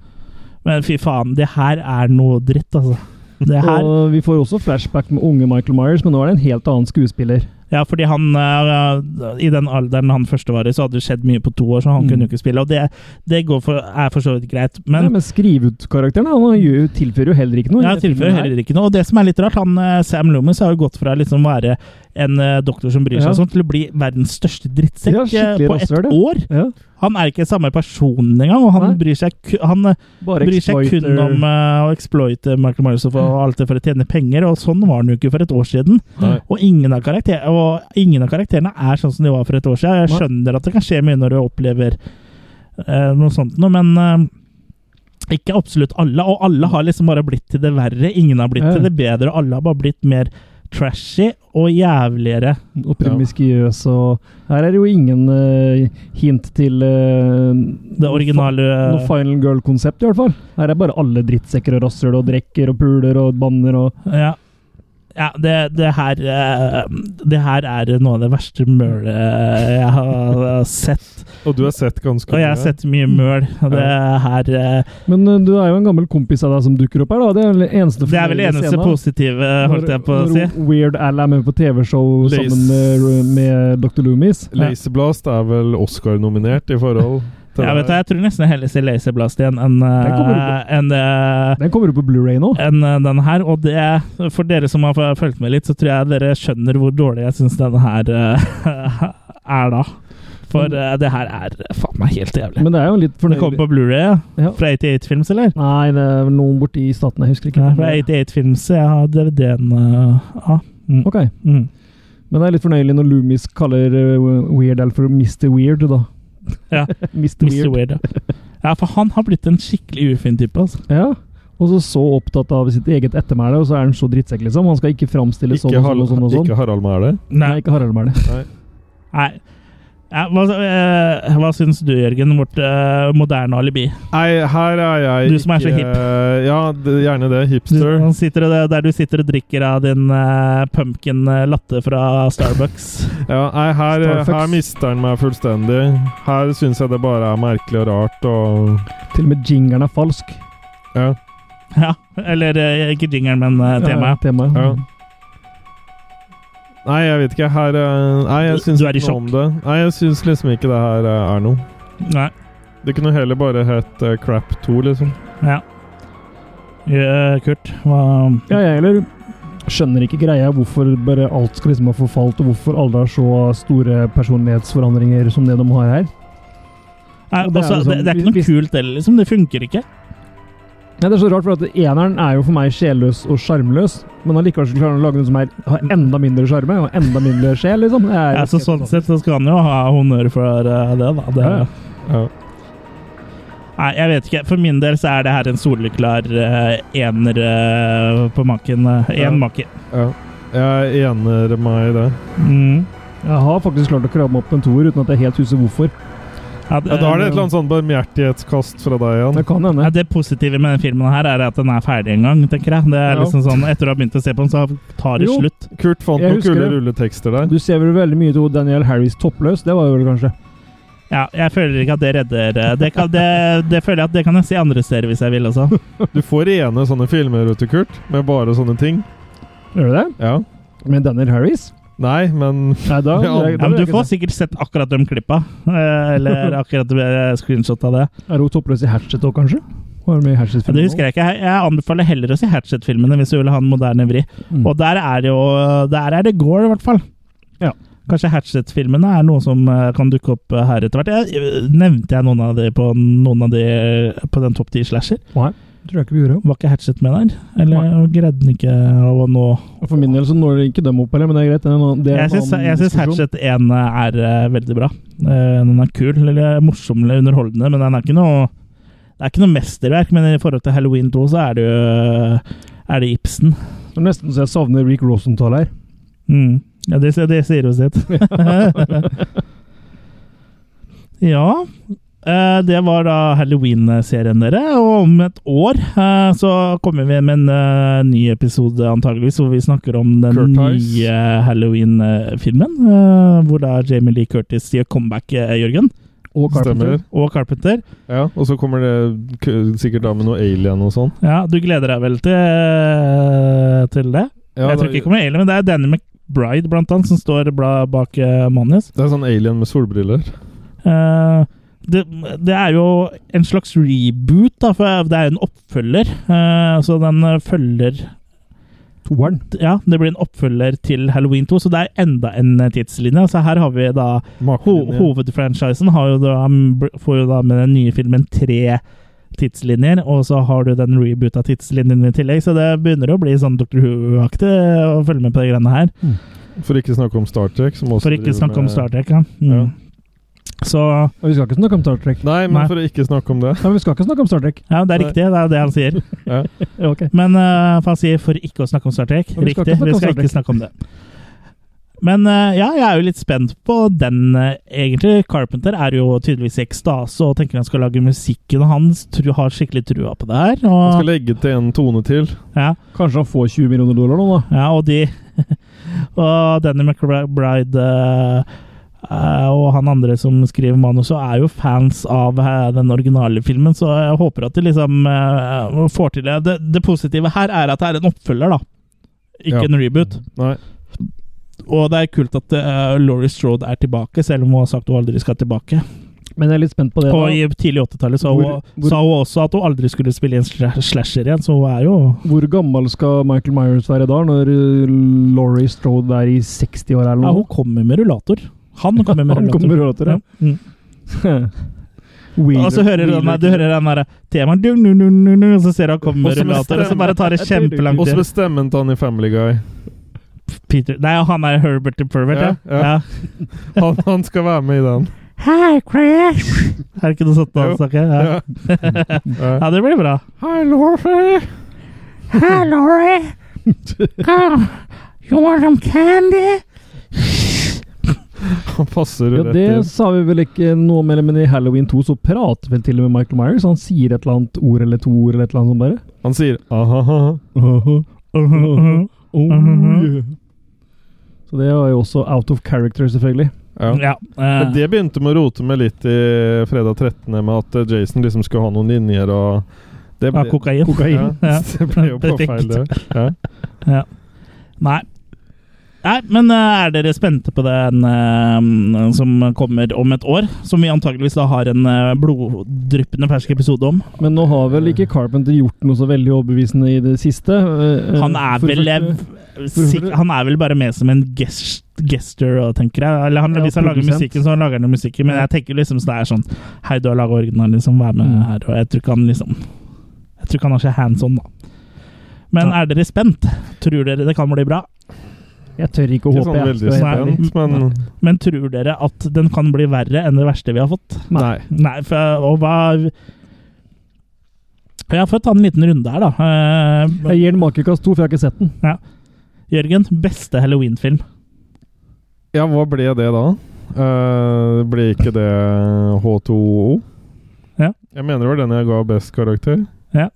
S1: Men fy faen, det her er noe dritt, altså. Det her
S3: [laughs] Og vi får også flashback med unge Michael Myers, men nå er det en helt annen skuespiller.
S1: Ja, fordi han eh, I den alderen han første var i, så hadde det skjedd mye på to år, så han
S3: Mm.
S1: kunne jo ikke spille. Og det, det går for, er for så vidt greit.
S3: Men,
S1: Men
S3: Nei, men skriv ut karakteren, da. han gjør, jo- tilfører jo heller ikke noe. i
S1: Ja,
S3: den
S1: tilfører
S3: filmen her.
S1: heller ikke noe. Og det som er litt rart, han eh, Sam Loomis har jo gått fra liksom å være en eh, doktor som bryr seg
S3: Ja.
S1: og sånn, til å bli verdens største drittsekk
S3: Ja,
S1: eh,
S3: skikkelig
S1: på ett
S3: rasshøl, ja.
S1: år.
S3: Ja,
S1: Han er ikke samme personen engang, og han
S3: Nei.
S1: bryr seg, ku- han, eh,
S3: bare
S1: bryr seg kun
S3: exploiter-
S1: om eh, å exploite Michael Myers og få alt det for å tjene penger, og sånn var han jo ikke for et år siden.
S2: Nei.
S1: Og ingen, av karakter, og ingen av karakterene er sånn som de var for et år siden. Jeg
S3: Nei.
S1: skjønner at det kan skje mye når du opplever eh, noe sånt noe, men eh, ikke absolutt alle. Og alle har liksom bare blitt til det verre. Ingen har blitt
S3: Ja.
S1: til det bedre. Alle har bare blitt mer trashy og jævligere.
S3: Og promiskiøs og Her er det jo ingen eh, hint til eh,
S1: Det originale
S3: noe fi- Noe final girl-konsept, i hvert fall. Her er bare alle drittsekker og rasshøl og drekker og puler og banner og
S1: Ja. Ja, det, det her eh, Det her er noe av det verste mølet jeg har sett.
S2: Og du har sett ganske
S1: Og jeg har sett mye møl. og Det her eh,
S3: Men eh, du er jo en gammel kompis av deg som dukker opp her, da. Det er vel det eneste
S1: Det er vel det
S3: fornøyelige
S1: eneste
S3: scenen.
S1: positive, holdt jeg på å
S3: Når-
S1: si.
S3: når Weird Al er med på TV-show
S2: Lace.
S3: sammen med, med Dr. Loomis.
S2: Laserblast er vel Oscar-nominert i forhold til
S1: Jeg, vet, hva, jeg tror nesten jeg heller ser Laserblast igjen enn eh,
S3: Den kommer opp.
S1: enn, eh,
S3: Den kommer jo på Blu-ray nå.
S1: enn, eh, den her. Og det, for dere som har f- fulgt med litt, så tror jeg dere skjønner hvor dårlig jeg syns denne her eh, [laughs] er da. For eh, det her er faen meg helt jævlig.
S3: Men det er jo litt
S1: Det kommer
S3: fornøyelig.
S1: på Blu-ray, ja.
S3: Ja.
S1: Fra 88 Films, eller?
S3: Nei, det er vel noen borti i staten, jeg husker ikke.
S1: Nei, fra 88 Films. Jeg har DVD-en eh, av. Mm.
S3: Ok.
S1: Mm.
S3: Men det er litt fornøyelig når Loomis kaller eh, Weird Al for Mr. Weird, da. [laughs]
S1: Ja.
S3: Mr.
S1: Mr.
S3: Weird.
S1: Weird. ja. Ja, for han har blitt en skikkelig ufin type, altså.
S3: Ja. Og så så opptatt av sitt eget ettermæle, og så er han så drittsekk, liksom. Han skal ikke framstilles sånn
S2: Ikke,
S3: og
S2: Har
S3: sånn og sånn. Og sånn.
S2: ikke Harald Mæhle.
S3: Nei, ikke Harald Mæle.
S2: Nei.
S1: Nei. Ja, hva, eh, hva syns du, Jørgen, vårt eh, moderne alibi?
S2: Nei, her er jeg
S1: Du som er så
S2: ikke-
S1: hip.
S2: Ja, det, gjerne det.
S1: Du, altså.
S2: Hipster.
S1: han sitter og, der du sitter og drikker av din eh, pumpkin eh, latte fra Starbucks.
S2: Ja, nei, her,
S1: Starfucks.
S2: her mister han meg fullstendig. Her syns jeg det bare er merkelig og rart og
S3: [laughs] Til og med jingeren er falsk.
S2: Ja.
S1: [laughs] ja, eller eh, ikke jingeren, men eh,
S3: Ja,
S1: temaet.
S3: temaet.
S2: ja. Nei, jeg vet ikke. Her eh, Nei, jeg syns
S1: Du er i
S2: ikke noe om det. Nei, jeg syns liksom ikke det her eh, er noe.
S1: Nei.
S2: Det kunne heller bare hett eh, Crap 2, liksom.
S1: Ja. Ja, Eh, Kurt, hva
S3: Ja, jeg heller skjønner ikke greia hvorfor bare alt skal liksom ha forfalt, og hvorfor alle har så store personlighetsforandringer som det de har her.
S1: Nei,
S3: Og det er
S1: altså,
S3: jo
S1: det,
S3: sånn,
S1: det er ikke noe
S3: hvis-
S1: kult heller, liksom. Det funker ikke.
S3: Ja, det er så rart, for at eneren er jo for meg sjelløs og sjarmløs, men allikevel så klarer han å lage noe som er, har enda mindre sjarme og enda mindre sjel, liksom. Det er,
S1: Ja, så sånn sett så skal han jo ha honnør for eh, det, da. Det,
S3: Ja,
S2: Ja.
S1: Nei, jeg vet ikke. For min del så er det her en soleklar eh, ener eh, på maken. Én
S2: Ja.
S1: make.
S2: ja. Jeg ener meg i det.
S1: Mm.
S3: Jeg har faktisk klart å kramme opp en toer uten at jeg helt husker hvorfor.
S2: Ja,
S1: eh,
S2: da er det et eller annet sånn barmhjertighetskast fra deg igjen.
S3: Det kan
S1: Ja,
S3: hende.
S1: det positive med den filmen her er at den er ferdig en gang, tenker jeg. Det er
S3: Ja.
S1: liksom sånn, Etter å ha begynt å se på den, så tar det
S3: Jo.
S1: slutt.
S2: Kurt fant
S3: Jeg
S2: noen
S3: husker
S2: kule
S3: det.
S2: rulletekster der.
S3: Du ser vel veldig mye til Daniel Harris toppløs, det var jo vel kanskje.
S1: Ja, Jeg føler ikke at det redder eh, Det, kan, det, det føler jeg at det kan jeg se andre steder hvis jeg vil også.
S3: [laughs]
S2: Du får rene sånne filmer, vet du, Kurt. Med bare sånne ting.
S3: Gjør du det?
S2: Ja.
S3: Med Daniel Harris?
S2: Nei, men
S3: Nei, da,
S2: Ja,
S3: da- da
S1: Ja, men
S3: gjør
S1: Du
S3: jeg
S1: får
S3: ikke det.
S1: sikkert sett akkurat de klippa, eh, eller
S3: [laughs]
S1: akkurat eh, screenshot av det.
S3: Er hun toppløs i Hatchet òg, kanskje? Var det mye
S1: Ja,
S3: Hatchet-film
S1: det husker jeg ikke. Jeg- Jeg anbefaler heller å se Hatchet-filmene hvis du vil ha en moderne vri.
S3: Mm.
S1: Og der er, det jo, der er det gore, i hvert fall.
S3: Ja.
S1: Kanskje Hatchet-filmene er noe som eh, kan dukke opp eh, her etter hvert. Jeg, nevnte jeg noen av de på, noen av de eh, på den topp ti slasher?
S3: Nei, tror jeg ikke vi gjorde.
S1: Var ikke Hatchet med der? Eller greide den ikke å nå
S3: Og For min del så når ikke dem opp heller, men det er greit. Det er en annen- det er en
S1: Jeg syns,
S3: annen
S1: jeg syns
S3: diskusjon.
S1: Hatchet 1 er eh, veldig bra. Eh, Den er kul, eller morsom eller underholdende, men den er ikke noe det er ikke noe mesterverk, men i forhold til Halloween 2 så er det jo eh, er det Ibsen.
S3: Det er nesten så jeg savner Rick Rosenthal her.
S1: Mm. Ja, det, det sier jo sitt. [laughs] Ja eh, Det var da Halloween-serien dere. Og om et år eh, så kommer vi med en eh, ny episode, antageligvis, hvor vi snakker om den
S2: Kurt Heiss.
S1: nye Halloween-filmen. eh, Hvor da Jamie Lee Curtis gjør comeback, eh, Jørgen.
S3: Og Carpenter.
S2: Stemmer.
S1: Og Carpenter.
S2: Ja, og så kommer det k- sikkert da med noe alien og sånn.
S1: Ja, du gleder deg vel til, eh, til det?
S2: Ja,
S1: Jeg tror
S2: det-
S1: ikke det kommer alien, men det er Danny McBride blant annet som står bla- bak eh, manus.
S2: Det er sånn alien med solbriller.
S1: Eh, det, det er jo en slags reboot, da, for det er jo en oppfølger. Eh, så den eh, følger
S3: Toeren.
S1: Ja, det blir en oppfølger til Halloween 2, så det er enda en eh, tidslinje. Så her har vi da ho
S2: Makelinje.
S1: Hovedfranchisen har jo da, mm, får jo da med den nye filmen tre tidslinjer, og så har du den reboota tidslinjen i tillegg, så det begynner å bli sånn Dr. Who-aktig å følge med på de greiene her.
S2: For ikke snakke om Star Trek, som også
S1: For ikke
S2: driver
S1: snakke om
S2: med-
S1: Star Trek, ja. Mm.
S2: Ja.
S1: Så
S3: Og vi skal ikke snakke om Star Trek.
S2: Nei, men
S1: Nei.
S2: for å ikke snakke om det.
S3: Nei, men vi skal ikke snakke om Star Trek.
S1: Ja, det er
S2: Nei.
S1: riktig. Det er det han sier.
S2: [laughs] Ja.
S3: Ok.
S1: Men eh, for han sier 'for ikke å snakke om Star Trek'.
S3: Og vi skal
S1: Riktig,
S3: ikke snakke
S1: vi
S3: om
S1: skal
S3: Star
S1: ikke snakke om det. Men eh, ja, jeg er jo litt spent på den, eh, egentlig. Carpenter er jo tydeligvis i ekstase og tenker han skal lage musikken hans. Tru, har skikkelig trua på det her.
S2: Jeg skal
S1: Og,
S2: legge til en tone til.
S1: ja,
S3: Kanskje han får 20 millioner dollar nå, da.
S1: ja, og de [laughs] Og Danny McBride eh, eh, og han andre som skriver manuset, er jo fans av eh, den originale filmen, så jeg håper at de liksom eh, får til det. det. Det positive her er at det er en oppfølger, da. Ikke
S2: Ja.
S1: en reboot.
S2: Nei.
S1: Og det er kult at eh, Laurie Strode er tilbake, selv om hun har sagt hun aldri skal tilbake.
S3: Men jeg er litt spent på det.
S1: Og i
S3: da.
S1: tidlig 80-tallet sa,
S3: Hvor-
S1: hun-
S3: hvor-
S1: sa hun også at hun aldri skulle spille i en sla- slasher igjen, så hun er jo
S3: Hvor gammel skal Michael Myers være da, når eh, Laurie Strode er i 60-åra eller
S1: Ja, hun
S3: noe?
S1: kommer med rullator. Han kommer med
S3: Han
S1: rullator.
S3: kommer med rullator, ja.
S1: Mm.
S3: [laughs] Wheeler-
S1: Og så hører du den
S3: Wheeler-
S1: der, du hører den der temaen, dung, dung, dung, dung, dung, og så ser du han kommer med rullator, og så bare tar det kjempelang
S2: Og så
S1: tid.
S2: bestemmer han i Family Guy.
S1: Peter. Nei, han er Herbert the Pervert, ja.
S2: Ja,
S1: ja.
S2: ja. Han, han skal være med i den.
S1: Hi, Crash! Er det ikke noe sånt han
S2: Jo.
S1: snakker? Ja.
S2: Ja.
S1: [laughs] ja, det blir bra.
S2: Hi, Laurie!
S1: Hi, Laurie! Come, you want some [laughs] candy?
S2: Han passer
S3: Ja,
S2: rett
S3: det
S2: inn.
S3: sa vi vel ikke noe om, eller, men i Halloween 2 så prater vel til og med Michael Myers. Han sier et eller annet ord eller to ord eller et eller annet sånt bare.
S2: Han sier aha-ha.
S3: Oh,
S1: Mhm.
S3: yeah. Så det var jo også out of character, selvfølgelig.
S2: Ja.
S1: Ja. eh,
S2: Men det begynte med å rote med litt i fredag 13. med at eh, Jason liksom skulle ha noen linjer og det
S1: ja, kokain.
S2: Ja,
S1: Ja.
S2: det ble jo
S1: Perfekt.
S2: påfeil, det. Ja.
S1: Ja. Nei. Nei, men eh, er dere spente på den eh, som kommer om et år? Som vi antakeligvis da har en eh, bloddryppende fersk episode om.
S3: Men nå har vel
S2: Eh.
S3: ikke Carpenter gjort noe så veldig overbevisende i det siste. eh, eh,
S1: Han er
S3: for det
S1: vel eh,
S3: første-
S1: sik- Han er vel bare med som en gest, gester, og tenker jeg. Eller han,
S3: Ja,
S1: hvis han lager
S3: produsent.
S1: musikken, så han lager han jo musikken. Men jeg tenker liksom så det er sånn Hei, du har laga originalen, liksom. Vær med
S3: Mm.
S1: her. Og jeg tror ikke han liksom Jeg tror ikke han har så hands on, da. Men
S3: Ja.
S1: er dere spent? Tror dere det kan bli bra?
S3: Jeg tør ikke å
S2: Ikke
S3: håpe,
S2: sånn
S3: jeg.
S2: veldig
S3: skal jeg være ærlig.
S2: spent, men
S1: Men tror dere at den kan bli verre enn det verste vi har fått?
S2: Nei.
S1: Nei, for og hva Ja, for å ta en liten runde her, da. Eh,
S3: Jeg gir den makekast to, for jeg har ikke sett den.
S1: Jørgen, beste halloweenfilm?
S2: Ja, hva ble det da? Eh, ble ikke det H2O?
S1: Ja.
S2: Jeg mener det var den jeg ga best karakter.
S1: Ja.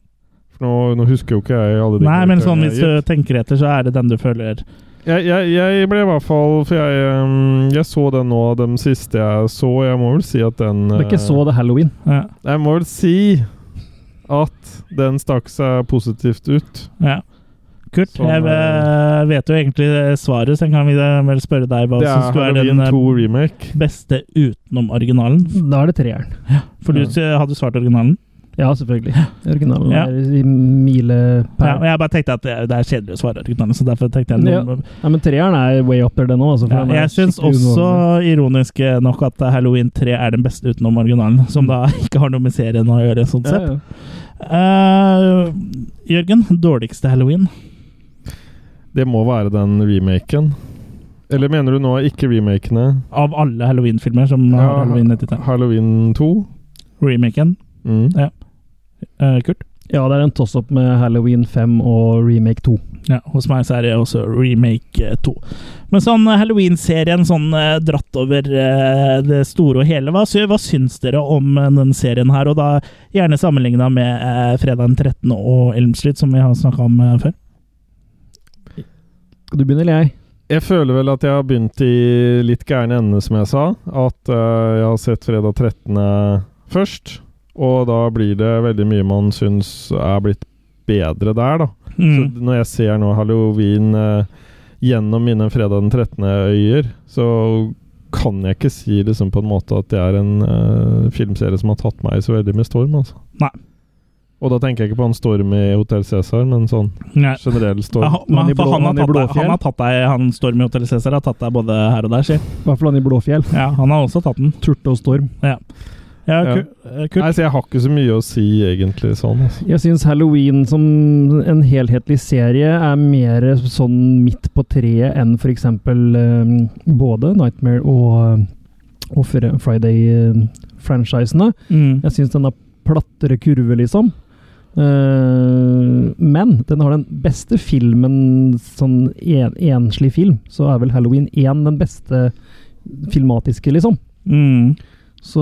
S2: For nå, nå husker jo ikke jeg alle de
S1: Nei, men sånn
S2: karakterene
S1: hvis
S2: jeg
S1: du
S2: har gitt.
S1: tenker etter, så er det den du føler
S2: jeg, jeg, jeg ble i hvert fall For jeg, ehm, jeg så den nå, den siste jeg så. Jeg må vel si at den
S3: Men ikke
S2: eh,
S3: så det Halloween.
S1: Ja.
S2: Jeg må vel si at den stakk seg positivt ut.
S1: ja. Kurt,
S2: Sånn,
S1: jeg eh, vet jo egentlig svaret, så kan vi da vel spørre deg hva
S2: Det
S1: syns
S2: er
S1: du er
S2: Halloween
S1: den eh,
S2: 2 remake.
S1: beste utenom originalen?
S3: Da er det treeren.
S1: For du
S2: Ja.
S1: s- hadde svart originalen?
S3: Ja, selvfølgelig. Originalen
S1: Ja.
S3: er i milepæl.
S1: Ja, og jeg bare tenkte at det det er kjedelig å svare originalen, så derfor tenkte jeg
S3: Ja.
S1: noe-
S3: Nei, men treeren er way up there, den òg. Altså, for
S1: Ja,
S3: den er
S1: jeg syns
S3: skikkelig
S1: også,
S3: underholdende.
S1: ironisk eh, nok, at Halloween 3 er den beste utenom originalen. [laughs] Som da ikke har noe med serien å gjøre, sånn
S3: Ja,
S1: sett.
S3: ja.
S1: Eh, Jørgen, dårligste halloween?
S2: Det må være den remaken. Eller mener du nå ikke remakene?
S1: Av alle halloween-filmer som har halloween i tittelen.
S2: Halloween 2.
S1: Remaken.
S2: Mm.
S1: eh, Kurt?
S3: ja, det er en toss-up med Halloween 5 og remake 2.
S1: Ja, hos meg så er det også remake eh, 2. Men sånn eh, halloween-serien sånn eh, dratt over eh, det store og hele, hva, sy- hva syns dere om eh, den serien her? Og da gjerne sammenligna med eh, fredag den 13. og Elm Street, som vi har snakka om eh, før.
S3: Skal du begynne, eller jeg?
S2: Jeg føler vel at jeg har begynt i litt gærne ende, som jeg sa. At eh, jeg har sett fredag 13. først. Og da blir det veldig mye man syns er blitt bedre der, da.
S1: Mm.
S2: Så når jeg ser nå halloween eh, gjennom mine fredag den 13. øyer, så kan jeg ikke si liksom på en måte at det er en eh, filmserie som har tatt meg så veldig med storm, altså.
S1: Nei.
S2: Og da tenker jeg ikke på han Storm i Hotell Cæsar, men sånn
S1: Nei.
S2: generell
S1: Ja,
S2: storm.
S1: han- men
S3: Han i
S1: for
S3: blå-
S1: han,
S3: han i
S1: har tatt deg,
S3: Blåfjell?
S1: han har tatt deg Han Storm i Hotell Cæsar har tatt deg både her og der, sier
S3: I hvert fall han i Blåfjell.
S1: Ja, han har også tatt den.
S3: Turte og Storm.
S1: Ja,
S2: Ja.
S1: Ku- eh, Kurt.
S2: Nei, så jeg har ikke så mye å si egentlig sånn. Altså.
S3: Jeg syns Halloween som en helhetlig serie er mer sånn midt på treet enn f.eks. Um, både Nightmare ehm, og og Fri- Friday-franchisene.
S1: Mm.
S3: Jeg syns den har plattere kurve, liksom. Eh, men den har den beste filmen, sånn en, enslig film, så er vel Halloween 1 den beste filmatiske, liksom.
S1: Mm.
S3: Så,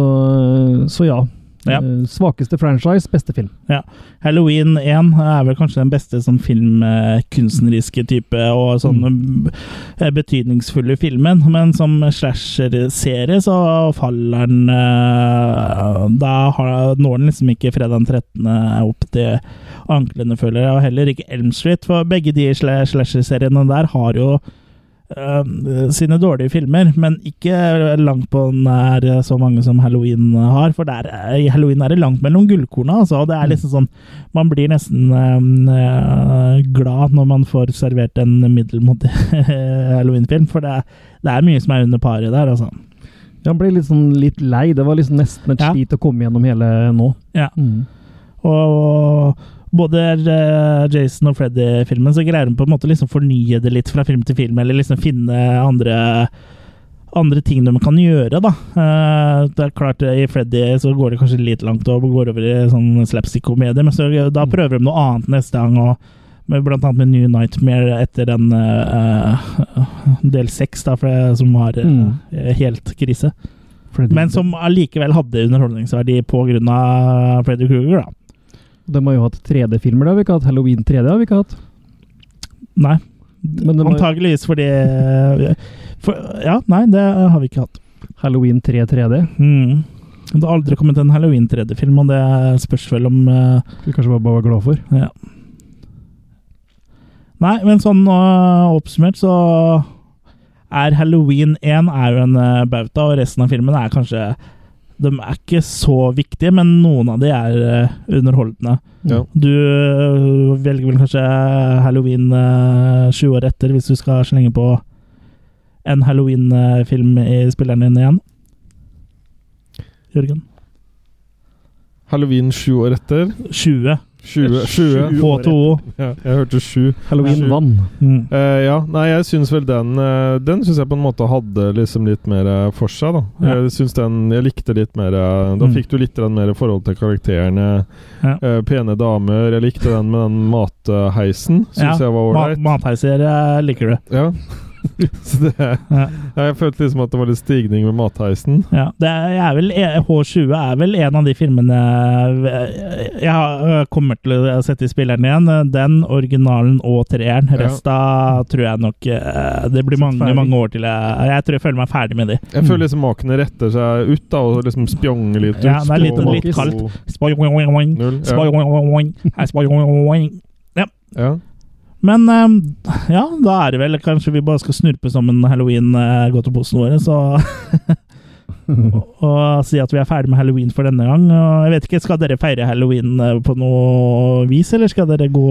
S3: så ja.
S1: Ja.
S3: Eh, svakeste franchise, beste film.
S1: Ja. Halloween 1 er vel kanskje den beste sånn filmkunstneriske type og sånn eh, betydningsfulle filmen, men som slasher-serie så faller den eh, Da har, når den liksom ikke fredag den 13. opp til anklene, føler jeg, og heller ikke Elm Street, for begge de sla- slasher-seriene der har jo eh, sine dårlige filmer, men ikke langt på nær så mange som Halloween har. For der, er- i Halloween er det langt mellom gullkorna. Altså, og det er liksom sånn Man blir nesten eh, eh, glad når man får servert en middelmådig [laughs] Halloween-film, for det er, det er mye som er under paret der, altså.
S3: Jeg ble litt, sånn, litt lei. Det var liksom nesten et
S1: Ja.
S3: slit å komme gjennom hele nå. Mm.
S1: Ja. Og både eh, Jason og Freddy-filmen så greier de på en måte liksom fornye det litt fra film til film, eller liksom finne andre andre ting de kan gjøre, da. Eh, Det er klart, eh, I Freddy så går det kanskje litt langt og går over i sånn slapstick-komedie, men så, da prøver de noe annet neste gang. og med, blant annet med New Nightmare etter den eh, eh, del seks, da, for det, som var eh,
S3: Mm.
S1: helt krise. Men som allikevel hadde underholdningsverdi pga. Freddy Kruger, da.
S3: De har jo hatt 3D-filmer. Det har vi ikke hatt. Halloween 3D har vi ikke hatt.
S1: Nei.
S3: Men de har-
S1: Antageligvis fordi for, Ja, nei, det har vi ikke hatt.
S3: Halloween 3 3D.
S1: Mm. Det har aldri kommet en Halloween-3D-film, og det spørs vel om eh,
S3: Skal vi kanskje bare bare være glad for.
S1: Ja. Nei, men sånn øh, oppsummert så er Halloween 1 er jo en øh, bauta, og resten av filmen er kanskje De er ikke så viktige, men noen av de er øh, underholdende.
S2: Ja.
S1: Du øh, velger vel kanskje Halloween øh, sju år etter hvis du skal slenge på en Halloween-film i spilleren din igjen. Jørgen?
S2: Halloween sju år etter.
S1: 20.
S2: 20, 20.
S1: H2O.
S2: Ja, jeg hørte sju.
S3: Halloween
S2: Sju.
S3: vann.
S1: Mm.
S2: Eh, ja, nei, jeg syns vel den eh, Den syns jeg på en måte hadde liksom litt mer eh, for seg, da.
S1: Ja.
S2: Jeg syns den Jeg likte litt mer eh, Da
S1: Mm.
S2: fikk du litt grann mer forhold til karakterene.
S1: Ja.
S2: Eh, pene damer. Jeg likte den med den matheisen. Syns jeg var
S1: ma-
S2: ålreit.
S1: Matheiser eh, liker du.
S2: Ja. [laughs] Så det
S1: Ja.
S2: Jeg følte liksom at det var litt stigning med matheisen.
S1: Ja, det er, jeg er vel, H20 er vel en av de filmene jeg- jeg har- eh, kommer til å sette i spilleren igjen. Den, originalen og treeren.
S2: Ja.
S1: Resta tror jeg nok eh, Det blir mange
S3: ferdig.
S1: mange år til jeg Jeg tror jeg føler meg ferdig med de.
S2: Jeg føler liksom makene retter seg ut da og liksom spjonger litt ut.
S1: Mm. Ja, det er litt,
S2: Spå-
S1: litt kaldt.
S2: Null, ja.
S1: Spoing-oing-oing. Hei, spoing-oing-oing.
S2: Ja.
S1: Men eh, ja, da er det vel kanskje vi bare skal snurpe som en halloween eh, gå til posen våre, så Og si at vi er ferdig med halloween for denne gang. Og jeg vet ikke, Skal dere feire halloween eh, på noe vis, eller skal dere gå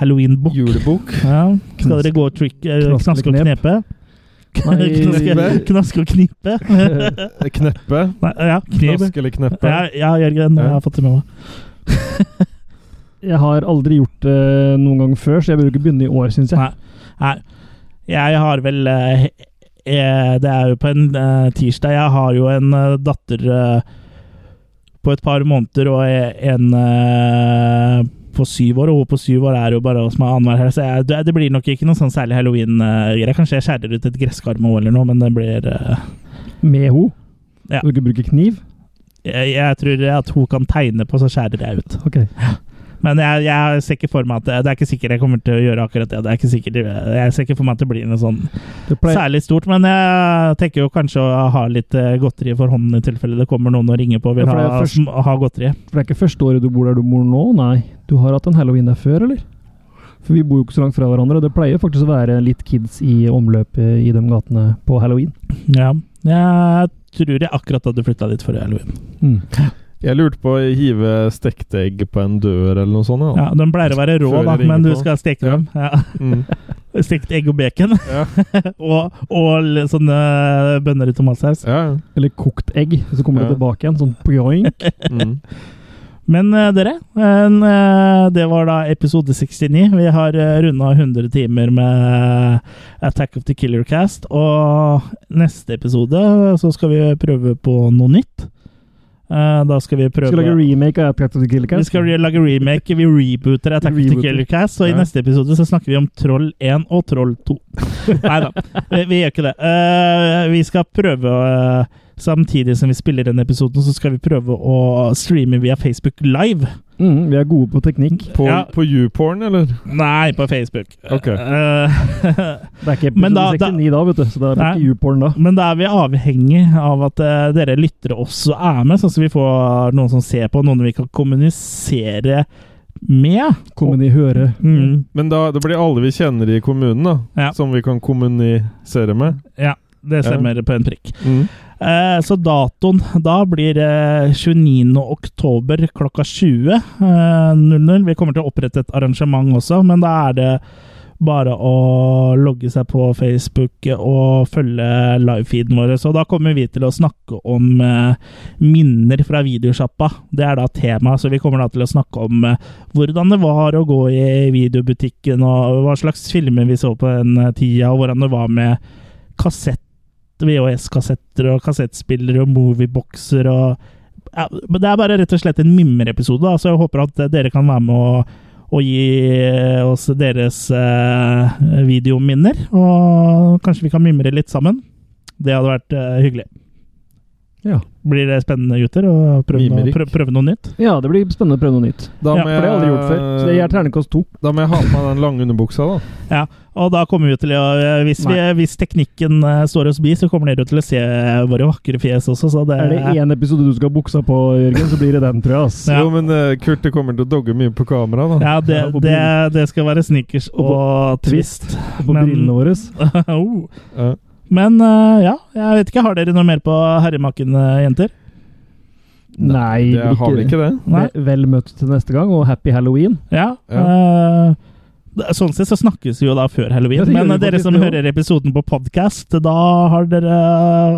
S1: halloween-bukk?
S2: Julebok.
S1: Ja. Skal dere gå trick, eh,
S3: Knaske
S1: knaske og
S3: knep.
S1: knepe?
S2: Knepe.
S1: [laughs] Knaske, knaske og
S3: [laughs]
S1: knipe?
S2: Kneppe.
S1: Nei, ja, knep.
S2: Knask eller kneppe.
S1: Ja, ja, Jørgen, jeg har fått det med meg.
S3: [laughs] Jeg har aldri gjort det noen gang før, så jeg bør ikke begynne i år, syns jeg.
S1: Nei. Nei. Jeg har vel eh, eh, Det er jo på en eh, tirsdag. Jeg har jo en eh, datter eh, på et par måneder og e-, en eh, på syv år, og hun på syv år er jo bare hos meg annenhver helg, så jeg, det, det blir nok ikke noe sånn særlig halloween-greier. Kanskje jeg skjærer ut et gresskar med henne eller noe, men det blir eh,
S3: Med ho.
S1: Ja.
S3: Bør ikke bruke kniv.
S1: jeg, jeg tror at hun kan tegne på, så skjærer jeg ut.
S3: Ok.
S1: Men jeg, jeg ser ikke for meg at det, det er ikke sikkert jeg kommer til å gjøre akkurat det. det er ikke sikkert, eh, jeg ser ikke for meg at det blir noe sånn
S3: Det pleier,
S1: Særlig stort, men jeg tenker jo kanskje å ha litt eh, godteri for hånden i tilfelle det kommer noen og ringer på og vil
S3: Ja, for det er
S1: ha,
S3: først-
S1: sm- ha godteri.
S3: for det er ikke første året du bor der du bor nå, nei. Du har hatt en halloween der før, eller? For vi bor jo ikke så langt fra hverandre, og det pleier faktisk å være litt kids i omløpet i de gatene på halloween.
S1: Ja. Jeg tror jeg akkurat hadde flytta dit forrige halloween.
S2: Jeg lurte på å hive stekte egg på en dør eller noe sånt. Ja.
S1: Ja, de pleier å være rå,
S2: Før jeg
S1: da,
S2: ringer
S1: men du
S2: på.
S1: skal steke dem. Ja. [laughs]
S2: Mm.
S1: Stekt egg og bacon.
S2: Ja.
S1: [laughs] og, og l- sånne bønner i tomatsaus.
S2: Ja.
S3: Eller kokt egg, så kommer
S2: Ja.
S3: [laughs] det tilbake igjen, sånn poing.
S2: Mm.
S1: Men eh, dere, en, eh, det var da episode 69. Vi har uh, runda 100 timer med eh, Attack of the Killer Cast. Og neste episode eh, så skal vi prøve på noe nytt. Eh, da skal vi prøve
S3: Skal lage remake av Attack of the Killer Cast?
S1: Vi skal re- lage remake. Vi rebooter Attack of the
S3: Rebooter.
S1: Killer Cast. Og i
S3: Ja.
S1: neste episode så snakker vi om Troll 1 og Troll
S3: [laughs]
S1: 2. Nei da, vi, vi gjør ikke det. Eh, vi skal prøve å, eh, Samtidig som vi spiller den episoden, så skal vi prøve å streame via Facebook Live.
S3: Mm, vi er gode på teknikk.
S2: På,
S1: Ja.
S2: på YouPorn, eller?
S1: Nei, på Facebook.
S2: Ok.
S1: Eh, [laughs]
S3: Det er ikke
S1: Men
S3: episode
S1: da- da-
S3: 69 da, vet du, så det er
S1: Nei.
S3: ikke U-porn da.
S1: Men da er vi avhengig av at eh, dere lyttere også er med, sånn at vi får noen som ser på, noen vi kan kommunisere med.
S3: Kommer de høre?
S1: Mm.
S2: Men da, det blir alle vi kjenner i kommunen, da.
S1: Ja.
S2: Som vi kan kommunisere med.
S1: Ja, det stemmer på en prikk.
S2: Mm.
S1: Eh, så datoen da blir eh, 29. oktober klokka 20.00. Eh, 00. vi kommer til å opprette et arrangement også, men da er det bare å logge seg på Facebook og følge livefeeden vår. Så da kommer vi til å snakke om eh, minner fra videosjappa. Det er da tema, så vi kommer da til å snakke om eh, hvordan det var å gå i videobutikken, og hva slags filmer vi så på den eh, tida, og hvordan det var med kassett VHS-kassetter og kassettspillere og movieboxer og ja, men Det er bare rett og slett en mimreepisode, da, så jeg håper at dere kan være med og, og gi oss deres eh, videominner. Og kanskje vi kan mimre litt sammen. Det hadde vært eh, hyggelig.
S3: Ja.
S1: Blir det spennende, gutter? Å prøve, noe-
S2: Mimerik.
S1: prøve, prøve noe nytt?
S3: Ja, det blir spennende å prøve noe nytt.
S2: Da
S1: Ja,
S2: må
S3: For det har jeg aldri gjort før. Så det er terningkast to.
S2: Da må jeg ha på meg den lange underbuksa, da.
S1: Ja, og da kommer vi til å eh, Hvis, vi, hvis teknikken eh, står oss bi, så kommer dere til å se våre vakre fjes også, så det
S3: Er det én episode du skal ha buksa på, Jørgen, så blir det den, tror jeg. ass.
S1: Ja.
S2: Jo, men eh, Kurt, det kommer til å dogge mye på kamera, da.
S1: Ja, det,
S3: på
S1: det, det skal være sneakers og, twist.
S3: Og på brillene våre.
S1: [laughs] Oh.
S2: Ja.
S1: Men eh, ja, jeg vet ikke. Har dere noe mer på herremaken, eh, jenter?
S3: Nei,
S2: det har vi ikke det.
S1: Nei?
S3: Ve- Vel møtt til neste gang, og happy halloween.
S1: Ja. eh, det- sånn sett så snakkes vi jo da før halloween,
S3: Ja, det gjør
S1: men eh,
S3: vi
S1: dere
S3: faktisk,
S1: som
S3: det
S1: hører episoden på podkast, da har dere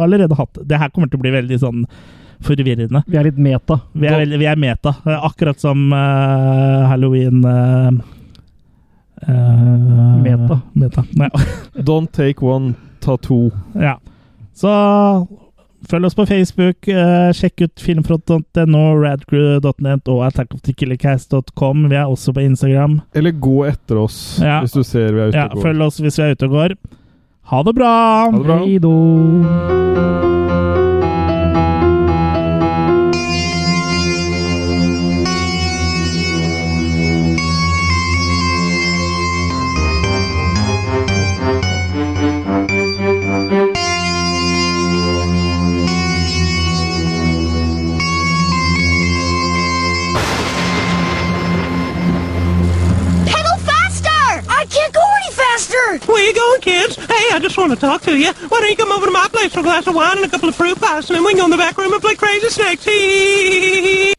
S1: allerede hatt Det her kommer til å bli veldig sånn forvirrende.
S3: Vi er litt meta.
S1: Vi er, veldig, vi er meta, eh, akkurat som eh, halloween eh, eh,
S3: Meta.
S1: meta. Nei. [laughs]
S2: Don't take one, ta to.
S1: Ja. Så følg oss på Facebook. eh, sjekk ut filmfront.no, radcrew.net E og attackofthekillercast.com. Vi er også på Instagram.
S2: Eller gå etter oss
S1: Ja.
S2: hvis du ser vi er ute
S1: Ja,
S2: og går.
S1: følg oss hvis vi er ute og går. Ha det bra!
S2: Ha det bra.
S3: Hei då.
S5: Pedal faster! I can't go any faster!
S14: Where you going, kids? Hey, I just want to talk to you. Why don't you come over to my place for a glass of wine and a couple of fruit pies, and then we can go in the back room and play crazy snakes? Hee hee hee hee hee.